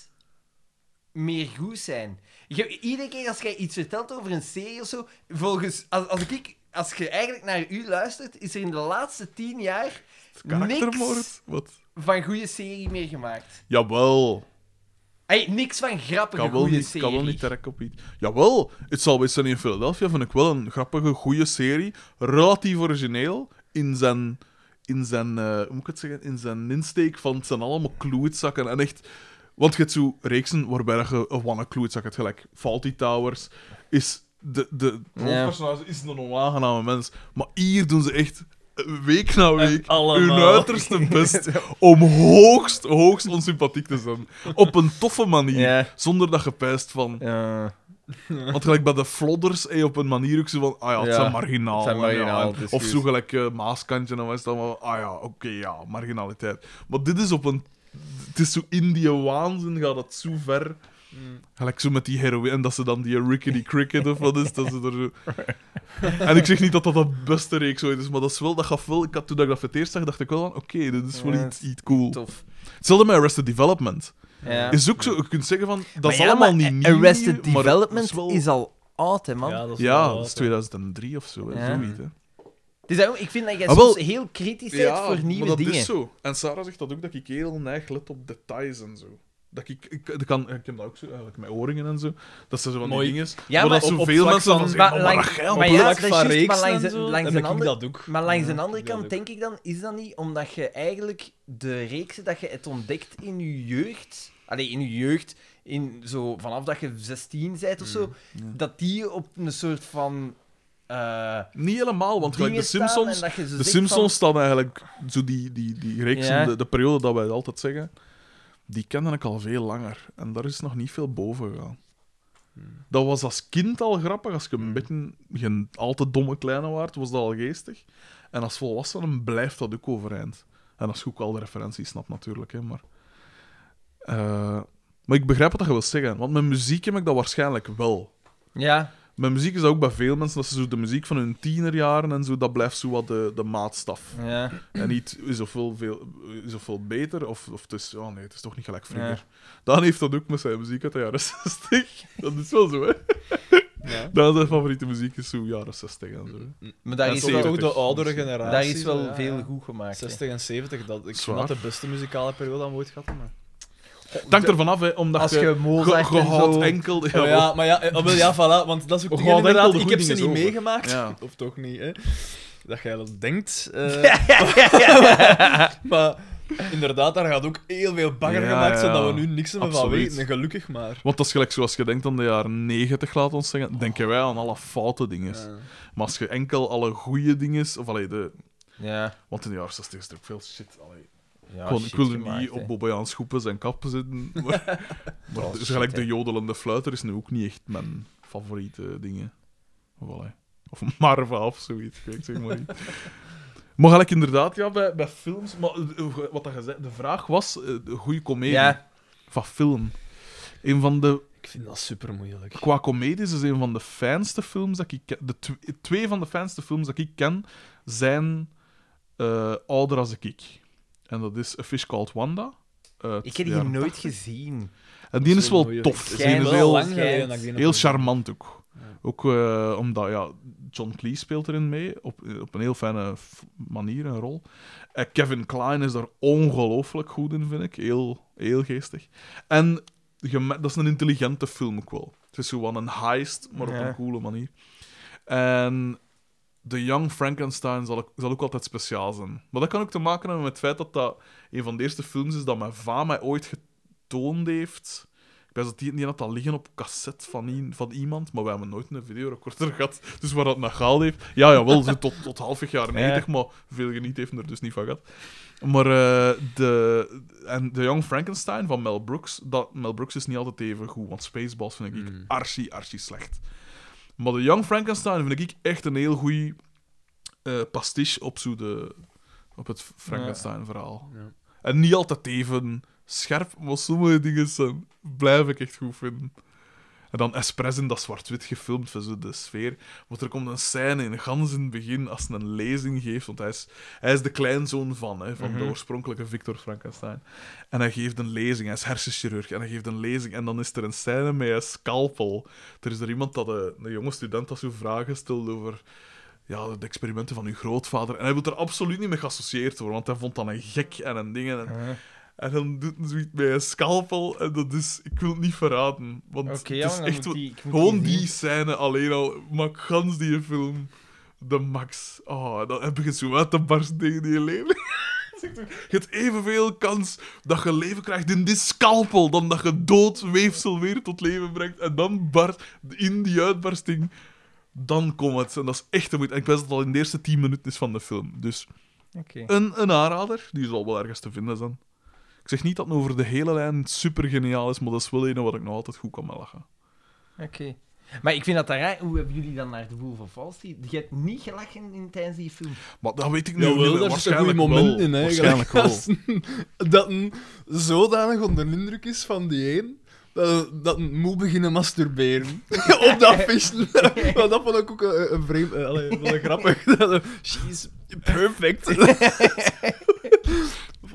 A: meer goed zijn. Je- iedere keer als jij iets vertelt over een serie of zo, volgens... Als, als ik... Als je eigenlijk naar u luistert, is er in de laatste tien jaar niks
C: Karaktermoord. Wat?
A: van goede serie meer gemaakt.
C: Jawel.
A: Hey, niks van grappige
C: Kan wel,
A: goede
C: niet,
A: serie.
C: kan wel niet direct op iets. Jawel, It's Always Sunny in Philadelphia vind ik wel een grappige, goede serie. Relatief origineel. In zijn, in zijn eh, hoe moet ik het zeggen? In zijn insteek van het zijn allemaal kloetzakken. En echt, want je hebt zo reeksen waarbij dat je een wanne kloetzak hebt. Gelijk Faulty Towers is... De, de
A: Ja.
C: hoofdpersonage is een onaangename mens. Maar hier doen ze echt eh, week na week hun
B: allemaal.
C: uiterste best om hoogst, hoogst onsympathiek te zijn. Op een toffe manier.
A: Ja.
C: Zonder dat gepijst van.
A: Ja.
C: Want gelijk bij de flodders, eh, op een manier ook zo van. Ah ja, het
A: Ja,
C: zijn marginaal.
A: het zijn
C: en
A: marginaal,
C: ja, en-
A: het is
C: of zo
A: juist.
C: gelijk eh, maaskantje en wat is dat. Maar, ah ja, oké, ja, marginaliteit. Maar dit is op een. Het is zo in die waanzin, gaat het zo ver.
B: Mm.
C: Gelijk zo met die heroïne. En dat ze dan die Rickety Cricket of wat is. Dat ze er zo... En ik zeg niet dat dat de beste reeks ooit is, maar dat is wel, dat gaf wel. Ik had, toen ik dat voor het eerst zag, dacht ik wel van: oké, dit is wel
A: Ja,
C: iets, iets cool.
A: Tof.
C: Hetzelfde met Arrested Development.
A: Ja.
C: Is ook zo, je kunt zeggen van, dat
A: Maar
C: is
A: ja,
C: allemaal
A: maar
C: niet
G: eh,
C: nieuw.
A: Arrested
C: maar
A: Development
C: het
A: is,
C: is wel-
A: al oud, hè, man.
B: dat
C: Ja,
B: wel
C: dat is
B: wat,
C: 2003 of zo, hè,
A: Ja.
C: zoiets. Hè.
A: Dus daarom, ik vind dat jij
C: Ah, wel.
A: soms heel kritisch bent voor nieuwe
C: maar dat
A: dingen.
C: is zo. En Sarah zegt dat ook, dat ik heel neig let op details en zo. Dat ik, ik, dat kan, ik heb dat ook zo, eigenlijk met oringen en zo. Dat ze zo van die
B: Mooi.
C: dingen is.
A: Ja,
C: maar,
A: maar
C: dat
B: op- op
C: zoveel
B: vlak
C: mensen van
B: van-
C: zeggen,
A: maar
C: maar, maar,
A: lang-
C: dat geld.
A: maar
B: Op
A: ja,
B: vlak
A: dat is
B: van
A: juist,
B: reeksen
A: maar langs
B: en
A: de-
B: zo,
A: langs
B: heb
A: de
B: ik
A: andere-
B: dat ook.
A: Maar langs
B: Ja,
A: de andere
B: ja,
A: kant
B: dat
A: denk ik dan, is dat niet omdat je eigenlijk de reeksen dat je het ontdekt in je jeugd, alleen in je jeugd, in zo, vanaf dat je 16 bent of zo,
C: Hmm.
A: dat die op een soort van. eh
C: Niet helemaal, want gelijk de
A: dingen staan
C: Simpsons...
A: en dat je zo
C: De
A: zegt
C: Simpsons staan eigenlijk, zo die, die, die reeks,
A: Ja.
C: de, de periode dat wij altijd zeggen, die kende ik al veel langer. En daar is nog niet veel boven gegaan. Dat was als kind al grappig, als je een beetje geen al te domme kleine waard, was dat al geestig. En als volwassenen blijft dat ook overeind. En als je ook al de referenties snapt, natuurlijk. Hè, maar, Eh, maar ik begrijp wat dat je wil zeggen, want met muziek heb ik dat waarschijnlijk wel.
A: Van, ja,
C: Met muziek is dat ook bij veel mensen, dat ze zo de muziek van hun tienerjaren en zo, dat blijft zo wat de, de maatstaf.
A: ja.
C: En niet is of veel, veel, is of veel beter, of, of het is... Oh nee, het is toch niet gelijk vroeger. Daan heeft dat ook met zijn muziek uit de jaren 60. Dat is wel zo, hè?
B: Ja.
C: Daan zijn favoriete muziek is zo jaren 60 en zo.
A: Maar daar
C: En
A: is,
C: zo
A: wel,
C: ook-
B: toch de oudere
C: Daar is
B: generatie.
A: daar is wel
B: ja,
A: veel
B: ja.
A: goed gemaakt. hè.
B: 60 en 70, dat, ik
C: Zwaar.
B: vond dat de beste muzikale periode aan we ooit gehad hebben.
C: Het hangt ervan af, hè, omdat
A: Als
C: je...
A: je
C: ge-
A: Mozart
C: ge
A: en
C: haalt
A: zo...
C: enkel...
B: Ja,
C: Ja,
B: maar ja, maar ja, eh, wel, ja, voilà, want dat is ook
C: Of
B: dingen,
C: gewoon enkel de
B: inderdaad, ik
C: goede
B: heb ze niet
C: dingen over.
B: meegemaakt,
C: Ja.
B: of toch niet, hè. Dat jij dat denkt. eh, maar inderdaad, daar gaat ook heel veel bagger
C: Ja,
B: gemaakt,
C: ja.
B: zodat we nu niks meer van
C: Absoluut.
B: weten, en gelukkig maar.
C: Want dat is gelijk zoals je denkt aan de jaren 90, laat ons zeggen, denken wij aan alle foute dingen.
B: Ja.
C: Maar als je enkel alle goede dingen... Of allee, de...
A: Ja.
C: Want in de jaren 60 is er ook veel shit, allee.
A: Ja,
C: Gewoon,
A: shit
C: ik wilde
A: gemaakt,
C: niet
A: hè.
C: op Bobbejaans schoepen zijn kap zitten. Maar, maar
A: Oh,
C: dus
A: shit,
C: gelijk
A: hè.
C: de jodelende fluiter is nu ook niet echt mijn favoriete dingen. Of, allee, of Marva of zoiets. Ik weet zeg maar niet. Maar gelijk inderdaad, ja, bij, bij films. Maar eh, wat dat gezegd, de vraag was: eh, de goede comedie
A: Ja.
C: van film. Een van de,
B: Ik vind dat super moeilijk.
C: qua comedies is een van de fijnste films dat ik ken. De tw- twee van de fijnste films dat ik ken zijn eh, ouder als ik. En dat is A Fish Called Wanda. uit
A: Ik heb
C: de
A: die
C: jaren
A: nooit
C: 80.
A: gezien.
C: En die is wel
B: Zo'n mooie-
C: tof.
B: Het
C: Die is
A: Schijnt
C: heel,
A: wel.
B: lang geleden dat ik die nog
C: heel
B: gezien heb.
C: charmant ook. Ook eh, omdat ja, John Cleese speelt erin mee, op, eh, op een heel fijne f- manier, een rol. Eh, Kevin Klein is daar ongelooflijk goed in, vind ik. Heel, heel geestig. En je me- dat is een intelligente film ook wel. Het is zo wel een heist, maar op
A: Ja.
C: een coole manier. En The Young Frankenstein zal, ook- zal ook altijd speciaal zijn. Maar dat kan ook te maken hebben met het feit dat dat een van de eerste films is dat mijn va mij ooit getoond heeft. Ik weet dat die, die had dat liggen op cassette van, i- van iemand, maar wij hebben nooit een videorecorder gehad. Dus waar dat naar gehaald heeft... Ja, jawel, zo tot, tot halfweg jaar 90, maar veel geniet heeft er dus niet van gehad. Maar eh, de, en de Young Frankenstein van Mel Brooks, dat, Mel Brooks is niet altijd even goed, want Spaceballs vind ik
B: Mm.
C: archi, archi slecht. Maar de Young Frankenstein vind ik echt een heel goeie eh, pastiche op, zo de, op het Frankenstein-verhaal.
B: Ja.
C: En niet altijd even scherp, maar sommige dingen zijn, blijf ik echt goed vinden. En dan Espresso, dat zwart-wit gefilmd van zo de sfeer. Want er komt een scène in, gans in het begin, als hij een lezing geeft. Want hij is, hij is de kleinzoon van, hè,
G: Mhm.
C: van de oorspronkelijke Victor Frankenstein. En hij geeft een lezing, hij is hersenchirurg. En hij geeft een lezing en dan is er een scène met een scalpel. Er is er iemand, dat eh, een jonge student, dat zo vragen stelt over ja, de experimenten van uw grootvader. En hij wil er absoluut niet mee geassocieerd worden, want hij vond dat een gek en een ding. En, en dan doet hij zoiets met een scalpel. En dat is, ik wil het niet verraden. Want
G: Oké,
C: het
G: ja,
C: is
G: dan
C: echt
G: moet
C: wat-
G: die- ik moet
C: gewoon
G: die zien.
C: die scène alleen al. Maar gans die film, de max. Oh, dan heb ik het zo uit te barsten tegen die leven. Je hebt evenveel kans dat je leven krijgt in dit scalpel, dan dat je dood weefsel weer tot leven brengt. En dan barst in die uitbarsting, dan komt het. En dat is echt de moeite. En ik wist dat het al in de eerste 10 minuten is van de film. Dus
H: Oké.
C: een, een aanrader, die zal wel ergens te vinden zijn. Ik zeg niet dat het over de hele lijn super geniaal is, maar dat is wel een wat ik nog altijd goed kan mee lachen.
G: Oké. Maar ik vind dat dan raar. Hoe hebben jullie dan naar de boel van Falsi? Je hebt niet gelachen in, tijdens die film.
C: Maar dat weet ik nu
A: Jawel,
C: niet.
A: daar zit
C: waarschijnlijk
A: een goeie moment
C: wel.
A: in, hè,
C: Waarschijnlijk wel.
A: dat een zodanig onder de indruk is van die een, dat, dat een moet beginnen masturberen. Op dat vissen. Maar dat vond ik ook een, een vreemd... eh, allee, wel een grappig. Dat een- She's perfect.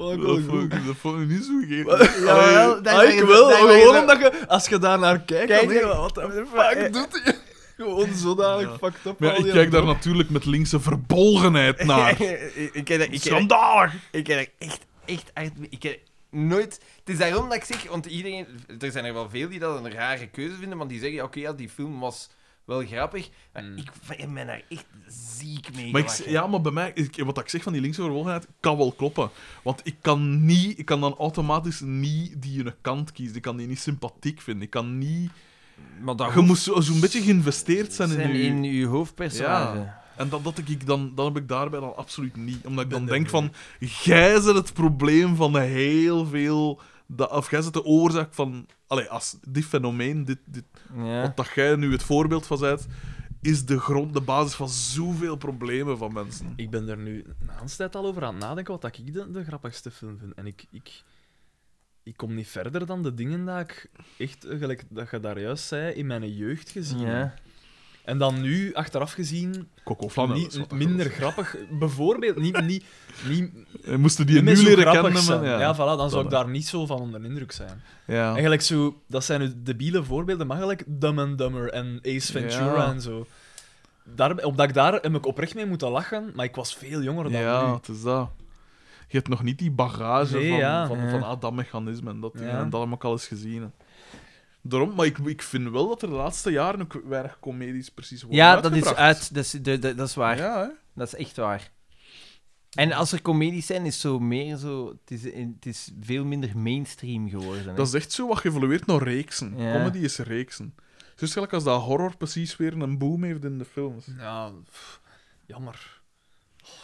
A: dat vond ik wel
C: Dat
A: goed.
C: vond ik- dat vond ik niet zo gegeven.
G: Jawel, dat
A: Ah,
G: is-
A: ik wel.
G: dat is-
A: Gewoon omdat je, als je daar naar kijkt,
G: Kijk,
A: dan
G: eh,
A: denk je,
G: kijk.
A: wat de fuck doet hij? Gewoon zodanig
C: Ja.
A: fucked up.
C: Maar ja,
A: al
C: ik
A: die
C: kijk daar
A: andere-
C: natuurlijk met linkse verbolgenheid naar.
G: ik, ik, ken dat- ik, ken dat-
C: Schandalig!
G: ik ken dat echt, echt hard. Ik ken nooit. Het is daarom dat ik zeg, want iedereen, er zijn er wel veel die dat een rare keuze vinden, want die zeggen: oké, ja, die film was wel grappig. Maar
A: Mm.
G: ik ben ben daar echt ziek mee.
C: Maar ik,
G: gelachen.
C: ja, maar bij mij, ik- wat ik zeg van die linkse verbolgenheid, kan wel kloppen. Want ik kan niet, ik kan dan automatisch niet die hun kant kiezen. Ik kan die niet sympathiek vinden. Ik kan niet...
G: maar dat
C: Je moest zo- zo'n beetje geïnvesteerd zijn in
G: zijn
C: je...
G: in uw hoofdpersonage.
C: Ja. En dat, dat ik dan, dan heb ik daarbij dan absoluut niet. Omdat ik dan denk van, jij bent het probleem van heel veel... Dat, of jij bent de oorzaak van... Allee, als dit fenomeen, dit, dit,
G: Ja.
C: Want dat jij nu het voorbeeld van bent, is de grond, de basis van zoveel problemen van mensen.
B: Ik ben er nu een hele tijd al over aan het nadenken wat ik de, de grappigste film vind. En ik, ik, ik kom niet verder dan de dingen dat ik echt, eh, gelijk dat je daar juist zei, in mijn jeugd gezien heb.
G: Ja.
B: En dan nu, achteraf gezien,
C: Coco Flanel.
B: niet, minder grappig. Bijvoorbeeld, niet, niet, niet,
C: Moesten die
B: niet meer
C: nu
B: zo
C: leren
B: grappig
C: kennen,
B: zijn.
C: man, ja.
B: Ja, voilà, dan zou ik
C: dat-
B: daar niet zo van onder de indruk zijn.
C: Ja.
B: Eigenlijk zo, dat zijn nu debiele voorbeelden, maar gelijk Dumb and Dumber en Ace Ventura
C: Ja.
B: en zo. Daar, omdat ik daar heb ik oprecht mee moeten lachen, maar ik was veel jonger dan
C: ja,
B: nu.
C: het is dat. Je hebt nog niet die bagage
B: Nee,
C: van,
B: ja.
C: van,
G: Ja.
C: van ah, dat mechanisme en dat, ding,
B: Ja.
C: en dat heb ik al eens gezien. hè. Daarom, maar ik, ik vind wel dat er de laatste jaren ook weinig comedies precies worden
G: Ja, dat is
C: uitgebracht.
G: uit. Dat is, de- de- dat is waar.
C: Ja, hè.
G: Dat is echt waar. En als er comedies zijn, is zo meer zo. Het is, het is veel minder mainstream geworden. hè.
C: Dat is echt zo wat geëvolueerd naar reeksen.
G: Ja.
C: Comedy is reeksen. Zo is gelijk als dat horror precies weer een boom heeft in de films.
B: Ja, pff, jammer.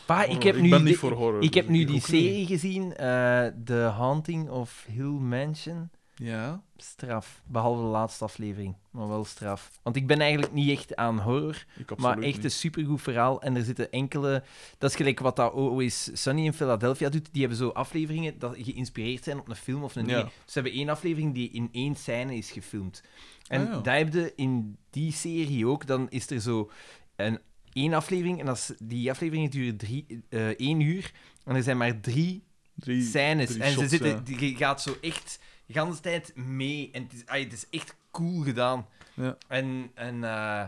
G: Pa, Ah, ik heb
C: Oh, ik
G: nu,
C: ben
G: die-
C: niet voor horror.
G: ik heb
C: dus
G: nu die
C: ook
G: serie
C: niet.
G: gezien, eh, The Haunting of Hill Mansion.
C: Ja.
G: Straf. Behalve de laatste aflevering, maar wel straf. Want ik ben eigenlijk niet echt aan horror,
C: Ik absoluut
G: maar echt dus,
C: niet.
G: een supergoed verhaal. En er zitten enkele. Dat is gelijk wat dat Always Sunny in Philadelphia doet. Die hebben zo afleveringen dat geïnspireerd zijn op een film of een.
C: Ja.
G: ding. Ze hebben één aflevering die in één scène is gefilmd. En
C: Ah, ja.
G: daar heb je in die serie ook, dan is er zo een, één aflevering, en als, die afleveringen duren drie, eh, één uur, en er zijn maar drie
C: Drie-
G: scènes.
C: drie
G: En ze
C: shots,
G: zitten,
C: ja.
G: die, je gaat zo echt de hele tijd mee. En het is, ai, het is echt cool gedaan.
C: Ja.
G: En, en eh,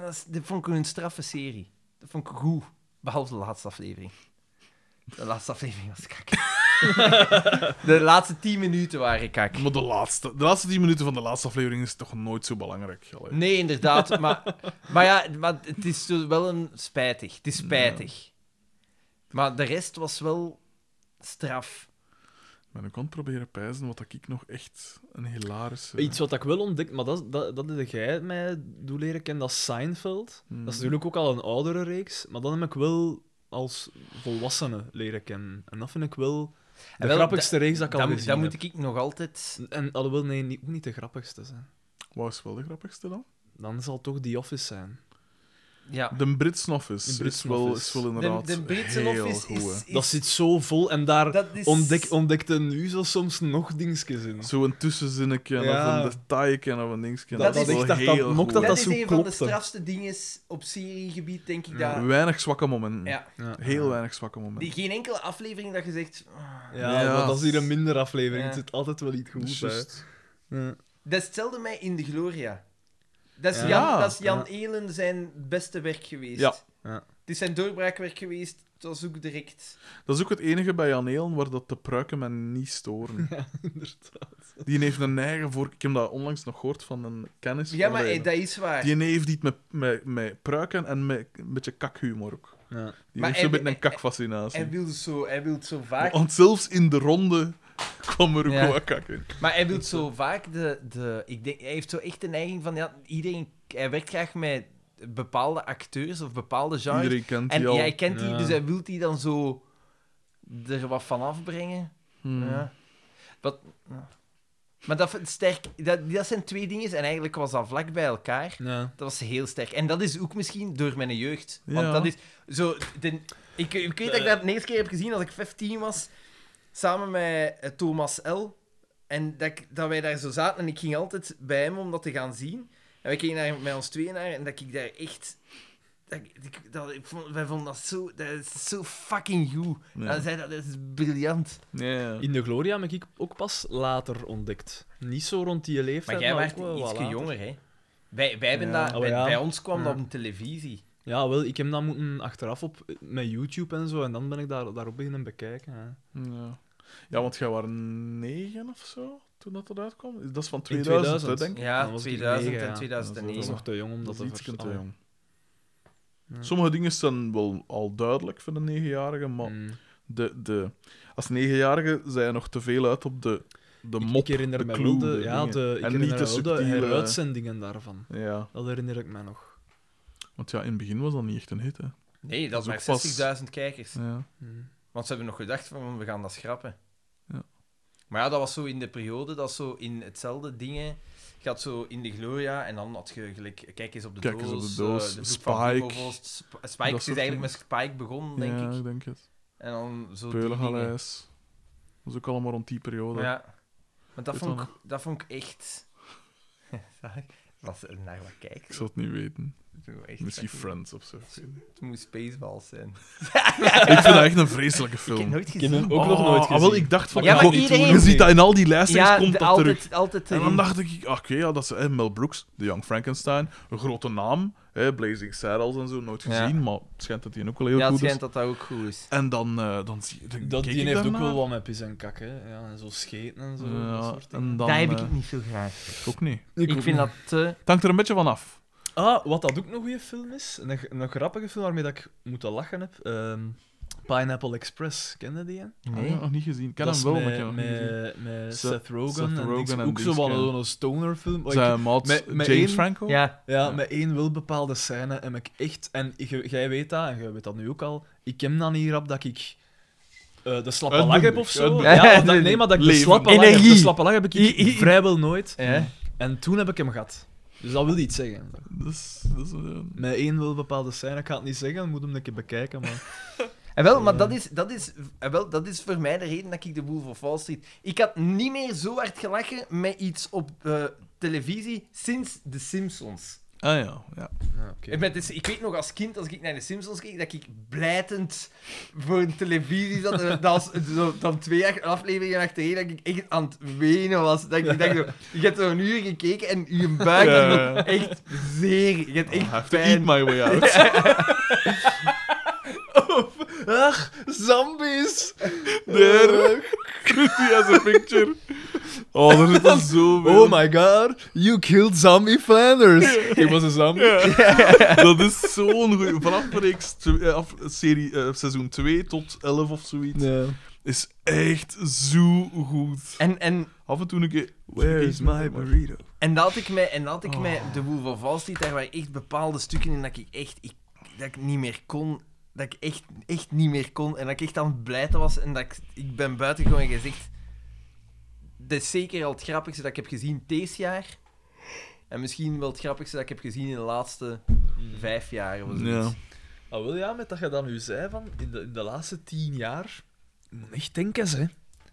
G: dat is- dit vond ik een straffe serie. Dat vond ik goed, behalve de laatste aflevering. De laatste aflevering was kak. de laatste tien minuten waren kak.
C: Maar de laatste, de laatste 10 minuten van de laatste aflevering is toch nooit zo belangrijk. Allee.
G: Nee, inderdaad. maar, maar ja, maar het is zo wel een spijtig. Het is spijtig. Maar de rest was wel straf.
C: Ik ben ook aan het proberen pijzen wat ik nog echt een hilarische...
B: Iets wat ik wel ontdekt, maar dat, dat, dat heb jij mij doen leren kennen, dat is Seinfeld.
C: Hmm.
B: Dat is natuurlijk ook al een oudere reeks, maar dan heb ik wel als volwassene leren kennen. En dat vind ik wel de
G: En wel,
B: grappigste reeks dat ik al
G: Dan,
B: gezien
G: dan moet
B: heb.
G: ik nog altijd
B: En alhoewel, nee, niet, moet niet de grappigste zijn.
C: Wat is wel de grappigste dan?
B: Dan zal het toch The Office zijn.
A: Ja.
C: De Brits Office,
B: De Brits
C: is, wel,
B: Office.
C: is wel
A: De,
C: inderdaad
A: de Britse
C: heel
A: office
C: goed, hè.
A: is, is...
B: Dat zit zo vol en daar
A: dat is-
B: ontdek, ontdekte nu zo soms nog dingetjes in.
C: Zo'n tussenzinnetje
B: Ja.
C: of een detailje of een dingetje.
B: Dat
A: is
C: wel
B: echt dat-
C: heel
B: dat mokt
C: goed.
A: dat,
B: dat
A: is
B: zo
A: een van de
B: klopte.
A: strafste dingen op seriegebied, denk ik.
C: Ja.
A: Daar.
C: Weinig zwakke momenten.
A: Ja.
B: Ja.
C: Heel weinig zwakke momenten.
A: Die, geen enkele aflevering dat je zegt... "Ah."
B: Ja,
C: Ja.
B: maar dat is hier een minder aflevering.
A: Ja.
B: Het zit altijd wel iets goed bij.
C: Juist.
B: Ja.
A: Dat stelde mij in de Gloria. Dat is
B: Ja.
A: Jan,
C: Ja.
A: dat is Jan
B: Ja.
A: Elen zijn beste werk geweest.
C: Ja.
B: Ja.
A: Het is zijn doorbraakwerk geweest. Het was ook direct...
C: Dat is ook het enige bij Jan Eelen waar dat de pruiken mij niet storen. Die heeft een eigen voor... Ik heb dat onlangs nog gehoord van een kennis.
A: Ja,
C: van
A: maar
C: mij.
A: hey, dat is waar.
C: Die heeft iets met, met, met pruiken en met een beetje kakhumor ook.
B: Ja.
C: Die
A: Maar
C: heeft zo'n
A: hij-
C: beetje een kakfascinatie.
A: Hij wil zo, hij wil zo vaak...
C: Want zelfs in de ronde kwam er ook
A: Ja.
C: wat kak in.
A: Maar hij wil zo vaak de, de... Ik denk, hij heeft zo echt de neiging van... Ja, iedereen... Hij werkt graag met bepaalde acteurs of bepaalde genres.
C: Iedereen kent
A: En
C: die al.
A: jij kent die,
B: Ja.
A: dus hij wil die dan zo er wat van afbrengen.
C: Hmm.
A: Ja. Wat, ja. Maar dat, vind ik sterk, dat, dat zijn twee dingen en eigenlijk was dat vlak bij elkaar.
B: Ja.
A: Dat was heel sterk. En dat is ook misschien door mijn jeugd. Want
C: Ja.
A: dat is zo... de- ik, ik weet dat ik dat de eerste keer heb gezien als ik 15 was, samen met eh, Thomas L. En dat, ik- dat wij daar zo zaten en ik ging altijd bij hem om dat te gaan zien. En wij keken daar met ons tweeën naar en dat ik daar echt... Dat, ik- ik- dat, ik vond, wij vonden dat zo... Dat is zo fucking goed.
C: Ja.
A: En zei dat, dat is briljant.
C: Ja.
B: In de Gloria heb ik ook pas later ontdekt. Niet zo rond die leeftijd.
A: Maar jij
B: maar
A: werd
B: ook wel wat
A: iets
B: later.
A: jonger, hè? Wij, wij hebben
C: Ja.
A: dat,
B: Oh,
A: bij,
B: ja.
A: bij ons kwam dat
B: Ja.
A: op de televisie.
B: Ja, wel, ik heb dat moeten achteraf op met YouTube en zo. En dan ben ik daar, daarop beginnen bekijken. Hè.
C: Ja. ja, want jij was negen of zo toen dat eruit kwam. Dat is van
B: In
C: 2000, hè, denk ik.
A: Ja,
B: Dan was ik
A: 2000
B: negen,
A: en
B: ja. Dat is
A: 2009.
B: nog te jong om
C: Dat
B: dat,
C: is iets
B: te
C: te
B: verstaan.
C: jong.
B: Ja.
C: Sommige dingen zijn wel al duidelijk voor de negenjarige, maar
B: Mm.
C: de, de, als negenjarige zei je nog te veel uit op de, de
B: Ik-
C: mop,
B: ik herinner
C: de
B: me
C: clue,
B: wel
C: de
B: de, ja,
C: dingen.
B: de, ik
C: en niet
B: herinner
C: de
B: me wel de
C: subtiele...
B: heruitzendingen daarvan.
C: Ja,
B: Dat herinner ik mij nog.
C: want ja, in het begin was dat niet echt een hit, hè.
A: Nee, dat,
C: Dat is
A: is
C: ook
A: maar
C: pas-
A: 60.000 kijkers.
C: Ja.
B: Mm.
A: Want ze hebben nog gedacht van, we gaan dat schrappen.
C: Ja.
A: Maar ja, dat was zo in de periode, dat zo in hetzelfde dingen... Je had zo in de Gloria en dan had je gelijk... Kijk eens op de
C: Kijk eens
A: doos.
C: op de
A: eh,
C: doos,
A: Hoek van
C: Spike.
A: Flevovoort, Sp- Spike
C: Dat
A: is
C: soort
A: eigenlijk met Spike begonnen, denk
C: ja,
A: ik.
C: denk het.
A: En dan zo die dingen.
C: Peulengalijs. Dat is ook allemaal rond die periode.
A: Ja. Maar dat
C: Weet
A: vond,
C: wel
A: ik, dat vond ik echt... Zag je? Was er naar wat kijken?
C: Ik zou het niet weten.
A: Zo echt
C: Misschien
A: fucking-
C: Friends of zo. Ik
A: Het moet Spaceballs zijn.
C: vind dat echt een vreselijke
A: Ik heb
C: film.
A: nooit gezien.
B: ook nog nooit
C: Ah, wel,
B: gezien.
C: ik dacht van...
A: Ja, maar
C: God,
A: iedereen-
C: Je ziet dat in al die lijstjes,
A: ja,
C: komt
A: de-
C: dat
A: altijd,
C: terug.
A: altijd
C: En dan
A: erin.
C: dacht ik, oké, ja, dat is hè, Mel Brooks, The Young Frankenstein, een grote naam, hè, Blazing Saddles en zo, nooit
A: Ja.
C: gezien, maar het schijnt dat die ook al heel
A: Ja, het
C: goed is.
A: schijnt dat dat ook goed is.
C: En dan, eh, dan zie dan
B: Dat,
C: keek
B: die
C: ik
B: heeft ook
C: daarnaar.
B: wel wat met pis en kak, hè. Ja, en zo scheten en zo. dat
C: Ja,
B: soort dingen.
C: en dan,
A: dat heb
C: eh,
A: ik niet zo graag.
C: ook niet.
A: Ik, vind dat te...
C: Het hangt er een beetje van af.
B: Ah, wat dat ook nog een goede film is, een, g- een grappige film waarmee dat ik moeten lachen heb. ehm, Pineapple Express, kende die? hè?
C: Ik heb
A: Nee.
C: hem nog niet gezien. Ik ken
B: dat
C: hem
B: is
C: wel,
B: met,
C: maar ik heb hem nog niet gezien.
B: met, met
C: Seth-
B: Seth Rogen.
C: Seth
B: en
C: Rogen
B: dings-
C: en
B: ook zo
C: dings,
B: wel
C: ja.
B: een stoner film. maar Oh, ik-
C: Zijn maat
B: met- met
C: James
B: één-
C: Franco?
A: Ja.
B: ja,
C: ja.
B: met één wel bepaalde scène heb ik echt... En j- jij weet dat, en jij weet dat nu ook al, ik ken dan hier op dat ik... eh, de slappe lach heb of zo.
C: Uitbundig.
B: Ja, dat, nee, maar dat ik de
C: Leven.
B: slappe, lach heb, de
A: Energie.
B: slappe lach heb ik,
A: I- I-
B: vrijwel nooit.
A: Ja.
B: En toen heb ik hem gehad. Dus dat wil iets zeggen.
C: Dat is- dat is, eh,
B: Met één wil bepaalde scène, ik ga het niet zeggen, moet hem een keer bekijken, maar...
A: En wel, maar dat is, dat, is, en wel, dat is voor mij de reden dat ik de Wolf of Wall Street... Ik had niet meer zo hard gelachen met iets op eh, televisie sinds The Simpsons.
C: Ah ja, ja.
B: Ja, oké.
A: Ik, ben, dus, ik weet nog als kind, als ik naar de Simpsons keek, dat ik blijtend voor een televisie zat.
C: eh,
A: En dat was zo, dan twee jaar afleveringen achtereen, dat ik echt aan het wenen was. Dat ik, dat ik zo, je hebt zo'n uur gekeken en je buik is
C: Ja. Oh,
A: nog echt zeer. Je hebt
C: I have
A: echt
C: to eat
A: pijn.
C: my way out.
B: Ach, zombies!
C: There. Christy has a picture. Oh, er zitten zoveel.
B: Oh my god, you killed zombie Flanders! He was a zombie.
C: Dat is zo'n goeie. Vanaf reeks tw- eh, af, serie, eh, seizoen 2 tot 11 of zoiets.
B: Ja.
C: Is echt zo goed.
A: En, en,
C: Af en toe een keer.
B: Where is my burrito?
A: en dat had ik mij, en dat had ik mij
C: Oh.
A: de Wolf of Wall Street, daar waren echt bepaalde stukken in dat ik echt ik, dat ik niet meer kon. Dat ik echt, echt niet meer kon. En dat ik echt aan het blijten was. En dat ik, ik ben buitengewoon gezegd. Dat is zeker al het grappigste dat ik heb gezien deze jaar. En misschien wel het grappigste dat ik heb gezien in de laatste Vijf jaar of zoiets.
C: Ja.
B: Ah, wel ja, met dat je dan nu zei van in de, in de laatste tien jaar. je Moet echt denken, hè.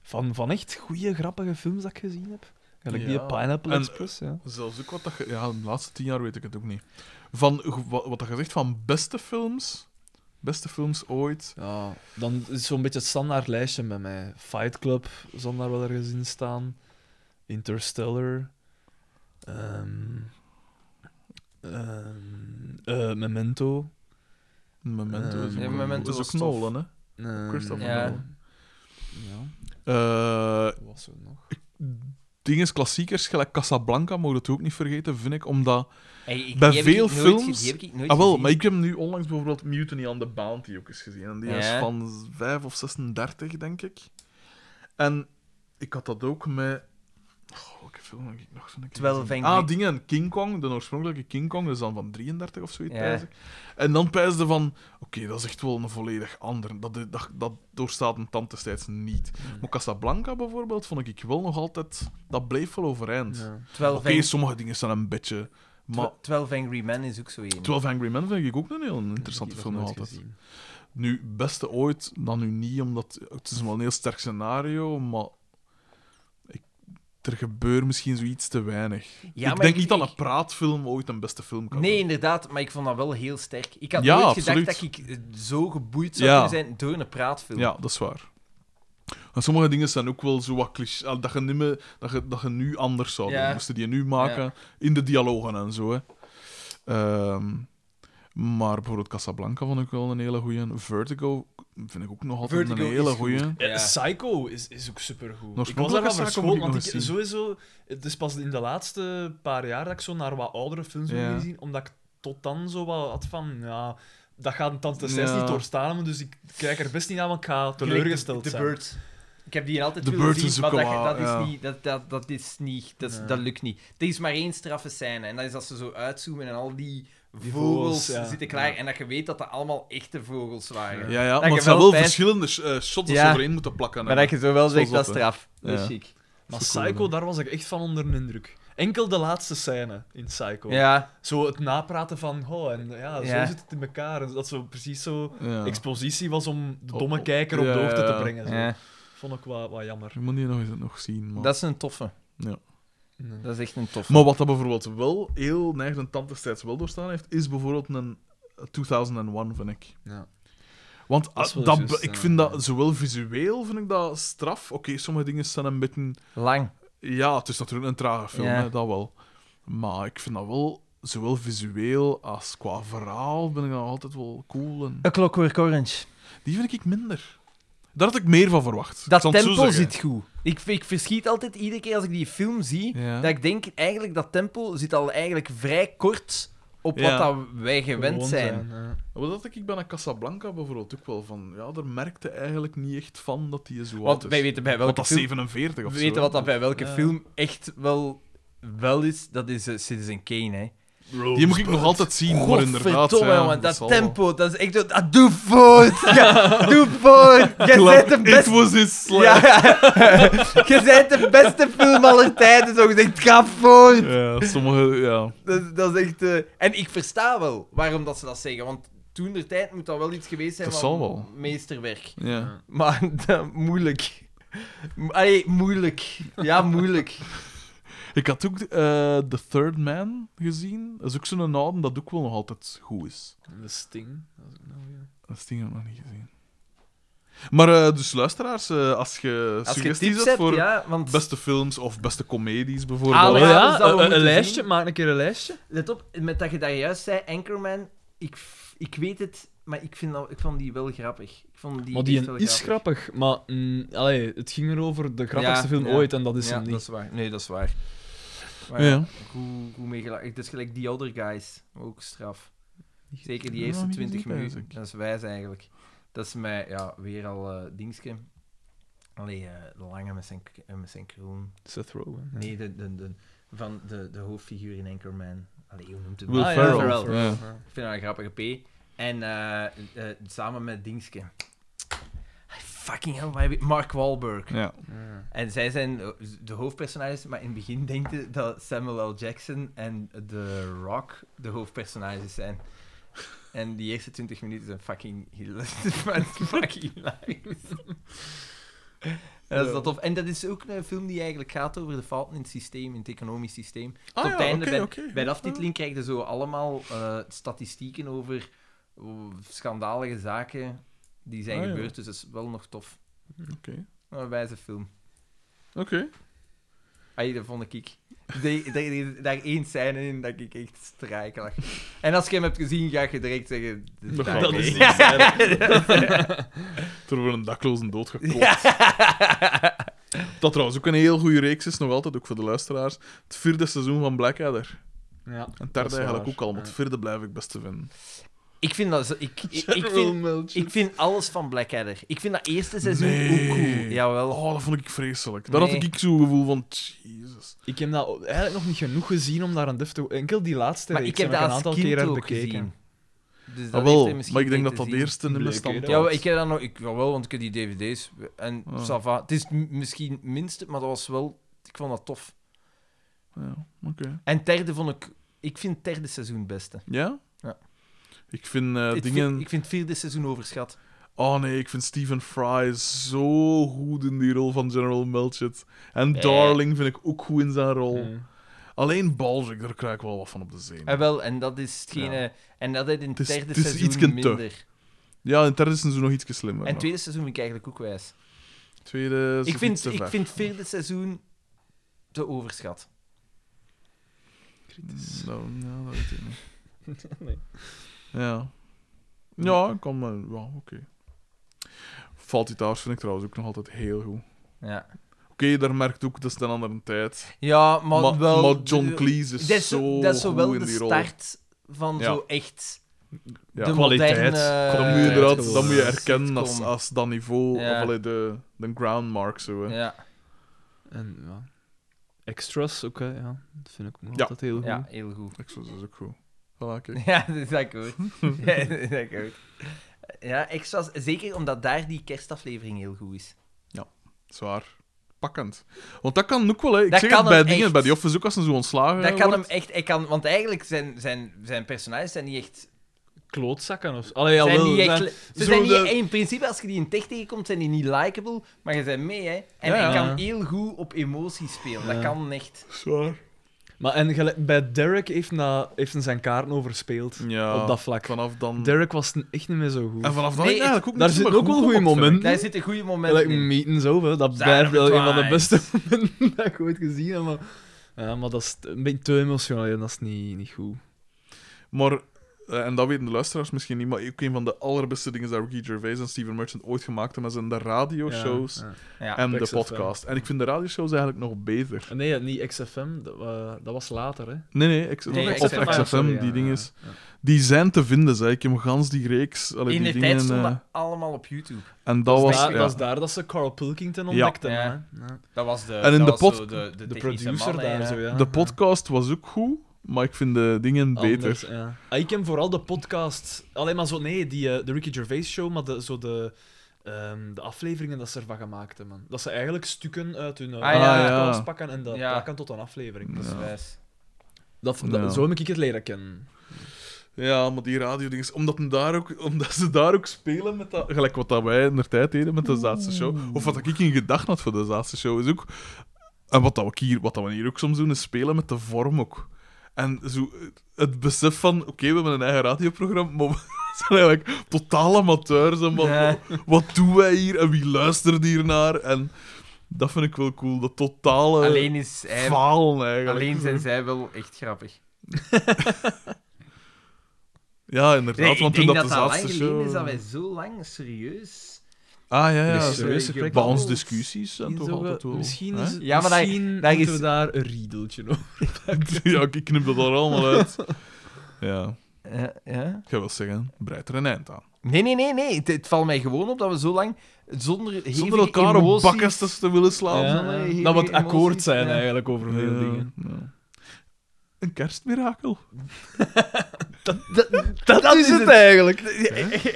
B: Van, van echt goede, grappige films dat ik gezien heb. Gelijk die
C: Ja.
B: Pineapple
C: En-
B: Express, ja.
C: Zelfs ook wat dat ge- Ja, de laatste tien jaar weet ik het ook niet. Van, ge- wat, wat dat je zegt van beste films... Beste films ooit.
B: Ja, dan is zo'n beetje het standaard lijstje bij mij. Fight Club zal daar wel ergens in staan. Interstellar. Ehm, ehm, eh, Memento.
C: Eh, Memento is
B: Ehm,
C: ook,
A: ja, Memento
C: is
A: was
C: ook
A: tof.
C: Nolan, hè.
B: Ehm,
C: Christopher
A: Ja.
C: Nolan.
B: Ja,
C: Eh,
B: wat was er nog?
C: dinges, klassiekers, gelijk Casablanca, mogen dat ook niet vergeten, vind ik, omdat...
A: Hey, ik-
C: Bij
A: die heb ik
C: veel
A: nooit ge-
C: films-
A: die heb ik nooit
C: Ah wel,
A: gezien.
C: maar ik heb nu onlangs bijvoorbeeld Mutiny on the Bounty ook eens gezien. En die is
A: Ja.
C: van 5 of 36, denk ik. En ik had dat ook met... Oh, welke film heb ik nog zo'n keer
A: 12
C: gezien?
A: Angry-
C: Ah, dingen. King Kong, de oorspronkelijke King Kong. Dat is dan van 33 of zoiets,
A: Ja.
C: pijs ik. En dan pijsde van... Oké, dat is echt wel een volledig ander. Dat, dat, dat doorstaat een tand destijds niet.
A: Hmm.
C: Maar Casablanca bijvoorbeeld, vond ik wel nog altijd... Dat bleef wel overeind.
B: Ja.
A: 12,
C: Oké,
A: Ang-
C: sommige dingen zijn een beetje... Maar
A: 12 Angry Men is ook zo één.
C: 12 Angry Men vind ik ook een heel interessante
B: Ik heb
C: film nog
B: dat
C: altijd.
B: nooit gezien.
C: Nu, beste ooit, dan nu niet, omdat het is wel een heel sterk scenario, maar ik, er gebeurt misschien zoiets te weinig.
A: Ja,
C: ik
A: maar
C: denk niet dat
A: ik-
C: een praatfilm ooit een beste film kan
A: Nee,
C: worden.
A: inderdaad, maar ik vond dat wel heel sterk. Ik had
C: Ja,
A: nooit gedacht dat
C: absoluut.
A: ik eh, zo geboeid zou
C: Ja.
A: kunnen zijn door een praatfilm.
C: Ja, dat is waar. En sommige dingen zijn ook wel zo wat cliché, ah, dat je, niet meer, dat je, dat je nu anders zou doen.
G: Ja.
C: Moesten die nu maken in de dialogen en zo. Hè. Ehm, maar bijvoorbeeld Casablanca vond ik wel een hele goeie. Vertigo vind ik ook nog altijd
A: Vertigo
C: een
A: is
C: hele
A: goed.
C: goeie.
G: Ja.
B: Eh, Psycho is, is ook supergoed.
C: Nog
B: Ik was daarvan
C: Psycho
B: verschoten,
C: moet ik
B: want
C: nog
B: ik,
C: eens zien.
B: sowieso... Het is pas in de laatste paar jaar dat ik zo naar wat oudere films ben
C: Ja.
B: gezien, omdat ik tot dan zo wat had van... Ja, dat gaat een tante Sess
C: Ja.
B: niet doorstaan, dus ik kijk er best niet aan, want ik ga
A: Gelijk
B: teleurgesteld
A: de, de
B: zijn.
A: Birds. Ik heb die altijd
C: De
A: willen
C: Birds
A: zien,
C: is ook
A: maar dat,
C: wel,
A: dat, is
C: ja.
A: niet, dat, dat, dat is niet, dat, is-
B: Ja.
A: dat lukt niet. Er is maar één straffe scène en dat is dat ze zo uitzoomen en al die,
B: Die
A: vogels,
B: vogels, ja.
A: zitten klaar
B: Ja.
A: en dat je weet dat dat allemaal echte vogels waren.
C: Ja, ja
A: Dat
C: maar
A: je
C: het zijn
A: wel
C: wel
A: pijs-
C: verschillende sh- eh, shots dat ze
A: Ja.
C: overeen moeten plakken.
A: Maar
C: hè.
A: dat je zo wel zegt,
C: Zoals dat,
A: dat is
C: hè.
A: straf. Dat is
C: Ja.
A: chic.
B: Maar
C: Dat is ook wel
B: Psycho,
C: een-
B: daar was ik echt van onder de indruk. Enkel de laatste scène in Psycho.
A: Ja,
B: Zo het napraten van, oh, en ja, zo
A: Ja.
B: zit het in elkaar. En dat zo precies zo
C: Ja.
B: expositie was om de
C: Oh,
B: domme
C: oh.
B: kijker op
C: Ja,
B: de hoogte
C: ja,
B: te
C: ja.
B: brengen. Zo.
A: ja.
B: Vond ik wel wat jammer.
C: Je moet die nog eens nog zien. Maar...
A: dat is een toffe.
B: Nee.
A: Dat is echt een toffe.
C: maar wat dat bijvoorbeeld wel heel neigend tand destijds wel doorstaan heeft, is bijvoorbeeld een 2001, vind ik.
B: Ja.
C: Want
B: Dat is
C: ah,
B: wel eh,
C: dat,
B: juist,
C: be- ik
B: ja.
C: vind dat zowel visueel vind ik dat straf. Oké, sommige dingen zijn een beetje.
A: Lang.
C: Ja, het is natuurlijk een trage film,
A: Ja.
C: hè, dat wel. Maar ik vind dat wel, zowel visueel als qua verhaal, ben ik dat altijd wel cool. En...
A: A Clockwork Orange.
C: Die vind ik minder. Daar had ik meer van verwacht.
A: Dat
C: Ik zal het zo
A: tempo
C: zeggen.
A: zit goed. Ik, ik verschiet altijd iedere keer als ik die film zie,
C: Ja.
A: dat ik denk eigenlijk dat tempo zit al eigenlijk vrij kort op
C: Ja.
A: wat dat wij gewend
B: Gewoon
A: zijn.
B: ja.
C: Maar dat denk ik bij een Casablanca bijvoorbeeld ook wel van. Ja, daar merkte eigenlijk niet echt van dat die zo oud
A: Want
C: is.
A: wij weten bij
C: Want
A: welke
C: dat is
A: film,
C: 47
A: we
C: of
A: weten
C: zo.
A: wat dat bij welke
B: Ja.
A: film echt wel, wel is. Dat is eh, Citizen Kane, hè.
C: Die moet ik nog altijd zien, maar inderdaad.
A: Godverdomme,
C: ja,
A: man, dat,
C: zal wel.
A: tempo, dat is echt zo... Ah, doe voort! Ja, doe voort! Jij bent de
C: It
A: beste...
C: was dus his slap.
A: Ja, je bent de beste film aller tijden, zo gezegd. Ga voort!
C: Ja, sommige... Ja.
A: Dat, dat is echt. eh, En ik versta wel waarom dat ze dat zeggen. Want toen der tijd moet dat wel iets geweest zijn
C: Dat
A: van
C: zal wel.
A: meesterwerk.
C: ja.
A: Maar dat- moeilijk. Mo- Allee, moeilijk. Ja, moeilijk.
C: Ik had ook eh, The Third Man gezien. Dat is ook zo'n oude dat ook wel nog altijd goed is.
B: De Sting. Dat is ook nog weer.
C: Dat ding heb ik nog niet gezien. Maar eh, dus luisteraars, eh, als je
A: Als je
C: suggesties
A: tips
C: hebt
A: hebt,
C: voor
A: ja, want
C: beste films of beste comedies
A: Ah,
C: bijvoorbeeld...
A: maar- ja, dus dat we
B: een- een,
A: moeten
B: lijstje.
A: zien.
B: Maak een keer een lijstje.
A: let op, met dat je daar juist zei, Anchorman, ik, f- ik weet het, maar ik, vind dat, ik vond die wel grappig. Ik vond die
B: maar die
A: echt wel
B: is grappig. Maar mm, allee, het ging erover de grappigste
A: Ja,
B: film
A: ja.
B: ooit en dat is
A: ja,
B: hem niet.
A: dat is waar. Nee, dat is waar. Maar
C: Ja.
A: ja, Hoe, hoe meegelachen. Het is gelijk die Other Guys, ook straf. Zeker die
C: Ja,
A: eerste
C: niet
A: 20
C: gezien,
A: minuten.
C: eigenlijk.
A: Dat is wijs eigenlijk. Dat is mij, ja, weer al eh dingske. Allee, eh, de lange met zijn, k- eh, met zijn kroon.
B: Seth Rogen. ja.
A: Nee, de, de, de, van de, de hoofdfiguur in Anchorman. Allee, hoe noemt het?
C: Will
B: Ah, ja,
C: Ferrell.
B: Ferrell.
C: Ja.
A: Ik vind dat een grappige P. En eh, eh, samen met dingske. I fucking hell, waar heb ik- Mark Wahlberg.
C: Ja.
A: En zij zijn de hoofdpersonages, maar in het begin denk je dat Samuel L. Jackson en The Rock de hoofdpersonages zijn. En die eerste 20 minuten zijn fucking hilarious. Maar het is fucking hilarious. En dat is dat tof. En dat is ook een film die eigenlijk gaat over de fouten in het systeem, in het economisch systeem.
C: Ah,
A: Tot
C: ja,
A: het einde,
C: oké,
A: bij,
C: oké. Ah.
A: bij de aftiteling krijg je zo allemaal eh, statistieken over oh, schandalige zaken die zijn
C: Ah, ja.
A: gebeurd. Dus dat is wel nog tof.
C: Oké.
A: Een wijze film.
C: Ah, Oké.
A: Ai, dat vond ik. ik. De- de- de- daar één scène in dat ik echt strijkelig. En als je hem hebt gezien, ga je direct zeggen... dit is
C: Dat
A: daar
C: gaat
A: mee.
C: niet Toen we een daklozen dood geklopt. Dat trouwens ook een heel goede reeks is, nog altijd, ook voor de luisteraars. Het vierde seizoen van Blackadder.
B: Ja.
C: En
B: Dat
C: derde
B: is
C: eigenlijk
B: waar,
C: ook al, maar
B: ja.
C: het vierde blijf ik best te vinden.
A: Ik vind dat... zo- Ik, ik, ik, vind, ik vind alles van Blackadder. Ik vind dat eerste seizoen ook cool.
C: Nee.
A: Jawel.
C: Oh, dat vond ik vreselijk. Daar
A: Nee.
C: had ik zo'n gevoel van, jezus.
B: Ik heb dat eigenlijk nog niet genoeg gezien om daar een deftig... Enkel die laatste
A: maar
B: reeks
A: ik heb
B: heb
A: dat
B: een
A: als
B: aantal
A: kind
B: keer
A: ook
B: bekeken.
A: gezien. Dus
C: Ah,
A: dat heeft
C: wel,
A: er misschien
C: maar ik denk dat
A: mee te
C: dat
A: zien.
C: eerste nummer
B: Bleek, hè,
C: stand
A: Ja, wel, ik heb dat nog... Ik, jawel, want ik heb die dvd's. En
C: Ah.
A: ça va. Het is m- misschien het minste, maar dat was wel... Ik vond dat tof.
C: Ja, oké.
A: En het derde vond ik... Ik vind het derde seizoen het beste.
C: Ja?
A: Ja.
C: Ik vind eh,
A: Ik
C: dingen...
A: vind- ik vind het vierde seizoen overschat.
C: Oh nee, ik vind Stephen Fry zo goed in die rol van General Melchett. En
A: Eh.
C: Darling vind ik ook goed in zijn rol.
A: Oh.
B: Mm.
C: Alleen Balzac, daar krijg ik wel wat van op de zenuw.
A: Ah, wel, en dat is hetgene... En dat is in het
C: Het is-
A: derde
C: het is
A: seizoen
C: ietsken te.
A: minder.
C: Ja, in het derde seizoen nog iets slimmer.
A: En het
C: nog.
A: tweede seizoen vind ik eigenlijk ook wijs.
C: Tweede seizoen
A: Ik
C: iets
A: vind,
C: te
A: ik
C: ver.
A: vind het vierde seizoen te overschat.
C: Nou, nou, dat weet ik niet.
B: Nee.
C: Ja. Ja, ik kan maar... Ja, oké. Valt die Towers vind ik trouwens ook nog altijd heel goed. Oké,
A: Ja,
C: daar merkt ook, dat is een andere tijd.
A: ja maar,
C: Maar,
A: wel...
C: maar John Cleese is
A: dat is,
C: zo
A: dat is zo
C: goed
A: wel
C: in
A: de
C: die rol.
A: start van
C: Ja.
A: zo echt
C: Ja.
A: de
B: Kwaliteit.
A: moderne...
C: Dan moet je,
B: inderdaad-
C: eruit, dan moet je
A: sitcom.
C: erkennen als, als dat niveau,
A: Ja.
C: of allee, de, de groundmark zo. Hè.
A: Ja,
B: En ja. Extras ook, hè, ja. Dat vind ik ook nog
C: Ja.
B: altijd heel goed.
A: ja, heel goed.
C: Ik zou dat is ook goed. Voilà, kijk.
A: Ja, dat is akkoord. ja, dat is akkoord. Ja, extra's, zeker omdat daar die kerstaflevering heel goed is.
C: Zwaar. Pakkend. Want dat kan ook wel, hè. Ik
A: Dat
C: zeg
A: kan
C: het bij
A: hem
C: dingen,
A: echt.
C: bij die office ook als ze zo ontslagen
A: Dat kan hem
C: wordt.
A: echt... Hij kan, want eigenlijk zijn, zijn, zijn personages zijn niet echt
B: Klootzakken of zo. Allee,
A: zijn
B: jawel,
A: niet echt,
B: zijn-
A: ze
B: zo
A: zijn niet,
B: de-
A: In principe, als je die in tech tegenkomt, zijn die niet likable, maar je bent mee, hè. En
B: Ja,
A: hij
B: ja.
A: kan heel goed op emoties spelen. Dat
B: Ja.
A: kan echt.
C: Zwaar.
B: Maar en gelijk- bij Derek heeft, na, heeft hij zijn kaarten overspeeld.
C: Ja,
B: Op dat vlak.
C: vanaf dan...
B: Derek was n- echt niet meer zo goed.
C: En vanaf dan
A: Nee,
C: heb ik eigenlijk ook
B: daar
C: niks
B: zitten
C: meer
B: ook
C: goed
B: wel goede
C: gemaakt, vind ik.
B: momenten.
A: Daar zitten goede momenten
B: Like
A: in.
B: meetings over, dat
A: Saturday
B: blijft wel een van de
A: Night.
B: beste momenten dat ik ooit gezien heb. Maar, ja, maar dat is een beetje te emotioneel en dat is niet, niet goed.
C: Maar, eh, en dat weten de luisteraars misschien niet, maar ook een van de allerbeste dingen dat Ricky Gervais en Steven Merchant ooit gemaakt hebben, zijn de radioshows
B: Ja,
A: Ja.
C: en de
B: XFM.
C: podcast. En ik vind de radioshows eigenlijk nog beter.
B: ja. Ah, Nee, niet XFM, dat, wa- dat was later. Hè.
C: Nee, nee, X-
A: Nee,
C: of
A: XFM,
C: XFM,
B: sorry, ja,
C: die dingen. is-
B: ja, ja.
C: Die zijn te vinden, zei ik. Ik heb gans die reeks. allee,
A: In
C: die
A: de tijd
C: dingen,
A: stond
C: eh,
A: dat allemaal op YouTube.
C: en dat was.
B: daar,
C: ja.
B: dat is daar dat ze Carl Pilkington ontdekten. hè. Ja.
A: Ja. Dat was de,
C: En in
A: dat
C: de
A: was
C: pod-
A: zo de, de,
B: De
A: technische
B: producer
A: man, hè,
B: daar,
A: ja.
B: zo ja.
C: De podcast was ook goed, maar ik vind de dingen beter.
B: Anders, ja. Ah, ik ken vooral de podcast. Alleen maar zo, nee, die, eh, de Ricky Gervais show, maar de, zo de, ehm, de afleveringen dat ze ervan gemaakt hebben. Dat ze eigenlijk stukken uit hun eh,
A: Ah, ja.
B: podcast
C: Ah, ja.
B: pakken en dat
A: Ja.
B: plakken tot een aflevering.
A: Dat is
C: Ja.
A: wijs.
B: Dat, dat-
C: Ja.
B: Zo heb ik het leren kennen.
C: Ja, maar die radiodingen. Omdat, hem daar ook- omdat ze daar ook spelen met dat. Gelijk wat dat wij in de tijd deden met de Zaatse show. Of wat ik in gedachten had voor de Zaatse show is ook. En wat, dat we, hier, wat dat we hier ook soms doen, is spelen met de vorm ook. En zo, het besef van, oké, we hebben een eigen radioprogramma, maar we zijn eigenlijk totaal amateurs. En wat,
A: Ja.
C: wat, wat doen wij hier en wie luistert hier naar? En dat vind ik wel cool, dat totale
A: Alleen, is hij,
C: falen eigenlijk.
A: alleen zijn zij wel echt grappig.
C: Ja, inderdaad,
A: Nee, ik
C: want toen
A: denk
C: dat,
A: dat
C: de
A: dat lang
C: laatste
A: geleden
C: show...
A: is dat wij zo lang serieus...
C: Ah, ja, ja.
A: Dus,
C: zo-
A: eh,
B: serieuze
A: je
B: gesprekken.
C: Bij
A: babbelt.
C: ons discussies zijn toch altijd wel...
B: Misschien,
C: hè?
B: is,
A: Ja, maar daar-
B: misschien
A: daar
B: moeten
A: is-
B: we daar een riedeltje over.
C: ja, ik knip dat er allemaal uit. Ja,
A: Ja, ja.
C: ik ga wel zeggen, breid er een eind aan.
A: Nee, nee, nee, nee. Het, het valt mij gewoon op dat we zo lang zonder
C: Zonder elkaar op bakkestes te willen slaan.
A: Ja.
B: Dat we het akkoord
A: emoties,
B: zijn
A: ja.
B: eigenlijk over veel dingen.
C: Ja. Een kerstmirakel.
A: Dat,
G: Dat, is het eigenlijk.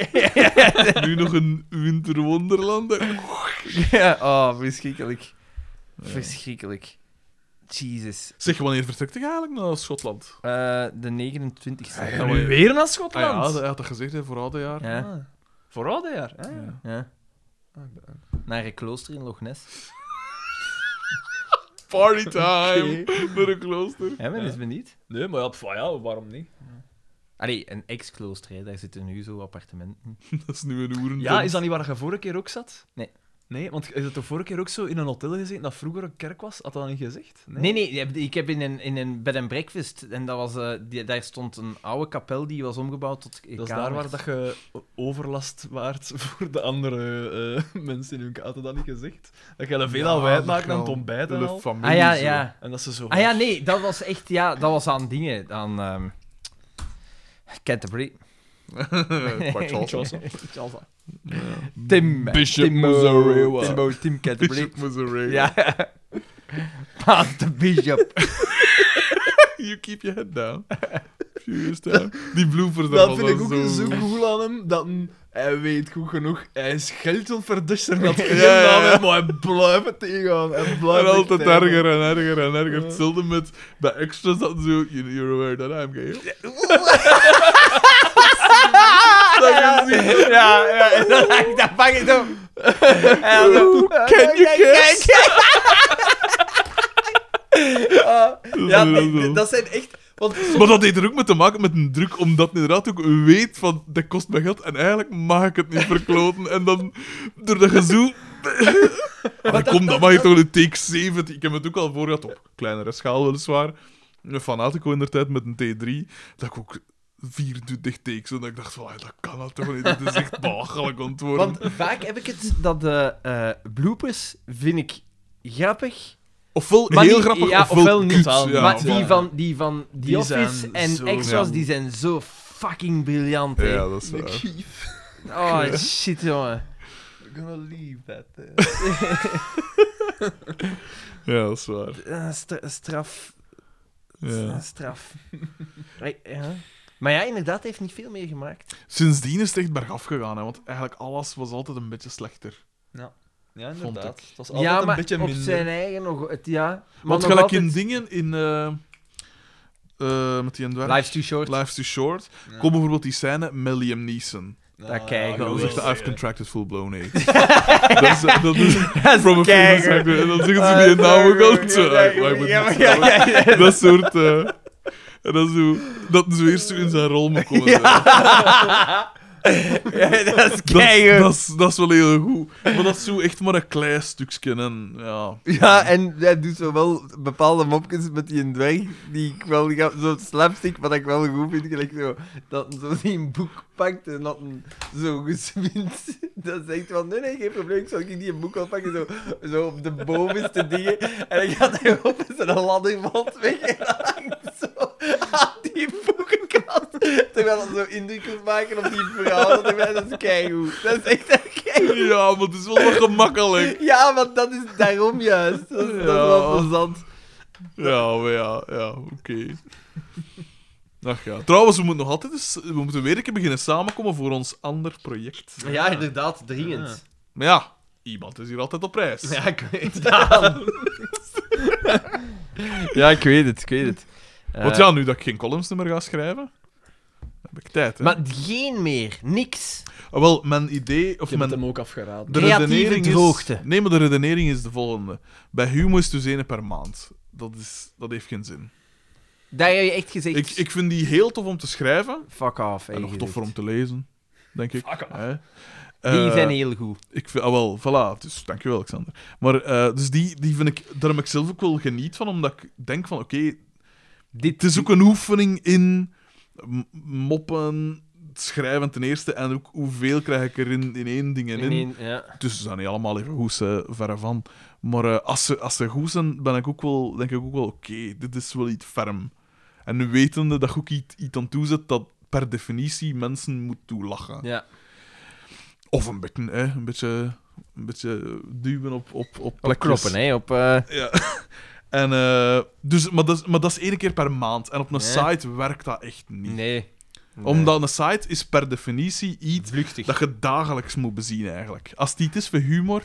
C: Nu nog een winterwonderland.
A: Ja, oh, verschrikkelijk. Verschrikkelijk. Jesus.
C: Zeg, wanneer vertrekt hij eigenlijk naar Schotland?
A: Eh, de 29 e
C: Ja, maar-
G: Weer naar
C: Ah ja,
G: Schotland.
C: hij had dat gezegd, hè, voor oude jaar.
A: Ja.
G: Ah, Voor oude jaar. Ah, ja.
A: Ja. Naar een klooster in Loch Ness.
C: Party time! Naar een klooster.
A: Ja, ben eens benieuwd.
G: Nee, maar ja, pf,
B: ah
G: ja, waarom niet?
A: Allee, een ex-klooster, hè. daar zitten nu zo appartementen.
C: Dat is nu een oeren.
G: Ja, is dat niet waar je vorige keer ook zat?
A: Nee.
G: Nee, want je hebt toch vorige keer ook zo in een hotel gezeten dat vroeger een kerk was? Had dat niet gezegd?
A: Nee, nee, je hebt- ik heb in een, in een bed and breakfast en dat was, eh, die- daar stond een oude kapel die was omgebouwd tot.
G: Dat is daar waar dat je overlast waart voor de andere eh, mensen in hun kaart. Hadden dat niet gezegd? Dat je er veel aan wijd maakt aan het ontbijt en al.
A: Ah ja, ja.
G: En dat ze zo...
A: Ah ja, nee, dat was echt, ja, dat was aan dingen, aan ehm Canterbury. Charles. Tim.
C: Bishop
A: Timo-
C: Mazarewa.
A: Timo, Tim Canterbury.
C: Bishop Missouri.
A: Ja. Paas de bishop.
C: You keep your head down. Furious down. Die bloopers
B: Dat
C: was
B: vind ik ook
C: zo...
B: zo cool aan hem, dat hem- hij weet goed genoeg, hij is geld aan het verdussen, dat geen
C: Ja, ja.
B: naam heeft, maar hij blijft het tegengaan, hij blijft
C: En
B: het
C: altijd
B: tegengaan.
C: erger en erger en erger. Hetzelfde met de extras dat zo... You, you're aware that I'm gay. dat je ziet,
A: ja, ja, dat, dat pak ik zo. En dan-
C: Can you guess?
A: Ah,
C: Dat
A: ja,
C: is wel zo.
A: nee, dat zijn echt... Want
C: Maar dat heeft er ook mee te maken met een druk, omdat hij inderdaad ook weet van, dat kost mij geld en eigenlijk mag ik het niet verkloten. En dan, door dat gezoel... Allee, Ah, kom, dat mag je toch een take 70. Ik heb het ook al voor gehad, op kleinere schaal weliswaar. Een fanatico in der tijd met een T3, dat ik ook 24 takes en dat ik dacht van, ah, dat kan dat toch niet, dat is echt belachelijk antwoord.
A: Want vaak heb ik het dat de eh, bloopers vind ik grappig.
C: Ofwel
A: maar
C: heel
A: die-
C: grappig,
A: ja,
C: ofwel,
A: ofwel niet.
C: kut,
G: Ofwel
C: ja,
A: maar die
C: voilà.
A: van, die van The
G: Die
A: Office
G: zijn
A: en
G: zo-
A: extras,
C: ja.
A: die zijn zo fucking briljant. hè.
C: Ja, dat is waar.
A: Oh shit, jongen.
B: We're gonna leave that there.
C: Ja, dat is waar.
A: Eh, stra- straf. Eh,
C: Ja.
A: Straf. Right, ja. Maar ja, inderdaad, hij heeft niet veel meer gemaakt.
C: Sindsdien is het echt bergaf gegaan, hè, want eigenlijk alles was altijd een beetje slechter.
G: Ja,
C: Vond
G: inderdaad. Het was altijd
A: Ja,
G: een
A: maar
G: beetje
A: op
G: minder.
A: zijn eigen nog. Het, ja. Maar
C: Want
A: nog
C: gelijk
A: altijd-
C: in dingen, in... eh, eh, met die een dwerg...
A: Life's too short.
C: Life's Too Short.
B: Ja.
C: Kom bijvoorbeeld die scène met Liam Neeson.
B: Nou,
A: kijk,
C: En
A: dat
C: dan
A: wil
C: zegt hij,
B: wel.
C: I've contracted full-blown AIDS. dat is... eh, Dat is from a famous
A: keigoed.
C: actor. En dan zeggen
A: Ah,
C: ze nou, die naam ook al zo. Ah,
A: Ja,
C: "I- I would not sell it." Dat soort... eh, en dan zo... Dat zo eerst zo in zijn rol moet komen.
A: Ja, dat is
C: Dat, is-
A: keigoed.
C: dat, is- dat is wel heel goed. Maar dat is zo echt maar een klein stukje. En, ja.
A: Ja, en hij doet zo wel bepaalde mopjes met die dwerg, die ik wel... ga- Zo'n slapstick, wat ik wel goed vind, gelijk zo... Dat zo die een boek pakt en dat een, zo geswint. Dat zegt van, nee, nee, geen probleem, ik zal ik die een boek wel pakken, zo, zo op de bovenste dingen. En dan gaat hij op en zijn ladder valt weg en dan hangt zo aan die boekenkast. Terwijl dat zo indruk wil maken op die vrouw. Dat is keigoed. Dat is echt keigoed.
C: ja, maar het is wel wat gemakkelijk.
A: Ja, want dat is daarom juist. Dat, is- dat is wel
C: Ja.
A: plezant.
C: Ja, maar ja, ja oké. Ach ja. Trouwens, we moeten nog altijd eens, we moeten weer een keer beginnen samenkomen voor ons ander project.
A: Ja, inderdaad, dringend.
C: Maar ja, iemand is hier altijd op reis.
A: Ja, ik weet het. Ja, ik weet het, ik weet het. Eh,
C: Want ja, nu dat ik geen columns meer ga schrijven, heb ik tijd. Hè?
A: Maar geen meer, niks.
C: Ah, Wel, mijn idee, of
G: Ik heb het
C: mijn
G: hem ook afgeraden.
C: De
A: Creatieve
C: redenering is,
A: droogte.
C: Nee, maar de redenering is de volgende. Bij Humo is het dus één per maand. Dat, is, dat heeft geen zin.
A: Daar heb je echt gezegd,
C: Ik, ik vind die heel tof om te schrijven.
A: fuck off. heb
C: En
A: je
C: nog
A: gezegd.
C: toffer om te lezen, denk ik. Hè?
A: Die
C: Eh,
A: zijn heel goed.
C: Ik vind, ah wel, voilà, dus dankjewel, Alexander. Maar eh, dus die, die vind ik, daar heb ik zelf ook wel geniet van, omdat ik denk van, oké, het
A: Dit
C: is ook een oefening in m- moppen, schrijven ten eerste, en ook hoeveel krijg ik er in, in één ding en in.
A: Nee, ja.
C: Dus ze zijn niet allemaal even goed, hè, verre van. Maar eh, als, ze, als ze goed zijn, ben ik ook wel, denk ik ook wel, oké, dit is wel iets ferm. En nu wetende dat je ook iets, iets aan toezet dat per definitie mensen moet toelachen.
A: ja.
C: Of een beetje, hè, een beetje, een beetje duwen op, op, op
A: Op
C: plekjes.
A: kloppen, hè. Op, eh,
C: Ja. En, eh, dus, maar, dat is, maar dat is één keer per maand. En op een
A: Nee.
C: site werkt dat echt niet.
A: Nee.
C: Omdat een site is per definitie iets
A: Vluchtig.
C: dat je dagelijks moet bezien, eigenlijk. Als het iets is voor humor,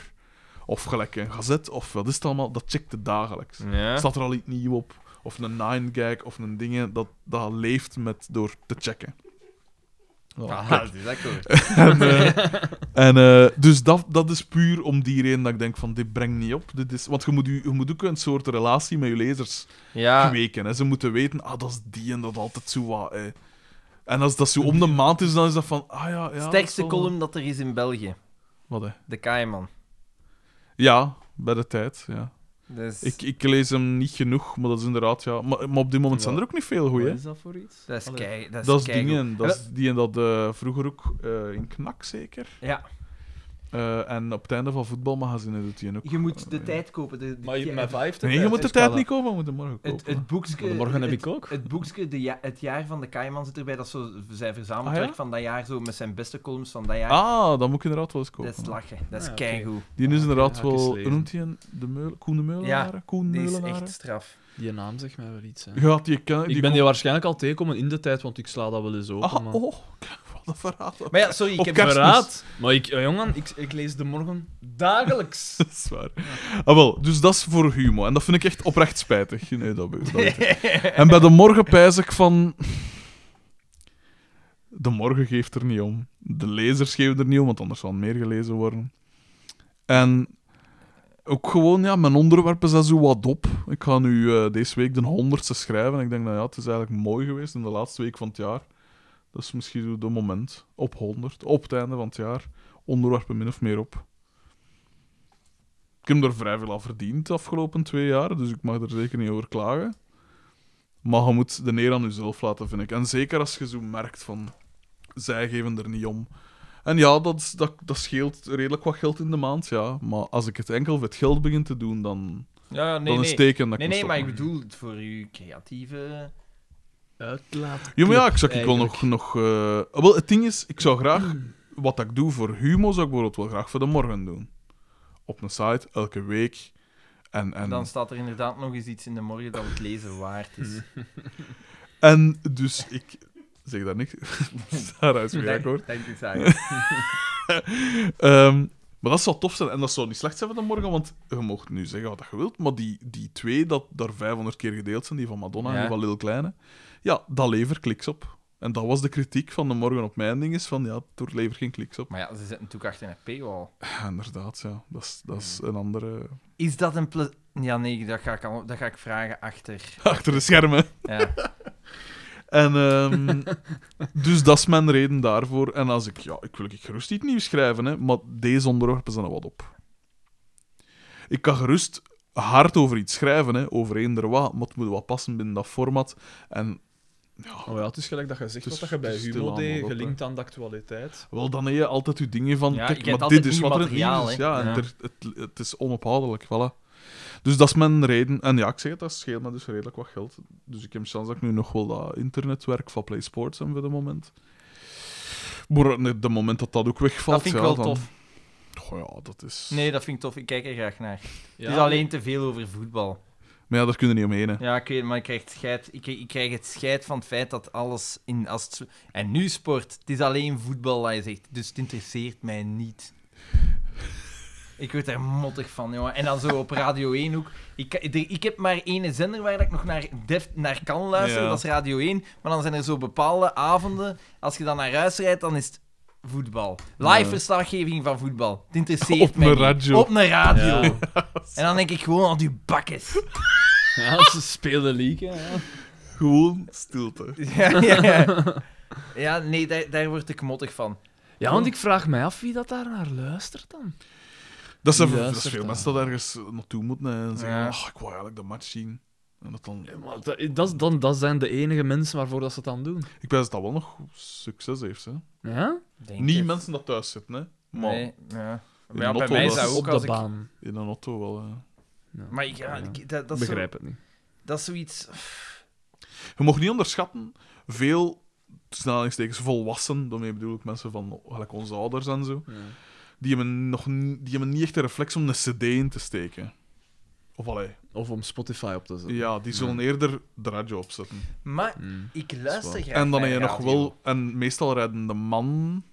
C: of gelijk een gazet, of wat is het allemaal, dat checkt het dagelijks.
A: Ja.
C: Staat er al iets nieuw op, of een nine gag, of een dingen, dat, dat leeft met door te checken. Ja,
A: Aha,
C: kijk.
A: dat Ah, is akkoord.
C: En, eh, en, eh, dus dat, dat is puur om die reden dat ik denk van, dit brengt niet op. Dit is, want je moet, u- je moet ook een soort relatie met je lezers
A: Ja,
C: kweken. Hè. Ze moeten weten, ah, dat is die en dat altijd zo wat. eh. En als dat zo om de maand is, dan is dat van, ah ja, ja. dat
A: sterkste
C: zal-
A: column dat er is in België.
C: Wat, hè?
A: De Kaiman.
C: Ja, bij de tijd, ja.
A: Dus,
C: Ik, ik lees hem niet genoeg, maar dat is inderdaad, ja. Maar, maar op dit moment
G: Ja.
C: zijn er ook niet veel goeie,
G: Wat
C: hè.
G: is dat voor iets?
A: dat is
G: Allee.
A: kei... Dat is,
C: Dat is
A: keigoed.
C: dingen, dat is die en dat eh, vroeger ook eh, in Knak, zeker.
A: Ja.
C: Eh, en op het einde van voetbalmagazine doet hij ook.
A: Je moet de
C: Eh,
A: tijd kopen. De, de-
G: Maar je,
A: ja,
G: mijn vijf
C: Nee, je moet de tijd niet kopen, we moeten morgen kopen.
A: het, het boekske...
G: Want morgen heb
A: het-
G: ik ook.
A: Het boekske, de ja- het jaar van de Kaiman zit erbij. Dat is zo zijn verzamelwerk
C: Ah, ja?
A: van dat jaar, zo met zijn beste columns van dat jaar.
C: Ah, dan moet ik inderdaad wel eens kopen.
A: dat is lachen. Dat is
G: Ah, oké.
A: keigoed.
C: Die is
G: Ah, oké,
C: inderdaad
G: ga ik eens
C: wel...
G: lezen.
C: Noemt hij een de Meul... Koen de Meulenaar? Koen
A: Die is
C: Meulenaar?
A: echt straf.
G: Je naam zegt mij wel iets. Hè.
C: Ja, die ken die
G: ik ben je waarschijnlijk al tegenkomen in de tijd, want ik sla dat wel eens open.
C: Ah,
G: maar...
C: oh, kijk, wat een verraad.
A: Maar ja, sorry, ik
C: Op
A: heb...
C: kerst-
G: Verraad! Maar ik, eh, jongen, ik, ik lees de morgen dagelijks.
C: Dat is waar. Ah, wel, dus dat is voor Humo. En dat vind ik echt oprecht spijtig. Nee, dat weet dat weet ik. En bij de morgen pijs ik van... De morgen geeft er niet om. De lezers geven er niet om, want anders zal meer gelezen worden. En ook gewoon, ja, mijn onderwerpen zijn zo wat op. Ik ga nu eh, deze week de honderdste schrijven. En ik denk, nou ja, het is eigenlijk mooi geweest in de laatste week van het jaar. Dat is misschien zo de moment. Op 100, op het einde van het jaar. Onderwerpen min of meer op. Ik heb er vrij veel aan verdiend de afgelopen twee jaar, dus ik mag er zeker niet over klagen. Maar je moet de neer aan jezelf laten, vind ik. En zeker als je zo merkt van, zij geven er niet om. En ja, dat, is- dat, dat scheelt redelijk wat geld in de maand, ja. Maar als ik het enkel voor het geld begin te doen, dan,
A: Ja, ja, nee,
C: dan is
A: nee.
C: het teken dat
A: Nee,
C: ik moet
A: nee, maar ik
C: stoppen.
A: bedoel, het voor uw creatieve...
G: Uitlaat.
C: Ja, maar ja, ik zou ik wel
G: eigenlijk.
C: nog... nog eh, Wel, het ding is, ik zou graag... Wat dat ik doe voor Humo, zou ik bijvoorbeeld wel graag voor de morgen doen. Op een site, elke week. En, en...
A: Dan staat er inderdaad nog eens iets in de morgen dat het lezen waard is.
C: En dus ik zeg daar niks. Sarah is weer akkoord.
A: Dank u, Sarah.
C: Ehm, maar dat zou tof zijn. En dat zou niet slecht zijn van de morgen, want je mocht nu zeggen wat je wilt. Maar die, die twee dat daar 500 keer gedeeld zijn, die van Madonna en
A: Ja.
C: die van Lil Kleine, ja, dat levert kliks op. En dat was de kritiek van de morgen op mijn ding, is van ja, het levert geen kliks op.
A: Maar ja, ze zitten natuurlijk achter een paywall.
C: Ja, inderdaad, ja. Dat is, dat is een andere...
A: Is dat een ple... Ja, nee, dat ga ik, al, dat ga ik vragen achter.
C: Achter de schermen.
A: Ja.
C: En ehm, dus dat is mijn reden daarvoor. En als ik, ja, ik wil ik gerust iets nieuws schrijven, hè, maar deze onderwerpen zijn er wat op. Ik kan gerust hard over iets schrijven, hè, over eender wat, maar het moet wat passen binnen dat format. En ja,
G: Oh ja, het is gelijk dat je zegt
C: Het
G: wat
C: is-
G: dat je bij
C: het is
G: Humo
C: stilaan nog
G: deed,
C: op,
G: gelinkt aan de actualiteit.
C: wel, dan heb je altijd je dingen van,
A: Ja, je
C: kijk,
A: hebt
C: maar
A: altijd
C: dit is
A: nieuw
C: wat er
A: materiaal,
C: nieuw is.
A: hè.
C: Ja, en
A: Ja.
C: er- het, het is onophoudelijk, voilà. Dus dat is mijn reden. En ja, ik zeg het, dat scheelt me dus redelijk wat geld. Dus ik heb chance dat ik nu nog wel dat internetwerk van Play Sports heb voor de moment. Maar net de moment dat dat ook wegvalt...
A: Dat vind ik
C: ja,
A: wel
C: dan-
A: tof.
C: Goh, ja, dat is...
A: Nee, dat vind ik tof. Ik kijk er graag naar.
G: Ja,
A: het is alleen te veel over voetbal.
C: Maar ja, daar kunnen niet omheen, hè.
A: Ja, ik weet, maar ik krijg, het scheid, ik, ik krijg het scheid van het feit dat alles in... Als het zo- en nu sport. Het is alleen voetbal dat je zegt. Dus het interesseert mij niet. Ik word er mottig van, jongen. En dan zo op Radio 1 ook. Ik, ik- ik heb maar één zender waar ik nog naar, def, naar kan luisteren.
C: Ja.
A: Dat is Radio 1. Maar dan zijn er zo bepaalde avonden. Als je dan naar huis rijdt, dan is het voetbal. Live
C: Ja.
A: verslaggeving van voetbal. Het interesseert
C: Op
A: mij
C: een
A: niet.
C: radio.
A: Op een radio.
G: Ja.
A: En dan denk ik gewoon aan die bakkes.
G: Ja, ze spelen league. hè, Ja.
C: Gewoon stilte.
A: Ja, ja, ja. ja nee, daar, daar word ik mottig van.
G: ja, want ik vraag mij af wie dat daar naar luistert dan.
C: Dat zijn
G: Wie
C: dat is
G: luistert
C: veel
G: daar?
C: mensen dat ergens eh, naartoe moeten hè, en zeggen,
A: Ja.
C: ach, ik wil eigenlijk de match zien. En dat dan...
G: Maar dat, dat, dan, dat zijn de enige mensen waarvoor dat ze het dan doen.
C: Ik weet dat dat wel nog succes heeft, hè.
G: Ja?
A: Denk
C: Niet
A: het.
C: mensen dat thuis zitten, hè. Maar
A: Nee, ja.
C: In
A: Maar ja, bij
C: Lotto
A: mij is
C: was-
A: dat
G: op
A: ook
G: de
A: als ik...
G: baan.
C: in een auto wel, hè.
G: Ja.
A: Maar ik, ja,
G: Ja.
A: ik- dat, dat, is zo-
G: begrijp het niet.
A: dat is zoiets...
C: Je mag niet onderschatten, veel tussen aanhalingstekens volwassen, daarmee bedoel ik mensen van gelijk onze ouders en zo, die hebben, nog, n- die hebben niet echt de reflex om een cd in te steken. Of allee.
B: Of om Spotify op te zetten.
C: Ja, die zullen eerder de radio opzetten.
A: Maar
B: Mm.
A: ik luister graag
C: en dan
A: naar
C: heb je nog
A: radio.
C: wel... En meestal rijden de man...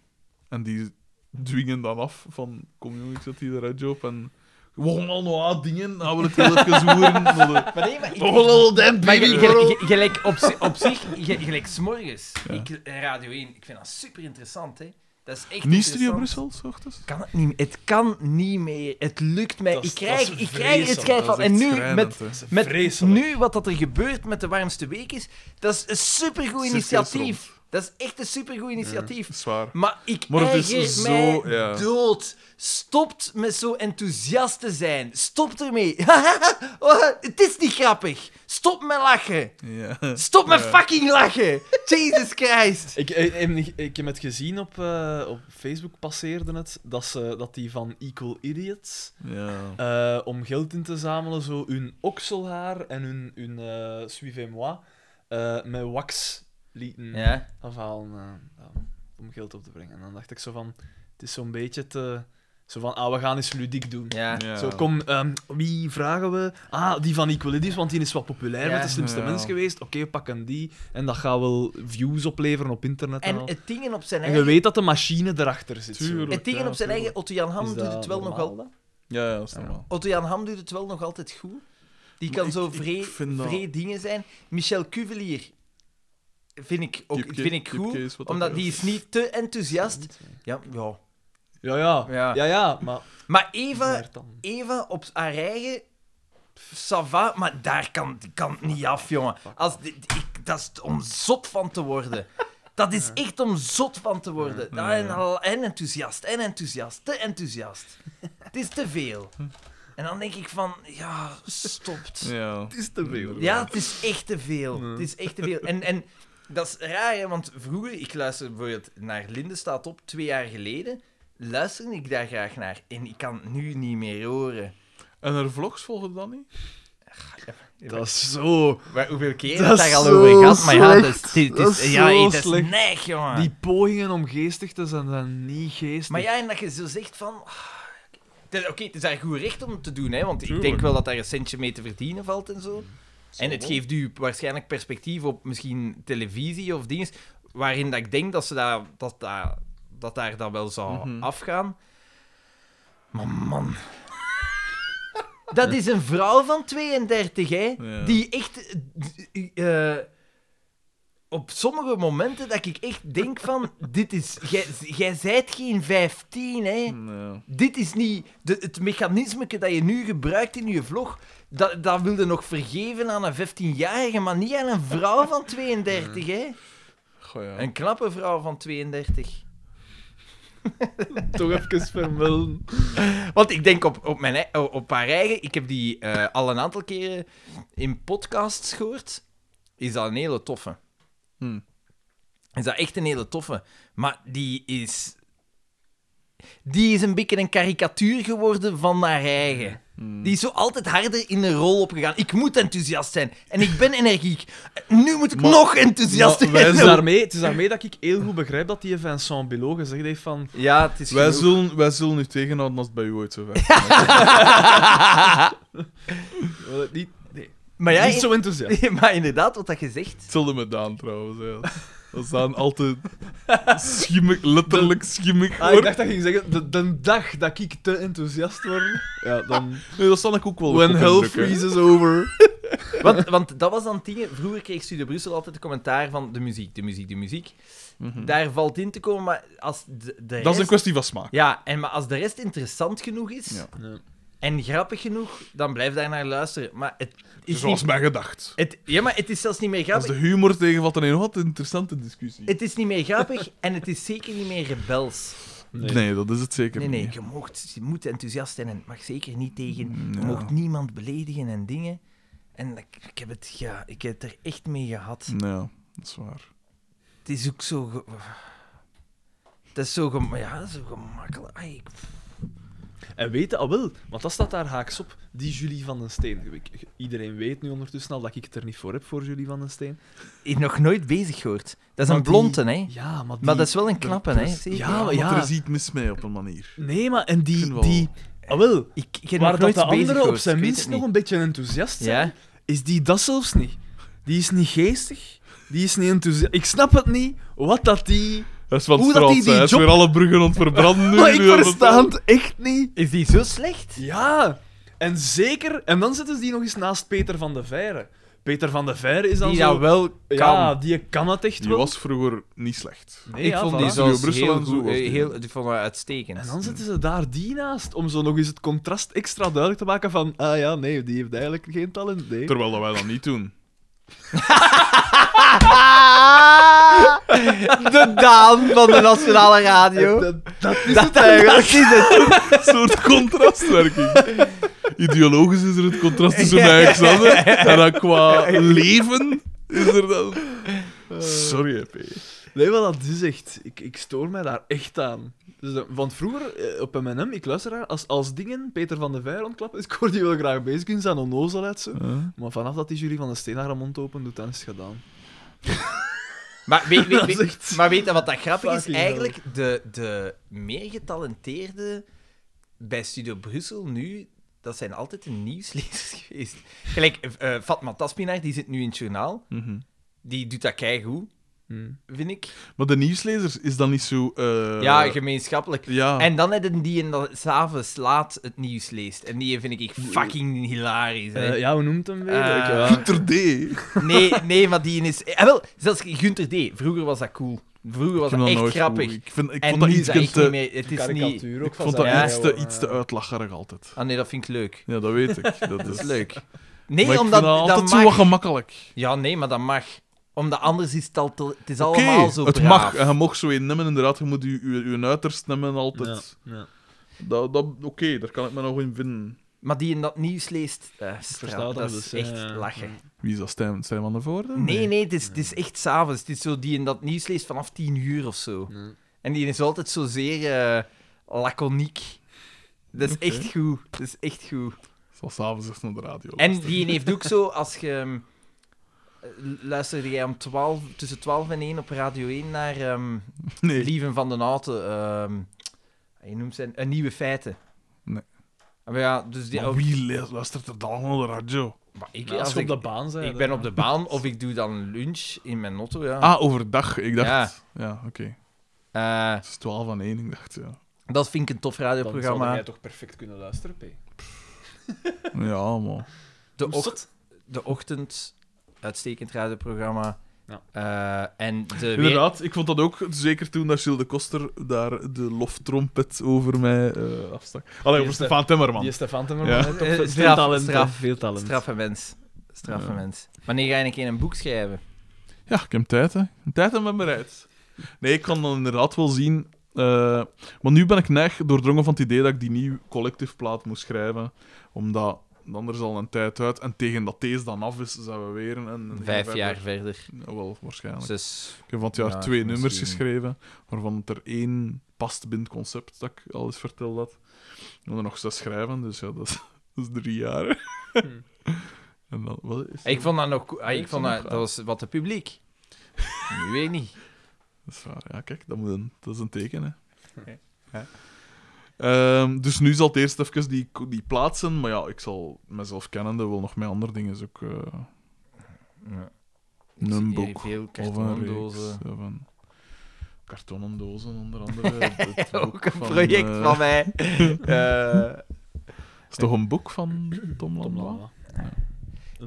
C: En die dwingen dan af van... Kom jongen, ik zet hier de radio op en... We gaan al nog aan dingen, nou wil ik heel even horen. maar de-
A: Maar nee, maar ik-
C: Oh, lol, damn,
A: Maar
C: baby,
A: ge-
C: bro.
A: ge- ge- gelijk op, zi- op zich, ge- gelijk s'morgens. Ik- eh, Radio 1, ik vind dat super interessant, hè. Dat is echt
C: Niet Studio
A: interessant.
C: Brussel, s ochtends?
A: Kan het, niet, het kan niet meer. Het lukt mij.
I: Dat is-
A: ik krijg,
I: dat is
A: ik krijg het
I: vreselijk.
A: schijf
C: Dat
A: van.
C: is echt
A: En nu,
C: schrijnend,
A: met,
C: hè.
A: met
I: Vreselijk.
A: nu wat dat er gebeurt met de warmste week is, dat is een supergoed
C: Cirkel is
A: initiatief. Dat is echt een supergoed initiatief.
C: Zwaar.
A: Maar ik
C: Maar het is
A: erger
C: zo-
A: mij
C: ja.
A: dood. Stopt met zo enthousiast te zijn. Stop ermee. Oh, het is niet grappig. Stop met lachen.
C: Ja.
A: Stop met
C: Ja.
A: fucking lachen. Jesus Christ.
B: Ik, ik, ik, ik heb het gezien op, eh, op Facebook passeerde het dat, ze, dat die van Equal Idiots
C: ja.
B: eh, om geld in te zamelen zo hun okselhaar en hun, hun eh, suivez-moi eh, met wax lieten
A: Ja.
B: afhalen eh, ja, om geld op te brengen. En dan dacht ik zo van, het is zo'n beetje te... Zo van, ah, we gaan eens ludiek doen.
A: Ja.
C: Ja.
B: Zo, kom, ehm, wie vragen we? Ah, die van Equalidis, want die is wat populair
A: Ja.
B: met de slimste
C: Ja.
B: mens geweest. Oké, we pakken die. En dat gaat wel views opleveren op internet. En,
A: En
B: al.
A: het dingen op zijn
B: en je
A: eigen...
B: weet dat de machine erachter zit. zo.
C: Tuurlijk.
A: Het dingen op zijn eigen... Otto-Jan Ham
B: Is
A: doet
B: dat
A: het wel nog
B: normaal
A: al...
C: Ja, ja, dat is normaal.
A: Otto-Jan Ham doet het wel nog altijd goed. Die
C: Maar
A: kan
C: ik-
A: zo
C: ik
A: vrij
C: vind dat-
A: vrij dingen zijn. Michel Cuvelier vind ik, ook,
C: Kipke-
A: vind ik
C: Kipke
A: goed,
C: is wat
A: omdat
C: dat
A: die
C: is.
A: is niet te enthousiast. Ja, ja.
B: Ja, ja.
A: Ja.
B: Ja, ja, maar...
A: Maar Eva,
B: maar dan.
A: Eva op haar eigen... Sava, maar daar kan, die kan het niet af, jongen. Als, die- die- ik, dat is om zot van te worden. Dat is echt om zot van te worden. Dat- En, al- en enthousiast, en enthousiast, te enthousiast. Het is te veel. En dan denk ik van, ja, stopt.
C: Ja.
J: is te veel.
A: Ja, het is echt te veel. Het is echt te veel. En, en dat is raar, hè, want vroeger, ik luister bijvoorbeeld naar Linde staat op, twee jaar geleden, luisterde ik daar graag naar. En ik kan het nu niet meer horen.
C: En haar vlogs volgen dan niet?
B: Dat is zo...
A: Maar hoeveel keer
B: Dat
A: heb
B: is
A: ik daar al
B: zo
A: over gehad? Maar ja, dat is, het is,
B: Dat is
A: ja,
B: zo
A: het is
B: slecht.
A: neig,
C: Ah.
A: jongen.
B: Die pogingen om geestig te zijn, zijn niet geestig.
A: Maar ja, en dat je zo zegt van... ah, het is- Oké, het is daar goed recht om te doen, hè, want ik denk
C: Tuurlijk. Mm.
A: wel dat daar een centje mee te verdienen valt en zo. En het
B: wel.
A: geeft u waarschijnlijk perspectief op misschien televisie of dingen, waarin dat ik denk dat, ze daar, dat, daar, dat daar dan wel zou
C: Mhm.
A: afgaan. Maar man... Dat is een vrouw van 32, hè?
C: Ja.
A: Die echt... eh, d- eh, op sommige momenten dat ik echt denk van... Dit is... jij- Jij zijt geen 15, hè?
C: Nee.
A: Dit is niet... De, het mechanisme dat je nu gebruikt in je vlog... Dat, dat wilde nog vergeven aan een 15-jarige, maar niet aan een vrouw van 32, hè?
C: Goh, ja.
A: Een knappe vrouw van 32.
B: Toch even vermelden.
A: Want ik denk op, op, mijn, ei- op haar eigen... Ik heb die eh, al een aantal keren in podcasts gehoord. Is dat een hele toffe.
C: Hm.
A: Is dat echt een hele toffe. Maar die is... Die is een beetje een karikatuur geworden van haar eigen.
C: Hmm.
A: Die is zo altijd harder in de rol opgegaan. Ik moet enthousiast zijn. En ik ben energiek. Nu moet ik
C: Maar-
A: nog enthousiaster
C: maar wij
A: zijn.
B: Het is,
C: Zo.
B: daarmee, het is daarmee dat ik heel goed begrijp dat die Vincent Belot gezegd heeft van...
A: Ja, het is
C: Wij
A: genoeg.
C: zullen, wij zullen u tegenhouden als het bij u ooit zo ver is.
B: wil het Niet, nee,
A: Maar ja,
B: niet zo enthousiast.
A: maar inderdaad, wat dat je zegt...
C: Hetzelfde met Daan trouwens. Hè. Dat is Daan altijd schimmig, letterlijk schimmig.
B: Ah, ik
C: wordt.
B: dacht dat je ging zeggen, de, de dag dat ik te enthousiast word, ja, dan...
C: Nee, dat zal ik ook wel op
B: When
C: op
B: hell
C: indrukken, hè.
B: freezes over.
A: Want, want dat was dan het ding. Vroeger kreeg Studio Brussel altijd de commentaar van de muziek, de muziek, de muziek.
C: Mhm.
A: Daar valt in te komen, maar als de,
C: Dat
A: de
C: is een
A: rest...
C: kwestie van smaak.
A: Ja, en maar als de rest interessant genoeg is
C: Ja.
B: Ja.
A: en grappig genoeg, dan blijf daar naar luisteren. Maar het is
C: Zoals
A: niet...
C: mij gedacht.
A: Het, ja, maar het is zelfs niet meer
C: Als
A: grappig.
C: de humor tegenvalt, dan een wat interessante discussie.
A: Het is niet meer grappig en het is zeker niet meer rebels.
C: Nee. dat is het zeker
A: Nee, nee,
C: niet.
A: je, moogt, je moet enthousiast zijn en het mag zeker niet tegen. Je
C: Ja.
A: moogt niemand beledigen en dingen. En ik, ik heb het, ja, ik heb het er echt mee gehad.
C: Ja, dat is waar.
A: Het is ook zo. ge- Het is zo, gem- ja, zo gemakkelijk. Ai, ik-
B: En weten al wel, want dat staat daar haaks op, die Julie van den Steen. Ik- Iedereen weet nu ondertussen al dat ik het er niet voor heb, voor Julie van den Steen.
A: Ik nog nooit bezig gehoord. Dat is
B: Maar
A: een
B: die-
A: blonde, hè?
B: Ja, maar die...
A: Maar dat is wel een knappe, hè?
B: Ja, maar
C: Want
B: ja.
C: er is iets mis mee op een manier.
B: Nee, maar en
C: Ik vind
B: die,
C: wel-
B: die, Ah, wel.
A: Ik, ik heb
B: Waar
A: nog nooit
B: dat de
A: bezig
B: anderen op
A: geweest,
B: zijn
A: ik weet
B: minst
A: het
B: nog
A: niet.
B: een beetje enthousiast zijn,
A: Ja?
B: is die dat zelfs niet. Die is niet geestig. Die is niet enthousiast. Ik snap het niet wat dat die...
C: Dat is van
B: Hoe dat
C: straat,
B: die die
C: hè. Hij is
B: job-
C: weer alle bruggen aan het verbranden nu.
B: Maar ik
C: nu dat het-
B: versta het echt niet.
A: Is die zo slecht?
B: Ja, en zeker. En dan zitten ze die nog eens naast Peter van de Veire. Peter van de Veire is dan
A: Die
B: zo...
A: dat wel kan.
B: Ja, die kan het echt
C: Die
B: wel.
C: was vroeger niet slecht.
B: Nee,
A: ik
B: ja,
A: vond
B: voilà.
A: die
C: Studio
A: zelfs
C: Brussel
A: heel,
C: en zo
A: goed,
C: was
A: eh,
C: die.
A: heel, die vond ik uitstekend.
B: En dan zitten ze daar die naast, om zo nog eens het contrast extra duidelijk te maken van... Ah ja, nee, die heeft eigenlijk geen talent, nee.
C: Terwijl dat wij dat niet doen.
A: Ah! De Daan van de Nationale Radio.
B: Dat, dat is
A: Dat,
B: het eigenlijk.
A: is het.
C: Een soort contrastwerking. Ideologisch is er het contrast tussen mij en Xander. En dan qua leven is er dan... Sorry, hè, P.
B: Nee, maar dat is echt... Ik, ik stoor mij daar echt aan. Dus, dat- want vroeger, eh, op M&M, ik luister daar, als, als dingen Peter van de Veire ontklappen, is Cor die wel graag bezig in zijn onnozelheid. Zo. Maar vanaf dat die jury van de steen haar mond opent doet, dan is het gedaan.
A: Maar weet, weet,
B: Dat is
A: weet-
B: echt-
A: maar weet je wat dat grappig is?
B: Fucking
A: Eigenlijk de, de meer getalenteerden bij Studio Brussel nu, dat zijn altijd de nieuwslezers geweest. Gelijk, eh, eh, Fatma Taspinaar, die zit nu in het journaal.
C: Mhm.
A: Die doet dat keigoed, vind ik.
C: Maar de nieuwslezers is dan niet zo... eh,
A: ja, gemeenschappelijk.
C: ja.
A: En dan hebben die in dat s'avonds laat het nieuws leest. En die vind ik fucking hilarisch. Hè.
B: Eh, ja, hoe noemt hem weer?
A: Eh,
B: Ik, ja.
C: Hunter D.
A: Nee, nee, maar die is... Eh, wel, zelfs Gunther D. Vroeger was dat cool. Vroeger was
C: Ik vind
A: dat
C: dat
A: echt
C: nooit
A: grappig.
C: goed. Ik, vind, ik
A: En
C: vond dat
A: nu is
C: iets eh,
A: dat echt niet
C: te...
A: meer... Het is niet...
B: Karikatuur ook
C: Ik
B: van
C: vond dat
B: zijn-
C: iets
B: ja,
C: te,
B: hoor,
C: iets te uitlacherig altijd.
A: Ah nee, dat vind ik leuk.
C: Ja, dat weet ik. Dat
A: Dat
C: is
A: is leuk.
C: Nee, maar
A: Nee,
C: ik
A: omdat
C: vind dat
A: dat
C: altijd zo wat
A: mag.
C: gemakkelijk.
A: Ja, nee, maar dat mag. Omdat anders is het al te- Het is
C: Oké,
A: allemaal zo
C: het
A: braaf.
C: mag. eh, En je mag zo in nemen, inderdaad. Je moet je, je, je uiterst nemen altijd.
B: Ja, ja.
C: Dat, dat, Oké, daar kan ik me nog in vinden.
A: Maar die in dat nieuws leest... eh,
B: versta
A: straal,
B: dat
A: dat
B: dus,
A: is echt
B: ja.
A: lachen.
C: Wie is dat? Stijn, Stijn van der Voorde?
A: Nee, nee, het is, het is echt s'avonds. Het is zo die in dat nieuws leest vanaf tien uur of zo. En die is altijd zo zeer eh, laconiek. Dat is echt goed. Dat is echt goed.
C: Zal s'avonds echt naar de radio.
A: En die heeft ook zo, als je... ehm, eh, Luisterde jij om 12, tussen 12 en 1 op Radio 1 naar ehm,
C: Nee.
A: Lieven van den Houten? ehm, je noemt zijn... Een Nieuwe Feiten.
C: Nee.
A: Maar ja, dus die...
C: Maar
A: oh,
C: wie le- luistert er dan naar de radio?
A: maar ik,
B: Als
A: als
B: je op
A: ik,
B: de baan bent.
A: ik ben op de baan of ik doe dan lunch in mijn auto, ja.
C: Ah, overdag. Ik dacht... Ja, oké.
A: Eh,
C: Het is 12 aan 1, ik dacht, ja.
A: dat vind ik een tof
B: Dan zou
A: radioprogramma.
B: jij toch perfect kunnen luisteren, P?
C: Ja, man.
A: De, och de ochtend, uitstekend radioprogramma.
B: Ja.
A: Eh, en de... weer-
C: Inderdaad, ik vond dat ook, zeker toen dat Gilles de Koster daar de loftrompet over mij eh afstak. Allee, over
B: is de-
C: Stefan Temmerman.
B: Die Stefan
C: Ja.
B: Timmerman heeft
A: Eh,
B: toch veel
A: straf,
B: talent.
A: straf,
B: hè? veel talent.
A: Straffe mens. Straffe
C: Ja.
A: mens. Wanneer ga je een keer een boek schrijven?
C: Ja, ik heb tijd, hè. Ik heb tijd en ben bereid. Nee, ik kan dan inderdaad wel zien... eh, maar nu ben ik neig doordrongen van het idee dat ik die nieuwe collective plaat moest schrijven. Omdat anders al een tijd uit. En tegen dat deze dan af is, zijn we weer... Een, een-
A: Vijf
C: verder.
A: jaar verder.
C: Ja, wel, waarschijnlijk.
A: Zes.
C: Ik heb van het jaar
A: Ja,
C: twee nummers
A: misschien.
C: geschreven, waarvan het er één past binnen het concept dat ik al eens verteld had. Ik moet er nog zes schrijven, dus ja, dat is, dat is drie jaar. en dan, wat is
A: Hmm. Ik
C: dat?
A: vond dat nog... co- ah,
C: Ik
A: ik
C: vond
A: vond
C: dat
A: dat... Dat was wat het publiek. Nu weet ik niet.
C: Dat is waar, ja, kijk, dat, moet een, dat is een teken, hè. Ja. Ehm, dus nu zal het eerst even die, die plaatsen, maar ja, ik zal mezelf kennende wel nog met andere dingen zoeken. eh,
A: Ja.
C: Een
A: Ik zie hier
C: boek
A: Veel
C: of een
A: kartondozen.
C: reeks, of een- Kartonnen dozen, onder andere. Het
A: Ook
C: boek
A: een
C: van,
A: project
C: eh,
A: van mij. Eh,
C: is toch een boek van Tom
B: Tom
C: Lanois?
B: Lanois.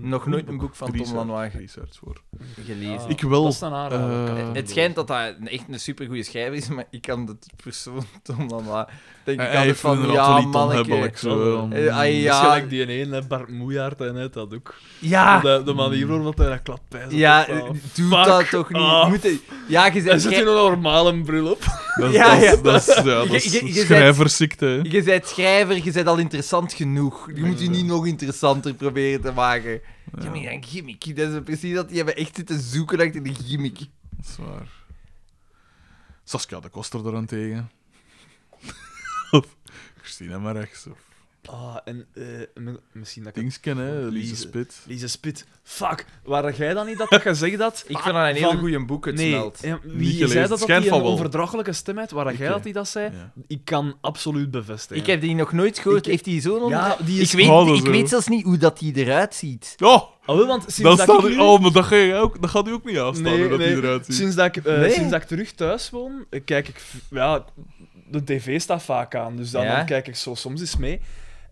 A: nog nooit een boek van Tom
C: Research-
A: Lanois
C: Research voor.
A: gelezen.
B: Ah,
C: Ik wil,
B: dat is een aanrader.
C: eh,
B: Ik had
A: Het schijnt dat hij een- echt een supergoeie schrijver is, maar ik kan de persoon Tom Lanois... Denk ik
C: Hij
A: altijd
C: heeft
A: van,
C: inderdaad
A: ja,
C: wel iets
A: manneke.
C: onhebbelijk, zo.
B: Eh,
A: Eh, ah,
B: Ja.
A: ja,
B: Waarschijnlijk die ene, hè, Bart Moejaert, en net dat ook.
A: ja,
B: De, de manier waarop hij dat klapt bij zat,
A: ja,
B: dat is wel-
A: doe
B: Fuck
A: dat toch niet.
B: off.
A: Moet hij- ja, je
B: Hij
A: bent
B: zit
A: gij-
B: in een normale bril op.
C: Dat is,
A: Ja,
C: dat is-
A: ja.
C: dat is, ja, dat is
A: Je- je- je bent-
C: schrijversziekte. hè.
A: Je bent schrijver, je bent al interessant genoeg. Je moet je niet nog interessanter proberen te maken. Ja, maar ja, een gimmick. Dat is precies dat die hebben echt zitten zoeken naar de gimmick.
C: Dat is waar. Saskia de Koster daarentegen. Of Christina Marex. Of
B: Ah, en eh, mi- misschien dat ik...
C: Dings kennen,
B: Lise.
C: Lise Spit.
B: Lise Spit. Fuck. Waar jij dan niet dat dat je zegt dat...
A: Ik vind dat een
B: Van-
A: heel goede boek, het
B: nee,
A: smelt.
B: ja,
C: Niet
B: wie
C: gelezen.
B: zei dat dat
C: Schijnt
B: die
C: van
B: een
C: wel.
B: onverdraaglijke stem had? Waar jij
C: eh,
B: dat die dat zei?
C: Ja.
B: Ik kan absoluut bevestigen.
A: Ik heb die nog nooit gehoord.
B: Ik-
A: Heeft die zo'n... on-
B: Ja, die
A: ik
B: is...
A: weet,
C: Gouden
A: ik
C: zo.
A: weet zelfs niet hoe dat die eruit ziet.
C: Oh,
B: Ah, wel, want sinds
C: dan
B: dat,
C: staat
B: ik
C: hij...
B: nu-
C: Oh, maar dat, ga je ook, dat gaat u ook niet aanstaan,
B: Nee,
C: hoe dat
B: nee.
C: hij eruit ziet.
B: Sinds dat, ik, eh,
A: Nee.
B: sinds dat ik terug thuis woon, eh, kijk ik... v- Ja, de tv staat vaak aan, dus dan,
A: Ja.
B: dan kijk ik zo soms eens mee.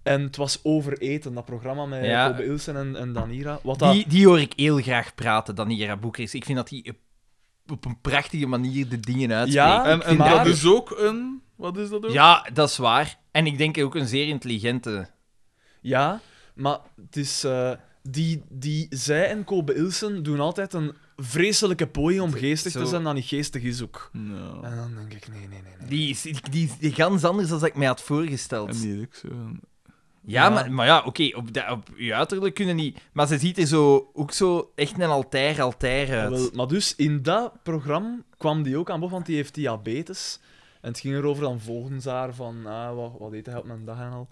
B: En het was over eten, dat programma met
A: Ja.
B: Kobe Ilsen en, en Danira. Wat dat...
A: Die, die hoor ik heel graag praten, Danira Boekers. Ik vind dat die op- op een prachtige manier de dingen uitspreekt.
B: Ja,
C: En,
B: ik
C: en
B: vind
C: dat
B: dat-
C: is ook een... Wat is dat ook?
A: Ja, dat is waar. En ik denk ook een zeer intelligente.
B: Ja, maar het is... eh, die, die, zij en Kobe Ilsen doen altijd een vreselijke poging om geestig
A: Zo.
B: te zijn, dan niet geestig is ook.
C: Nou,
B: En dan denk ik, nee, nee, nee. nee.
A: Die is, die is gans anders dan ik mij had voorgesteld.
C: en die is ook zo...
A: Ja, Maar, maar ja, oké, op, de- op je uiterlijk kunnen niet. Maar ze ziet er zo, ook zo echt een altair, altair uit.
B: Wel, maar dus in dat programma kwam die ook aan bod, want die heeft diabetes. En het ging erover dan volgens haar van, ah, wat, wat eet hij op een dag en al.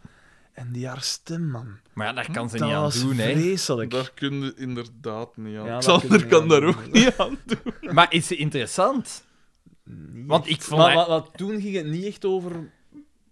B: En die haar stem, man.
A: maar ja, daar kan ze
B: dat
A: niet aan
B: was
A: doen, hè.
B: vreselijk.
C: Daar kun je inderdaad niet aan.
B: Ja, daar kun
C: Xander
B: je
C: kan
B: niet
C: daar
B: aan
C: ook
B: doen.
C: niet aan.
A: Maar is ze interessant?
B: Niet
A: Want
B: echt.
A: ik vond
B: Maar,
A: haar-
B: wat- wat- toen ging het niet echt over...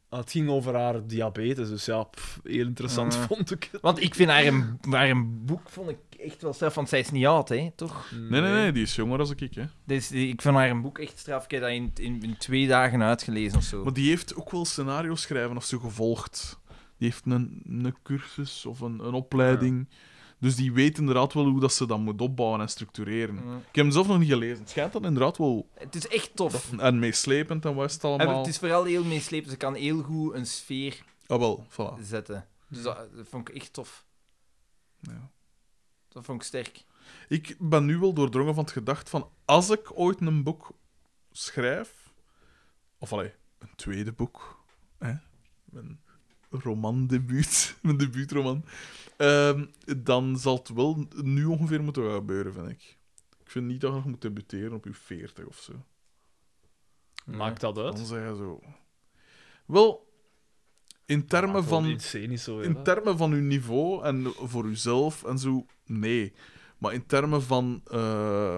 B: ah, Het ging over haar diabetes, dus ja, pff, heel interessant
C: Mm.
A: Ah.
B: vond ik het.
A: Want ik vind haar een, haar een boek, vond ik echt wel straf, want zij is niet oud, hè, toch?
C: Nee, nee, nee, die is jonger als ik, hè.
A: Dus ik vind haar een boek echt straf. Ik heb dat in, in, in twee dagen uitgelezen of zo.
C: Maar die heeft ook wel scenario schrijven of zo gevolgd. Die heeft een, een cursus of een, een opleiding. Dus die weet inderdaad wel hoe dat ze dat moet opbouwen en structureren.
A: Mm.
C: Ik heb hem zelf nog niet gelezen. Het schijnt dat inderdaad wel...
A: Het is echt tof.
C: En meeslepend en wat is het
A: En
C: allemaal.
A: Het is vooral heel meeslepend. Ze kan heel goed een sfeer
C: Ah, wel, voilà.
A: zetten. Dus dat, dat vond ik echt tof.
C: Ja.
A: Dat vond ik sterk.
C: Ik ben nu wel doordrongen van het gedacht van... Als ik ooit een boek schrijf... Of allee, een tweede boek. Hè? Mijn romandebuut. Mijn debuutroman. ehm, dan zal het wel nu ongeveer moeten gebeuren, vind ik. Ik vind niet dat je nog moet debuteren op je 40 of zo.
B: Maakt dat uit?
C: Dan zeg je zo... Wel, in termen van...
B: Insane is zo, hè,
C: In
B: dat.
C: termen van uw niveau en voor uzelf en zo, nee. Maar in termen van. eh,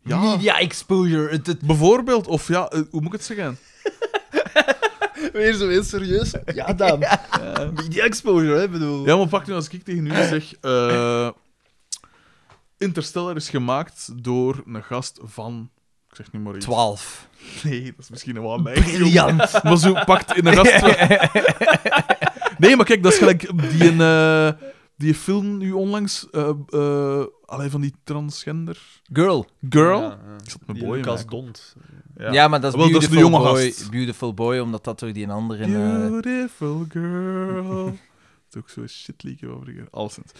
C: ja,
A: Media exposure. Het, het-
C: bijvoorbeeld, of ja, eh, hoe moet ik het zeggen?
B: Weer zo heel serieus. Ja, dan. Media exposure, hè, bedoel.
C: Ja, maar pak nu als ik tegen u zeg. eh, Interstellar is gemaakt door een gast van. Ik zeg niet maar iets.
A: 12.
C: Nee, dat is misschien een wat neiging.
A: Briljant.
C: Maar zo pakt in een gast. nee, maar kijk, dat is gelijk die, een, eh, die film nu onlangs. eh eh, allee, van die transgender
A: Girl.
C: girl.
B: Ja, ja.
C: Ik zat met
B: Die
C: boy in
B: Lucas
C: mijn-
B: Dont.
A: Ja,
C: Ja, Ah,
A: maar dat is,
C: Wel, dat is
A: beautiful
C: de jonge
A: boy,
C: gast.
A: Beautiful boy, omdat dat door die andere... eh
C: Beautiful girl. Dat is ook zo'n shitleaker van vroeger. Alleszins.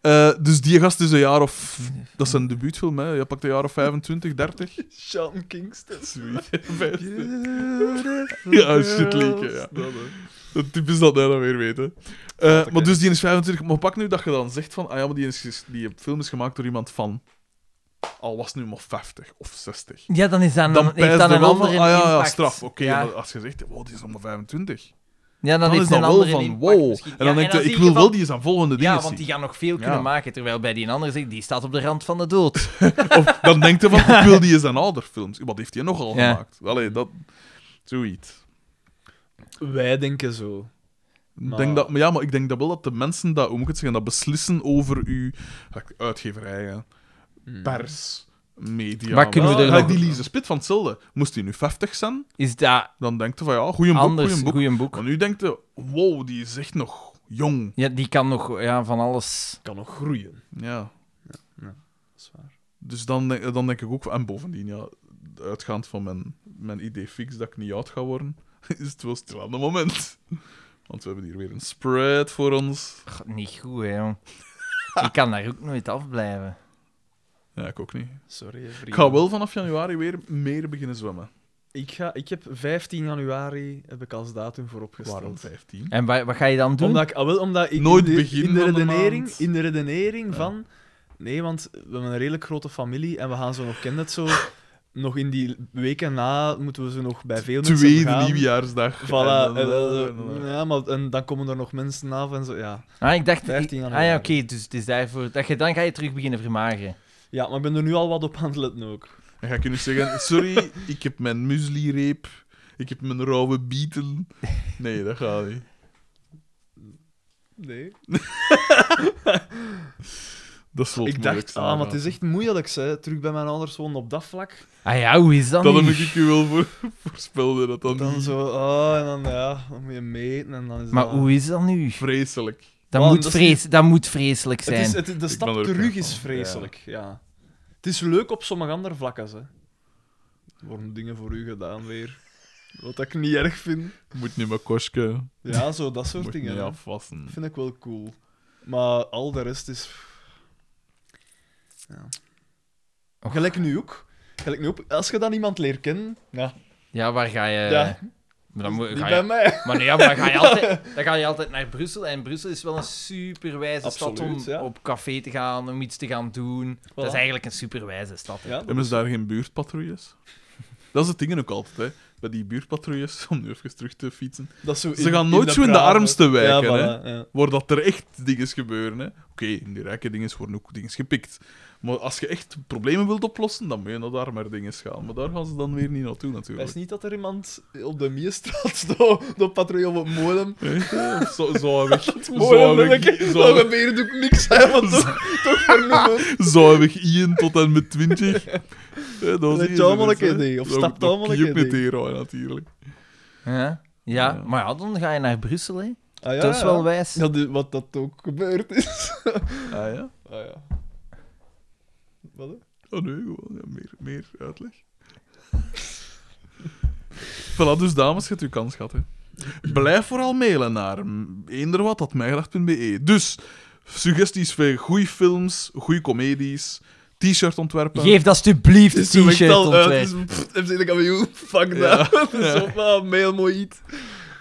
C: Eh, dus die gast is een jaar of... Dat is een debuutfilm, hè. Je pakt een jaar of 25, 30.
B: Sean Kingston.
C: Sweet. Ja, een shitleaker, ja. Dat typisch dat jij dat weer weten. Eh, maar dus die is 25. Maar pak nu dat je dan zegt van... Ah ja, maar die, is, die film is gemaakt door iemand van... Al was het nu maar 50 of 60.
A: Ja, dan is dat een,
C: Dan
A: Mm, heeft
C: pijst
A: dan
C: er
A: een
C: wel van...
A: andere
C: Ah ja, ja,
A: impact.
C: straf. Oké,
A: ja.
C: maar als je zegt... Wow, die is nog maar 25.
A: Ja, dan,
C: dan,
A: heeft
C: is
A: het
C: dat
A: een
C: wel
A: andere
C: van
A: impact
C: wow.
A: misschien.
C: En
A: Ja,
C: dan denk
A: dan
C: je, ik
A: zie
C: wil
A: van-
C: wel die eens aan volgende dingen
A: Ja, want die
C: zien.
A: gaan nog veel kunnen
C: Ja.
A: maken, terwijl bij die andere zegt, die staat op de rand van de dood.
C: Of dan denk je van, ik wil die eens aan ouder films. Wat heeft hij nogal
A: Ja.
C: gemaakt? Allee, dat... Zoiets.
B: Wij denken zo.
C: Ik
B: Maar-
C: Denk dat, maar ja, maar ik denk dat wel dat de mensen dat, hoe moet ik het zeggen, dat beslissen over uw gelijk uitgeverijen, pers, media.
A: Waar kunnen we
C: wel.
A: er
C: Gelijk
A: nog-
C: die Lise Spit van hetzelfde. Moest hij nu 50 zijn,
A: Is dat
C: dan denkt hij van ja, goeie boek,
A: anders?
C: goeie boek.
A: Goeie boek.
C: Maar nu denkt hij, wow, die is echt nog jong.
A: Ja, die kan nog ja, van alles.
B: Kan nog groeien.
C: Ja.
B: Dat is waar.
C: Dus dan, denk- dan denk ik ook... En bovendien, ja, uitgaand van mijn, mijn idee fix dat ik niet oud ga worden, is het wel stil aan de moment. Want we hebben hier weer een spread voor ons.
A: Ach, niet goed, hè, jong. Ik kan daar ook nooit afblijven.
C: Ja, ik ook niet.
B: Sorry, hè,
C: Ik
B: vrienden.
C: ga wel vanaf januari weer meer beginnen zwemmen.
B: Ik, ga, ik heb 15 januari heb ik als datum voor opgesteld.
C: Waarom 15?
A: En wa- wat ga je dan doen?
B: Omdat ik, ah, wel, omdat ik
C: Nooit
B: in de,
C: begin
B: in de
C: van de
B: redenering,
C: maand.
B: in de redenering van... Nee, want we hebben een redelijk grote familie en we gaan zo nog kennen het zo... nog in die weken na moeten we ze nog bij veel mensen
C: Tweede
B: gaan.
C: nieuwjaarsdag. En
B: Voilà. en,
C: dan-
B: eh,
C: en dan-
B: ja, maar, en dan komen er nog mensen af en zo. Ja,
A: Ah, ik dacht...
B: 15
A: ah
B: januari.
A: ja, oké, dus het is daarvoor... Dat je, dan ga je terug beginnen vermageren.
B: ja maar ik ben er nu al wat op aan het letten ook.
C: En ga ik kunnen zeggen: Sorry, ik heb mijn muesli-reep. Ik heb mijn rauwe bieten. Nee, dat gaat niet.
B: Nee.
C: Dat is
B: Ik dacht, ah, maar het is echt moeilijk, hè. Terug bij mijn ouders wonen op dat vlak.
A: Ah ja, hoe is dat
C: Dat
A: nu?
C: heb ik u wel voor, voorspelde dat dan,
B: Dan
C: niet.
B: zo, ah, en dan, ja, dan moet je meten en dan is
A: Maar
B: dat...
A: hoe is dat nu?
C: vreselijk.
A: Dat,
B: Man,
A: moet,
B: dat is
A: vrees, dat moet vreselijk
B: Het
A: zijn.
B: is, het, de
C: ben
B: stap
C: er ook
B: terug
C: van,
B: is
C: ja.
B: vreselijk, ja. Het is leuk op sommige andere vlakken, hè. Er worden dingen voor u gedaan weer. Wat ik niet erg vind.
C: Moet niet meer kosken.
B: Ja, zo dat soort
C: Moet
B: dingen.
C: niet
B: hè.
C: afwassen.
B: vind ik wel cool. Maar al de rest is... Ja. Gelijk nu ook. Gelijk nu ook. Als je dan iemand leert kennen... Ja.
A: Ja, waar ga je...
B: Ja.
A: Maar, dan moet,
B: Niet
A: ga
B: bij
A: je,
B: mij.
A: maar nee, ja, maar dan, ga je altijd, dan ga je altijd naar Brussel. En Brussel is wel een superwijze stad om
B: Absoluut, ja.
A: op café te gaan, om iets te gaan doen. Dat is eigenlijk een superwijze stad. hè.
B: Ja,
C: Hebben ze daar geen buurtpatrouilles? Dat is het ding ook altijd, hè. Bij die buurtpatrouilles, om nu even terug te fietsen,
B: dat is zo
C: Ze
B: in-
C: gaan nooit
B: de
C: zo in de
B: brave-
C: armste wijken,
B: Ja, voilà, ja.
C: waar dat er echt dingen gebeuren, hè. Oké, in die rijke dingen worden ook dingen gepikt. Maar als je echt problemen wilt oplossen, dan moet je naar daar maar dingen gaan. Maar daar gaan ze dan weer niet naartoe,
B: Het
C: natuurlijk.
B: is niet dat er iemand op de Mierstraat staat, de patrouille op het molen.
C: Hè? Zo, zo weg.
B: Molen,
C: Zo weg.
B: lulke.
C: Zo
B: Dat
C: weg.
B: gebeurt ook niks, hè, want toch, toch vernoemen.
C: Zuivig Ian tot en met 20. Ja, dat
B: Let
C: is
B: allemaal
C: het,
B: een
C: hè.
B: keer die, of
C: Dat-
B: stapt
C: dat
B: allemaal een
C: kiept
B: keer
C: met
B: die.
C: hier, hoor, natuurlijk.
A: Ja, ja, maar ja, dan ga je naar Brussel, hè.
B: Ah, ja,
A: dat is
B: ja.
A: wel wijs.
B: Dat is wat dat ook gebeurd is.
C: Ah ja?
B: Ah ja. Wat? hè?
C: Oh nee, gewoon ja, meer, meer uitleg. voilà, dus dames, je hebt uw kans gehad. Hè. Blijf vooral mailen naar mm, eenderwat.mijgedacht.be. Dus, suggesties voor goede films, goede comedies, t-shirt ontwerpen.
A: Geef alsjeblieft een
B: Toen ik het
A: t-shirt
B: al uit,
A: ontwerp.
B: dus, pff, FC de kampioen, fuck
C: Ja.
B: dat. Dat is op, ah, mail mooi iets.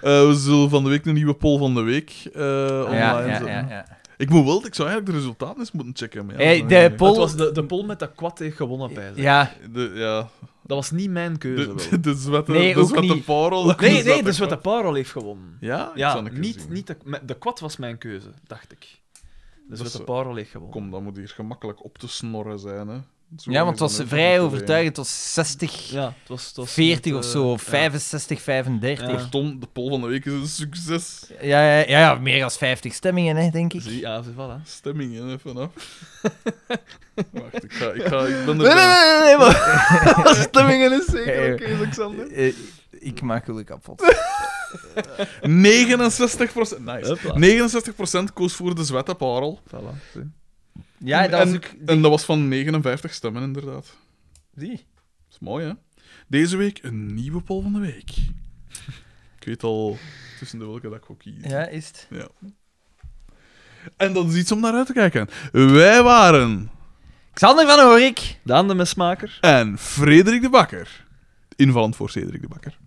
C: Eh, we zullen van de week een nieuwe poll van de week eh, online
A: Ja, ja,
C: zetten.
A: ja, ja.
C: Ik, moet wel, ik zou eigenlijk de resultaten eens moeten checken. maar ja,
A: Hey,
C: dat is
A: de
C: niet.
B: Het
A: poll...
B: was de, de pol met dat kwad heeft gewonnen, bij.
A: Ja,
C: De, ja,
B: Dat was niet mijn keuze,
C: de,
B: wel.
C: de, de zwette,
A: Nee,
C: de
A: ook
C: zwette
A: niet.
C: parel.
B: Nee, nee, dus wat de Parel heeft gewonnen.
C: Ja, ik
B: Ja,
C: zou een keer
B: niet,
C: zien.
B: niet de, me- de kwad was mijn keuze, dacht ik.
C: Dat
B: Dus wat
C: is-
B: de Parel heeft gewonnen.
C: Kom, dat moet hier gemakkelijk op te snorren zijn, hè. Zo
A: ja, want
C: is
A: het was
C: een
A: vrij
C: overtuiging.
A: overtuigend. Het was 60,
B: Ja, het was... Het was
A: 40
B: met,
A: of
B: eh,
A: zo.
B: ja.
A: 65, 35.
C: Kortom, de poll van de week is een succes.
A: Ja, ja, ja, ja, meer dan 50 stemmingen, hè, denk ik.
B: Zie, ja, ze- voilà.
C: Stemming, hè, vanaf. Wacht, ik ga... Ik, ga, ik ben er...
B: Nee, nee, nee, nee, nee, maar... Stemmingen is zeker
A: Eh,
B: een keuze, Alexander.
A: Eh, ik maak jullie kapot.
C: 69 Nice.
B: Hopla.
C: 69 koos voor de zwette parel.
B: Voilà, zie.
A: Ja, dat was
C: en,
A: ook...
C: en dat was van 59 stemmen, inderdaad. Dat
A: Die.
C: is mooi, hè. Deze week een nieuwe poll van de week. Ik weet al tussen de welke dat ik ook kies.
A: Ja, is het.
C: En dat is iets om naar uit te kijken. Wij waren...
A: Xander van Horik.
B: Daan de mesmaker.
C: En Frederik de Bakker. Invallend voor Cedric de Bakker.